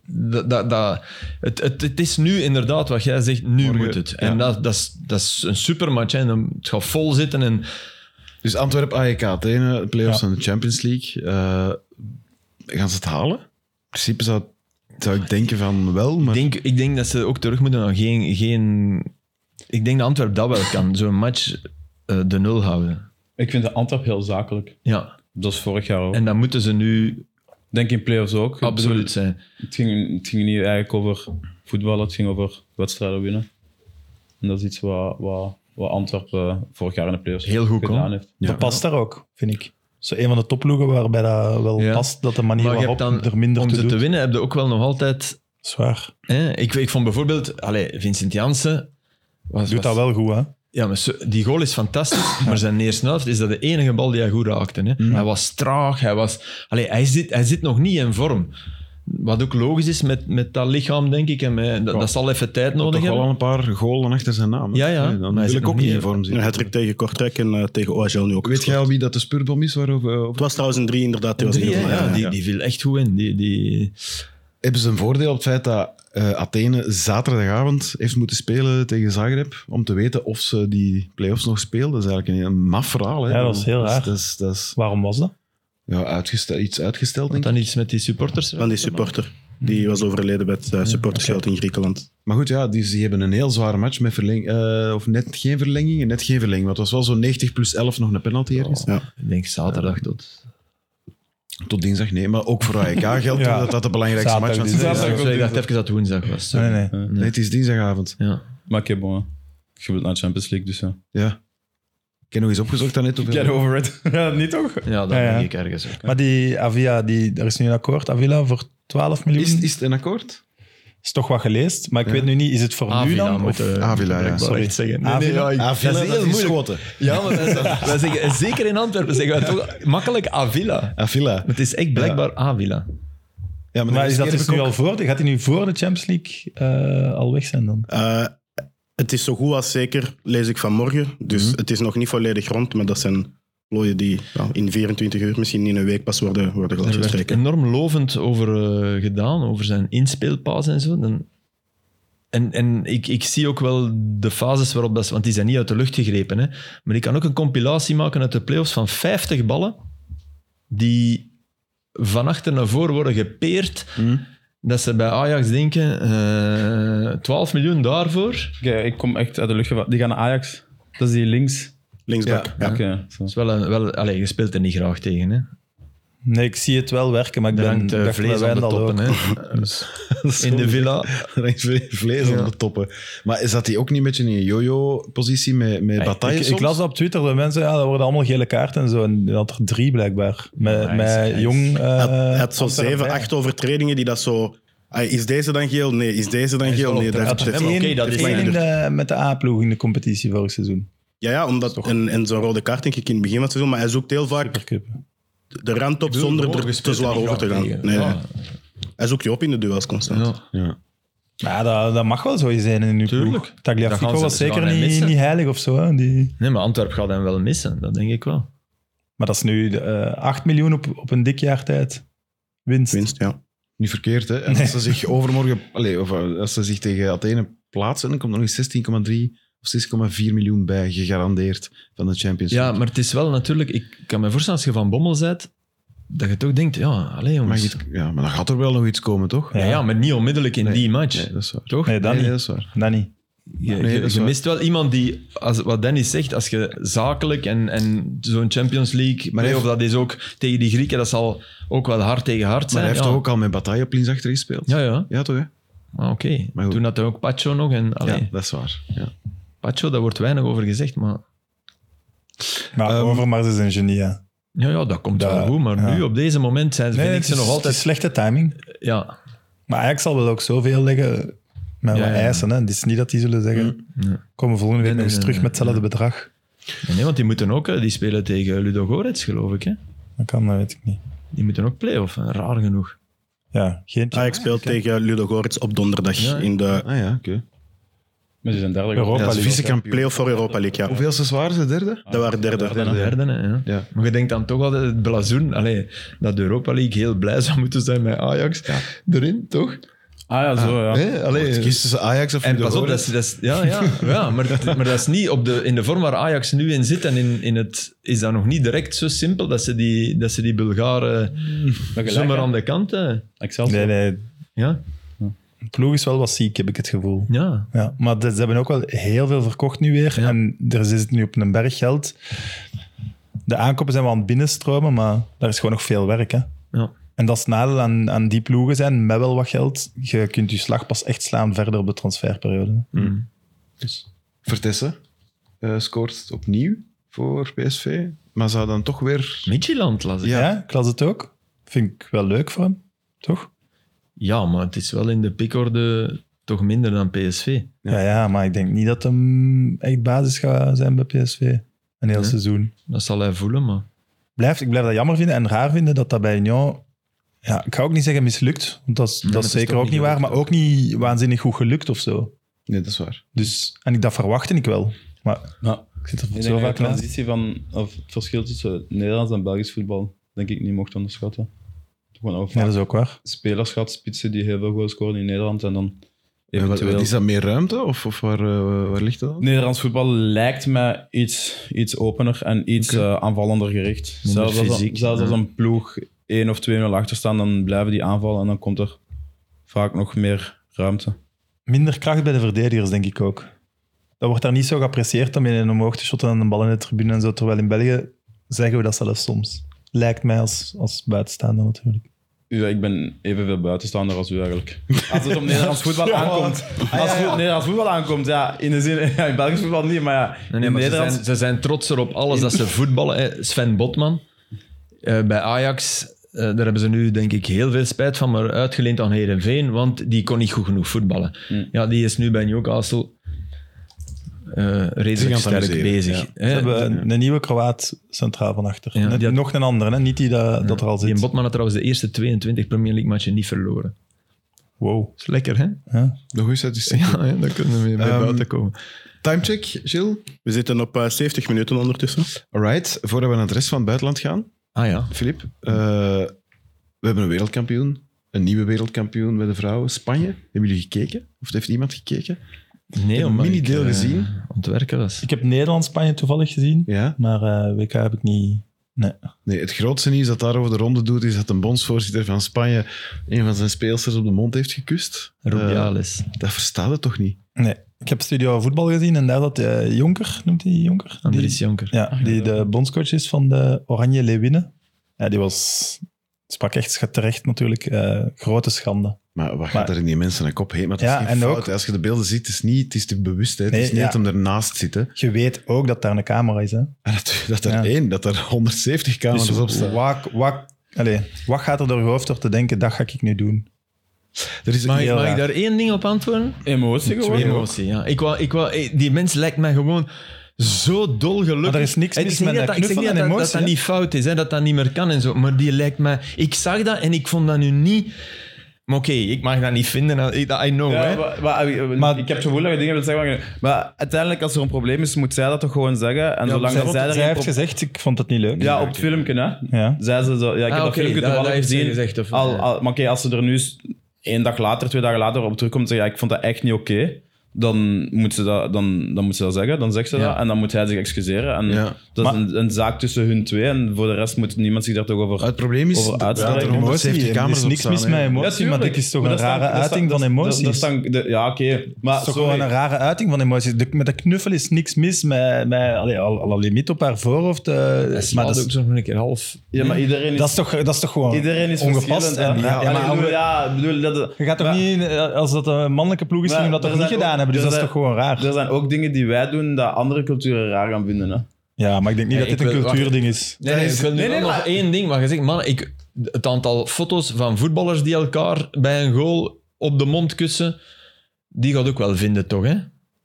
[SPEAKER 4] dat, dat, dat, het, het, het is nu inderdaad wat jij zegt, nu
[SPEAKER 1] Morgen,
[SPEAKER 4] moet het.
[SPEAKER 1] ja.
[SPEAKER 4] En dat, dat, is, dat is een supermatch. hè. En dan- het gaat vol zitten en
[SPEAKER 1] Dus Antwerp, AEK, Athene, de playoffs
[SPEAKER 3] Ja.
[SPEAKER 1] van de Champions League. eh, gaan ze het halen? In principe zou, zou ik denken van wel, maar...
[SPEAKER 4] Ik denk, ik denk dat ze ook terug moeten naar geen, geen... Ik denk dat Antwerp dat wel kan. Zo'n match eh, de nul houden.
[SPEAKER 2] Ik vind de Antwerp heel zakelijk.
[SPEAKER 4] Ja,
[SPEAKER 2] Dat is vorig jaar
[SPEAKER 3] Oh.
[SPEAKER 2] ook.
[SPEAKER 4] en dat moeten ze nu
[SPEAKER 2] Denk in playoffs ook. Ik bedoel,
[SPEAKER 4] absoluut zijn.
[SPEAKER 2] Het ging, het ging niet eigenlijk over voetbal, het ging over wedstrijden winnen. En dat is iets wat, wat, wat Antwerpen vorig jaar in de playoffs
[SPEAKER 4] Heel goed,
[SPEAKER 2] gedaan
[SPEAKER 4] hoor.
[SPEAKER 2] heeft.
[SPEAKER 3] Dat past daar ook, vind ik. Zo een van de topploegen waarbij dat wel
[SPEAKER 4] Ja.
[SPEAKER 3] past, dat de manier
[SPEAKER 4] maar je
[SPEAKER 3] waarop
[SPEAKER 4] hebt dan,
[SPEAKER 3] er minder
[SPEAKER 4] om
[SPEAKER 3] te
[SPEAKER 4] ze
[SPEAKER 3] doen.
[SPEAKER 4] te winnen, heb je ook wel nog altijd...
[SPEAKER 3] Zwaar.
[SPEAKER 4] Hè? Ik, ik vond bijvoorbeeld... Allez, Vincent Janssen... Was,
[SPEAKER 3] Doet dat
[SPEAKER 4] was-
[SPEAKER 3] wel goed, hè?
[SPEAKER 4] Ja, maar zo- die goal is fantastisch. maar zijn eerste helft is dat de enige bal die hij goed raakte. Hè? Hij was traag. Hij, was, allez, hij, zit, hij zit nog niet in vorm. Wat ook logisch is met, met dat lichaam, denk ik. En met, dat, dat zal even tijd
[SPEAKER 1] Had
[SPEAKER 4] nodig
[SPEAKER 1] toch
[SPEAKER 4] hebben.
[SPEAKER 1] wel al een paar golen achter zijn naam. hè?
[SPEAKER 4] Ja, ja.
[SPEAKER 1] Nee,
[SPEAKER 4] Maar
[SPEAKER 1] Dan
[SPEAKER 4] hij
[SPEAKER 1] wil
[SPEAKER 4] zit
[SPEAKER 1] ik
[SPEAKER 4] nog
[SPEAKER 1] ook
[SPEAKER 4] niet
[SPEAKER 1] niet in
[SPEAKER 4] in
[SPEAKER 1] vorm
[SPEAKER 5] Een
[SPEAKER 1] zitten.
[SPEAKER 5] hat tegen Kortrijk en eh, tegen OHL nu ook.
[SPEAKER 1] Weet jij
[SPEAKER 5] gescoord.
[SPEAKER 1] al wie dat de spuurbom is waarover... eh,
[SPEAKER 5] Het
[SPEAKER 1] over-
[SPEAKER 5] was trouwens een drie, inderdaad. Die was
[SPEAKER 4] Drie,
[SPEAKER 5] niet
[SPEAKER 4] hè?
[SPEAKER 5] helemaal-
[SPEAKER 4] ja,
[SPEAKER 5] ja,
[SPEAKER 4] die,
[SPEAKER 5] ja.
[SPEAKER 4] die viel echt goed in. Die, die...
[SPEAKER 1] Hebben ze een voordeel op het feit dat eh, Athene zaterdagavond heeft moeten spelen tegen Zagreb om te weten of ze die play-offs nog speelden? Dat is eigenlijk een, een maf verhaal. Hè?
[SPEAKER 3] Ja, dat is heel raar.
[SPEAKER 1] Dat is, dat is-
[SPEAKER 3] Waarom was dat?
[SPEAKER 1] ja, uitgesteld, iets uitgesteld,
[SPEAKER 4] Had
[SPEAKER 1] denk ik.
[SPEAKER 4] dan iets met die supporters?
[SPEAKER 5] Van die supporter. Die was overleden bij het eh, supportersgeld in Griekenland.
[SPEAKER 1] Maar goed, ja, die, die hebben een heel zware match met verleng, eh, of net geen verlenging. Net geen verlenging, want het was wel zo'n 90 plus 11 nog een penalty ergens.
[SPEAKER 4] Ik denk zaterdag tot...
[SPEAKER 1] Tot dinsdag, nee. Maar ook voor AEK geldt
[SPEAKER 3] Ja.
[SPEAKER 1] dat dat de belangrijkste
[SPEAKER 3] Zaterdag,
[SPEAKER 1] match
[SPEAKER 3] dinsdag.
[SPEAKER 1] van
[SPEAKER 4] Ja,
[SPEAKER 1] het seizoen
[SPEAKER 2] Zaterdag.
[SPEAKER 4] sorry, ik dacht even dat het woensdag was.
[SPEAKER 3] Nee, nee.
[SPEAKER 2] Ja.
[SPEAKER 1] is. Nee, het is dinsdagavond.
[SPEAKER 4] Ja.
[SPEAKER 2] eh, Maar ik heb bon, hè. je wilt naar de Champions League, dus ja.
[SPEAKER 1] Ja. Ik heb nog eens opgezocht daarnet
[SPEAKER 2] Get
[SPEAKER 1] hoeveel...
[SPEAKER 2] over it. ja, niet toch?
[SPEAKER 4] Ja, dat
[SPEAKER 3] Ja, ja.
[SPEAKER 4] denk ik ergens ook.
[SPEAKER 3] Maar die Avia, die, er is nu een akkoord, Avila, voor 12 miljoen.
[SPEAKER 1] Is,
[SPEAKER 3] Is,
[SPEAKER 1] is het een akkoord?
[SPEAKER 3] toch wat geleest, maar ik weet nu niet, is het voor nu
[SPEAKER 4] Avila
[SPEAKER 3] dan?
[SPEAKER 4] moet,
[SPEAKER 3] Of,
[SPEAKER 4] eh,
[SPEAKER 1] Avila, ja.
[SPEAKER 4] moet ik
[SPEAKER 3] Sorry.
[SPEAKER 4] echt zeggen. Nee,
[SPEAKER 3] Avila?
[SPEAKER 4] nee, ja, ik-
[SPEAKER 1] Avila,
[SPEAKER 4] Ah, dat is heel moeilijk. Ja, maar (laughs) wij, zeggen- wij zeggen, zeker in Antwerpen zeggen wij toch makkelijk Avila. Maar
[SPEAKER 1] Avila.
[SPEAKER 4] het is echt blijkbaar Avila.
[SPEAKER 1] Ja,
[SPEAKER 3] maar is dat
[SPEAKER 1] heb
[SPEAKER 3] dus
[SPEAKER 1] ik
[SPEAKER 3] nu
[SPEAKER 1] ook-
[SPEAKER 3] al voor? Gaat hij nu voor de Champions League eh, al weg zijn dan?
[SPEAKER 5] Eh, het is zo goed als zeker, lees ik vanmorgen. Dus het is nog niet volledig rond, maar dat zijn plooien die ja, in 24 uur, misschien in een week pas worden, worden
[SPEAKER 4] Er werd
[SPEAKER 5] gladgestreken.
[SPEAKER 4] enorm lovend over eh, gedaan, over zijn inspeelpaas en zo. En, en, en ik, ik zie ook wel de fases waarop dat... is- Want die zijn niet uit de lucht gegrepen. Hè. Maar ik kan ook een compilatie maken uit de playoffs van 50 ballen die van achter naar voren worden gepeerd. Dat ze bij Ajax denken, eh 12 miljoen daarvoor.
[SPEAKER 2] Oké, ik kom echt uit de lucht gevallen. Die gaan naar Ajax. Dat is die links.
[SPEAKER 5] Linksbak. Ja.
[SPEAKER 2] Oké, zo.
[SPEAKER 4] Dat is wel een, wel, allez, je speelt er niet graag tegen. Hè.
[SPEAKER 3] Nee, ik zie het wel werken, maar ik
[SPEAKER 4] Er
[SPEAKER 3] ben
[SPEAKER 4] hangt eh,
[SPEAKER 3] dacht,
[SPEAKER 4] vlees
[SPEAKER 3] wij
[SPEAKER 4] aan de
[SPEAKER 3] zijn al
[SPEAKER 4] toppen.
[SPEAKER 3] ook.
[SPEAKER 4] Hè. (laughs) In de villa.
[SPEAKER 1] (laughs) Er hangt vle- vlees op de toppen. Maar zat hij ook niet een beetje in een jojo-positie met, met bataille
[SPEAKER 3] Ik, ik
[SPEAKER 1] soms?
[SPEAKER 3] las op Twitter dat mensen, ja, dat worden allemaal gele kaarten en zo. En dat er drie blijkbaar. Met, met jong. eh
[SPEAKER 5] Hij had- hij had zo'n
[SPEAKER 3] Antwerpen.
[SPEAKER 5] 7, 8 overtredingen die dat zo... ah, is deze dan geel? Nee. Is deze dan geel? Nee. Dat
[SPEAKER 3] Hij
[SPEAKER 5] heeft-
[SPEAKER 3] had
[SPEAKER 5] dat heeft-
[SPEAKER 3] één-
[SPEAKER 4] oké, dat is
[SPEAKER 3] één in de- met de A-ploeg in de competitie vorig seizoen.
[SPEAKER 5] ja, ja, omdat... En, en zo'n rode kaart denk ik in het begin van het seizoen. Maar hij zoekt heel vaak
[SPEAKER 3] Supercup.
[SPEAKER 5] de rand op zonder er te zwaar over te gaan. Nee, nee.
[SPEAKER 4] Ja.
[SPEAKER 5] Hij zoekt je op in de duels constant.
[SPEAKER 4] Ja.
[SPEAKER 1] Ja.
[SPEAKER 3] Ja, dat, dat mag wel zo zijn in uw
[SPEAKER 4] Tuurlijk.
[SPEAKER 3] ploeg.
[SPEAKER 4] Dat gaan
[SPEAKER 3] Tagliafico
[SPEAKER 4] ze-
[SPEAKER 3] was
[SPEAKER 4] ze gaan
[SPEAKER 3] zeker
[SPEAKER 4] hem
[SPEAKER 3] niet,
[SPEAKER 4] missen.
[SPEAKER 3] niet heilig of zo. Hè? Die,
[SPEAKER 4] Nee, maar Antwerp gaat hem wel missen, dat denk ik wel.
[SPEAKER 3] maar dat is nu eh 8 miljoen op, op een dik jaar tijd. Winst.
[SPEAKER 5] Winst, ja.
[SPEAKER 1] Niet verkeerd, hè? En als ze zich overmorgen... Allee, of eh, als ze zich tegen Athene plaatsen, dan komt er nog eens 16,3 of 6,4 miljoen bij, gegarandeerd, van de Champions
[SPEAKER 4] Ja,
[SPEAKER 1] League.
[SPEAKER 4] maar het is wel natuurlijk... Ik kan me voorstellen, als je van Bommel bent, dat je toch denkt, ja, alleen
[SPEAKER 1] maar,
[SPEAKER 4] jongens.
[SPEAKER 1] je- ja, maar dan gaat er wel nog iets komen, toch?
[SPEAKER 4] Ja, ja, maar niet onmiddellijk in
[SPEAKER 1] Nee.
[SPEAKER 4] die match,
[SPEAKER 1] Nee, dat is waar.
[SPEAKER 4] toch?
[SPEAKER 3] Nee, dat
[SPEAKER 1] nee,
[SPEAKER 3] niet.
[SPEAKER 1] dat is waar.
[SPEAKER 3] Dat niet.
[SPEAKER 4] Je,
[SPEAKER 1] Nee,
[SPEAKER 4] je-
[SPEAKER 1] dat is
[SPEAKER 4] je
[SPEAKER 1] waar.
[SPEAKER 4] mist wel iemand die, als, wat Dennis zegt, als je zakelijk en, en zo'n Champions League,
[SPEAKER 1] Maar
[SPEAKER 4] maar
[SPEAKER 1] hij
[SPEAKER 4] of dat is ook tegen die Grieken, dat zal ook wel hard tegen hard
[SPEAKER 1] Maar
[SPEAKER 4] zijn.
[SPEAKER 1] hij heeft
[SPEAKER 4] ja.
[SPEAKER 1] toch ook al met Bataille op links achter gespeeld?
[SPEAKER 4] Ja, ja.
[SPEAKER 1] Ja, toch? Hè?
[SPEAKER 4] Maar oké.
[SPEAKER 1] Maar goed.
[SPEAKER 4] Toen had hij ook Pacho nog. En, allee,
[SPEAKER 1] Ja, dat is waar. Ja.
[SPEAKER 4] Pacho, daar wordt weinig over gezegd, maar...
[SPEAKER 3] Maar
[SPEAKER 1] Ehm,
[SPEAKER 3] Overmars is een genie. Ja.
[SPEAKER 4] Ja, ja dat komt
[SPEAKER 3] Dat-
[SPEAKER 4] wel goed, maar
[SPEAKER 3] ja.
[SPEAKER 4] nu, op deze moment, zijn,
[SPEAKER 3] Nee,
[SPEAKER 4] vind ik
[SPEAKER 3] het
[SPEAKER 4] ze
[SPEAKER 3] is,
[SPEAKER 4] nog
[SPEAKER 3] het
[SPEAKER 4] altijd...
[SPEAKER 3] is slechte timing.
[SPEAKER 4] Ja,
[SPEAKER 3] Maar Ajax zal wel ook zoveel leggen met
[SPEAKER 4] Ja,
[SPEAKER 3] wat
[SPEAKER 4] ja, ja.
[SPEAKER 3] eisen. Hè. Het is niet dat die zullen zeggen, komen volgende week
[SPEAKER 4] Nee,
[SPEAKER 3] nog eens
[SPEAKER 4] nee,
[SPEAKER 3] terug
[SPEAKER 4] nee,
[SPEAKER 3] met hetzelfde bedrag.
[SPEAKER 4] Ja, Nee, want die moeten ook, eh, die spelen tegen Ludo Gorets, geloof ik. Hè?
[SPEAKER 3] Dat kan, dat weet ik niet.
[SPEAKER 4] Die moeten ook play-off, hè. raar genoeg.
[SPEAKER 3] Ja, geen
[SPEAKER 5] Ajax speelt Ah, tegen Ludo Goretz op donderdag
[SPEAKER 4] Ja.
[SPEAKER 5] in de
[SPEAKER 1] Ah ja, oké.
[SPEAKER 2] Maar ze zijn derde
[SPEAKER 3] Europa
[SPEAKER 1] Ja,
[SPEAKER 2] geworden.
[SPEAKER 1] dat is
[SPEAKER 3] League.
[SPEAKER 1] vice-kampioen.
[SPEAKER 5] play-off voor Europa League. Ja.
[SPEAKER 1] Hoeveel ze waren ze? Derde?
[SPEAKER 5] Dat waren derde.
[SPEAKER 4] De derde, hè, ja.
[SPEAKER 1] Ja.
[SPEAKER 4] Maar je denkt dan toch altijd het blazoen, allee, dat de Europa League heel blij zou moeten zijn met Ajax erin, toch?
[SPEAKER 2] Ah ja, zo
[SPEAKER 1] Eh?
[SPEAKER 2] ja.
[SPEAKER 4] Hè? Allee,
[SPEAKER 1] Het kies tussen Ajax of
[SPEAKER 4] en
[SPEAKER 1] Ludo
[SPEAKER 4] pas op, dat
[SPEAKER 1] Goretz.
[SPEAKER 4] is, dat is- ja, ja, ja, maar, dat- maar dat is niet op de, in de vorm waar Ajax nu in zit en in, in het, is dat nog niet direct zo simpel dat ze die, dat ze die Bulgaren
[SPEAKER 2] Maar gelijk,
[SPEAKER 4] zomaar
[SPEAKER 2] hè.
[SPEAKER 4] aan de kant... eh,
[SPEAKER 2] Excelsior.
[SPEAKER 3] Nee, nee.
[SPEAKER 4] Ja,
[SPEAKER 3] De ploeg is wel wat ziek, heb ik het gevoel.
[SPEAKER 4] ja.
[SPEAKER 3] Ja, maar de- ze hebben ook wel heel veel verkocht nu weer.
[SPEAKER 4] Ja.
[SPEAKER 3] En er zit nu op een berg geld. De aankopen zijn wel aan het binnenstromen, maar daar is gewoon nog veel werk. Hè?
[SPEAKER 4] Ja.
[SPEAKER 3] En dat is het nadeel aan, aan die ploegen zijn, met wel wat geld. Je kunt je slag pas echt slaan verder op de transferperiode. Dus-
[SPEAKER 1] Vertessen eh, scoort opnieuw voor PSV, maar zou dan toch weer...
[SPEAKER 4] Midtjylland las ik.
[SPEAKER 1] Ja.
[SPEAKER 3] Ja, ik las het ook. Vind ik wel leuk voor hem, toch?
[SPEAKER 4] Ja, maar het is wel in de pikorde toch minder dan PSV.
[SPEAKER 1] Ja.
[SPEAKER 3] Ja, ja, maar ik denk niet dat hem echt basis gaat zijn bij PSV. Een heel
[SPEAKER 4] Nee.
[SPEAKER 3] seizoen.
[SPEAKER 4] Dat zal hij voelen, maar...
[SPEAKER 3] Blijf, ik blijf dat jammer vinden en raar vinden dat dat bij Union... Ja, ik ga ook niet zeggen mislukt, want dat is,
[SPEAKER 4] Nee,
[SPEAKER 3] dat
[SPEAKER 4] maar
[SPEAKER 3] is
[SPEAKER 4] het is
[SPEAKER 3] zeker
[SPEAKER 4] toch
[SPEAKER 3] ook niet
[SPEAKER 4] niet
[SPEAKER 3] waar,
[SPEAKER 4] gelukt
[SPEAKER 3] maar ook niet waanzinnig goed gelukt of zo.
[SPEAKER 1] Nee, dat is waar.
[SPEAKER 3] Dus, en ik, dat verwachtte ik wel. Maar
[SPEAKER 2] Ja.
[SPEAKER 3] ik zit er
[SPEAKER 2] Ik
[SPEAKER 3] zo
[SPEAKER 2] denk dat
[SPEAKER 3] vaak
[SPEAKER 2] de
[SPEAKER 3] naast.
[SPEAKER 2] transitie van, of het verschil tussen Nederlands en Belgisch voetbal, denk ik niet mocht onderschatten. Gewoon over
[SPEAKER 3] Ja, dat is ook waar.
[SPEAKER 2] spelers gehad, spitsen die heel veel goals scoren in Nederland en dan
[SPEAKER 1] Ja, wat-
[SPEAKER 2] eventueel...
[SPEAKER 1] Is dat meer ruimte of, of waar, eh, waar ligt dat dan?
[SPEAKER 2] Nederlands voetbal lijkt mij iets, iets opener en iets eh, aanvallender gericht.
[SPEAKER 4] Minder
[SPEAKER 2] zelfs als,
[SPEAKER 4] fysiek,
[SPEAKER 2] een, zelfs
[SPEAKER 4] ja.
[SPEAKER 2] als een ploeg 1 of 2-0 achter staan, dan blijven die aanvallen en dan komt er vaak nog meer ruimte.
[SPEAKER 3] Minder kracht bij de verdedigers, denk ik ook. Dat wordt daar niet zo geapprecieerd om in en omhoog te shotten en een bal in de tribune en zo. Terwijl in België zeggen we dat zelfs soms. Lijkt mij als, als buitenstaander natuurlijk.
[SPEAKER 2] Ja, ik ben evenveel buitenstaander als u eigenlijk. Als het om Nederlands
[SPEAKER 4] (laughs)
[SPEAKER 2] voetbal aankomt.
[SPEAKER 4] Ah,
[SPEAKER 2] Als het Nederlands voetbal aankomt, ja. In de zin, (laughs) ja, in Belgisch voetbal niet, maar ja.
[SPEAKER 4] Nee, nee,
[SPEAKER 2] in
[SPEAKER 4] maar
[SPEAKER 2] Nederlands...
[SPEAKER 4] ze, zijn, ze zijn trotser op alles dat ze voetballen. hè. Sven Botman eh, bij Ajax, eh, daar hebben ze nu denk ik heel veel spijt van, maar uitgeleend aan Herenveen, want die kon niet goed genoeg voetballen. Ja, die is nu bij Newcastle eh redelijk
[SPEAKER 1] het
[SPEAKER 4] sterk
[SPEAKER 1] amuseren,
[SPEAKER 4] bezig. Hè,
[SPEAKER 3] Ze hebben een, een nieuwe Kroaat centraal van achter.
[SPEAKER 4] Ja,
[SPEAKER 3] Net-
[SPEAKER 4] die had-
[SPEAKER 3] Nog een andere, hè? niet die dat, dat er al
[SPEAKER 4] die
[SPEAKER 3] zit.
[SPEAKER 4] Botman had trouwens de eerste 22 Premier League matchen niet verloren.
[SPEAKER 3] Wow.
[SPEAKER 4] Dat is lekker, hè?
[SPEAKER 3] Ja.
[SPEAKER 1] De goede statistiek.
[SPEAKER 4] Ja, hè, daar kunnen we mee bij
[SPEAKER 1] Ehm,
[SPEAKER 4] buiten komen.
[SPEAKER 1] Timecheck, Gilles.
[SPEAKER 5] We zitten op eh, 70 minuten ondertussen.
[SPEAKER 1] Alright, voordat we naar de rest van het buitenland gaan.
[SPEAKER 4] Ah ja.
[SPEAKER 1] Filip, eh, we hebben een wereldkampioen. Een nieuwe wereldkampioen bij de vrouwen. Spanje. Hebben jullie gekeken? Of heeft iemand gekeken?
[SPEAKER 4] Nee,
[SPEAKER 1] heb
[SPEAKER 4] omdat
[SPEAKER 1] een
[SPEAKER 4] ik,
[SPEAKER 1] minideel
[SPEAKER 4] eh,
[SPEAKER 1] gezien.
[SPEAKER 4] aan het werken was.
[SPEAKER 3] Ik heb Nederland-Spanje toevallig gezien,
[SPEAKER 1] Ja.
[SPEAKER 3] maar eh, WK heb ik niet... Nee.
[SPEAKER 1] Nee, het grootste nieuws dat daarover de ronde doet, is dat een bondsvoorzitter van Spanje een van zijn speelsters op de mond heeft gekust. Eh,
[SPEAKER 4] Rubiales.
[SPEAKER 1] dat verstaat het toch niet?
[SPEAKER 3] nee. Ik heb Studio Voetbal gezien en daar dat eh, Jonker, noemt hij Jonker?
[SPEAKER 4] Andries
[SPEAKER 3] Die-
[SPEAKER 4] Jonker.
[SPEAKER 3] Ja, die de bondscoach is van de Oranje Leeuwinnen. Ja, die was... Sprak echt scha- terecht natuurlijk. eh, grote schande.
[SPEAKER 1] Maar wat gaat
[SPEAKER 3] Maar-
[SPEAKER 1] er in die mensen een kop heen? Maar dat
[SPEAKER 3] Ja,
[SPEAKER 1] is geen
[SPEAKER 3] en
[SPEAKER 1] fout.
[SPEAKER 3] ook-
[SPEAKER 1] Als je de beelden ziet, het is niet, het is de bewustheid.
[SPEAKER 3] Nee,
[SPEAKER 1] het is niet
[SPEAKER 3] ja.
[SPEAKER 1] dat hem ernaast zit. Hè.
[SPEAKER 3] Je weet ook dat daar een camera is, hè? Dus
[SPEAKER 1] En dat, dat er
[SPEAKER 3] Ja.
[SPEAKER 1] één, dat er 170 kamers op
[SPEAKER 3] Dus
[SPEAKER 1] staan.
[SPEAKER 3] wak, wak, allez, wat gaat er door je hoofd door te denken, dat ga ik nu doen?
[SPEAKER 1] Er is,
[SPEAKER 4] Mag, ik-
[SPEAKER 3] Heel
[SPEAKER 4] mag ik
[SPEAKER 3] raar.
[SPEAKER 4] daar één ding op antwoorden?
[SPEAKER 2] Emotie gewoon.
[SPEAKER 4] Emotie, ja. Ik wou, ik wou, eh, die mens lijkt mij gewoon zo dolgelukkig.
[SPEAKER 3] Maar er is niks
[SPEAKER 4] En ik
[SPEAKER 3] mis
[SPEAKER 4] zeg
[SPEAKER 3] met
[SPEAKER 4] niet
[SPEAKER 3] een
[SPEAKER 4] dat- ik zeg
[SPEAKER 3] knuffel
[SPEAKER 4] niet
[SPEAKER 3] en
[SPEAKER 4] dat, dat,
[SPEAKER 3] emotie,
[SPEAKER 4] dat
[SPEAKER 3] hè?
[SPEAKER 4] niet fout is, hè, dat dat niet meer kan en zo. Maar die lijkt mij... Ik zag dat en ik vond dat nu niet... Maar oké, ik mag dat niet vinden. dat- I know,
[SPEAKER 2] Ja,
[SPEAKER 4] hè.
[SPEAKER 2] maar, eh, maar-
[SPEAKER 3] Maar- zij
[SPEAKER 2] geen
[SPEAKER 3] heeft
[SPEAKER 2] pro-
[SPEAKER 3] gezegd, ik vond het niet leuk.
[SPEAKER 2] Ja, op het filmpje, hè.
[SPEAKER 3] Ja.
[SPEAKER 2] Zij ze zo, ja, ik heb
[SPEAKER 4] Ah,
[SPEAKER 2] dat
[SPEAKER 4] oké,
[SPEAKER 2] filmpje
[SPEAKER 4] dat-
[SPEAKER 2] toevallig
[SPEAKER 4] dat heeft zij
[SPEAKER 2] gezien.
[SPEAKER 4] gezegd, of-
[SPEAKER 2] al, al- maar oké, als ze er nu s- één dag later, twee dagen later op terugkomt en zegt, ja, ik vond dat echt niet oké, dan, moet ze dat, dan, dan moet ze dat zeggen, dan zegt ze
[SPEAKER 4] Ja.
[SPEAKER 2] dat en dan moet hij zich excuseren. En
[SPEAKER 1] Ja.
[SPEAKER 2] Dat
[SPEAKER 3] Maar-
[SPEAKER 2] is een, een zaak tussen hun twee en voor de rest moet niemand zich daar toch over...
[SPEAKER 1] Ah, Het probleem is
[SPEAKER 2] Over
[SPEAKER 1] dat dat
[SPEAKER 2] uitstraling.
[SPEAKER 1] er
[SPEAKER 2] Emotie,
[SPEAKER 1] 170
[SPEAKER 3] er
[SPEAKER 1] kamers
[SPEAKER 3] is
[SPEAKER 1] op
[SPEAKER 3] niks
[SPEAKER 1] staan,
[SPEAKER 3] mis
[SPEAKER 1] hè.
[SPEAKER 3] met
[SPEAKER 2] Ja,
[SPEAKER 3] emotie,
[SPEAKER 2] tuurlijk.
[SPEAKER 3] maar dit is toch
[SPEAKER 2] Maar
[SPEAKER 3] een
[SPEAKER 2] dat is
[SPEAKER 3] rare
[SPEAKER 2] dan- dat is dan-
[SPEAKER 3] uiting van
[SPEAKER 2] dat is- dat-
[SPEAKER 3] emoties.
[SPEAKER 2] dat is dan de- Ja, oké. Maar
[SPEAKER 3] Dat is
[SPEAKER 2] Ah,
[SPEAKER 3] toch
[SPEAKER 2] sorry.
[SPEAKER 3] gewoon een rare uiting van emoties. De- met dat knuffel is niks mis, met, met allee, al, al een limiet op haar voorhoofd. eh, maar dat, is,
[SPEAKER 4] ook zo een keer half.
[SPEAKER 2] Ja, maar iedereen is...
[SPEAKER 3] dat, is toch, dat is toch gewoon
[SPEAKER 2] Iedereen is
[SPEAKER 3] ongepast.
[SPEAKER 2] verschillend, hè.
[SPEAKER 3] En, ja,
[SPEAKER 2] Ja,
[SPEAKER 3] maar
[SPEAKER 2] maar ik bedoel,
[SPEAKER 3] onge-
[SPEAKER 2] ja, ik bedoel, dat...
[SPEAKER 3] je gaat toch
[SPEAKER 2] maar-
[SPEAKER 3] niet, eh, als dat een mannelijke ploeg is,
[SPEAKER 2] Maar
[SPEAKER 3] ging hem dat
[SPEAKER 2] er
[SPEAKER 3] toch
[SPEAKER 2] zijn
[SPEAKER 3] niet gedaan
[SPEAKER 2] ook-
[SPEAKER 3] hebben. Dus
[SPEAKER 2] er
[SPEAKER 3] dat is
[SPEAKER 2] zijn-
[SPEAKER 3] toch gewoon raar.
[SPEAKER 2] Er zijn ook dingen die wij doen dat andere culturen raar gaan vinden. Hè.
[SPEAKER 3] Ja, maar ik denk niet
[SPEAKER 4] Nee,
[SPEAKER 3] dat
[SPEAKER 4] ik
[SPEAKER 3] dit een
[SPEAKER 4] wil-
[SPEAKER 3] cultuurding is.
[SPEAKER 4] Nee, nee, ik wil nu
[SPEAKER 2] nee,
[SPEAKER 4] wel
[SPEAKER 2] nee,
[SPEAKER 4] nog
[SPEAKER 2] maar-
[SPEAKER 4] één ding. Maar je zegt, man, ik, het aantal foto's van voetballers die elkaar bij een goal op de mond kussen, die gaat ook wel vinden, toch, hè?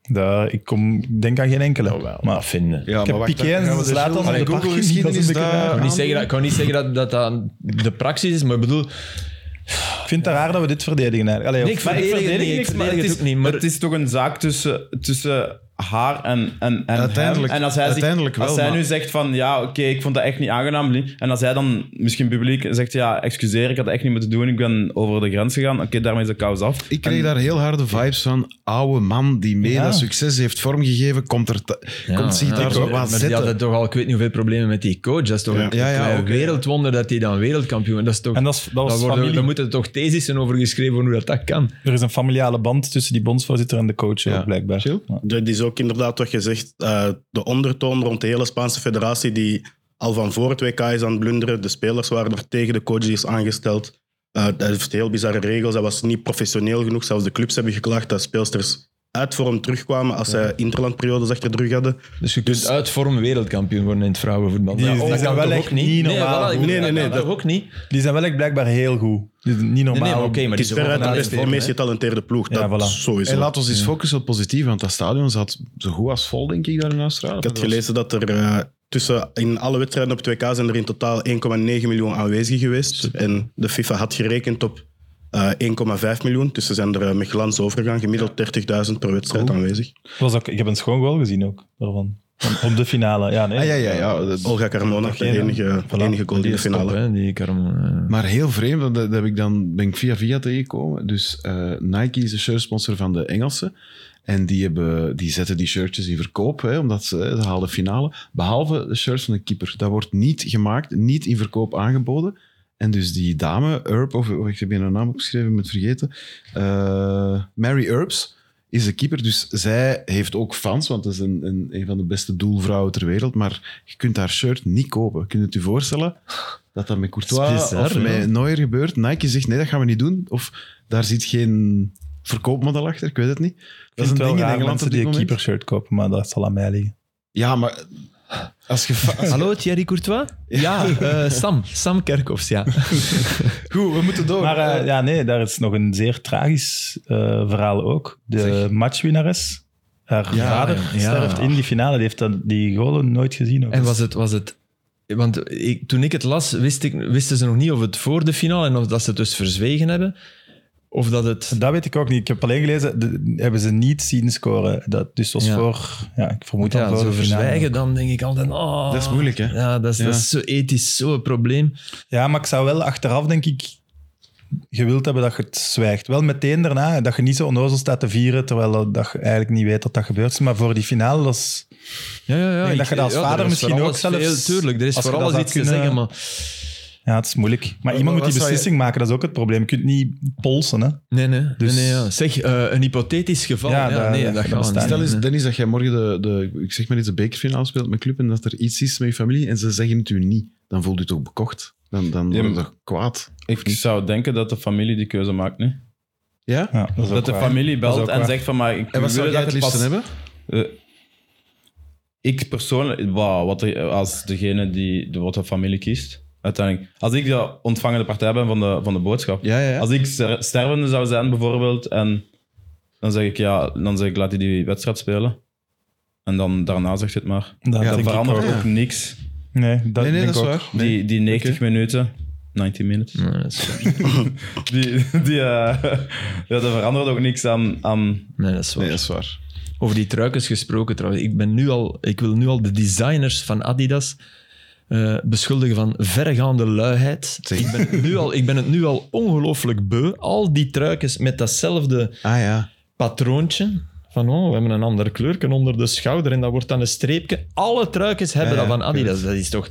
[SPEAKER 3] Daar- ik kom, ik denk aan geen enkele.
[SPEAKER 4] Maar
[SPEAKER 3] maar
[SPEAKER 4] vinden.
[SPEAKER 1] Ja,
[SPEAKER 3] heb
[SPEAKER 1] wacht,
[SPEAKER 3] Piqué en
[SPEAKER 1] gaan we de
[SPEAKER 3] Zlatan
[SPEAKER 1] Gilles-
[SPEAKER 3] en de
[SPEAKER 1] Allee,
[SPEAKER 3] Bach
[SPEAKER 1] Google
[SPEAKER 3] gezien, dat is
[SPEAKER 1] geschiedenis
[SPEAKER 3] een beetje
[SPEAKER 1] daar
[SPEAKER 4] Ik kan
[SPEAKER 1] aan
[SPEAKER 4] niet zeggen dat, ik kan niet zeggen dat, dat dat de praxis is, maar ik bedoel...
[SPEAKER 3] Ik vind het raar dat we dit verdedigen eigenlijk. Allee,
[SPEAKER 4] Nee,
[SPEAKER 3] of-
[SPEAKER 4] ik verdedig het niet, ik
[SPEAKER 2] niks, maar
[SPEAKER 4] verdedig
[SPEAKER 2] het
[SPEAKER 4] het
[SPEAKER 2] is,
[SPEAKER 4] ook niet, maar-
[SPEAKER 2] het is toch een zaak tussen, tussen haar en, en, en
[SPEAKER 1] Uiteindelijk-
[SPEAKER 2] hem. En als hij, zich-
[SPEAKER 1] uiteindelijk wel,
[SPEAKER 2] als hij
[SPEAKER 1] maar-
[SPEAKER 2] nu zegt van, ja, oké, ik vond dat echt niet aangenaam. Lee. En als hij dan misschien publiek zegt, ja, excuseer, ik had dat echt niet moeten doen. Ik ben over de grens gegaan. Oké, daarmee is de kous af.
[SPEAKER 1] Ik kreeg daar heel harde vibes van. Oude man die mede
[SPEAKER 3] Ja.
[SPEAKER 1] succes heeft vormgegeven, komt, er ta- komt zich daar zo wat
[SPEAKER 4] Maar die
[SPEAKER 1] zitten.
[SPEAKER 4] hadden toch al, ik weet niet hoeveel problemen met die coach. Dat is toch
[SPEAKER 1] Ja.
[SPEAKER 4] een
[SPEAKER 1] Ja, ja,
[SPEAKER 4] klein
[SPEAKER 1] oké.
[SPEAKER 4] wereldwonder dat hij dan wereldkampioen dat is. Toch,
[SPEAKER 3] En dat, is, dat was
[SPEAKER 4] daar, worden-
[SPEAKER 3] familie.
[SPEAKER 4] daar moeten toch thesissen over geschreven worden hoe dat, dat kan.
[SPEAKER 3] Er is een familiale band tussen die bondsvoorzitter en de coach, ook, blijkbaar.
[SPEAKER 1] Chill.
[SPEAKER 3] Ja.
[SPEAKER 5] Dat is ook inderdaad wat je zegt. eh, de ondertoon rond de hele Spaanse federatie, die al van voor het WK is aan het blunderen. De spelers waren er tegen, de coach die is aangesteld. Eh, dat heeft heel bizarre regels. Dat was niet professioneel genoeg. Zelfs de clubs hebben geklaagd dat speelsters uit vorm terugkwamen als zij interlandperiodes achter de rug hadden.
[SPEAKER 4] Dus je kunt uit vorm wereldkampioen worden in het vrouwenvoetbal.
[SPEAKER 3] Die-
[SPEAKER 4] Ja,
[SPEAKER 3] die
[SPEAKER 4] dat
[SPEAKER 3] zijn
[SPEAKER 4] kan
[SPEAKER 3] wel
[SPEAKER 4] toch
[SPEAKER 3] echt
[SPEAKER 4] ook niet.
[SPEAKER 3] niet normaal.
[SPEAKER 4] Nee, voilà, ik bedoel,
[SPEAKER 5] Nee, nee, nee,
[SPEAKER 4] dat,
[SPEAKER 5] dat-
[SPEAKER 4] ook niet. Nee,
[SPEAKER 3] Die zijn wel echt blijkbaar heel goed. Dus niet normaal.
[SPEAKER 4] nee, maar oké, maar
[SPEAKER 5] Het
[SPEAKER 4] die
[SPEAKER 5] is
[SPEAKER 4] zijn
[SPEAKER 5] veruit de
[SPEAKER 4] wel
[SPEAKER 5] beste,
[SPEAKER 4] in
[SPEAKER 5] de
[SPEAKER 4] vorm,
[SPEAKER 5] meest
[SPEAKER 4] hè.
[SPEAKER 5] getalenteerde ploeg.
[SPEAKER 3] Ja,
[SPEAKER 5] dat
[SPEAKER 3] voilà.
[SPEAKER 5] sowieso.
[SPEAKER 1] En laten we ons eens focussen op het positieve, want dat stadion zat zo goed als vol, denk ik, daar in Australië.
[SPEAKER 5] Ik had gelezen dat er eh, tussen in alle wedstrijden op het WK zijn er in totaal 1,9 miljoen aanwezig geweest. En de FIFA had gerekend op eh, 1,5 miljoen. Dus ze zijn er eh, met glans overgegaan. Gemiddeld 30.000 per wedstrijd aanwezig.
[SPEAKER 3] Dat was ook, ik heb een schoon goal gezien ook. Daarvan. Om- Op de finale. Ja, nee.
[SPEAKER 1] Ah, ja, ja, ja. dat-
[SPEAKER 5] Olga Carmona,
[SPEAKER 3] Oké,
[SPEAKER 5] de enige,
[SPEAKER 3] voilà.
[SPEAKER 5] enige goal
[SPEAKER 4] Die
[SPEAKER 5] in de
[SPEAKER 4] is top,
[SPEAKER 5] finale.
[SPEAKER 4] hè, die Carmo, eh.
[SPEAKER 1] Maar heel vreemd, want dat, dat heb ik dan, ben ik via via tegengekomen. Dus eh, Nike is de shirtsponsor van de Engelsen. En die, hebben, die zetten die shirtjes in verkoop, hè, omdat ze, hè, ze haalden finale. Behalve de shirts van de keeper. Dat wordt niet gemaakt, niet in verkoop aangeboden. En dus die dame, Urb, of of ik heb je haar naam opgeschreven, ik ben het vergeten. eh, Mary Urbs is de keeper. Dus zij heeft ook fans, want dat is een, een, een van de beste doelvrouwen ter wereld. Maar je kunt haar shirt niet kopen. Kun je het je voorstellen dat dat met Courtois
[SPEAKER 4] Dat is bizar,
[SPEAKER 1] of
[SPEAKER 4] hè?
[SPEAKER 1] met Neuer gebeurt? Nike zegt, nee, dat gaan we niet doen. Of daar zit geen verkoopmodel achter, ik weet het niet. Dat is een
[SPEAKER 3] wel
[SPEAKER 1] ding in
[SPEAKER 3] raar
[SPEAKER 1] Engeland
[SPEAKER 3] mensen
[SPEAKER 1] op dit
[SPEAKER 3] die een
[SPEAKER 1] moment.
[SPEAKER 3] keepershirt kopen, maar dat zal aan mij liggen.
[SPEAKER 1] Ja, maar als je... fa- als je-
[SPEAKER 4] Hallo, Thierry Courtois? Ja, eh, Sam. Sam Kerkhoffs, ja.
[SPEAKER 1] Goed, we moeten door.
[SPEAKER 3] Maar eh, ja, nee, daar is nog een zeer tragisch eh, verhaal ook. De
[SPEAKER 4] Zeg.
[SPEAKER 3] matchwinnares, haar
[SPEAKER 4] Ja,
[SPEAKER 3] vader,
[SPEAKER 4] ja.
[SPEAKER 3] sterft in die finale. Die heeft dat, die golen nooit gezien. ook. Dus
[SPEAKER 4] En was het... Was het want ik, toen ik het las, wist ik, wisten ze nog niet of het voor de finale en of dat ze het dus verzwegen hebben. Of dat het...
[SPEAKER 3] Dat weet ik ook niet. Ik heb alleen gelezen, de- hebben ze niet zien scoren. Dat, dus was
[SPEAKER 4] Ja.
[SPEAKER 3] voor, ja, ik vermoed dat
[SPEAKER 4] Ja,
[SPEAKER 3] voor
[SPEAKER 4] zo
[SPEAKER 3] de finale. Dus,
[SPEAKER 4] verzwijgen, dan denk ik altijd... Oh,
[SPEAKER 1] Dat is moeilijk, hè?
[SPEAKER 4] Ja, dat is, Dat
[SPEAKER 1] Ja.
[SPEAKER 4] is zo ethisch zo'n probleem.
[SPEAKER 3] Ja, maar ik zou wel achteraf, denk ik, gewild hebben dat je het zwijgt. Wel meteen daarna, dat je niet zo onnozel staat te vieren, terwijl dat, dat je eigenlijk niet weet dat dat gebeurt. Maar voor die finale, dat is...
[SPEAKER 4] Ja, ja, ja.
[SPEAKER 3] denk
[SPEAKER 4] ik-
[SPEAKER 3] dat je dat als
[SPEAKER 4] ja, er
[SPEAKER 3] vader
[SPEAKER 4] is
[SPEAKER 3] misschien
[SPEAKER 4] voor
[SPEAKER 3] ook
[SPEAKER 4] alles
[SPEAKER 3] zelfs-
[SPEAKER 4] veel- tuurlijk, er is
[SPEAKER 3] als je
[SPEAKER 4] voor
[SPEAKER 3] dat
[SPEAKER 4] alles
[SPEAKER 3] zou
[SPEAKER 4] iets te
[SPEAKER 3] kunnen-
[SPEAKER 4] zeggen, maar...
[SPEAKER 3] Ja, het is moeilijk. Maar
[SPEAKER 1] maar
[SPEAKER 3] iemand moet die
[SPEAKER 1] wat zou je-
[SPEAKER 3] beslissing maken, dat is ook het probleem. Je kunt niet polsen, hè.
[SPEAKER 4] Nee, nee.
[SPEAKER 3] Dus-
[SPEAKER 4] nee, nee, ja. Zeg, eh, een hypothetisch geval.
[SPEAKER 3] Ja,
[SPEAKER 4] Ja,
[SPEAKER 3] daar-
[SPEAKER 4] nee,
[SPEAKER 3] daar
[SPEAKER 4] dat gaat
[SPEAKER 3] bestaan-
[SPEAKER 4] niet.
[SPEAKER 1] Stel eens,
[SPEAKER 4] Nee.
[SPEAKER 1] Dennis, dat jij morgen de, de, ik zeg maar iets, de bekerfinale speelt met club en dat er iets is met je familie en ze zeggen het u niet, dan voelt u toch bekocht? Dan, dan
[SPEAKER 2] Ja,
[SPEAKER 1] wordt
[SPEAKER 2] maar-
[SPEAKER 1] toch kwaad?
[SPEAKER 2] Ik zou denken dat de familie die keuze maakt, niet?
[SPEAKER 1] Ja?
[SPEAKER 3] Ja, dat is
[SPEAKER 2] Dat
[SPEAKER 3] ook
[SPEAKER 2] de
[SPEAKER 3] waar.
[SPEAKER 2] familie
[SPEAKER 3] Dat
[SPEAKER 2] belt
[SPEAKER 3] is ook
[SPEAKER 2] en
[SPEAKER 3] waar.
[SPEAKER 2] zegt van, maar ik
[SPEAKER 1] En wat zou
[SPEAKER 2] wil
[SPEAKER 1] jij het
[SPEAKER 2] dat
[SPEAKER 1] liefst
[SPEAKER 2] pas-
[SPEAKER 1] hebben?
[SPEAKER 2] Eh, ik persoonlijk, wauw, wat er- als degene die de, wat de familie kiest, uiteindelijk. Als ik de ontvangende partij ben van de, van de boodschap.
[SPEAKER 1] Ja, ja, ja.
[SPEAKER 2] Als ik ster- stervende zou zijn, bijvoorbeeld, en dan zeg ik ja, dan zeg ik laat hij die wedstrijd spelen. En dan daarna zegt het maar.
[SPEAKER 3] Dat
[SPEAKER 1] Ja,
[SPEAKER 2] Dat
[SPEAKER 3] denk ik
[SPEAKER 2] verandert
[SPEAKER 3] ook.
[SPEAKER 2] ook,
[SPEAKER 1] ook. Ja.
[SPEAKER 2] niks.
[SPEAKER 3] Nee, dat,
[SPEAKER 1] nee, nee, dat
[SPEAKER 3] denk
[SPEAKER 1] is
[SPEAKER 3] ik ook.
[SPEAKER 1] waar. Nee.
[SPEAKER 2] Die, die 90 minuten, 90 minutes.
[SPEAKER 4] Nee, dat is-
[SPEAKER 2] Die, die, eh, (laughs) ja, dat verandert ook niks aan. aan
[SPEAKER 4] Nee, dat is waar.
[SPEAKER 1] Nee, dat is waar.
[SPEAKER 4] Over die truikens gesproken trouwens. Ik, ben nu al, ik wil nu al de designers van Adidas eh, beschuldigen van verregaande luiheid.
[SPEAKER 1] Zeg.
[SPEAKER 4] Ik ben, het nu al, ik ben het nu al ongelooflijk beu. Al die truikens met datzelfde
[SPEAKER 1] Ah ja.
[SPEAKER 4] patroontje. Van oh, we hebben een ander kleurken onder de schouder en dat wordt dan een streepje. Alle truikens hebben
[SPEAKER 1] Ja, ja,
[SPEAKER 4] dat van
[SPEAKER 1] ik weet
[SPEAKER 4] Adidas. Dat is toch...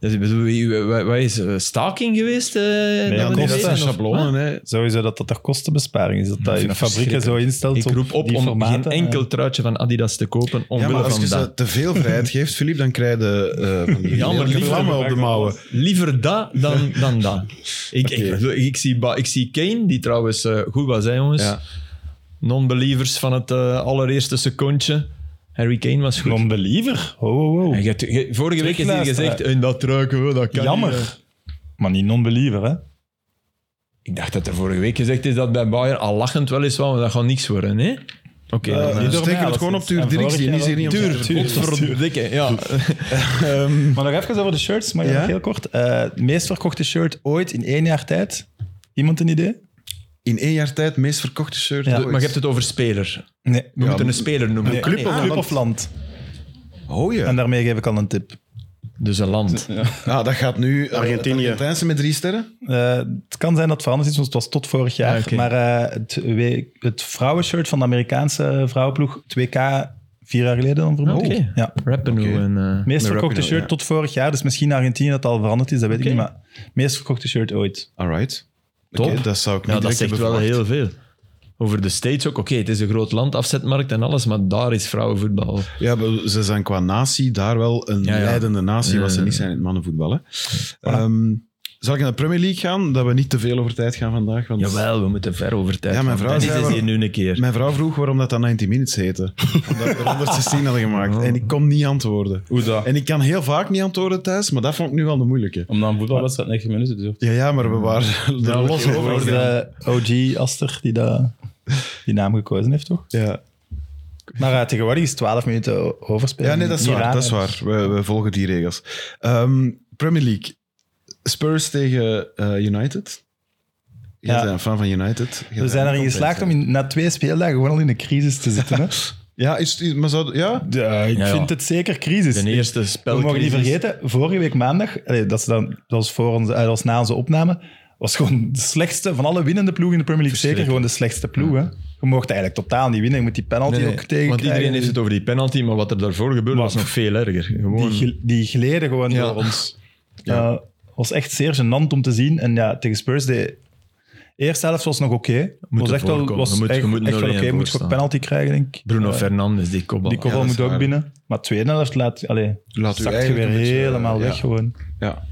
[SPEAKER 4] Dat is, ik bedoel, wie- wa- wa- wat is eh, staking geweest? eh, dat
[SPEAKER 3] ja,
[SPEAKER 4] we nu
[SPEAKER 3] kosten,
[SPEAKER 4] weten, of-
[SPEAKER 1] schablonen, hè.
[SPEAKER 3] Sowieso dat dat er kostenbesparing is. Dat, dat
[SPEAKER 4] vind
[SPEAKER 3] je
[SPEAKER 4] dat
[SPEAKER 3] fabrieken zo
[SPEAKER 4] verschrikkelijk.
[SPEAKER 3] instelt
[SPEAKER 4] Ik roep op
[SPEAKER 3] die
[SPEAKER 4] om geen
[SPEAKER 3] formaten.
[SPEAKER 4] enkel truitje van Adidas te kopen
[SPEAKER 1] Ja,
[SPEAKER 4] omwille
[SPEAKER 1] maar als
[SPEAKER 4] van
[SPEAKER 1] je
[SPEAKER 4] dat.
[SPEAKER 1] ze te veel vrijheid geeft, Filip, dan krijg je eh, van
[SPEAKER 4] (laughs)
[SPEAKER 1] die
[SPEAKER 4] Ja, maar
[SPEAKER 1] lelijke
[SPEAKER 4] liever-
[SPEAKER 1] vlammen op de mouwen.
[SPEAKER 4] Liever dat dan, dan dat. Ik,
[SPEAKER 1] (laughs)
[SPEAKER 4] ik,
[SPEAKER 1] Oké.
[SPEAKER 4] ik, zie, Ba- ik zie Kane, die trouwens eh, goed was, hè, jongens.
[SPEAKER 1] Ja.
[SPEAKER 4] Non-believers van het eh, allereerste secondje. Harry Kane was goed.
[SPEAKER 3] eh, Non-believer? Ho, ho, ho.
[SPEAKER 4] En je hebt- je- vorige week is hier
[SPEAKER 3] Terugluisteren.
[SPEAKER 4] gezegd, en dat ruiken we, dat kan
[SPEAKER 3] Jammer.
[SPEAKER 4] niet, hè.
[SPEAKER 3] Maar niet non-believer, hè?
[SPEAKER 4] Ik dacht dat er vorige week gezegd is dat bij Bayern al lachend weliswaar, maar dat gaat niks worden, hè? Oké.
[SPEAKER 1] Eh,
[SPEAKER 4] dan, eh,
[SPEAKER 1] we steken het
[SPEAKER 3] alles
[SPEAKER 1] gewoon op
[SPEAKER 3] is.
[SPEAKER 1] Tuur
[SPEAKER 3] En
[SPEAKER 1] Dirks,
[SPEAKER 3] vorig
[SPEAKER 1] die
[SPEAKER 3] jaar
[SPEAKER 1] is hier niet om
[SPEAKER 3] Tuur,
[SPEAKER 1] te-
[SPEAKER 3] Tuur.
[SPEAKER 4] Godverdikke, ja.
[SPEAKER 3] Maar nog even over de shirts, maar
[SPEAKER 1] Ja?
[SPEAKER 3] nog heel kort. Eh, het meest verkochte shirt ooit in één jaar tijd. Iemand een idee?
[SPEAKER 1] In één jaar tijd meest verkochte shirt
[SPEAKER 3] Ja.
[SPEAKER 1] ooit.
[SPEAKER 4] Maar je hebt het over speler.
[SPEAKER 3] Nee.
[SPEAKER 4] We moeten een speler noemen.
[SPEAKER 3] Nee,
[SPEAKER 4] Ah,
[SPEAKER 3] club,
[SPEAKER 4] nee.
[SPEAKER 3] of, club of land.
[SPEAKER 1] Oh ja.
[SPEAKER 3] En daarmee geef ik al een tip.
[SPEAKER 4] Dus een land.
[SPEAKER 1] Ah, dat gaat nu... eh,
[SPEAKER 5] Argentinië.
[SPEAKER 1] Argentijnse met drie sterren.
[SPEAKER 3] Eh, het kan zijn dat het veranderd is, want het was tot vorig jaar.
[SPEAKER 4] Ah, oké.
[SPEAKER 3] Maar eh, het, we- het vrouwenshirt van de Amerikaanse vrouwenploeg, 2K, vier jaar geleden dan vermoed ik.
[SPEAKER 4] Ah, Oké.
[SPEAKER 3] Ja.
[SPEAKER 4] Rappen
[SPEAKER 1] Oké.
[SPEAKER 4] en... eh,
[SPEAKER 3] Meest
[SPEAKER 1] Met
[SPEAKER 3] verkochte
[SPEAKER 1] Rapinoe,
[SPEAKER 3] shirt
[SPEAKER 1] ja.
[SPEAKER 3] tot vorig jaar, dus misschien in Argentinië dat het al veranderd is, dat weet ik niet. Maar meest verkochte shirt ooit.
[SPEAKER 1] All right.
[SPEAKER 4] Top.
[SPEAKER 1] Oké, dat zou ik
[SPEAKER 4] Ja,
[SPEAKER 1] niet
[SPEAKER 4] dat
[SPEAKER 1] direct
[SPEAKER 4] zegt
[SPEAKER 1] hebben
[SPEAKER 4] wel
[SPEAKER 1] verwacht.
[SPEAKER 4] heel veel. Over de States ook. Oké, het is een groot land, afzetmarkt en alles, maar daar is vrouwenvoetbal.
[SPEAKER 1] Ja, maar ze zijn qua natie daar wel een
[SPEAKER 4] Ja, ja.
[SPEAKER 1] leidende natie, wat ze
[SPEAKER 4] Ja.
[SPEAKER 1] niet zijn in het mannenvoetbal. Hè. Ehm, zal ik naar de Premier League gaan? Dat we niet te veel over tijd gaan vandaag. Want
[SPEAKER 4] Jawel, we moeten ver over tijd.
[SPEAKER 1] Ja, mijn
[SPEAKER 4] gaan.
[SPEAKER 1] vrouw
[SPEAKER 4] Dennis
[SPEAKER 1] zei
[SPEAKER 4] is
[SPEAKER 1] wel-
[SPEAKER 4] hier nu een keer.
[SPEAKER 1] Mijn vrouw vroeg waarom dat dan 90 Minutes heette.
[SPEAKER 4] (laughs)
[SPEAKER 1] Omdat we er 116 hadden gemaakt. En ik kon niet antwoorden.
[SPEAKER 2] hoe dat?
[SPEAKER 1] En ik kan heel vaak niet antwoorden thuis, maar dat vond ik nu wel de moeilijke.
[SPEAKER 2] Omdat een voetbalwedstrijd 90 minuten duurt.
[SPEAKER 1] Ja, ja, maar we waren er los
[SPEAKER 3] Dat is
[SPEAKER 1] over.
[SPEAKER 3] de OG Aster die dat- die naam gekozen heeft, toch?
[SPEAKER 1] Ja.
[SPEAKER 3] Maar eh, tegenwoordig is 12 minuten o- overspelen.
[SPEAKER 1] ja, nee, dat is
[SPEAKER 3] Ehm, Niet
[SPEAKER 1] waar.
[SPEAKER 3] raar,
[SPEAKER 1] Dat is
[SPEAKER 3] hè?
[SPEAKER 1] waar. We, we volgen die regels. Ehm, Premier League. Spurs tegen eh, United. Jij
[SPEAKER 3] Ja.
[SPEAKER 1] bent een fan van United. Jij
[SPEAKER 3] We
[SPEAKER 1] bent
[SPEAKER 3] zijn
[SPEAKER 1] een
[SPEAKER 3] erin geslaagd om in- na twee speeldagen gewoon al in een crisis te zitten.
[SPEAKER 1] (laughs)
[SPEAKER 3] Hè?
[SPEAKER 1] Ja, is, is- maar zou, ja?
[SPEAKER 3] Ja, eh, ik
[SPEAKER 4] Ja, ja.
[SPEAKER 3] vind het zeker crisis.
[SPEAKER 4] De eerste spel.
[SPEAKER 3] We mogen niet vergeten, vorige week maandag, allee, dat, is dan, dat, was voor onze, eh, dat was na onze opname, was gewoon de slechtste van alle winnende ploegen in de Premier League. Zeker gewoon de slechtste ploeg. Hè? Je mocht eigenlijk totaal niet winnen. Je moet die penalty ook tegen. eh,
[SPEAKER 4] want iedereen heeft het over die penalty, maar wat er daarvoor gebeurde was nog veel erger. Gewoon,
[SPEAKER 3] Die, gel- die gleden gewoon
[SPEAKER 4] Ja. (laughs)
[SPEAKER 3] door ons. Eh, was echt zeer gênant om te zien. En ja, tegen Spurs deed... Eerste helft was nog oké. was echt wel
[SPEAKER 4] voorkomen. Je
[SPEAKER 3] was
[SPEAKER 4] moet- je
[SPEAKER 3] echt,
[SPEAKER 4] moet
[SPEAKER 3] echt wel
[SPEAKER 4] 0-1
[SPEAKER 3] oké. Moet je ook
[SPEAKER 4] voorstaan.
[SPEAKER 3] penalty krijgen, denk ik.
[SPEAKER 4] Bruno
[SPEAKER 3] Eh,
[SPEAKER 4] Fernandes, die kopbal.
[SPEAKER 3] Die
[SPEAKER 4] Ja,
[SPEAKER 3] kopbal
[SPEAKER 4] dat is
[SPEAKER 3] moet ook
[SPEAKER 4] waar.
[SPEAKER 3] binnen. Maar tweede helft laat, allee,
[SPEAKER 1] Laat u
[SPEAKER 3] zakt je
[SPEAKER 1] eigenlijk
[SPEAKER 3] weer
[SPEAKER 1] een beetje, eh,
[SPEAKER 3] helemaal weg
[SPEAKER 1] ja.
[SPEAKER 3] gewoon.
[SPEAKER 1] Ja.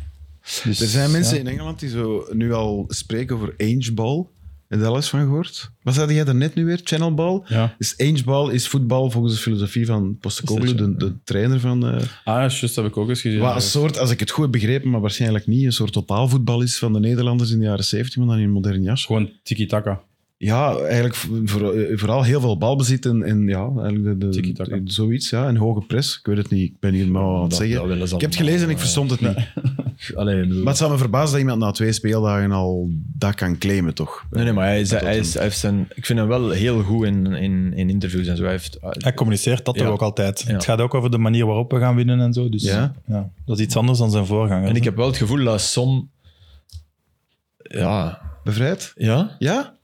[SPEAKER 3] Dus,
[SPEAKER 1] Er zijn mensen
[SPEAKER 3] ja.
[SPEAKER 1] in Engeland die zo nu al spreken over Ange Ball. Heb je daar al eens van gehoord? Wat zei jij daarnet nu weer? Channel Ball?
[SPEAKER 2] Ja.
[SPEAKER 1] Dus Ange Ball is voetbal volgens de filosofie van Postecoglou, de, de trainer van... eh,
[SPEAKER 2] Ah, ja, juist, dat heb ik ook eens gezien.
[SPEAKER 1] wat een soort, als ik het goed heb begrepen, maar waarschijnlijk niet, een soort totaalvoetbal is van de Nederlanders in de jaren 70, maar dan in een moderne jas.
[SPEAKER 2] Gewoon tiki-taka.
[SPEAKER 1] Ja, eigenlijk voor- voor- eh, vooral heel veel balbezit en, en ja, eigenlijk de,
[SPEAKER 2] Tiki-taka.
[SPEAKER 1] de, zoiets. Ja, en hoge press. Ik weet het niet, ik ben hier maar wat aan het
[SPEAKER 4] Dat-
[SPEAKER 1] zeggen.
[SPEAKER 4] dat willen ze
[SPEAKER 1] ik heb het
[SPEAKER 4] allemaal,
[SPEAKER 1] gelezen en ik
[SPEAKER 4] eh,
[SPEAKER 1] verstond het niet.
[SPEAKER 4] Allee, ik bedoel-
[SPEAKER 1] Maar het zou me verbazen dat iemand na twee speeldagen al dat kan claimen, toch?
[SPEAKER 4] Nee, nee, maar hij, is, hij, is, hij heeft zijn... Ik vind hem wel heel goed in, in, in interviews en zo. Hij heeft...
[SPEAKER 3] Hij communiceert dat
[SPEAKER 4] Ja.
[SPEAKER 3] toch ook altijd.
[SPEAKER 4] Ja.
[SPEAKER 3] Het gaat ook over de manier waarop we gaan winnen en zo. Dus
[SPEAKER 1] Ja.
[SPEAKER 3] ja. dat is iets anders dan zijn voorganger.
[SPEAKER 4] En ik
[SPEAKER 3] hè.
[SPEAKER 4] heb wel het gevoel dat Son... Ja.
[SPEAKER 1] Bevrijd?
[SPEAKER 4] Ja?
[SPEAKER 1] Ja?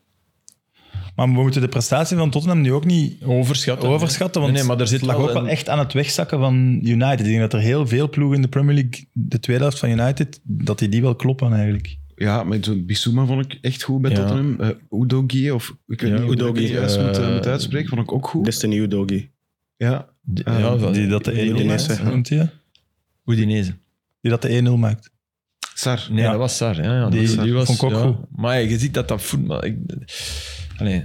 [SPEAKER 3] Maar we moeten de prestatie van Tottenham nu ook niet
[SPEAKER 4] Overschatten.
[SPEAKER 3] overschatten. Want
[SPEAKER 4] Nee, nee, maar er zit
[SPEAKER 3] het lag
[SPEAKER 4] wel
[SPEAKER 3] ook wel
[SPEAKER 4] een-
[SPEAKER 3] echt aan het wegzakken van United. Ik denk dat er heel veel ploegen in de Premier League, de tweede helft van United, dat die die wel kloppen eigenlijk.
[SPEAKER 1] Ja, maar zo'n Bissouma vond ik echt goed bij
[SPEAKER 4] Ja.
[SPEAKER 1] Tottenham. Eh Udogie, of ik weet
[SPEAKER 4] Ja,
[SPEAKER 1] niet hoe ik
[SPEAKER 5] Udogie,
[SPEAKER 1] het juist moet, eh,
[SPEAKER 4] eh,
[SPEAKER 1] moet uitspreken, vond ik ook goed.
[SPEAKER 5] Destiny Udogi.
[SPEAKER 1] Ja.
[SPEAKER 4] Ja,
[SPEAKER 1] Eh,
[SPEAKER 4] van-
[SPEAKER 3] Ah, Die dat de 1-0
[SPEAKER 5] Udinese,
[SPEAKER 3] maakt,
[SPEAKER 5] ja.
[SPEAKER 3] noemt hij dat?
[SPEAKER 4] Udinese.
[SPEAKER 3] Die dat de 1-0 maakt.
[SPEAKER 1] Sar.
[SPEAKER 4] Nee,
[SPEAKER 3] Ja.
[SPEAKER 4] dat was Sar. Ja, ja,
[SPEAKER 3] Die-
[SPEAKER 4] die, die was,
[SPEAKER 3] vond ik ook
[SPEAKER 4] ja.
[SPEAKER 3] goed.
[SPEAKER 4] Maar je ziet dat dat voetbal... Ik, allee.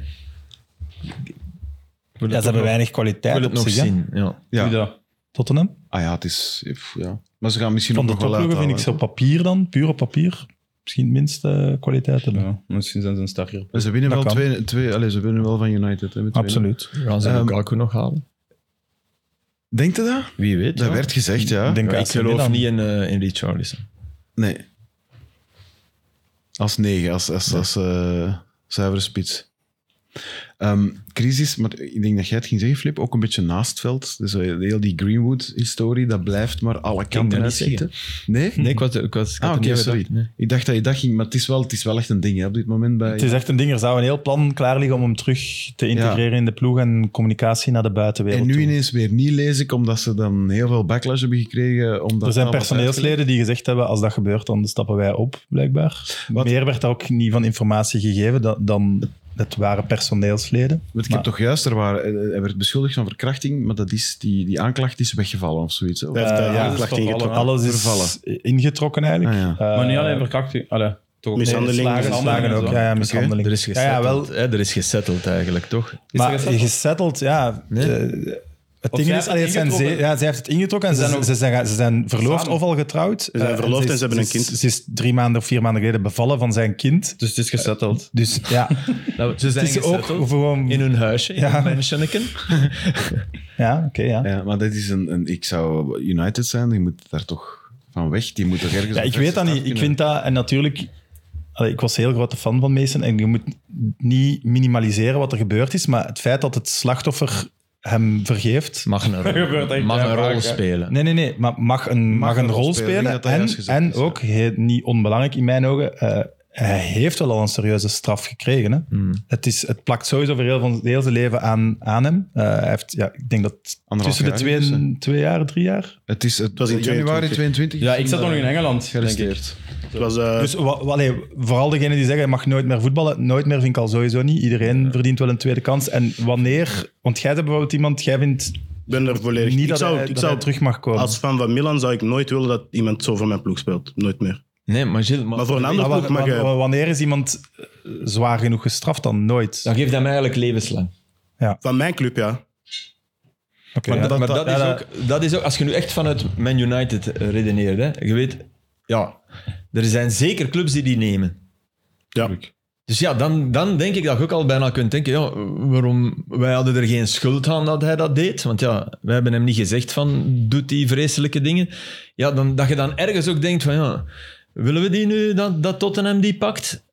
[SPEAKER 3] Ja, ze hebben weinig kwaliteit
[SPEAKER 4] Ik wil het
[SPEAKER 3] op
[SPEAKER 4] nog
[SPEAKER 3] zich, hè,
[SPEAKER 4] zien. Ja.
[SPEAKER 2] Doe
[SPEAKER 1] Ja.
[SPEAKER 2] dat.
[SPEAKER 3] Tottenham.
[SPEAKER 1] Ah ja, het is... pff, Ja. Maar ze gaan misschien
[SPEAKER 3] Van de
[SPEAKER 1] ook nog wel
[SPEAKER 3] topploegen vind ik
[SPEAKER 1] uithalen,
[SPEAKER 3] ze op papier dan, puur op papier, misschien het minste kwaliteit hebben.
[SPEAKER 2] Ja, misschien zijn ze een sterker.
[SPEAKER 1] hè. Ze winnen,
[SPEAKER 3] Dat
[SPEAKER 1] wel
[SPEAKER 3] kan.
[SPEAKER 1] twee, twee, allez, ze winnen wel van United. Hè, met 2-0.
[SPEAKER 3] Absoluut.
[SPEAKER 4] Gaan ze
[SPEAKER 1] Ehm,
[SPEAKER 4] Lukaku nog halen?
[SPEAKER 1] Denkt u dat?
[SPEAKER 4] Wie weet.
[SPEAKER 2] Eh,
[SPEAKER 1] Dat
[SPEAKER 4] ja.
[SPEAKER 1] werd gezegd, ja.
[SPEAKER 3] Ik denk
[SPEAKER 4] Ja, ik
[SPEAKER 3] AC
[SPEAKER 4] geloof
[SPEAKER 3] Milan.
[SPEAKER 4] niet in, eh in Richarlison.
[SPEAKER 1] Nee. Als negen, als, als, als eh, zuivere spits. Ehm, crisis, maar ik denk dat jij het ging zeggen, Flip, ook een beetje naast het veld. Dus eh, heel die Greenwood-historie, dat blijft maar alle kanten
[SPEAKER 4] dat niet
[SPEAKER 1] uitschieten. Nee?
[SPEAKER 4] Nee, ik was... Ik was ik
[SPEAKER 1] Ah,
[SPEAKER 4] had
[SPEAKER 1] oké,
[SPEAKER 4] er niet aan
[SPEAKER 1] sorry.
[SPEAKER 4] gedacht, nee.
[SPEAKER 1] Ik dacht dat je dat ging, maar het is wel, het is wel echt een ding hè, op dit moment. Bij,
[SPEAKER 3] Het is echt een ding. Er zou een heel plan klaar liggen om hem terug te integreren in de ploeg en communicatie naar de buitenwereld.
[SPEAKER 1] en nu
[SPEAKER 3] toe.
[SPEAKER 1] ineens weer niet lees ik, omdat ze dan heel veel backlash hebben gekregen. Omdat
[SPEAKER 3] er zijn
[SPEAKER 1] dat was uitgelegd.
[SPEAKER 3] personeelsleden die gezegd hebben, als dat gebeurt, dan stappen wij op, blijkbaar.
[SPEAKER 1] Wat?
[SPEAKER 3] Meer werd daar ook niet van informatie gegeven dan, dan het waren personeelsleden.
[SPEAKER 1] Want ik
[SPEAKER 3] Maar-
[SPEAKER 1] heb toch juist, er waren, eh, hij werd beschuldigd van verkrachting, maar dat is, die, die aanklacht is weggevallen of zoiets. hè? Of-
[SPEAKER 5] Hij heeft
[SPEAKER 3] Eh,
[SPEAKER 5] de
[SPEAKER 3] ja,
[SPEAKER 5] aanklacht
[SPEAKER 2] dat is toch
[SPEAKER 5] ingetrokken.
[SPEAKER 3] Alles is
[SPEAKER 1] Vervallen.
[SPEAKER 3] ingetrokken eigenlijk.
[SPEAKER 1] Ah, ja.
[SPEAKER 3] Eh,
[SPEAKER 2] maar niet alleen verkrachting. Allee, toch ook
[SPEAKER 5] Miss-
[SPEAKER 3] nee,
[SPEAKER 5] mishandeling,
[SPEAKER 3] slagen,
[SPEAKER 2] mishandeling
[SPEAKER 3] slagen
[SPEAKER 2] en
[SPEAKER 3] ook.
[SPEAKER 2] zo.
[SPEAKER 3] Ja, ja, mishandeling.
[SPEAKER 4] Er is
[SPEAKER 3] ja, ja, wel.
[SPEAKER 4] gesetteld, hè, er is gesetteld eigenlijk, toch?
[SPEAKER 3] maar
[SPEAKER 2] er gesetteld?
[SPEAKER 3] gesetteld, ja.
[SPEAKER 4] Nee.
[SPEAKER 3] Eh, het
[SPEAKER 2] Of
[SPEAKER 3] ding
[SPEAKER 2] zij
[SPEAKER 3] is,
[SPEAKER 2] heeft
[SPEAKER 3] allee,
[SPEAKER 2] het
[SPEAKER 3] het zijn ze,
[SPEAKER 2] ingetrokken.
[SPEAKER 3] ja, zij heeft het ingetrokken en ze
[SPEAKER 2] Ze
[SPEAKER 3] zijn,
[SPEAKER 2] zijn
[SPEAKER 3] ze zijn, ze zijn verloofd
[SPEAKER 2] samen.
[SPEAKER 3] of al getrouwd. Eh, Ze
[SPEAKER 5] zijn verloofd en ze hebben een kind.
[SPEAKER 3] Ze is, drie maanden of vier maanden geleden bevallen van zijn kind.
[SPEAKER 2] Dus het is gesetteld.
[SPEAKER 3] Dus
[SPEAKER 2] (laughs)
[SPEAKER 3] ja,
[SPEAKER 4] Nou, ze zijn
[SPEAKER 3] Dus het is ook
[SPEAKER 4] gesetteld
[SPEAKER 3] gewoon...
[SPEAKER 4] in hun huisje, in
[SPEAKER 3] Ja.
[SPEAKER 4] hun mansionneken.
[SPEAKER 3] Ja, oké, ja.
[SPEAKER 1] Ja, maar dat is een, een... Ik zou United zijn, die moet daar toch van weg. Die moet toch ergens...
[SPEAKER 3] Ja,
[SPEAKER 1] op
[SPEAKER 3] ik
[SPEAKER 1] de
[SPEAKER 3] weet dat
[SPEAKER 1] start
[SPEAKER 3] niet. Ik
[SPEAKER 1] kunnen.
[SPEAKER 3] vind dat... En natuurlijk... allee, ik was een heel grote fan van Mason. En je moet niet minimaliseren wat er gebeurd is. Maar het feit dat het slachtoffer hem vergeeft...
[SPEAKER 4] Mag een
[SPEAKER 2] gebeurt
[SPEAKER 4] rol,
[SPEAKER 2] echt
[SPEAKER 4] mag
[SPEAKER 2] heel
[SPEAKER 4] een
[SPEAKER 2] vaak,
[SPEAKER 4] rol
[SPEAKER 2] hè.
[SPEAKER 4] spelen.
[SPEAKER 3] Nee, nee, nee. Maar mag een, mag een rol
[SPEAKER 1] Ik
[SPEAKER 3] spelen.
[SPEAKER 1] denk dat dat juist
[SPEAKER 3] en
[SPEAKER 1] gezegd
[SPEAKER 3] en
[SPEAKER 1] is, ja.
[SPEAKER 3] ook, heel- niet onbelangrijk in mijn ogen... eh, hij heeft wel al een serieuze straf gekregen. Hè?
[SPEAKER 5] Hmm.
[SPEAKER 3] Het, is, het plakt sowieso voor heel, van, heel zijn leven aan, aan hem. Eh, hij heeft, ja, ik denk dat
[SPEAKER 1] Anderhalf
[SPEAKER 3] tussen de
[SPEAKER 1] jaar
[SPEAKER 3] twee,
[SPEAKER 1] dus,
[SPEAKER 3] en, twee jaar, drie jaar.
[SPEAKER 1] Het, is, het,
[SPEAKER 5] was in
[SPEAKER 1] januari
[SPEAKER 5] 22.
[SPEAKER 1] 22.
[SPEAKER 2] Ja, ik zat nog in Engeland, denk (laughs) ik.
[SPEAKER 1] Gearresteerd.
[SPEAKER 5] Het was, eh,
[SPEAKER 3] Dus wa- wa- allee, vooral degene die zeggen, je mag nooit meer voetballen. Nooit meer vind ik al sowieso niet. Iedereen verdient wel een tweede kans. En wanneer... Want jij hebt bijvoorbeeld iemand... Jij vindt
[SPEAKER 5] ik ben er volledig...
[SPEAKER 3] niet
[SPEAKER 5] ik
[SPEAKER 3] dat,
[SPEAKER 5] zou,
[SPEAKER 3] hij,
[SPEAKER 5] ik
[SPEAKER 3] dat
[SPEAKER 5] zou
[SPEAKER 3] hij terug mag komen.
[SPEAKER 5] Als fan van Milan zou ik nooit willen dat iemand zo voor mijn ploeg speelt. Nooit meer.
[SPEAKER 4] Nee, maar Gilles...
[SPEAKER 5] Maar voor een ander
[SPEAKER 3] Maar wa-
[SPEAKER 5] ploeg mag
[SPEAKER 3] wa-
[SPEAKER 5] je...
[SPEAKER 3] wa- wanneer is iemand eh, zwaar genoeg gestraft dan? Nooit.
[SPEAKER 4] Dan geeft hij hem eigenlijk levenslang.
[SPEAKER 5] Van mijn club, ja.
[SPEAKER 3] Oké,
[SPEAKER 4] Maar,
[SPEAKER 3] ja.
[SPEAKER 4] dat, maar dat,
[SPEAKER 3] ja,
[SPEAKER 4] is ook, dat is ook, als je nu echt vanuit Man United redeneert, hè, je weet, ja, er zijn zeker clubs die die nemen.
[SPEAKER 5] Ja.
[SPEAKER 4] Dus ja, dan, dan denk ik dat je ook al bijna kunt denken, ja, waarom, wij hadden er geen schuld aan dat hij dat deed. Want ja, wij hebben hem niet gezegd van, doet die vreselijke dingen. Ja, dan, dat je dan ergens ook denkt van, ja, willen we die nu, dat, dat Tottenham die pakt?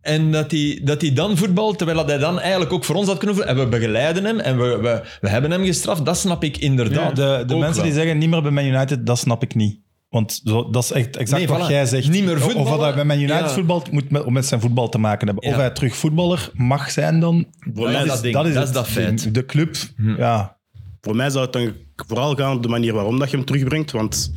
[SPEAKER 4] En dat hij, dat hij dan voetbalt, terwijl dat hij dan eigenlijk ook voor ons had kunnen voetballen. En we begeleiden hem en we, we, we hebben hem gestraft. Dat snap ik inderdaad.
[SPEAKER 3] de de
[SPEAKER 4] ook
[SPEAKER 3] mensen die
[SPEAKER 4] wel.
[SPEAKER 3] zeggen niet meer bij Man United, dat snap ik niet. Want zo, dat is echt exact
[SPEAKER 4] Nee,
[SPEAKER 3] wat
[SPEAKER 4] voilà.
[SPEAKER 3] jij zegt.
[SPEAKER 4] Niet meer voetballen.
[SPEAKER 3] Of wat hij bij Man United
[SPEAKER 4] Ja.
[SPEAKER 3] voetbalt, moet met, met zijn voetbal te maken hebben. Of
[SPEAKER 4] Ja.
[SPEAKER 3] hij terug voetballer mag zijn dan.
[SPEAKER 4] mij is dat ding. Dat is
[SPEAKER 3] het
[SPEAKER 4] dat feit. Hm.
[SPEAKER 3] ding. De club, ja.
[SPEAKER 5] Voor mij zou het dan vooral gaan op de manier waarom dat je hem terugbrengt. Want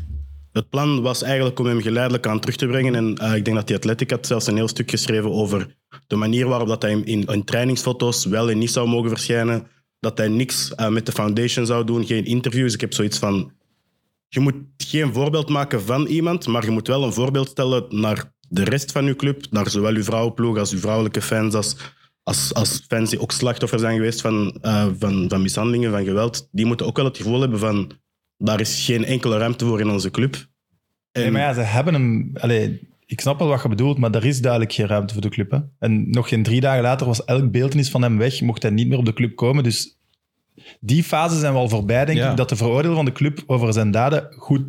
[SPEAKER 5] het plan was eigenlijk om hem geleidelijk aan terug te brengen. En eh, ik denk dat die Athletic had zelfs een heel stuk geschreven over de manier waarop dat hij in, in, in trainingsfoto's wel en niet zou mogen verschijnen, dat hij niks eh, met de foundation zou doen, geen interviews. Ik heb zoiets van, je moet geen voorbeeld maken van iemand, maar je moet wel een voorbeeld stellen naar de rest van je club, naar zowel uw vrouwenploeg als uw vrouwelijke fans, als, als, als fans die ook slachtoffer zijn geweest van, eh, van, van mishandelingen, van geweld. Die moeten ook wel het gevoel hebben van, daar is geen enkele ruimte voor in onze club. En,
[SPEAKER 3] Nee, maar ja, ze hebben hem... Allee, ik snap wel wat je bedoelt, maar er is duidelijk geen ruimte voor de club. Hè? En nog geen drie dagen later was elk beeldnis van hem weg, mocht hij niet meer op de club komen. Dus die fase zijn we al voorbij, denk
[SPEAKER 1] Ja.
[SPEAKER 3] ik, dat de veroordeel van de club over zijn daden goed...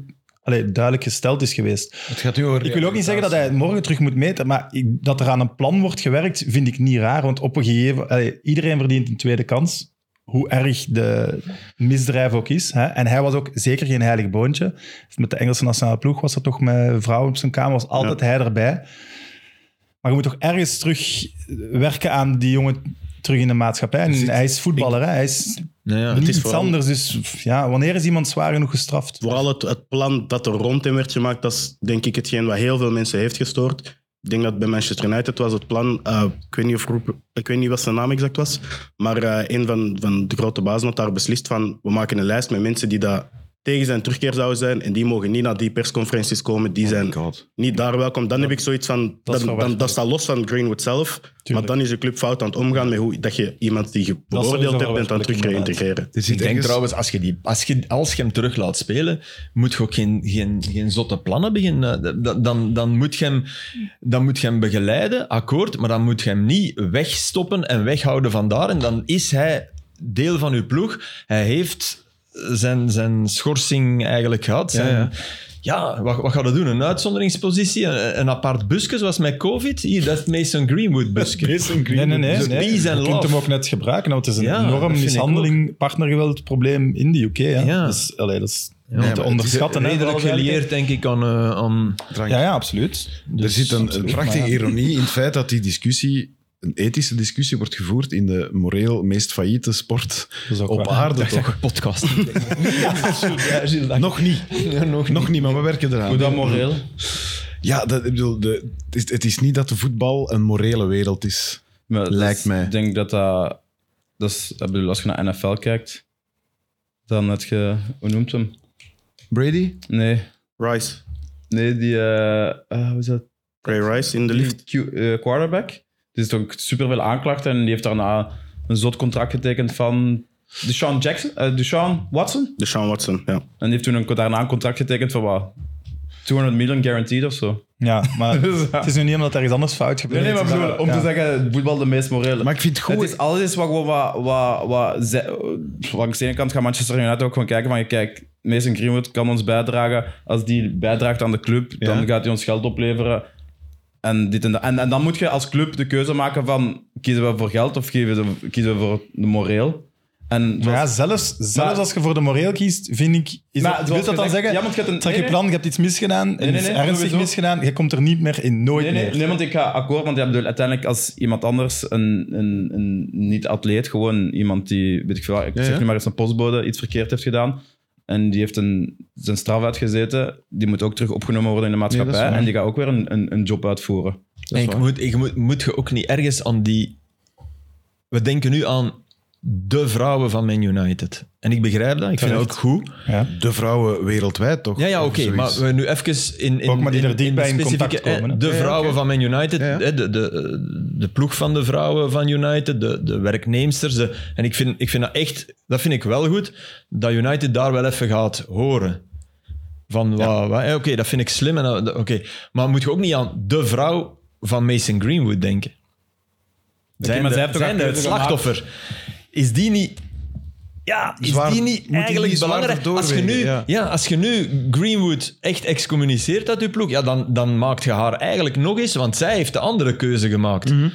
[SPEAKER 3] allee, duidelijk gesteld is geweest.
[SPEAKER 1] Het gaat nu over
[SPEAKER 3] Ik wil ook niet zeggen dat hij het morgen terug moet meten, maar ik- dat er aan een plan wordt gewerkt, vind ik niet raar. Want op een gegeven allee, iedereen verdient een tweede kans, hoe erg de misdrijf ook is. Hè? En hij was ook zeker geen heilig boontje. Met de Engelse nationale ploeg was dat toch met vrouwen op zijn kamer, was altijd hij erbij. Maar je moet toch ergens terug werken aan die jongen terug in de maatschappij. En hij is voetballer, hè? hij is
[SPEAKER 4] Nou ja.
[SPEAKER 3] niet
[SPEAKER 5] is
[SPEAKER 3] iets
[SPEAKER 5] vooral-
[SPEAKER 3] anders. Dus ja, wanneer is iemand zwaar genoeg gestraft?
[SPEAKER 5] Vooral het, het plan dat er rond hem werd gemaakt, dat is denk ik hetgeen wat heel veel mensen heeft gestoord. Ik denk dat het bij Manchester United was het plan, eh, ik, weet niet of, Roep- ik weet niet wat zijn naam exact was, maar eh, een van, van de grote bazen had daar beslist van, we maken een lijst met mensen die daar tegen zijn terugkeer zouden zijn en die mogen niet naar die persconferenties komen, die zijn niet daar welkom. Dan heb ik zoiets van,
[SPEAKER 3] dat is
[SPEAKER 5] dan, dan,
[SPEAKER 3] verwerpelijk.
[SPEAKER 5] dat staat los van Greenwood zelf, maar dan is de club fout aan het omgaan met hoe dat je iemand die je
[SPEAKER 3] sowieso
[SPEAKER 5] beoordeeld hebt en dan
[SPEAKER 3] verwerpelijk,
[SPEAKER 5] terug
[SPEAKER 3] inderdaad.
[SPEAKER 5] reïntegreren.
[SPEAKER 1] Er zit
[SPEAKER 4] Ik denk
[SPEAKER 1] ergens-
[SPEAKER 4] trouwens, als je, die, als, je, als je hem terug laat spelen, moet je ook geen, geen, geen zotte plannen beginnen. Dan, dan, dan, moet je hem, dan moet je hem begeleiden, akkoord, maar dan moet je hem niet wegstoppen en weghouden van daar. En dan is hij deel van uw ploeg. Hij heeft zijn, zijn schorsing eigenlijk gehad. Zijn, ja,
[SPEAKER 1] ja.
[SPEAKER 4] wat, wat gaat hij doen? Een uitzonderingspositie? Een, een apart busje, zoals met COVID? Hier, dat is Mason Greenwood busje.
[SPEAKER 3] Nee, nee, nee.
[SPEAKER 4] Dus
[SPEAKER 3] nee.
[SPEAKER 4] peace and
[SPEAKER 3] Je kunt
[SPEAKER 4] love.
[SPEAKER 3] hem ook net gebruiken, want het is een
[SPEAKER 4] Ja, dat
[SPEAKER 3] enorm
[SPEAKER 4] vind ik
[SPEAKER 3] mishandeling, partnergeweldprobleem in de UK. Hè?
[SPEAKER 4] Ja.
[SPEAKER 3] Dus, allee, dat is niet
[SPEAKER 4] Ja, maar
[SPEAKER 3] te
[SPEAKER 4] het is
[SPEAKER 3] onderschatten. hè,
[SPEAKER 4] Redelijk
[SPEAKER 3] vooral
[SPEAKER 4] gelieerd, denk ik, aan... eh, aan
[SPEAKER 3] Ja, ja, absoluut. Dus
[SPEAKER 1] Er zit een, een
[SPEAKER 3] absoluut,
[SPEAKER 1] prachtige
[SPEAKER 3] maar ja.
[SPEAKER 1] ironie in het feit dat die discussie, een ethische discussie, wordt gevoerd in de moreel meest failliete sport
[SPEAKER 3] is ook
[SPEAKER 1] op
[SPEAKER 3] waar.
[SPEAKER 1] aarde, toch?
[SPEAKER 4] podcast.
[SPEAKER 1] Nog niet.
[SPEAKER 4] nog
[SPEAKER 1] Nog niet, maar we werken
[SPEAKER 2] Hoe
[SPEAKER 1] eraan.
[SPEAKER 2] dat moreel?
[SPEAKER 1] Ja, dat, ik bedoel, de, het, is, het is niet dat de voetbal een morele wereld is.
[SPEAKER 2] Maar dat
[SPEAKER 1] Lijkt
[SPEAKER 2] is-
[SPEAKER 1] mij.
[SPEAKER 2] Ik denk dat dat... dat is, ik bedoel, als je naar NFL kijkt, dan heb je... Hoe noemt hem?
[SPEAKER 1] Brady?
[SPEAKER 2] Nee.
[SPEAKER 5] Rice,
[SPEAKER 2] Nee, die... eh, eh, hoe is dat?
[SPEAKER 5] Ray Rice in de lift.
[SPEAKER 2] Die Q- eh, quarterback. Er is ook superveel aanklachten en die heeft daarna een zot contract getekend van... Deshaun Jackson? eh, Deshaun Watson?
[SPEAKER 5] Deshaun Watson, ja.
[SPEAKER 2] En die heeft toen een, daarna een contract getekend van wat? 200 miljoen guaranteed of zo.
[SPEAKER 3] Ja,
[SPEAKER 2] (laughs)
[SPEAKER 3] maar
[SPEAKER 2] Dus, ja.
[SPEAKER 3] het is nu niet omdat er iets anders fout gebeurt.
[SPEAKER 2] Nee, nee, maar ik
[SPEAKER 3] Het is
[SPEAKER 2] bedoel, om te
[SPEAKER 3] ja.
[SPEAKER 2] zeggen, voetbal de meest morele.
[SPEAKER 1] Maar ik vind het goed.
[SPEAKER 2] Het is alles wat gewoon wat, wat, wat, ze- langs de ene kant gaat Manchester United ook gewoon kijken van kijk, Mason Greenwood kan ons bijdragen. Als die bijdraagt aan de club, dan gaat hij ons geld opleveren. En, dit en, dat. en, en dan moet je als club de keuze maken van kiezen we voor geld of kiezen we, kiezen we voor de moreel. En
[SPEAKER 3] Maar ja,
[SPEAKER 2] zoals-
[SPEAKER 3] zelfs, zelfs
[SPEAKER 2] Maar-
[SPEAKER 3] als je voor de moreel kiest, vind ik... Is
[SPEAKER 2] Maar
[SPEAKER 3] dat,
[SPEAKER 2] zoals
[SPEAKER 3] wil dat dan
[SPEAKER 2] gezegd-
[SPEAKER 3] zeggen?
[SPEAKER 2] ja, want je hebt een-
[SPEAKER 3] Trek
[SPEAKER 2] nee,
[SPEAKER 3] je
[SPEAKER 2] nee.
[SPEAKER 3] plan, je hebt iets misgedaan, en
[SPEAKER 2] nee,
[SPEAKER 3] het is
[SPEAKER 2] nee,
[SPEAKER 3] ernstig
[SPEAKER 2] sowieso.
[SPEAKER 3] misgedaan, je komt er niet meer in, nooit
[SPEAKER 2] Nee, nee,
[SPEAKER 3] meer.
[SPEAKER 2] nee, want ik ga akkoord, want ja, ik bedoel, uiteindelijk als iemand anders, een, een, een niet-atleet, gewoon iemand die, weet ik veel, ik
[SPEAKER 1] Ja,
[SPEAKER 2] zeg
[SPEAKER 1] ja.
[SPEAKER 2] nu maar eens een postbode, iets verkeerd heeft gedaan, en die heeft een, zijn straf uitgezeten, die moet ook terug opgenomen worden in de maatschappij,
[SPEAKER 1] waar.
[SPEAKER 2] en die gaat ook weer een, een, een job uitvoeren.
[SPEAKER 4] En ik moet, ik moet, moet je ook niet ergens aan die... We denken nu aan de vrouwen van Man United. En ik begrijp dat, ik vind dat ook goed.
[SPEAKER 3] Ja.
[SPEAKER 1] De vrouwen wereldwijd, toch?
[SPEAKER 4] Ja, ja
[SPEAKER 1] Of
[SPEAKER 4] oké,
[SPEAKER 1] zoiets.
[SPEAKER 4] maar we nu even in, in,
[SPEAKER 3] Ook maar die
[SPEAKER 4] in,
[SPEAKER 3] er diep
[SPEAKER 4] de
[SPEAKER 3] bij in
[SPEAKER 4] specifieke-
[SPEAKER 3] contact komen, hè?
[SPEAKER 4] eh, De
[SPEAKER 1] ja,
[SPEAKER 4] vrouwen
[SPEAKER 1] oké.
[SPEAKER 4] van Man United,
[SPEAKER 1] Ja, ja.
[SPEAKER 4] hè, De, de, de ploeg van de vrouwen van United, de, de werknemsters. de- en ik vind, ik vind dat echt, dat vind ik wel goed, dat United daar wel even gaat horen. Van, wa- wa- eh, oké, dat vind ik slim. En, dat- dat- oké. Maar moet je ook niet aan de vrouw van Mason Greenwood denken? Zijn,
[SPEAKER 2] maar
[SPEAKER 4] de-
[SPEAKER 2] zij heeft toch
[SPEAKER 4] zijn
[SPEAKER 2] een
[SPEAKER 4] de het
[SPEAKER 2] keuze gemaakt?
[SPEAKER 4] slachtoffer? Is die niet... Ja, is
[SPEAKER 1] Zwaar-
[SPEAKER 4] die
[SPEAKER 1] moet
[SPEAKER 4] niet
[SPEAKER 1] die
[SPEAKER 4] eigenlijk
[SPEAKER 1] niet zwaarder
[SPEAKER 4] belangrijk? Als je, nu,
[SPEAKER 1] doorwegen, ja.
[SPEAKER 4] ja. als je nu Greenwood echt excommuniceert uit je ploeg, ja, dan, dan maakt je haar eigenlijk nog eens, want zij heeft de andere keuze gemaakt.
[SPEAKER 3] Mhm.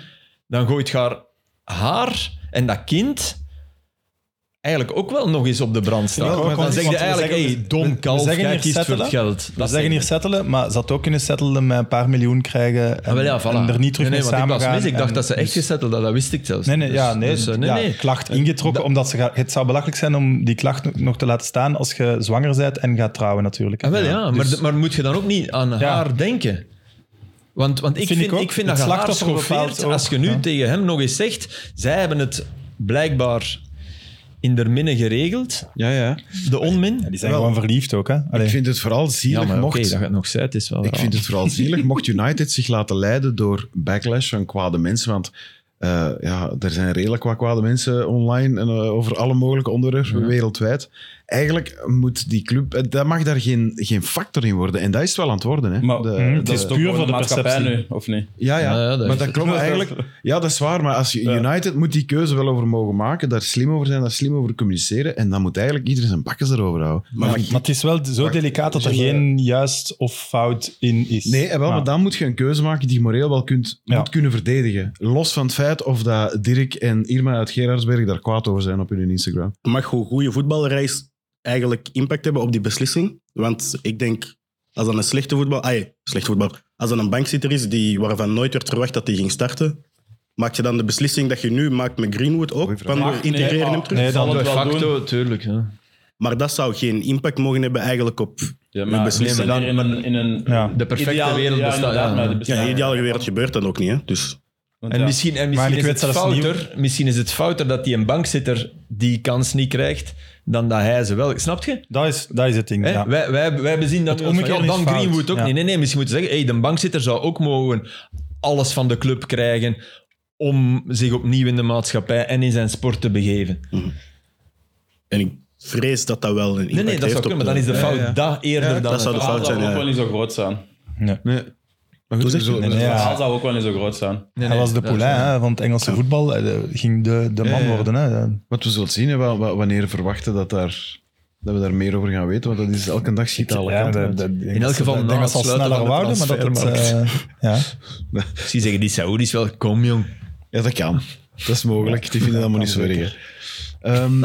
[SPEAKER 4] Dan gooit je haar, haar en dat kind eigenlijk ook wel nog eens op de brand staan.
[SPEAKER 3] Ja, maar
[SPEAKER 4] dan
[SPEAKER 3] want-
[SPEAKER 4] zeg je
[SPEAKER 3] want we
[SPEAKER 4] eigenlijk,
[SPEAKER 3] zeggen-
[SPEAKER 4] hey,
[SPEAKER 3] we-
[SPEAKER 4] dom
[SPEAKER 3] we
[SPEAKER 4] kalf,
[SPEAKER 3] zeggen
[SPEAKER 4] jij
[SPEAKER 3] hier
[SPEAKER 4] kiest voor het
[SPEAKER 3] settelen.
[SPEAKER 4] geld.
[SPEAKER 3] We zeggen hier settelen, maar ze had ook kunnen settelen met een paar miljoen krijgen en,
[SPEAKER 4] Ah, wel ja, voilà.
[SPEAKER 3] en er niet terug
[SPEAKER 4] nee, nee,
[SPEAKER 3] mee
[SPEAKER 4] want
[SPEAKER 3] samen
[SPEAKER 4] Ik, was mis. ik dacht
[SPEAKER 3] en-
[SPEAKER 4] dat ze echt
[SPEAKER 3] dus-
[SPEAKER 4] gezetteld had, dat wist ik zelfs.
[SPEAKER 3] Nee, nee,
[SPEAKER 4] Dus-
[SPEAKER 3] ja, nee,
[SPEAKER 4] dus, eh, nee,
[SPEAKER 3] ja,
[SPEAKER 4] nee.
[SPEAKER 3] klacht ingetrokken, omdat ze gaat, het zou belachelijk zijn om die klacht nog- nog te laten staan als je zwanger bent en gaat trouwen natuurlijk.
[SPEAKER 4] Ah, wel, Ah, ja, maar,
[SPEAKER 3] Dus-
[SPEAKER 4] de- maar moet je dan ook niet aan
[SPEAKER 3] Ja.
[SPEAKER 4] haar denken? Want, want ik
[SPEAKER 3] Vind
[SPEAKER 4] vind,
[SPEAKER 3] ik
[SPEAKER 4] ik
[SPEAKER 3] ook.
[SPEAKER 4] vind
[SPEAKER 3] Het
[SPEAKER 4] dat je
[SPEAKER 3] slachtoffer
[SPEAKER 4] geschoffeerd
[SPEAKER 3] bepaalt ook,
[SPEAKER 4] als je nu
[SPEAKER 3] ja.
[SPEAKER 4] tegen hem nog eens zegt, zij hebben het blijkbaar in der minne geregeld,
[SPEAKER 1] Ja, ja.
[SPEAKER 4] de onmin.
[SPEAKER 3] Die zijn
[SPEAKER 1] Wel.
[SPEAKER 3] gewoon verliefd ook, hè? Allee.
[SPEAKER 1] Ik vind het vooral
[SPEAKER 4] Ja,
[SPEAKER 1] zielig
[SPEAKER 4] maar oké,
[SPEAKER 1] mocht...
[SPEAKER 4] dat je het nog zei, het is wel
[SPEAKER 1] Ik
[SPEAKER 4] raar.
[SPEAKER 1] vind het
[SPEAKER 4] (laughs)
[SPEAKER 1] vooral zielig mocht United zich laten leiden door backlash van kwade mensen. Want eh, ja, er zijn redelijk wat kwade mensen online en, eh, over alle mogelijke onderwerpen wereldwijd. Eigenlijk moet die club, eh, dat mag daar geen, geen factor in worden. En dat is het wel aan het worden. Hè.
[SPEAKER 2] Maar-
[SPEAKER 1] De-
[SPEAKER 3] Hm,
[SPEAKER 4] Mhm.
[SPEAKER 3] het
[SPEAKER 1] de-
[SPEAKER 3] is
[SPEAKER 2] toch
[SPEAKER 3] puur
[SPEAKER 2] gewoon
[SPEAKER 3] voor de
[SPEAKER 2] maatschappij
[SPEAKER 3] perceptie.
[SPEAKER 2] nu, of niet?
[SPEAKER 1] ja, ja.
[SPEAKER 4] Ja, ja, Eh, dat
[SPEAKER 1] maar
[SPEAKER 4] is
[SPEAKER 1] dat
[SPEAKER 4] het.
[SPEAKER 3] (laughs)
[SPEAKER 1] klopt eigenlijk. Ja, dat is waar. Maar als je- United moet die keuze wel over mogen maken, daar slim over zijn, daar slim over communiceren. En dan moet eigenlijk iedereen zijn bakjes erover houden.
[SPEAKER 3] Maar, maar het is wel zo delicaat dat er
[SPEAKER 1] zullen-
[SPEAKER 3] geen juist of fout in is.
[SPEAKER 1] Nee, eh, wel,
[SPEAKER 3] Ja.
[SPEAKER 1] maar dan moet je een keuze maken die je moreel wel kunt,
[SPEAKER 3] Ja.
[SPEAKER 1] moet kunnen verdedigen. Los van het feit of dat Dirk en Irma uit Gerardsberg daar kwaad over zijn op hun Instagram.
[SPEAKER 5] mag hoe goede voetbalreis eigenlijk impact hebben op die beslissing. Want ik denk, als dan een slechte voetbal... Ah, ja, slecht voetbal. Als dan een bankzitter is die, waarvan nooit werd verwacht dat hij ging starten, maak je dan de beslissing dat je nu maakt met Greenwood
[SPEAKER 1] Goeie
[SPEAKER 5] ook,
[SPEAKER 1] vraag.
[SPEAKER 5] van we
[SPEAKER 2] Maar-
[SPEAKER 5] integreren
[SPEAKER 4] ah,
[SPEAKER 2] nee,
[SPEAKER 5] hem
[SPEAKER 2] maar-
[SPEAKER 5] terug?
[SPEAKER 3] Nee, dan
[SPEAKER 2] Zal
[SPEAKER 4] De
[SPEAKER 2] het wel doen.
[SPEAKER 4] facto, tuurlijk. Ja.
[SPEAKER 5] Maar dat zou geen impact mogen hebben eigenlijk op...
[SPEAKER 2] Ja,
[SPEAKER 5] Een
[SPEAKER 2] maar nee,
[SPEAKER 5] beslissing.
[SPEAKER 2] maar in een, in een
[SPEAKER 3] Ja.
[SPEAKER 4] De perfecte
[SPEAKER 2] ideale-
[SPEAKER 4] wereld
[SPEAKER 2] ja,
[SPEAKER 4] bestaat.
[SPEAKER 2] inderdaad,
[SPEAKER 4] ja.
[SPEAKER 2] maar de bestaat-
[SPEAKER 5] Ja, in de ideale wereld gebeurt dat ook niet. Hè? Dus
[SPEAKER 2] Want
[SPEAKER 4] En
[SPEAKER 2] ja.
[SPEAKER 4] misschien, en misschien,
[SPEAKER 3] ik
[SPEAKER 4] is
[SPEAKER 3] weet
[SPEAKER 4] het
[SPEAKER 3] zelfs niet
[SPEAKER 4] fouter, misschien is het fouter dat die een bankzitter die kans niet krijgt, dan dat hij ze wel... Snap je?
[SPEAKER 3] Dat is, dat is het ding.
[SPEAKER 4] Hè?
[SPEAKER 3] Ja.
[SPEAKER 4] Wij, wij, wij bezien dat nu als van,
[SPEAKER 3] omgekeerde
[SPEAKER 4] ja,
[SPEAKER 3] is
[SPEAKER 4] Dan
[SPEAKER 3] fout.
[SPEAKER 4] Greenwood ook
[SPEAKER 3] Ja.
[SPEAKER 4] niet. Nee, nee, misschien moeten we zeggen, hey, de bankzitter zou ook mogen alles van de club krijgen om zich opnieuw in de maatschappij en in zijn sport te begeven.
[SPEAKER 5] en ik vrees dat dat wel een impact
[SPEAKER 4] Nee, nee, dat
[SPEAKER 5] heeft
[SPEAKER 4] zou
[SPEAKER 5] op
[SPEAKER 4] kunnen, maar
[SPEAKER 5] de-
[SPEAKER 4] dan is de fout
[SPEAKER 1] ja.
[SPEAKER 4] dat eerder dan...
[SPEAKER 5] dat zou
[SPEAKER 4] het-
[SPEAKER 5] de
[SPEAKER 2] Het verhaal
[SPEAKER 5] fout zijn,
[SPEAKER 2] zou ook
[SPEAKER 5] ja.
[SPEAKER 2] wel niet zo groot zijn.
[SPEAKER 1] Nee. Maar goed,
[SPEAKER 5] Hoe zeg je
[SPEAKER 1] zo-
[SPEAKER 5] dat?
[SPEAKER 2] Het
[SPEAKER 3] Ja.
[SPEAKER 2] verhaal zou ook wel niet zo groot zijn.
[SPEAKER 4] Nee,
[SPEAKER 3] Hij
[SPEAKER 4] nee,
[SPEAKER 3] was de
[SPEAKER 4] dat is-
[SPEAKER 3] poulain hè, van het Engelse voetbal. Hij eh, ging de, de man
[SPEAKER 1] ja.
[SPEAKER 3] worden. Hè.
[SPEAKER 1] Wat we zullen zien, hè, wa- wa- wanneer verwachten dat, daar, dat we daar meer over gaan weten. Want dat is elke dag schiet alle
[SPEAKER 3] Ja,
[SPEAKER 1] kanten
[SPEAKER 3] de-
[SPEAKER 1] uit.
[SPEAKER 3] de- ik denk
[SPEAKER 4] elk
[SPEAKER 3] dat ze-
[SPEAKER 4] geval
[SPEAKER 3] ik
[SPEAKER 4] na
[SPEAKER 3] denk dat ze al
[SPEAKER 4] het sluiten
[SPEAKER 3] sneller
[SPEAKER 4] van de
[SPEAKER 3] wouden, maar dat het... eh, ja.
[SPEAKER 4] Misschien zeggen die Saoedi's wel, kom jong.
[SPEAKER 1] Ja, dat kan. Dat is mogelijk. Die vinden dat maar niet zo erg. hè. Ehm,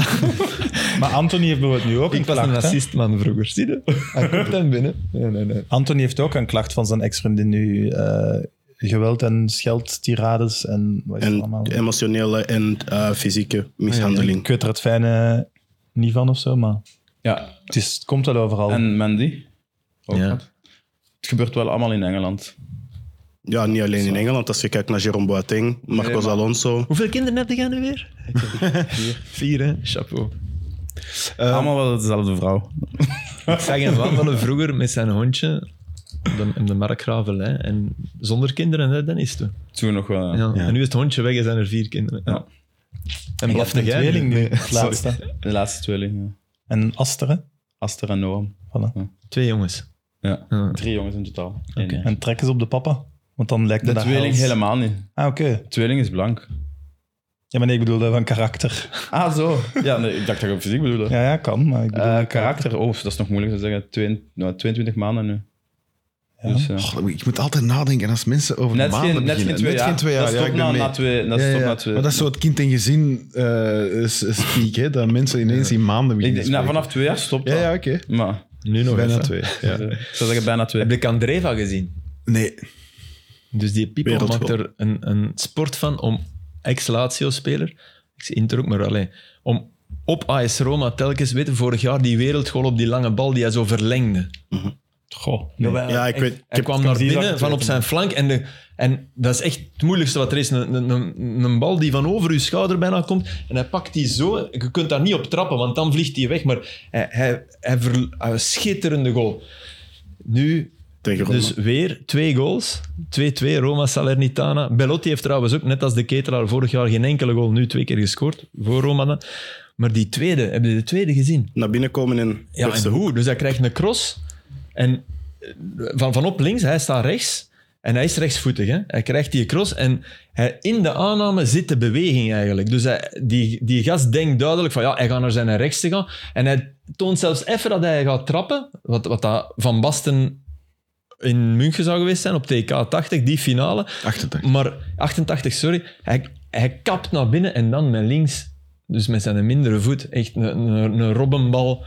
[SPEAKER 3] Maar Anthony heeft bijvoorbeeld nu ook een
[SPEAKER 4] (laughs) Ik was een
[SPEAKER 3] klacht. hè.
[SPEAKER 4] racistman vroeger, zie je? Hij (laughs) komt dan binnen. Nee, nee, nee.
[SPEAKER 3] Anthony heeft ook een klacht van zijn ex-vriendin nu. eh, geweld en scheldtirades en wat is het
[SPEAKER 5] En
[SPEAKER 3] allemaal.
[SPEAKER 5] emotionele en eh, fysieke
[SPEAKER 3] Ik
[SPEAKER 5] mishandeling.
[SPEAKER 3] weet er het fijne niet van of zo, maar
[SPEAKER 2] Ja,
[SPEAKER 3] het, is, het komt wel overal.
[SPEAKER 1] Oh.
[SPEAKER 2] en Mandy. Ook
[SPEAKER 4] Ja.
[SPEAKER 2] wat. Het gebeurt wel allemaal in Engeland.
[SPEAKER 5] Ja, niet alleen in Engeland. Als je kijkt naar Jerome Boateng, Marcos
[SPEAKER 2] maar-
[SPEAKER 5] Alonso.
[SPEAKER 4] Hoeveel kinderen heb jij nu weer? Vier. (laughs) Vier, hè? Chapeau.
[SPEAKER 2] allemaal wel dezelfde vrouw.
[SPEAKER 4] Ik zag een man van vroeger met zijn hondje op de, in de markgravelij. En zonder kinderen, hè, dan is het. toen.
[SPEAKER 2] Toen nog eh, wel.
[SPEAKER 4] Ja. En nu is het hondje weg en zijn er vier kinderen. Ja.
[SPEAKER 2] Ja.
[SPEAKER 4] En
[SPEAKER 3] Ik
[SPEAKER 4] blaf
[SPEAKER 3] heb een
[SPEAKER 4] jij
[SPEAKER 3] tweeling nu,
[SPEAKER 4] Nee,
[SPEAKER 3] het
[SPEAKER 4] sorry.
[SPEAKER 3] laatste.
[SPEAKER 2] De laatste tweeling. Ja.
[SPEAKER 3] En Aster, hè?
[SPEAKER 2] Aster en Noam.
[SPEAKER 3] Voilà.
[SPEAKER 4] Twee jongens.
[SPEAKER 2] Ja.
[SPEAKER 4] Ja.
[SPEAKER 2] Drie jongens in totaal.
[SPEAKER 4] Oké.
[SPEAKER 2] Eén.
[SPEAKER 3] En trek eens op de papa. Want dan lijkt
[SPEAKER 2] De
[SPEAKER 3] het
[SPEAKER 2] tweeling helemaal niet.
[SPEAKER 3] Ah, oké.
[SPEAKER 2] De tweeling is blank.
[SPEAKER 3] Ja, maar nee, ik bedoelde van karakter.
[SPEAKER 2] Ah, zo. Ja, nee, ik dacht dat je op fysiek bedoelde.
[SPEAKER 3] Ja, ja, kan, maar ik bedoel...
[SPEAKER 2] Eh, karakter, oh, dat is nog moeilijk te zeggen. Twee- nou, 22 maanden nu.
[SPEAKER 3] Ja.
[SPEAKER 2] Dus, ja.
[SPEAKER 1] oh, ik moet altijd nadenken als mensen over
[SPEAKER 2] Net
[SPEAKER 1] maanden
[SPEAKER 2] geen, net
[SPEAKER 1] beginnen.
[SPEAKER 2] geen twee
[SPEAKER 1] jaar.
[SPEAKER 2] jaar. Dat
[SPEAKER 1] Ja,
[SPEAKER 2] stopt
[SPEAKER 1] ik ben
[SPEAKER 2] na,
[SPEAKER 1] mee.
[SPEAKER 2] na twee. Dat
[SPEAKER 1] Ja,
[SPEAKER 2] stopt
[SPEAKER 1] ja,
[SPEAKER 2] na
[SPEAKER 1] ja.
[SPEAKER 2] twee.
[SPEAKER 1] Maar dat is zo het kind in gezin eh, s- speak, hè, dat mensen ineens in maanden
[SPEAKER 2] ik,
[SPEAKER 1] beginnen
[SPEAKER 2] denk- nou,
[SPEAKER 1] spreken.
[SPEAKER 2] vanaf twee jaar stopt
[SPEAKER 1] Ja,
[SPEAKER 2] dat.
[SPEAKER 1] ja, oké.
[SPEAKER 2] Maar,
[SPEAKER 4] Nu nog
[SPEAKER 1] Bijna
[SPEAKER 4] even.
[SPEAKER 1] twee.
[SPEAKER 2] ja.
[SPEAKER 1] Ja.
[SPEAKER 2] ik zou zeggen bijna twee.
[SPEAKER 4] Heb je Candreva gezien?
[SPEAKER 1] Nee,
[SPEAKER 4] Dus die Pipo
[SPEAKER 5] Wereldgoed.
[SPEAKER 4] maakt er een, een sport van om ex-Lazio-speler, ik zie Inter ook, maar alleen, om op AS Roma telkens, weet je, vorig jaar die wereldgoal op die lange bal die hij zo verlengde.
[SPEAKER 3] Goh,
[SPEAKER 5] Ja, ik weet- ik
[SPEAKER 4] Hij
[SPEAKER 5] heb-
[SPEAKER 4] kwam naar
[SPEAKER 3] die zag
[SPEAKER 4] binnen
[SPEAKER 3] ik
[SPEAKER 4] van op
[SPEAKER 3] terug.
[SPEAKER 4] zijn flank en, de, en dat is echt het moeilijkste wat er is. Een, een, een, een bal die van over uw schouder bijna komt en hij pakt die zo. Je kunt daar niet op trappen, want dan vliegt die weg. Maar hij, hij, hij ver- een schitterende goal. Nu
[SPEAKER 5] Tegen Roma.
[SPEAKER 4] dus weer twee goals. 2-2, Roma, Salernitana. Bellotti heeft trouwens ook, net als de ketelaar, vorig jaar geen enkele goal, nu twee keer gescoord voor Roma. dan. Maar die tweede, hebben jullie de tweede gezien?
[SPEAKER 5] Naar binnen komen en...
[SPEAKER 4] Ja, en hoe? Dus hij krijgt een cross. En eh, van, van op links, hij staat rechts. En hij is rechtsvoetig. Hè? Hij krijgt die cross. En hij, in de aanname zit de beweging eigenlijk. Dus hij, die, die gast denkt duidelijk van ja, hij gaat naar zijn rechts gaan. En hij toont zelfs even dat hij gaat trappen. Wat, wat dat Van Basten in München zou geweest zijn op TK80, die finale.
[SPEAKER 1] 88.
[SPEAKER 4] Maar 88, sorry. Hij, hij kapt naar binnen en dan met links. Dus met zijn mindere voet. Echt een, een, een robbenbal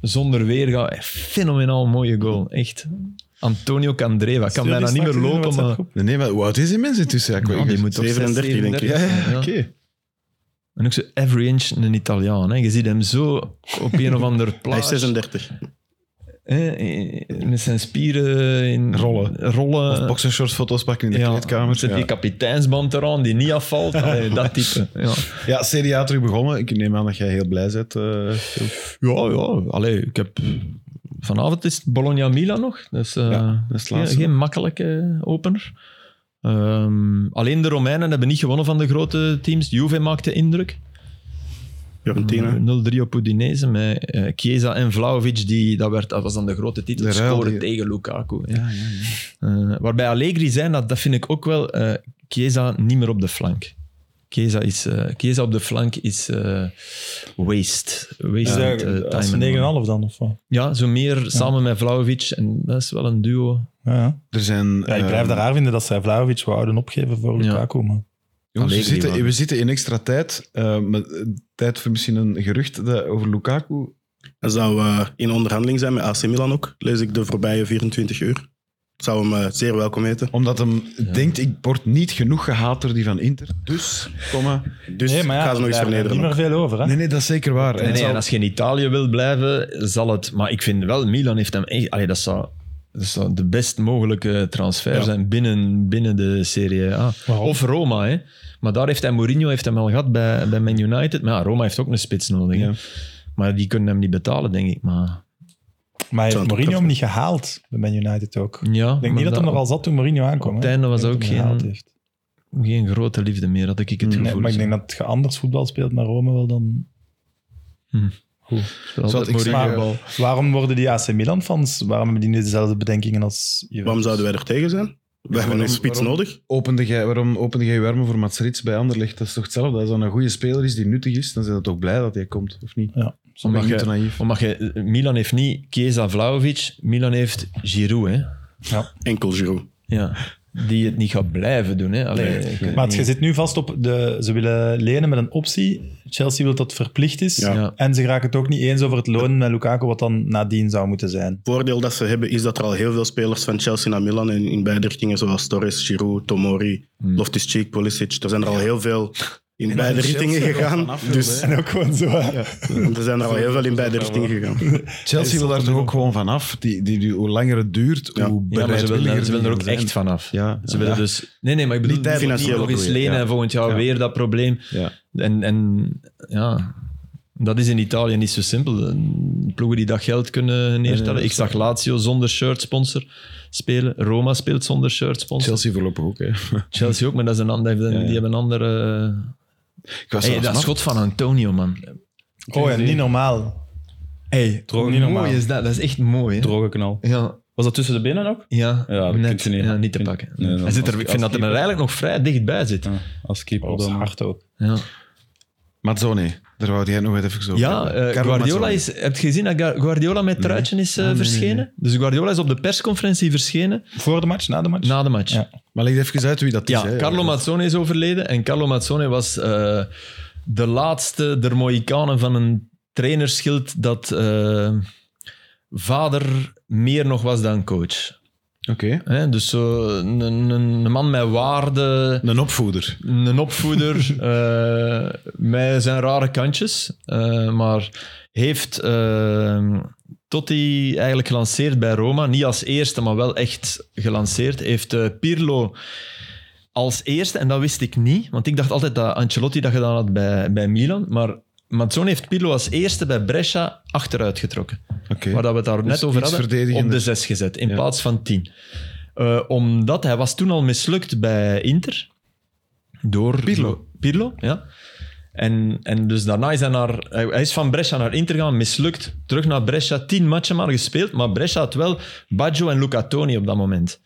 [SPEAKER 4] zonder weerga. Een Fenomenaal mooie goal. Echt. Antonio Candreva. Kan bijna niet meer lopen, maar...
[SPEAKER 1] Nee, nee, maar hoe oud is die mensen intussen? Ja, ik weet
[SPEAKER 4] Ja,
[SPEAKER 1] het.
[SPEAKER 4] Oh, die moet toch
[SPEAKER 5] 37
[SPEAKER 4] zes,
[SPEAKER 5] denk ik.
[SPEAKER 1] ja, ja,
[SPEAKER 4] Ja.
[SPEAKER 1] oké.
[SPEAKER 4] En ook zo (laughs) every inch een Italiaan. Hè. Je ziet hem zo op een of ander
[SPEAKER 5] Hij is
[SPEAKER 4] plaats.
[SPEAKER 5] 36.
[SPEAKER 4] hè, eh, met zijn spieren in
[SPEAKER 1] Rollen.
[SPEAKER 4] rollen.
[SPEAKER 1] Of boxershorts foto's pakken in de
[SPEAKER 4] eh, Ja,
[SPEAKER 1] kleedkamer.
[SPEAKER 4] Zet
[SPEAKER 1] Ja.
[SPEAKER 4] die kapiteinsband eraan die niet afvalt. Allee, dat type. Ja,
[SPEAKER 1] Ja, CDA terug begonnen. Ik neem aan dat jij heel blij bent. eh, Phil.
[SPEAKER 4] ja. ja allee, ik heb... Vanavond is het Bologna-Milan nog. Dus, eh,
[SPEAKER 1] Ja, dat is het
[SPEAKER 4] geen,
[SPEAKER 1] laatste.
[SPEAKER 4] geen makkelijke eh, opener. Ehm, alleen de Romeinen hebben niet gewonnen van de grote teams. Juve maakte indruk.
[SPEAKER 5] Fiorentina.
[SPEAKER 4] 0-3 op Udinese met eh, Chiesa en Vlaovic. Die, dat, werd, dat was dan de grote titel.
[SPEAKER 1] De ruil
[SPEAKER 4] scoren
[SPEAKER 1] die-
[SPEAKER 4] tegen Lukaku. hè.
[SPEAKER 1] Ja, ja, ja.
[SPEAKER 4] Eh, waarbij Allegri zijn, dat, dat vind ik ook wel, eh Chiesa niet meer op de flank. Chiesa, is, eh, Chiesa op de flank is eh, waste.
[SPEAKER 3] Is
[SPEAKER 4] waste
[SPEAKER 3] dat-
[SPEAKER 4] aan het, eh,
[SPEAKER 3] dat is
[SPEAKER 4] timen.
[SPEAKER 3] 9,5 dan, of wat?
[SPEAKER 4] Ja, zo meer samen met Vlaovic. En dat is wel een duo.
[SPEAKER 3] Ja, ja.
[SPEAKER 1] Er zijn...
[SPEAKER 3] Ja, ik
[SPEAKER 1] eh,
[SPEAKER 3] blijf daar raar vinden dat zij Vlaovic wouden opgeven voor
[SPEAKER 4] Ja.
[SPEAKER 3] Lukaku. Maar.
[SPEAKER 1] jongens, we,
[SPEAKER 4] Allegri,
[SPEAKER 1] zitten,
[SPEAKER 4] man.
[SPEAKER 1] we zitten in extra tijd. eh, maar, eh, tijd voor misschien een gerucht dat, over Lukaku.
[SPEAKER 5] Hij zou eh, in onderhandeling zijn met AC Milan ook, lees ik de voorbije 24 uur. Ik zou hem eh, zeer welkom heten.
[SPEAKER 1] Omdat hem denkt, ik word niet genoeg gehaat door die van Inter. Dus, komma...
[SPEAKER 5] Dus ik ga ze nog eens
[SPEAKER 3] daar blijft
[SPEAKER 5] vernederen.
[SPEAKER 3] niet meer
[SPEAKER 5] ook.
[SPEAKER 3] veel over. Hè?
[SPEAKER 1] Nee, nee, dat is zeker waar.
[SPEAKER 4] Nee,
[SPEAKER 1] En het
[SPEAKER 4] nee,
[SPEAKER 1] zal-
[SPEAKER 4] en als je in Italië wilt blijven, zal het. Maar ik vind wel, Milan heeft hem echt. Allee, dat, zou, dat zou de best mogelijke transfer zijn binnen, binnen de Serie A.
[SPEAKER 3] Waarom?
[SPEAKER 4] Of Roma, hè? Maar daar heeft hij Mourinho heeft hem al gehad bij, bij Man United. Maar ja, Roma heeft ook een spits nodig. hè.
[SPEAKER 1] Ja.
[SPEAKER 4] Maar die kunnen hem niet betalen, denk ik. Maar
[SPEAKER 3] Maar heeft
[SPEAKER 5] Zou het
[SPEAKER 3] Mourinho hem
[SPEAKER 5] opgeven.
[SPEAKER 3] niet gehaald bij Man United ook? Ik
[SPEAKER 4] ja,
[SPEAKER 3] denk niet dat hem er al zat toen Mourinho aankwam.
[SPEAKER 4] op het
[SPEAKER 3] hè.
[SPEAKER 4] einde was
[SPEAKER 3] Ik denk
[SPEAKER 4] ook
[SPEAKER 3] hij hem gehaald
[SPEAKER 4] geen-
[SPEAKER 3] heeft.
[SPEAKER 4] geen grote liefde meer, had ik het gevoel.
[SPEAKER 3] Nee, maar ik denk dat je anders voetbal speelt met Rome wel dan...
[SPEAKER 4] Wel
[SPEAKER 1] Zal
[SPEAKER 4] dat
[SPEAKER 1] ik
[SPEAKER 4] Mourinho-
[SPEAKER 1] zeggen,
[SPEAKER 3] Maar waarom worden die AC Milan-fans... Waarom hebben die niet dezelfde bedenkingen als Juventus?
[SPEAKER 5] Waarom zouden wij er tegen zijn? We hebben
[SPEAKER 1] waarom-
[SPEAKER 5] een spits
[SPEAKER 1] waarom-
[SPEAKER 5] nodig.
[SPEAKER 1] opende jij, waarom opende jij je armen voor Mats Rits bij Anderlecht? Dat is toch hetzelfde? Als dat een goede speler is die nuttig is, dan zijn we toch blij dat hij komt, of niet?
[SPEAKER 3] Ja,
[SPEAKER 1] Dan ben je
[SPEAKER 4] Omdat
[SPEAKER 1] niet te naïef.
[SPEAKER 4] Omdat je, Milan heeft niet Chiesa Vlaovic, Milan heeft Giroud. Hè?
[SPEAKER 5] Enkel Giroud.
[SPEAKER 4] Ja. Die het niet gaat blijven doen. Hè? Allee, ik weet
[SPEAKER 3] Maar het,
[SPEAKER 4] niet.
[SPEAKER 3] je zit nu vast op de... Ze willen lenen met een optie. Chelsea wil dat het verplicht is.
[SPEAKER 5] Ja.
[SPEAKER 4] Ja.
[SPEAKER 3] En ze raken het ook niet eens over het loon met Lukaku, wat dan nadien zou moeten zijn.
[SPEAKER 5] voordeel dat ze hebben is dat er al heel veel spelers van Chelsea naar Milan en in beide richtingen, zoals Torres, Giroud, Tomori, Loftus-Cheek, Pulisic, er zijn er al heel veel in beide richtingen gegaan. Dus
[SPEAKER 3] En ook gewoon zo... hè.
[SPEAKER 5] er zijn er al heel veel in beide richtingen gegaan.
[SPEAKER 1] Chelsea wil daar toch ook gewoon vanaf. Die, die, die, hoe langer het duurt,
[SPEAKER 5] Ja.
[SPEAKER 1] hoe
[SPEAKER 4] Ja, maar ze
[SPEAKER 1] bereidwilliger
[SPEAKER 4] willen, ze willen er ook
[SPEAKER 1] die gaan
[SPEAKER 4] echt
[SPEAKER 1] zijn.
[SPEAKER 4] vanaf.
[SPEAKER 1] Ja,
[SPEAKER 4] Ze willen dus... Nee, nee, maar ik bedoel...
[SPEAKER 1] Niet tijdelijk,
[SPEAKER 4] niet nog eens
[SPEAKER 5] financieel
[SPEAKER 4] lenen
[SPEAKER 1] bedoel je,
[SPEAKER 4] en volgend jaar
[SPEAKER 1] Ja.
[SPEAKER 4] weer dat probleem.
[SPEAKER 1] Ja.
[SPEAKER 4] En, en ja, dat is in Italië niet zo simpel. Ploegen die dat geld kunnen neertellen. Ik zag Lazio zonder shirt sponsor spelen. Roma speelt zonder shirt sponsor. Chelsea,
[SPEAKER 1] Chelsea voorlopig ook, hè.
[SPEAKER 4] ook, maar dat is een ander, die
[SPEAKER 1] ja.
[SPEAKER 4] hebben een andere... eh,
[SPEAKER 1] Ik was
[SPEAKER 4] Hey, dat schot van Antonio, man.
[SPEAKER 3] Oh ja, niet normaal.
[SPEAKER 4] Hey,
[SPEAKER 2] Droog,
[SPEAKER 3] niet
[SPEAKER 4] hoe
[SPEAKER 3] normaal.
[SPEAKER 4] mooi is dat? Dat is echt mooi, hè?
[SPEAKER 2] Droge knal.
[SPEAKER 4] Ja,
[SPEAKER 2] Was dat tussen de benen ook?
[SPEAKER 4] ja,
[SPEAKER 2] Ja, dat
[SPEAKER 4] net,
[SPEAKER 2] kun je niet-
[SPEAKER 4] ja, niet te
[SPEAKER 2] kun-
[SPEAKER 4] pakken.
[SPEAKER 2] Nee, dan-
[SPEAKER 4] Hij zit er,
[SPEAKER 2] als-
[SPEAKER 4] ik vind
[SPEAKER 2] als
[SPEAKER 4] dat hij
[SPEAKER 2] keeper-
[SPEAKER 4] er eigenlijk nog vrij dichtbij zit.
[SPEAKER 2] Ja, als keeper
[SPEAKER 3] Dat is
[SPEAKER 2] dan.
[SPEAKER 3] hard ook.
[SPEAKER 4] Ja.
[SPEAKER 1] Mazzone, daar wou jij nog even zo
[SPEAKER 4] Ja, eh, Guardiola
[SPEAKER 1] Mazzone.
[SPEAKER 4] is... Heb je gezien dat Ga- Guardiola met truitje is eh, verschenen? Dus Guardiola is op de persconferentie verschenen
[SPEAKER 3] Voor de match, na de match?
[SPEAKER 4] na de match.
[SPEAKER 3] Ja.
[SPEAKER 4] Ja,
[SPEAKER 1] Maar leg even uit wie dat is. hè.
[SPEAKER 4] Carlo Mazzone is overleden. En Carlo Mazzone was eh, de laatste der Moïkanen van een trainerschild dat eh, vader meer nog was dan coach.
[SPEAKER 1] Oké.
[SPEAKER 4] Hè, dus zo een, een, een man met waarde,
[SPEAKER 1] Een opvoeder.
[SPEAKER 4] een opvoeder eh, met zijn rare kantjes, eh, maar heeft eh, Totti eigenlijk gelanceerd bij Roma, niet als eerste, maar wel echt gelanceerd, heeft eh, Pirlo als eerste, en dat wist ik niet, want ik dacht altijd dat Ancelotti dat gedaan had bij, bij Milan, maar Mazzone heeft Pirlo als eerste bij Brescia achteruit getrokken
[SPEAKER 1] Oké. Dus
[SPEAKER 4] waar dat we het daar net over
[SPEAKER 1] iets
[SPEAKER 4] hadden, op
[SPEAKER 1] verdedigender.
[SPEAKER 4] de zes gezet in
[SPEAKER 1] Ja.
[SPEAKER 4] plaats van tien. Eh, omdat hij was toen al mislukt bij Inter. Door
[SPEAKER 1] Pirlo.
[SPEAKER 4] Pirlo, ja. En, en dus daarna is hij, naar, hij hij is van Brescia naar Inter gaan, mislukt. Terug naar Brescia, tien matchen maar gespeeld. Maar Brescia had wel Baggio en Luca Toni op dat moment.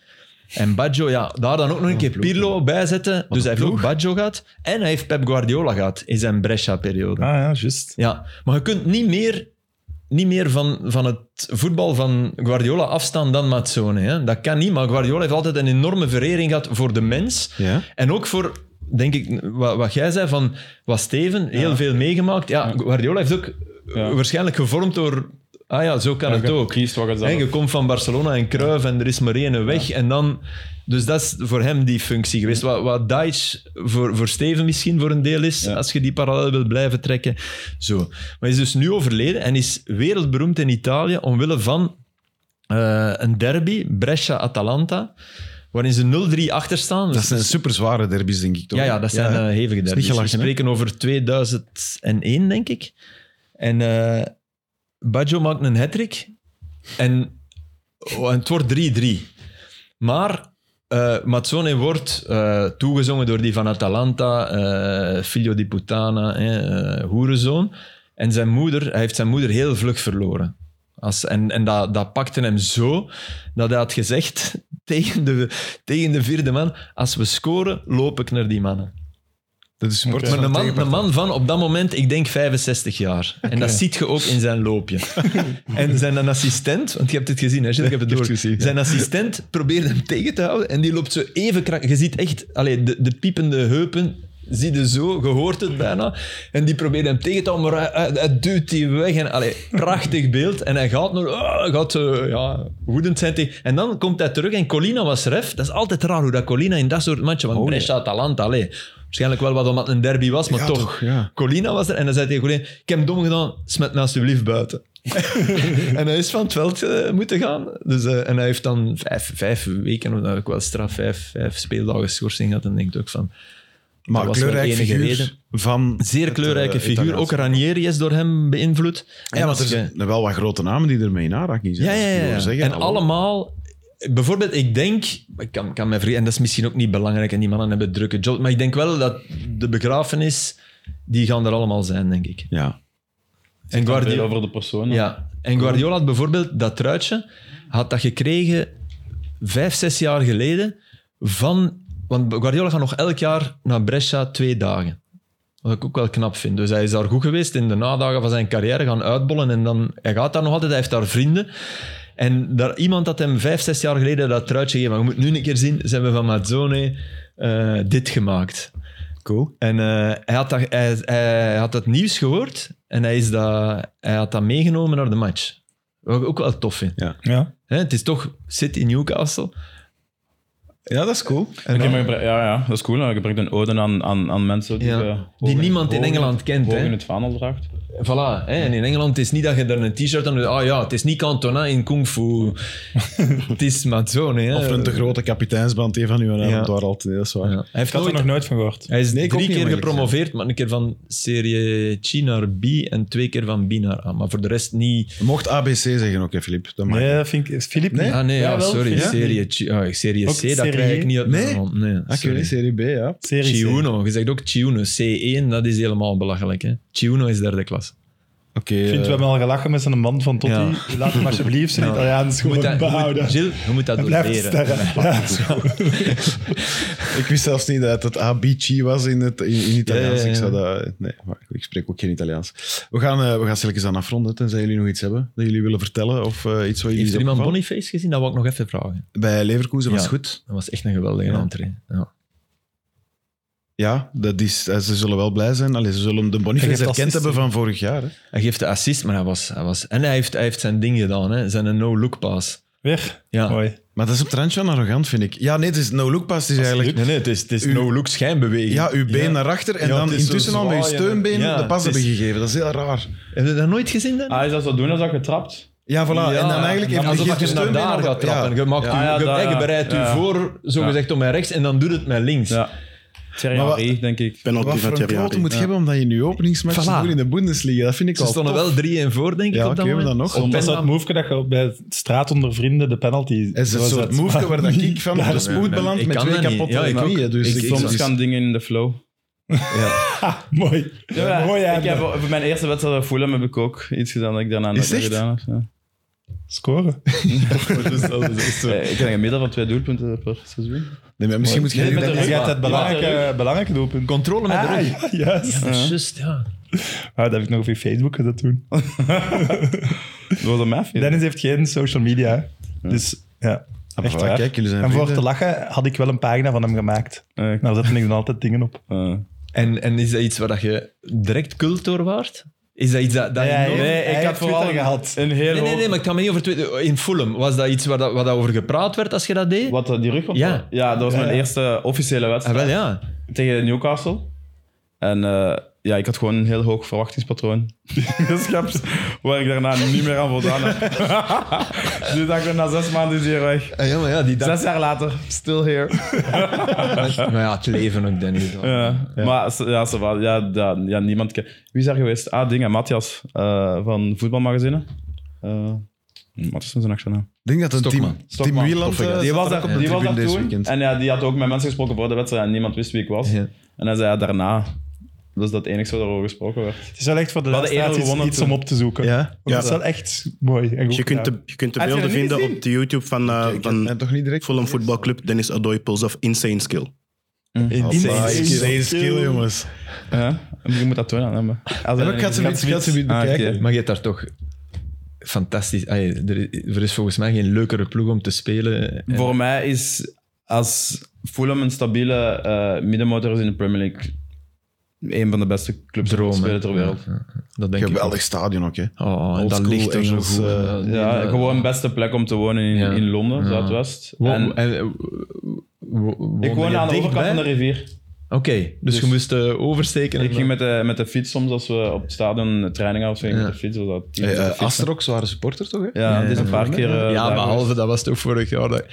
[SPEAKER 4] En Baggio, ja, daar dan ook nog een keer Pirlo bij zetten. Dus hij heeft ook Baggio gehad. En hij heeft Pep Guardiola gehad in zijn Brescia-periode.
[SPEAKER 3] Ah ja, juist.
[SPEAKER 4] Ja, maar je kunt niet meer, niet meer van, van het voetbal van Guardiola afstaan dan Mazzone. Hè? Dat kan niet, maar Guardiola heeft altijd een enorme verering gehad voor de mens.
[SPEAKER 1] Ja.
[SPEAKER 4] En ook voor, denk ik, wat, wat jij zei van wat Steven, heel veel meegemaakt. Ja, Guardiola heeft ook
[SPEAKER 2] Ja.
[SPEAKER 4] waarschijnlijk gevormd door... Ah ja, zo kan het
[SPEAKER 2] Je
[SPEAKER 4] ook.
[SPEAKER 2] Kiest wat je
[SPEAKER 4] Hè,
[SPEAKER 2] zelf-
[SPEAKER 4] je komt van Barcelona en Cruyff en er is maar één weg. En dan, dus dat is voor hem die functie geweest. Wat, wat Deitch voor, voor Steven misschien voor een deel is, als je die parallel wil blijven trekken. Zo. Maar hij is dus nu overleden en is wereldberoemd in Italië omwille van eh, een derby, Brescia-Atalanta, waarin ze 0-3 achter staan. Dus-
[SPEAKER 1] Dat zijn super zware derbies, denk ik toch?
[SPEAKER 4] Ja, ja, dat zijn eh, hevige
[SPEAKER 1] is niet
[SPEAKER 4] derbies. We
[SPEAKER 1] gelachen, hè?
[SPEAKER 4] spreken over 2001, denk ik. En eh Baggio maakt een hattrick en, oh, en het wordt 3-3. Maar eh Mazzone wordt eh, toegezongen door die van Atalanta, eh, Figlio di Putana, eh, eh, hoerenzoon. En zijn moeder, hij heeft zijn moeder heel vlug verloren. Als, en en dat, dat pakte hem zo dat hij had gezegd (laughs) tegen de, tegen de vierde man: Als we scoren, loop ik naar die mannen.
[SPEAKER 1] Dat is sport.
[SPEAKER 3] Oké.
[SPEAKER 1] van
[SPEAKER 4] Maar een
[SPEAKER 1] de
[SPEAKER 4] man, een
[SPEAKER 1] tegenpartij.
[SPEAKER 4] man van op dat moment, ik denk 65 jaar. En dat ziet je ook in zijn loopje. en zijn een assistent, want je hebt het gezien, hè, Gilles, ik heb het door. Zijn assistent probeert hem tegen te houden en die loopt zo even krak. Je ziet echt, allee, de, de piepende heupen, zie je zo, je hoort het bijna. En die probeert hem tegen te houden, maar hij, hij- hij duwt die weg. En, allee, prachtig beeld. En hij gaat nog, ah, gaat zo, ja, woedend zijn tegen. En dan komt hij terug en Colina was ref. Dat is altijd raar hoe dat Colina in dat soort matchen, want Brescia, Atalanta, allee. Waarschijnlijk wel wat omdat het een derby was, maar toch. Colina was er en dan zei tegen Colina, ik heb dom gedaan, smet me
[SPEAKER 1] (laughs)
[SPEAKER 4] alsjeblieft buiten. en hij is van het veld eh, moeten gaan. Dus, eh, en hij heeft dan vijf, vijf weken, of dat ik wel straf, vijf, vijf speeldagen schorsing gehad. En denkt ook van...
[SPEAKER 1] Maar
[SPEAKER 4] dat was wel
[SPEAKER 1] kleurrijk
[SPEAKER 4] de enige
[SPEAKER 1] figuur
[SPEAKER 4] reden.
[SPEAKER 1] van...
[SPEAKER 4] Zeer
[SPEAKER 1] het,
[SPEAKER 4] kleurrijke
[SPEAKER 1] eh,
[SPEAKER 4] figuur.
[SPEAKER 1] Italiaanse.
[SPEAKER 4] Ook Ranieri is door hem beïnvloed. En
[SPEAKER 1] Ja,
[SPEAKER 4] als
[SPEAKER 1] want er
[SPEAKER 4] je-
[SPEAKER 1] zijn wel wat grote namen die ermee in aanraking zijn.
[SPEAKER 4] ja,
[SPEAKER 1] dat
[SPEAKER 4] ja,
[SPEAKER 1] is
[SPEAKER 4] ja.
[SPEAKER 1] niet
[SPEAKER 4] ja.
[SPEAKER 1] over zeggen,
[SPEAKER 4] en
[SPEAKER 1] hallo.
[SPEAKER 4] allemaal... Bijvoorbeeld, ik denk... Ik kan, kan mij vergeten, en dat is misschien ook niet belangrijk. En die mannen hebben drukke job. Maar ik denk wel dat de begrafenis... Die gaan er allemaal zijn, denk ik.
[SPEAKER 1] Ja.
[SPEAKER 4] En Guardiola...
[SPEAKER 2] over de persoon.
[SPEAKER 4] Ja, en Guardiola had bijvoorbeeld dat truitje had dat gekregen vijf, zes jaar geleden van... Want Guardiola gaat nog elk jaar naar Brescia twee dagen. Wat ik ook wel knap vind. Dus hij is daar goed geweest in de nadagen van zijn carrière gaan uitbollen. En dan, hij gaat daar nog altijd, hij heeft daar vrienden. En daar, iemand had hem vijf, zes jaar geleden dat truitje gegeven. Maar je moet nu een keer zien, ze hebben van Mazzone eh, dit gemaakt.
[SPEAKER 1] Cool.
[SPEAKER 4] En eh, hij, had dat, hij, hij had dat nieuws gehoord en hij, is dat, hij had dat meegenomen naar de match. Wat ik ook wel tof vind.
[SPEAKER 3] Ja.
[SPEAKER 4] Hè, het is toch City Newcastle.
[SPEAKER 1] Ja, dat is cool.
[SPEAKER 2] Oké, maar je brengt- ja, ja, dat is cool. hè. Je brengt een ode aan, aan, aan mensen die,
[SPEAKER 4] Ja.
[SPEAKER 2] eh,
[SPEAKER 4] Die
[SPEAKER 2] hoog in-
[SPEAKER 4] niemand in
[SPEAKER 2] hoog
[SPEAKER 4] Engeland kent,
[SPEAKER 2] Hoog
[SPEAKER 4] hè.
[SPEAKER 2] in het vaandel draagt.
[SPEAKER 4] Voilà. Hè? En in Engeland het is niet dat je daar een t-shirt aan doet. Ah ja, het is niet Cantona in Kung Fu. het is Mazzone. Hè?
[SPEAKER 1] Of een te grote kapiteinsband, een van uw namen,
[SPEAKER 4] Ja.
[SPEAKER 1] daar altijd, dat is waar.
[SPEAKER 4] Ja. Hij,
[SPEAKER 3] Ik
[SPEAKER 4] heeft
[SPEAKER 3] had er
[SPEAKER 4] nooit-
[SPEAKER 3] nog nooit van gehoord.
[SPEAKER 4] hij is
[SPEAKER 1] Nee, ik ook
[SPEAKER 4] drie
[SPEAKER 1] niet,
[SPEAKER 4] keer
[SPEAKER 1] om eerlijk te
[SPEAKER 4] gepromoveerd, maar een keer van serie C naar B en twee keer van B naar A. Maar voor de rest niet.
[SPEAKER 1] Je Mocht ABC zeggen ook, hè, Filip. Dat mag.
[SPEAKER 3] Nee, dat vind ik... Filip niet?
[SPEAKER 4] Ah nee, ja,
[SPEAKER 3] Jawel,
[SPEAKER 4] sorry.
[SPEAKER 3] Filip.
[SPEAKER 4] Serie, C, ah, serie
[SPEAKER 3] Ook
[SPEAKER 4] C, dat
[SPEAKER 3] serie
[SPEAKER 4] krijg
[SPEAKER 3] E?
[SPEAKER 4] ik niet uit
[SPEAKER 1] Nee?
[SPEAKER 4] mijn mond. Nee,
[SPEAKER 1] Ah, oké,
[SPEAKER 4] sorry.
[SPEAKER 1] serie B, ja.
[SPEAKER 3] Serie C.
[SPEAKER 4] Chiuno, je zegt ook Chiuno. C1, dat is helemaal belachelijk. Hè? Chiuno is derde klas.
[SPEAKER 1] Oké. eh,
[SPEAKER 3] Ik vind, we hebben al gelachen met zijn man van Totti.
[SPEAKER 4] Ja.
[SPEAKER 3] Laat hem alsjeblieft zijn Italiaans
[SPEAKER 4] Je moet
[SPEAKER 3] gewoon
[SPEAKER 4] dat, je
[SPEAKER 3] behouden.
[SPEAKER 4] moet, Gilles, je moet
[SPEAKER 3] (laughs)
[SPEAKER 4] dat
[SPEAKER 3] En blijft
[SPEAKER 4] doorleren.
[SPEAKER 3] sterren. Ja,
[SPEAKER 1] Ik wist zelfs niet dat het ABC was in, het, in, in Italiaans.
[SPEAKER 4] Ja, ja, ja.
[SPEAKER 1] Ik, zou dat, nee, maar ik spreek ook geen Italiaans. We gaan, eh we gaan stilletjes aan afronden, tenzij jullie nog iets hebben dat jullie willen vertellen of eh, iets wat jullie
[SPEAKER 4] Heeft
[SPEAKER 1] is
[SPEAKER 4] er iemand
[SPEAKER 1] opgevallen.
[SPEAKER 4] Boniface gezien? Dat wou ik nog even vragen.
[SPEAKER 1] Bij Leverkusen was
[SPEAKER 4] Ja.
[SPEAKER 1] goed.
[SPEAKER 4] Dat was echt een geweldige
[SPEAKER 1] Ja.
[SPEAKER 4] entree. Ja.
[SPEAKER 1] Ja, dat is, eh, ze zullen wel blij zijn. Allee, ze zullen de
[SPEAKER 3] Hij
[SPEAKER 1] Boniface
[SPEAKER 3] geeft
[SPEAKER 1] herkend
[SPEAKER 3] assisten.
[SPEAKER 1] hebben van vorig jaar. Hè.
[SPEAKER 4] Hij geeft de assist, maar hij was... Hij was en hij heeft, hij heeft zijn ding gedaan, hè? zijn een no-look pass.
[SPEAKER 3] Weer?
[SPEAKER 4] Ja.
[SPEAKER 3] Mooi.
[SPEAKER 1] Maar dat is op het randje van arrogant, vind ik. Ja, nee, het is no-look pass. Het is eigenlijk
[SPEAKER 4] nee, het is, het is
[SPEAKER 1] Uw-
[SPEAKER 4] no-look schijnbeweging.
[SPEAKER 1] ja, uw been
[SPEAKER 4] Ja.
[SPEAKER 1] naar achter en
[SPEAKER 4] Ja,
[SPEAKER 1] dan
[SPEAKER 4] het is zo
[SPEAKER 1] intussen al met je
[SPEAKER 4] zwaaien.
[SPEAKER 1] steunbeen
[SPEAKER 4] Ja,
[SPEAKER 1] de pas
[SPEAKER 4] het is-
[SPEAKER 1] hebben gegeven. Dat is heel raar.
[SPEAKER 4] Heb je dat nooit gezien dan?
[SPEAKER 2] Ah, is dat zo doen als dat getrapt?
[SPEAKER 1] Ja, voilà.
[SPEAKER 4] Ja,
[SPEAKER 1] en dan eigenlijk
[SPEAKER 4] en
[SPEAKER 1] heeft
[SPEAKER 4] dan
[SPEAKER 1] hij
[SPEAKER 4] alsof
[SPEAKER 1] geen
[SPEAKER 4] je naar
[SPEAKER 1] steunbeen
[SPEAKER 4] daar
[SPEAKER 1] al-
[SPEAKER 4] gaat trappen.
[SPEAKER 1] Ja.
[SPEAKER 4] Je, maakt
[SPEAKER 2] Ja, ja,
[SPEAKER 4] u, je,
[SPEAKER 2] daar,
[SPEAKER 4] je
[SPEAKER 2] ja.
[SPEAKER 4] bereidt u
[SPEAKER 2] Ja.
[SPEAKER 4] voor, zogezegd, om met rechts en dan doet het met links.
[SPEAKER 2] Ja. Thierry
[SPEAKER 1] Maar wat-
[SPEAKER 2] Henry, denk ik.
[SPEAKER 5] Penalty
[SPEAKER 1] Wat
[SPEAKER 5] van
[SPEAKER 1] voor een
[SPEAKER 5] Thierry
[SPEAKER 1] quote
[SPEAKER 5] Henry.
[SPEAKER 1] moet je hebben omdat je nu openingsmatch
[SPEAKER 4] Voilà.
[SPEAKER 1] doet in de Bundesliga? Dat vind ik
[SPEAKER 4] Ze
[SPEAKER 1] al
[SPEAKER 4] stonden
[SPEAKER 1] tof.
[SPEAKER 4] wel 3 en voor, denk ik,
[SPEAKER 1] Ja,
[SPEAKER 4] op dat
[SPEAKER 1] oké, maar
[SPEAKER 4] moment.
[SPEAKER 1] dan nog.
[SPEAKER 4] Op
[SPEAKER 3] Dat is dat
[SPEAKER 4] penalty.
[SPEAKER 3] move dat je op- bij straat onder vrienden de penalty...
[SPEAKER 1] Het is een
[SPEAKER 3] zo
[SPEAKER 1] soort
[SPEAKER 3] zet.
[SPEAKER 1] move waar dat ik van op de
[SPEAKER 4] Ja,
[SPEAKER 1] spoed
[SPEAKER 4] ik
[SPEAKER 1] beland met
[SPEAKER 4] kan
[SPEAKER 1] twee
[SPEAKER 4] dat niet.
[SPEAKER 1] kapotte
[SPEAKER 4] Ja, ik ook.
[SPEAKER 1] knieën. Dus
[SPEAKER 4] Ik-
[SPEAKER 1] ik,
[SPEAKER 4] ik-
[SPEAKER 2] Soms
[SPEAKER 1] soms
[SPEAKER 2] gaan dingen in de flow.
[SPEAKER 3] Ha, mooi.
[SPEAKER 2] Ja,
[SPEAKER 3] mooi,
[SPEAKER 2] ik
[SPEAKER 3] hè.
[SPEAKER 2] heb, op mijn eerste wedstrijd bij Fulham heb ik ook iets gedaan dat ik daarna nooit
[SPEAKER 1] Is
[SPEAKER 2] meer
[SPEAKER 1] echt?
[SPEAKER 2] gedaan heb. Ja.
[SPEAKER 3] Scoren.
[SPEAKER 2] Eh, Ik denk een middel van twee doelpunten per seizoen.
[SPEAKER 1] Nee, maar misschien moet je
[SPEAKER 2] Nee,
[SPEAKER 1] nu
[SPEAKER 2] met
[SPEAKER 1] dat-
[SPEAKER 2] de
[SPEAKER 3] Dus
[SPEAKER 2] rug.
[SPEAKER 3] je hebt het
[SPEAKER 2] Ja, de
[SPEAKER 3] belangrijke, belangrijke doelpunt.
[SPEAKER 4] Controle met de
[SPEAKER 3] Ah,
[SPEAKER 4] rug.
[SPEAKER 3] ja, juist.
[SPEAKER 4] Ja, Just, ja.
[SPEAKER 3] Ah, dat heb ik nog op je Facebook dat doen.
[SPEAKER 2] Door de maf. ja.
[SPEAKER 3] Dennis heeft geen social media. hè. Dus ja,
[SPEAKER 1] Ah,
[SPEAKER 3] echt
[SPEAKER 1] voilà,
[SPEAKER 3] waar.
[SPEAKER 1] Kijk, jullie zijn
[SPEAKER 3] En voor te
[SPEAKER 1] vrienden.
[SPEAKER 3] lachen had ik wel een pagina van hem gemaakt.
[SPEAKER 2] Eh, ik-
[SPEAKER 3] Daar zetten ik dan altijd dingen op.
[SPEAKER 2] eh.
[SPEAKER 4] En, en is dat iets waar dat je direct cult door waart? Is dat iets dat, dat je nooit-
[SPEAKER 3] hij heeft Twitter
[SPEAKER 2] een-
[SPEAKER 3] gehad.
[SPEAKER 2] een heel
[SPEAKER 4] Nee, nee, nee,
[SPEAKER 2] hoog-
[SPEAKER 4] maar ik kan me niet over Twitter... In Fulham, was dat iets waar, dat, waar dat over gepraat werd als je dat deed?
[SPEAKER 2] Wat, eh, die rug op?
[SPEAKER 4] Ja.
[SPEAKER 2] ja, dat was mijn
[SPEAKER 3] Ja.
[SPEAKER 2] eerste officiële
[SPEAKER 4] Ah,
[SPEAKER 2] wedstrijd
[SPEAKER 4] wel, ja.
[SPEAKER 2] tegen Newcastle. En eh, ja, ik had gewoon een heel hoog verwachtingspatroon. (laughs) Dus Schaps, waar ik daarna niet meer aan voldaan heb. (laughs) dus dat ik na zes maanden is hier weg.
[SPEAKER 4] Ah, ja, maar ja, die dag.
[SPEAKER 2] Zes jaar later, still here.
[SPEAKER 4] maar ja, het leven ook, Danny. Dan.
[SPEAKER 2] Ja. Maar s- ja, ça va. ja, dat- ja, niemand ken- Wie is daar geweest? Ah, dingen, Matthias eh, van voetbalmagazine. Eh Matthias is een nou. achternaam.
[SPEAKER 1] Ik denk dat een
[SPEAKER 4] Stokman.
[SPEAKER 1] team, team
[SPEAKER 2] Stokman.
[SPEAKER 1] Wieland... eh,
[SPEAKER 2] Die
[SPEAKER 1] zat
[SPEAKER 2] was
[SPEAKER 1] er
[SPEAKER 2] daar,
[SPEAKER 1] ook op de
[SPEAKER 2] die was
[SPEAKER 1] tribune
[SPEAKER 2] daar
[SPEAKER 1] dit
[SPEAKER 2] toen.
[SPEAKER 1] weekend.
[SPEAKER 2] En ja, die had ook met mensen gesproken voor de wedstrijd en niemand wist wie ik was.
[SPEAKER 4] Ja.
[SPEAKER 2] En hij zei ja, daarna. Dat is dat enige wat erover gesproken werd.
[SPEAKER 3] Het is wel echt voor de
[SPEAKER 2] We hadden
[SPEAKER 3] luisteraars
[SPEAKER 2] eerder gewonnen
[SPEAKER 3] iets, iets
[SPEAKER 2] toen.
[SPEAKER 3] om op te zoeken.
[SPEAKER 1] Ja?
[SPEAKER 3] Want
[SPEAKER 5] Ja.
[SPEAKER 3] Dat is wel echt mooi. En goed
[SPEAKER 5] Dus je kunt
[SPEAKER 3] gedaan.
[SPEAKER 5] de, je kunt de
[SPEAKER 2] Heb je
[SPEAKER 5] beelden
[SPEAKER 2] dat niet
[SPEAKER 5] vinden
[SPEAKER 2] gezien?
[SPEAKER 5] op de YouTube van, eh,
[SPEAKER 1] Ik heb
[SPEAKER 5] van
[SPEAKER 1] mij toch niet direct...
[SPEAKER 5] Fulham Football Club, Dennis Adoy, Pulse of Insane Skill.
[SPEAKER 1] Ah,
[SPEAKER 3] Insane.
[SPEAKER 1] Insane skill, jongens.
[SPEAKER 2] Ja, je moet dat tonen aan hem. hè. Als
[SPEAKER 1] Ja,
[SPEAKER 2] hij-
[SPEAKER 1] maar ik ga ze
[SPEAKER 2] Ah,
[SPEAKER 1] niet- ik ga ze niet
[SPEAKER 2] oké.
[SPEAKER 1] bekijken.
[SPEAKER 4] Maar je hebt daar toch fantastisch. Ay, er, er is volgens mij geen leukere ploeg om te spelen. En-
[SPEAKER 2] Voor mij is als Fulham een stabiele eh middenmotor is in de Premier League een van de beste clubs om
[SPEAKER 4] Droom,
[SPEAKER 2] te spelen
[SPEAKER 4] hè.
[SPEAKER 2] ter wereld.
[SPEAKER 4] Ja, ja. Dat denk
[SPEAKER 1] Geweldig stadion ook, hè.
[SPEAKER 4] ik. ook. Oh, en dat
[SPEAKER 1] Oldschool
[SPEAKER 4] ligt er zo
[SPEAKER 1] Engels,
[SPEAKER 4] goed.
[SPEAKER 1] eh,
[SPEAKER 2] Ja, gewoon beste plek om te wonen in,
[SPEAKER 4] Ja.
[SPEAKER 2] in Londen,
[SPEAKER 4] Ja.
[SPEAKER 2] Zuidwest.
[SPEAKER 4] Wo-
[SPEAKER 2] En
[SPEAKER 4] en, eh, wo- woonde
[SPEAKER 2] ik woon
[SPEAKER 4] je
[SPEAKER 2] aan de
[SPEAKER 4] dichtbij?
[SPEAKER 2] overkant van de rivier.
[SPEAKER 4] Oké, dus, je moest eh, oversteken.
[SPEAKER 2] Ik
[SPEAKER 4] en-
[SPEAKER 2] ging met de, met de fiets soms als we op het stadion training hadden, of zo, ging ik
[SPEAKER 4] Ja.
[SPEAKER 2] met de fiets. was dat tien
[SPEAKER 1] Hey,
[SPEAKER 2] minuten
[SPEAKER 1] eh,
[SPEAKER 2] fietsen.
[SPEAKER 1] Asterox waren supporter, toch? Hè?
[SPEAKER 2] Ja, dit is een paar keer. eh,
[SPEAKER 4] ja,
[SPEAKER 2] daar
[SPEAKER 4] behalve dat was toch vorig jaar. Dat,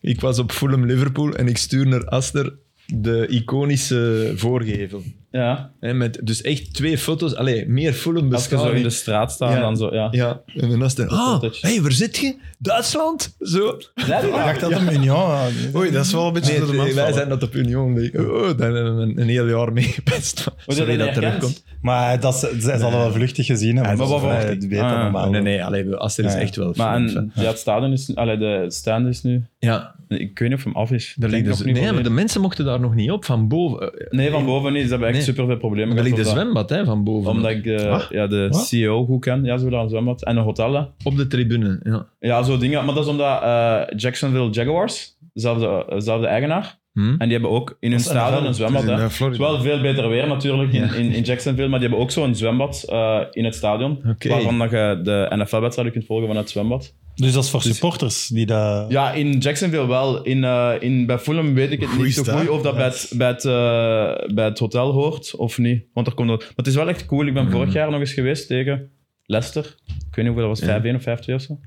[SPEAKER 4] ik was op Fulham Liverpool en ik stuur naar Aster de iconische voorgevel.
[SPEAKER 2] geweest. Ja,
[SPEAKER 4] Hè, met, dus echt twee foto's, allee, meer Fulham
[SPEAKER 2] als je zo in
[SPEAKER 4] beschouwing.
[SPEAKER 2] de straat staat,
[SPEAKER 4] Dus Ja.
[SPEAKER 2] dan zo. Ja.
[SPEAKER 4] Ja, en dan was het, ah,
[SPEAKER 2] fotootje.
[SPEAKER 4] hey, waar zit je? Duitsland? Zo.
[SPEAKER 2] Zei die
[SPEAKER 3] Ik
[SPEAKER 2] dat?
[SPEAKER 3] dacht dat hem Union had.
[SPEAKER 1] Oei, dat is wel een beetje
[SPEAKER 4] Nee,
[SPEAKER 1] door de man
[SPEAKER 4] wij
[SPEAKER 1] vallen.
[SPEAKER 4] zijn dat op Union League. Oh, oh, daar hebben we een, een heel jaar mee gepest.
[SPEAKER 2] Wordt dat
[SPEAKER 4] Sorry
[SPEAKER 2] niet
[SPEAKER 4] dat er
[SPEAKER 2] herkend?
[SPEAKER 4] komt.
[SPEAKER 3] Maar dat, ze- zij zal wel vluchtig gezien hebben.
[SPEAKER 2] maar wat
[SPEAKER 3] Dus, eh,
[SPEAKER 2] verwacht-
[SPEAKER 3] die weet dat
[SPEAKER 2] Ah, ja.
[SPEAKER 3] normaal.
[SPEAKER 4] Nee, nee, allee, Aster is
[SPEAKER 3] Ja.
[SPEAKER 4] echt wel
[SPEAKER 2] Maar
[SPEAKER 4] fan.
[SPEAKER 2] en, ja, het stadion is, allee, de stand is nu.
[SPEAKER 4] Ja,
[SPEAKER 2] Ik weet niet of hem af is.
[SPEAKER 4] er
[SPEAKER 2] Ik denk
[SPEAKER 4] ligt dus,
[SPEAKER 2] nog niet
[SPEAKER 4] nee,
[SPEAKER 2] volledig.
[SPEAKER 4] maar de mensen mochten daar nog niet op, van boven. Eh,
[SPEAKER 2] Nee, van boven niet. Ze hebben echt
[SPEAKER 4] Nee.
[SPEAKER 2] super veel problemen.
[SPEAKER 4] Er ligt de
[SPEAKER 2] gehad omdat-
[SPEAKER 4] zwembad, hè, van boven.
[SPEAKER 2] Omdat ik eh, ja, de
[SPEAKER 4] Wat?
[SPEAKER 2] CEO goed ken. Ja, ze willen een zwembad. En een hotel. hè.
[SPEAKER 4] Op de tribune, ja.
[SPEAKER 2] Ja, zo dingen. Maar dat is omdat eh, Jacksonville Jaguars, dezelfde, dezelfde eigenaar.
[SPEAKER 4] Hm?
[SPEAKER 2] En die hebben ook in hun
[SPEAKER 3] Dat is
[SPEAKER 2] stadion
[SPEAKER 3] NFL.
[SPEAKER 2] een zwembad.
[SPEAKER 1] Het is in,
[SPEAKER 2] hè.
[SPEAKER 1] eh, Florida.
[SPEAKER 2] Het is wel veel beter weer natuurlijk in, in, in Jacksonville. Maar die hebben ook zo'n zwembad eh, in het stadion.
[SPEAKER 4] Oké.
[SPEAKER 2] Waarvan dat je de NFL-wedstrijden kunt volgen van het zwembad.
[SPEAKER 3] Dus dat is voor supporters die dat...
[SPEAKER 2] Ja, in Jacksonville wel. In, eh, in, bij Fulham weet ik het
[SPEAKER 1] Goeie
[SPEAKER 2] niet zo
[SPEAKER 1] stad.
[SPEAKER 2] goed of dat bij het, bij, het, eh, bij het hotel hoort of niet. Want er komt dat- Maar het is wel echt cool. Ik ben
[SPEAKER 4] Mm.
[SPEAKER 2] vorig jaar nog eens geweest tegen Leicester. Ik weet niet hoeveel dat was, 5-1 of 5-2 of zo.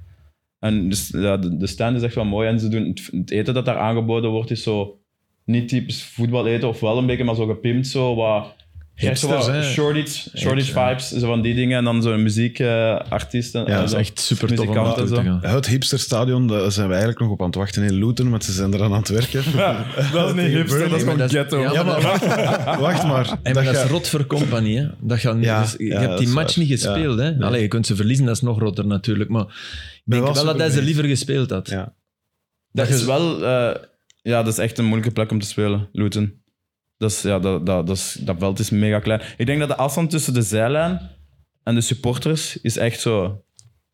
[SPEAKER 2] En dus, ja, de, de stand is echt wel mooi. En ze doen het, het eten dat daar aangeboden wordt, is zo niet typisch voetbal eten of wel een beetje, maar zo gepimpt. Zo wat, echt zo wat
[SPEAKER 1] Hipsters, hè?
[SPEAKER 2] shortage, shortage
[SPEAKER 4] Echt, ja.
[SPEAKER 2] vibes, zo van die dingen. En dan zo'n muziekartiesten. eh,
[SPEAKER 1] Ja,
[SPEAKER 4] Dat is echt super tof om
[SPEAKER 2] muzikanten
[SPEAKER 4] naartoe
[SPEAKER 2] zo.
[SPEAKER 4] te gaan.
[SPEAKER 1] Het hipsterstadion, daar zijn we eigenlijk nog op aan het wachten in Luton, want ze zijn eraan aan het
[SPEAKER 2] (laughs)
[SPEAKER 1] werken.
[SPEAKER 2] dat is niet
[SPEAKER 1] Burnley,
[SPEAKER 2] hipster, dat is
[SPEAKER 4] maar
[SPEAKER 2] gewoon
[SPEAKER 4] dat is-
[SPEAKER 2] ghetto.
[SPEAKER 4] ja,
[SPEAKER 2] (laughs)
[SPEAKER 1] Ja, maar wacht, wacht maar.
[SPEAKER 4] Hey, maar dat, is rot voor compagnie. Hè? Dat gaan,
[SPEAKER 1] Ja,
[SPEAKER 4] dus, je
[SPEAKER 1] ja,
[SPEAKER 4] hebt
[SPEAKER 1] dat
[SPEAKER 4] die
[SPEAKER 1] is
[SPEAKER 4] match
[SPEAKER 1] waar.
[SPEAKER 4] niet gespeeld. Hè? Allee, je kunt ze verliezen, dat is nog rotter natuurlijk. Maar ik denk
[SPEAKER 1] wel
[SPEAKER 4] wel, dat hij ze
[SPEAKER 1] superbenieuwd.
[SPEAKER 4] liever gespeeld had.
[SPEAKER 1] Ja.
[SPEAKER 2] Dat is wel... eh, ja, dat is echt een moeilijke plek om te spelen, Luton. Dat, is, ja, dat, dat, dat, is, dat veld is mega klein. Ik denk dat de afstand tussen de zijlijn en de supporters is echt zo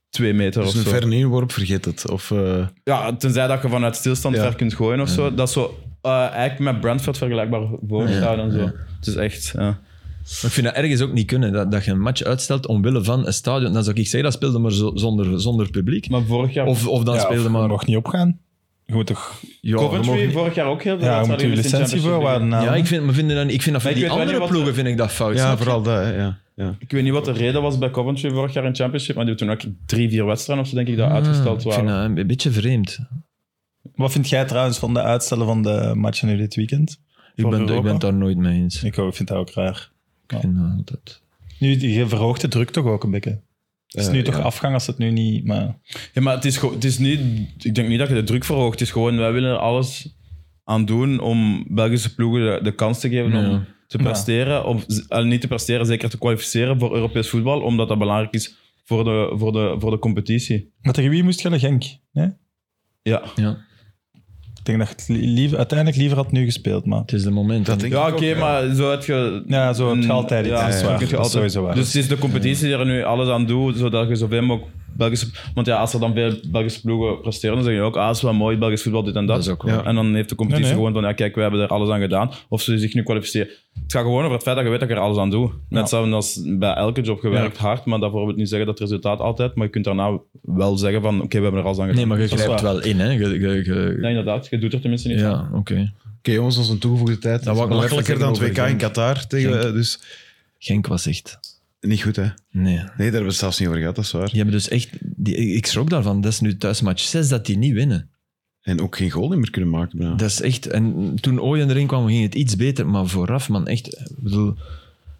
[SPEAKER 2] twee meter
[SPEAKER 1] Dus
[SPEAKER 2] of
[SPEAKER 1] een
[SPEAKER 2] zo.
[SPEAKER 1] ver inworp, vergeet het. Of, eh,
[SPEAKER 2] Ja, tenzij dat je vanuit stilstand
[SPEAKER 1] Ja.
[SPEAKER 2] ver kunt gooien of zo. Dat is zo eh, eigenlijk met Brentford vergelijkbaar voorgestaan en zo. Het is echt... ja.
[SPEAKER 4] Maar ik vind dat ergens ook niet kunnen, dat, dat je een match uitstelt omwille van een stadion. Dan zou ik zeggen, dat speelde maar zo- zonder, zonder publiek.
[SPEAKER 2] Maar vorig jaar...
[SPEAKER 4] Of, of dan
[SPEAKER 3] Ja,
[SPEAKER 4] speelde
[SPEAKER 3] of
[SPEAKER 4] maar...
[SPEAKER 3] nog niet opgaan. Je moet toch...
[SPEAKER 4] Ja, we mogen
[SPEAKER 2] Coventry
[SPEAKER 4] niet-
[SPEAKER 2] vorig jaar ook heel veel.
[SPEAKER 3] Ja, je moet je
[SPEAKER 2] wedstrijden gemist in
[SPEAKER 3] licentie
[SPEAKER 2] Championship
[SPEAKER 3] voorwaarden
[SPEAKER 2] League.
[SPEAKER 4] ja,
[SPEAKER 3] halen.
[SPEAKER 4] ik vind, maar vinden dat niet, ik vind dat voor
[SPEAKER 2] Maar ik
[SPEAKER 4] die
[SPEAKER 2] weet wel
[SPEAKER 4] andere
[SPEAKER 2] niet wat-
[SPEAKER 4] ploegen vind ik dat fout. snap
[SPEAKER 1] ja,
[SPEAKER 4] je?
[SPEAKER 1] vooral dat. hè, Ja, ja.
[SPEAKER 2] Ik weet niet wat de reden was bij Coventry vorig jaar in Championship, maar die hebben toen ook drie, vier wedstrijden of zo, denk ik, dat
[SPEAKER 4] Ah,
[SPEAKER 2] uitgesteld
[SPEAKER 4] Ik vind
[SPEAKER 2] waren.
[SPEAKER 4] dat een beetje vreemd.
[SPEAKER 3] Wat vind jij trouwens van de uitstellen van de matchen nu dit weekend?
[SPEAKER 4] Ik
[SPEAKER 3] Voor
[SPEAKER 4] ben, ik
[SPEAKER 3] Europa?
[SPEAKER 4] ben het daar nooit mee eens.
[SPEAKER 3] Ik ook- vind dat ook raar.
[SPEAKER 4] Ik vind dat altijd...
[SPEAKER 3] Nu, je verhoogt de druk toch ook een beetje? Het is nu
[SPEAKER 1] Eh,
[SPEAKER 3] toch
[SPEAKER 1] ja.
[SPEAKER 3] afgang als het nu niet... Maar...
[SPEAKER 2] Ja, maar het is, gewoon- het is niet... Ik denk niet dat je de druk verhoogt. Het is gewoon, wij willen er alles aan doen om Belgische ploegen de, de kans te geven
[SPEAKER 4] Ja.
[SPEAKER 2] om te presteren. Of z- eh, niet te presteren, zeker te kwalificeren voor Europees voetbal, omdat dat belangrijk is voor de, voor de, voor de competitie.
[SPEAKER 3] Maar tegen wie moest je naar Genk? Nee?
[SPEAKER 2] Ja,
[SPEAKER 4] Ja,
[SPEAKER 3] Ik denk dat je het li- liever, uiteindelijk liever had nu gespeeld, maar...
[SPEAKER 4] het is de moment.
[SPEAKER 1] Dat denk
[SPEAKER 2] ja
[SPEAKER 1] ik
[SPEAKER 2] oké,
[SPEAKER 1] ook, ja.
[SPEAKER 2] maar zo heb je...
[SPEAKER 3] Mm, Ja, zo heb je altijd iets.
[SPEAKER 2] Mm, Ja,
[SPEAKER 3] dat is
[SPEAKER 2] zo heb
[SPEAKER 3] waar.
[SPEAKER 2] je
[SPEAKER 3] Dat is
[SPEAKER 2] altijd-
[SPEAKER 3] sowieso waar.
[SPEAKER 2] Dus het is de competitie die er nu alles aan doet, zodat je zoveel mogelijk Belgische... Want ja, als er dan veel Belgische ploegen presteren, dan zeg je ook, ah, is wel mooi, Belgisch voetbal, dit en dat.
[SPEAKER 4] Dat is ook wel.
[SPEAKER 1] Ja.
[SPEAKER 2] En dan heeft de competitie
[SPEAKER 3] Nee, nee.
[SPEAKER 2] gewoon van, ja, kijk, we hebben er alles aan gedaan. Of ze zich nu kwalificeren. Het gaat gewoon over het feit dat je weet dat je er alles aan doet. Net hetzelfde als bij elke job, gewerkt hard, maar daarvoor wil ik niet zeggen dat het resultaat altijd, maar je kunt daarna wel zeggen van, oké, we hebben er alles aan gedaan.
[SPEAKER 4] Nee, maar je
[SPEAKER 3] is
[SPEAKER 4] grijpt
[SPEAKER 3] waar.
[SPEAKER 4] wel in, hè. Je- je- je-
[SPEAKER 2] Ja, inderdaad. Je doet er tenminste niet aan.
[SPEAKER 4] ja, oké.
[SPEAKER 1] Oké, jongens, onze toegevoegde tijd.
[SPEAKER 4] wou ik
[SPEAKER 1] is
[SPEAKER 4] nog even
[SPEAKER 1] makkelijker
[SPEAKER 4] zeggen
[SPEAKER 1] dan het
[SPEAKER 4] over
[SPEAKER 1] WK in
[SPEAKER 4] Genk.
[SPEAKER 1] Qatar. Tegen, eh, dus
[SPEAKER 4] Genk was echt...
[SPEAKER 1] Niet goed, hè? Nee,
[SPEAKER 4] Nee.
[SPEAKER 1] daar hebben we het zelfs niet over gehad, dat is waar.
[SPEAKER 4] Die hebben dus echt... Die, ik schrok daarvan. Dat is nu thuismatch 6 dat die niet winnen.
[SPEAKER 1] En ook geen goal niet meer kunnen maken. bijna.
[SPEAKER 4] Dat is echt... En toen Ooyen erin kwam, ging het iets beter. Maar vooraf, man, echt... eh, Ik bedoel...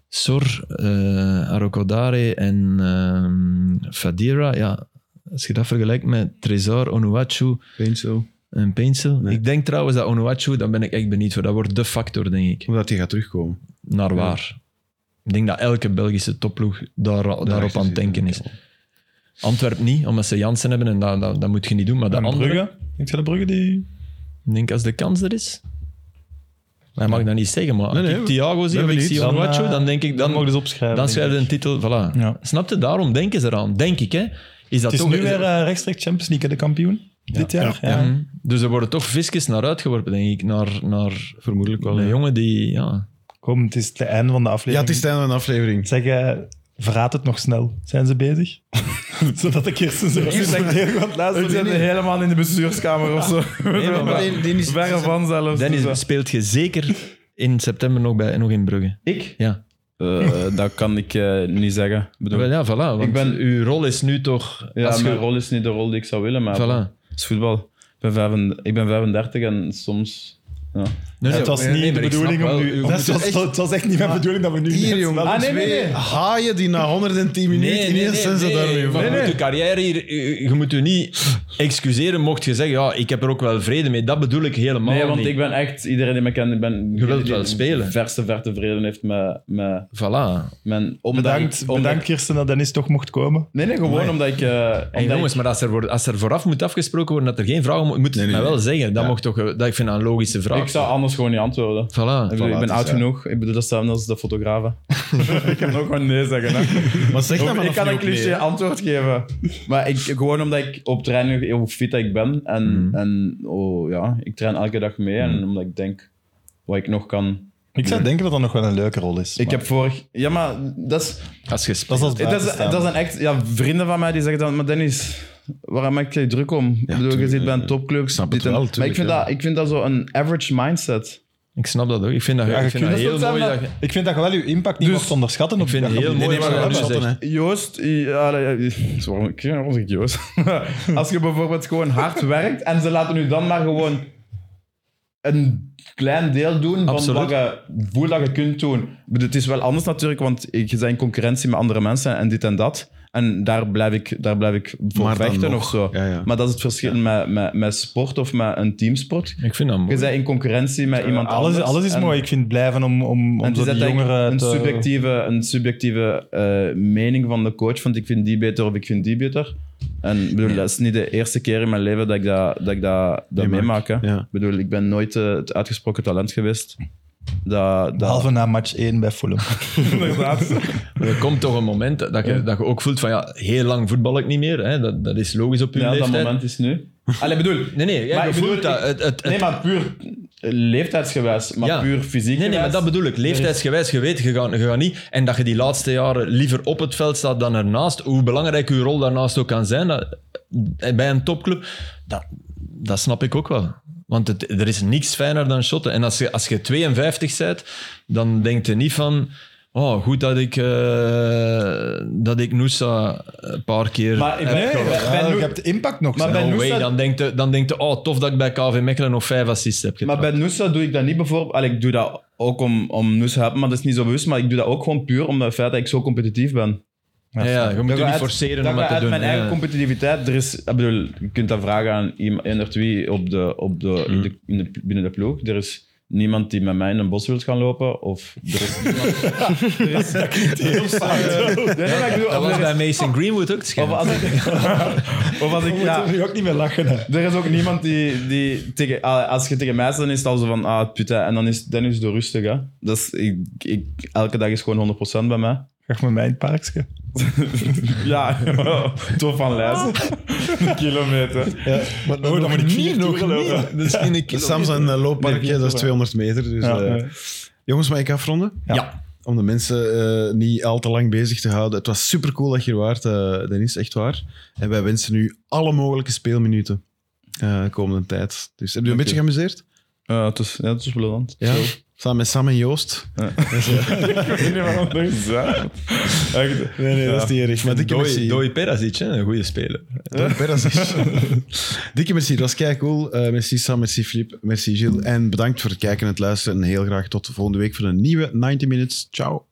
[SPEAKER 4] Sor, eh Arokodare en ehm, Fadira, ja... Als je dat vergelijkt met Trezor, Onuachu
[SPEAKER 1] Paintsel.
[SPEAKER 4] en Pencil.
[SPEAKER 1] Nee.
[SPEAKER 4] Ik denk trouwens dat Onuachu, daar ben ik echt benieuwd voor. Dat wordt de factor, denk ik.
[SPEAKER 1] Omdat hij gaat terugkomen.
[SPEAKER 4] Naar waar? Ik denk dat elke Belgische topploeg daar, daarop aan het denken is. Antwerp niet, omdat ze Jansen hebben en dat, dat, dat moet je niet doen. Maar de
[SPEAKER 3] En
[SPEAKER 4] andere,
[SPEAKER 3] Brugge? Ik zei de Brugge die...
[SPEAKER 4] ik denk als de kans er is. Hij mag dat niet zeggen, maar
[SPEAKER 1] Nee,
[SPEAKER 4] als
[SPEAKER 1] nee,
[SPEAKER 4] ik
[SPEAKER 1] we-
[SPEAKER 4] Thiago zie
[SPEAKER 1] ben
[SPEAKER 4] of ik
[SPEAKER 1] benieuwd.
[SPEAKER 4] zie
[SPEAKER 3] Dan,
[SPEAKER 4] Onuachu,
[SPEAKER 3] eh,
[SPEAKER 4] dan denk ik,
[SPEAKER 3] Dan mogen
[SPEAKER 4] dan,
[SPEAKER 3] ze opschrijven.
[SPEAKER 4] dan schrijven ze
[SPEAKER 3] denk
[SPEAKER 4] een
[SPEAKER 3] ik.
[SPEAKER 4] titel. Voilà.
[SPEAKER 3] Ja.
[SPEAKER 4] Snap je? Daarom denken ze eraan, denk ik. Hè? Is dat
[SPEAKER 3] Het is
[SPEAKER 4] toch
[SPEAKER 3] nu weer eh, rechtstreeks Champions League, hè, de kampioen. Dit jaar. Ja.
[SPEAKER 4] Mhm. Dus er worden toch visjes naar uitgeworpen, denk ik. Naar, naar
[SPEAKER 1] Vermoedelijk wel.
[SPEAKER 4] een jongen die... Ja,
[SPEAKER 3] Kom, het is het einde van de
[SPEAKER 1] Ja,
[SPEAKER 3] aflevering.
[SPEAKER 1] het is het einde van de aflevering.
[SPEAKER 3] Zeg, eh, verraad het nog snel. Zijn ze bezig? (laughs) Zodat ik eerst eens een selecteer want
[SPEAKER 2] We
[SPEAKER 3] luisteren.
[SPEAKER 2] zitten
[SPEAKER 3] Nee,
[SPEAKER 2] helemaal in de bestuurskamer of zo.
[SPEAKER 4] maar- maar die-
[SPEAKER 2] Verre van zelfs.
[SPEAKER 3] eh,
[SPEAKER 4] Dennis,
[SPEAKER 2] Dus,
[SPEAKER 4] speelt je zeker in september nog, bij, nog in Brugge? Ik? Ja.
[SPEAKER 2] eh, eh, dat kan ik eh, niet zeggen. Ik Bedoel,
[SPEAKER 4] Wel, ja, voilà. Want
[SPEAKER 2] Ik ben-
[SPEAKER 4] uw rol is nu toch...
[SPEAKER 2] ja,
[SPEAKER 4] als je-
[SPEAKER 2] mijn rol is niet de rol die ik zou willen, maar
[SPEAKER 4] Voilà.
[SPEAKER 2] het is voetbal. Ik ben, vijfen- ik ben 35 en soms... Ja.
[SPEAKER 4] Nee,
[SPEAKER 3] het was niet de bedoeling om nu...
[SPEAKER 4] Dat
[SPEAKER 3] Dat was,
[SPEAKER 1] echt-
[SPEAKER 3] het was echt niet mijn bedoeling dat we nu...
[SPEAKER 1] Hier,
[SPEAKER 3] net
[SPEAKER 1] jongen.
[SPEAKER 2] Ah,
[SPEAKER 3] snel-
[SPEAKER 1] Twee haaien die na 110 minuten ineens zijn ze daar weer van.
[SPEAKER 4] Je moet je carrière hier... eh, Je moet je niet excuseren mocht je zeggen, ja, ik heb er ook wel vrede mee. Dat bedoel ik helemaal
[SPEAKER 2] Nee, want
[SPEAKER 4] niet.
[SPEAKER 2] ik ben echt... Iedereen die me kent, ik ben...
[SPEAKER 4] Je wilt
[SPEAKER 2] die
[SPEAKER 4] wel
[SPEAKER 2] de
[SPEAKER 4] spelen.
[SPEAKER 2] verste ver tevreden heeft met... met
[SPEAKER 4] Voilà.
[SPEAKER 2] mijn, omdat
[SPEAKER 3] Bedankt,
[SPEAKER 2] ik- omdat
[SPEAKER 3] bedankt Kirsten dat Dennis toch mocht komen.
[SPEAKER 2] Nee, nee, gewoon omdat ik... eh,
[SPEAKER 4] En
[SPEAKER 2] omdat
[SPEAKER 4] jongens,
[SPEAKER 2] ik-
[SPEAKER 4] maar als er, wordt, als er vooraf moet afgesproken worden dat er geen vragen moet, moet het mij wel zeggen. Dat, mocht toch, eh, dat ik vind dat een logische vraag.
[SPEAKER 2] ik zou anders gewoon niet antwoorden. Ik,
[SPEAKER 4] Voilà.
[SPEAKER 2] bedoel, ik ben
[SPEAKER 1] het is
[SPEAKER 2] oud
[SPEAKER 1] waar.
[SPEAKER 2] genoeg. Ik bedoel, dat staan als de fotografen. eh, (laughs) ik kan ook gewoon nee zeggen. Hè.
[SPEAKER 1] Maar zeg dat
[SPEAKER 2] ik
[SPEAKER 1] vanaf
[SPEAKER 2] kan
[SPEAKER 1] nu
[SPEAKER 2] een
[SPEAKER 1] ook nee,
[SPEAKER 2] cliché
[SPEAKER 1] hè.
[SPEAKER 2] antwoord geven. Maar ik, gewoon omdat ik op training, hoe fit dat ik ben. En,
[SPEAKER 1] Mm.
[SPEAKER 2] en oh, ja, ik train elke dag mee. En omdat ik denk wat ik nog kan.
[SPEAKER 3] Ik zou denken dat dat nog wel een leuke rol is.
[SPEAKER 2] Ik heb vorig... Ja, maar dat is...
[SPEAKER 4] Als je speelt.
[SPEAKER 3] Dat is als
[SPEAKER 2] Dat, is,
[SPEAKER 3] buitenstaan.
[SPEAKER 2] dat zijn echt ja, vrienden van mij die zeggen dan, maar Dennis, waarom maak je je druk om? ik bedoel, je
[SPEAKER 1] tuurlijk,
[SPEAKER 2] zit bij
[SPEAKER 1] ja.
[SPEAKER 2] een topclub.
[SPEAKER 1] Ik snap
[SPEAKER 2] dit
[SPEAKER 1] het
[SPEAKER 2] en-
[SPEAKER 1] wel,
[SPEAKER 2] Maar
[SPEAKER 1] tuurlijk,
[SPEAKER 2] ik vind,
[SPEAKER 1] ja.
[SPEAKER 2] dat, ik vind dat zo'n average mindset.
[SPEAKER 4] Ik snap dat ook. Ik vind dat,
[SPEAKER 3] Ja,
[SPEAKER 4] ik
[SPEAKER 3] je
[SPEAKER 4] vind
[SPEAKER 3] kunt
[SPEAKER 4] dat
[SPEAKER 3] het
[SPEAKER 4] heel
[SPEAKER 3] wel
[SPEAKER 4] mooi.
[SPEAKER 3] zeggen,
[SPEAKER 4] Dat je,
[SPEAKER 3] maar Ik vind dat je wel je impact niet
[SPEAKER 2] Dus-
[SPEAKER 3] mocht onderschatten. op-
[SPEAKER 4] ik vind het heel
[SPEAKER 1] Nee, nee,
[SPEAKER 4] mooi wat
[SPEAKER 1] maar
[SPEAKER 4] je
[SPEAKER 1] dat
[SPEAKER 4] nu
[SPEAKER 1] is
[SPEAKER 4] zegt.
[SPEAKER 1] hè.
[SPEAKER 2] Joost, i- ah, allee, (laughs) i- waarom ik waarom zeg ik Joost? (laughs) Als je bijvoorbeeld gewoon hard werkt en ze laten u dan maar gewoon een klein deel doen van
[SPEAKER 4] Absoluut.
[SPEAKER 2] wat je voelt dat je kunt doen. Ik bedoel, Het is wel anders natuurlijk, want je bent in concurrentie met andere mensen en dit en dat. En daar blijf ik, daar blijf ik voor
[SPEAKER 1] Maar dan
[SPEAKER 2] vechten
[SPEAKER 1] nog.
[SPEAKER 2] of zo.
[SPEAKER 1] Ja, ja.
[SPEAKER 2] Maar dat is het verschil met, met, met sport of met een teamsport.
[SPEAKER 4] Ik vind dat mooi.
[SPEAKER 2] Je bent in concurrentie met iemand
[SPEAKER 3] Eh, Alles,
[SPEAKER 2] anders.
[SPEAKER 3] alles is
[SPEAKER 2] en-
[SPEAKER 3] mooi. Ik vind het blijven om, om, om
[SPEAKER 2] en
[SPEAKER 3] zo
[SPEAKER 2] het is
[SPEAKER 3] die
[SPEAKER 2] uiteindelijk
[SPEAKER 3] jongeren eh,
[SPEAKER 2] een
[SPEAKER 3] te...
[SPEAKER 2] subjectieve, een subjectieve eh, mening van de coach. Want ik vind die beter of ik vind die beter. En ik bedoel, dat is niet de eerste keer in mijn leven dat ik dat, dat, ik dat, dat meemaak. hè.
[SPEAKER 1] Ja.
[SPEAKER 2] Ik bedoel, ik ben nooit eh, het uitgesproken talent geweest. Dat, dat,
[SPEAKER 3] Behalve na match 1 bij
[SPEAKER 2] (laughs)
[SPEAKER 3] Fulham.
[SPEAKER 4] (laughs) Er komt toch een moment dat je, dat je ook voelt van ja, heel lang voetbal ik niet meer. Hè? Dat, dat is logisch op je
[SPEAKER 2] ja, dat
[SPEAKER 4] leeftijd.
[SPEAKER 2] moment is nu. Allee, bedoel,
[SPEAKER 4] Nee, nee, ja,
[SPEAKER 2] Maar
[SPEAKER 4] je
[SPEAKER 2] ik
[SPEAKER 4] voelt
[SPEAKER 2] bedoel,
[SPEAKER 4] dat.
[SPEAKER 2] ik-
[SPEAKER 4] Het, het,
[SPEAKER 2] nee,
[SPEAKER 4] het-
[SPEAKER 2] maar puur leeftijdsgewijs, maar
[SPEAKER 4] Ja.
[SPEAKER 2] puur fysiek
[SPEAKER 4] nee, nee, maar
[SPEAKER 2] gewijs.
[SPEAKER 4] dat bedoel ik. Leeftijdsgewijs, je weet, je gaat, je gaat niet. En dat je die laatste jaren liever op het veld staat dan ernaast. Hoe belangrijk je rol daarnaast ook kan zijn dat, bij een topclub, dat, dat snap ik ook wel. Want het, er is niks fijner dan shotten. En als je, als je 52 bent, dan denkt je niet van. Oh, goed dat ik, eh dat ik Noosa een paar keer
[SPEAKER 2] Maar ik ben-
[SPEAKER 4] heb
[SPEAKER 2] nee,
[SPEAKER 4] gehad.
[SPEAKER 3] Ja,
[SPEAKER 2] Ben-
[SPEAKER 3] je hebt impact nog.
[SPEAKER 2] Maar
[SPEAKER 3] zeg. (laughs)
[SPEAKER 2] Ben-
[SPEAKER 4] No
[SPEAKER 2] Noosa-
[SPEAKER 4] way, dan denkt je, dan denkt je, oh, tof dat ik bij KV Mechelen nog vijf assists heb
[SPEAKER 2] Maar
[SPEAKER 4] getrapt.
[SPEAKER 2] bij Noosa doe ik dat niet bijvoorbeeld. Allee, ik doe dat ook om, om Noosa te helpen, maar dat is niet zo bewust. Maar ik doe dat ook gewoon puur om het feit dat ik zo competitief ben.
[SPEAKER 4] ja,
[SPEAKER 2] Dat
[SPEAKER 4] je moet je
[SPEAKER 2] gaat
[SPEAKER 4] niet
[SPEAKER 2] uit-
[SPEAKER 4] forceren
[SPEAKER 2] dat
[SPEAKER 4] om
[SPEAKER 2] gaat
[SPEAKER 4] dat te
[SPEAKER 2] uit
[SPEAKER 4] doen.
[SPEAKER 2] mijn eigen
[SPEAKER 4] ja.
[SPEAKER 2] competitiviteit. Er is, ik bedoel, je kunt dat vragen aan iemand één of twee op de, op de,
[SPEAKER 4] Hmm.
[SPEAKER 2] in de, in de- binnen de ploeg. Er is niemand die met mij in een bos wil gaan lopen. Of er is
[SPEAKER 4] (laughs)
[SPEAKER 2] niemand... er is, dat klinkt heel saai. Nee, nee, maar ik bedoel,
[SPEAKER 4] Dat
[SPEAKER 2] of
[SPEAKER 4] was
[SPEAKER 2] er is-
[SPEAKER 4] bij Mason Greenwood ook het schijn.
[SPEAKER 2] of als ik... (laughs) Of als ik
[SPEAKER 3] Je
[SPEAKER 2] ja,
[SPEAKER 3] moet er ook niet meer lachen. Hè.
[SPEAKER 2] er is ook niemand die, die tegen, ah, als je tegen mij zegt, dan is het al zo van, ah, putain. En dan is Dennis de rustig, hè. Dat is, ik, ik, elke dag is gewoon 100% bij mij.
[SPEAKER 3] Graag met mij in het parkje.
[SPEAKER 2] Ja, (laughs) tof van lijzen. Een (laughs) kilometer.
[SPEAKER 3] Oh, dan moet ik vier toeren lopen.
[SPEAKER 4] Misschien een
[SPEAKER 1] Sam zijn eh, loopparkje, dat is 200 meter. Dus,
[SPEAKER 3] Ja,
[SPEAKER 1] eh,
[SPEAKER 3] ja.
[SPEAKER 1] Jongens, mag ik afronden?
[SPEAKER 3] Ja.
[SPEAKER 1] Om de mensen eh, niet al te lang bezig te houden. Het was super cool dat je er waart, eh, Dennis, echt waar. En wij wensen u alle mogelijke speelminuten eh komende tijd. Dus heb je een beetje geamuseerd?
[SPEAKER 2] Ja, het is, ja, het is belangrijk.
[SPEAKER 1] Ja. Samen met Sam en Joost. Nee, nee, dat is niet erg. Maar dikke
[SPEAKER 4] Doi,
[SPEAKER 1] merci.
[SPEAKER 4] Doi Perasic, hè? een goede speler.
[SPEAKER 1] Don Perasic. (laughs) dikke merci, dat was kei cool. Eh, merci Sam, merci Filip, merci Gilles. En bedankt voor het kijken en het luisteren. En heel graag tot volgende week voor een nieuwe 90 Minutes. Ciao.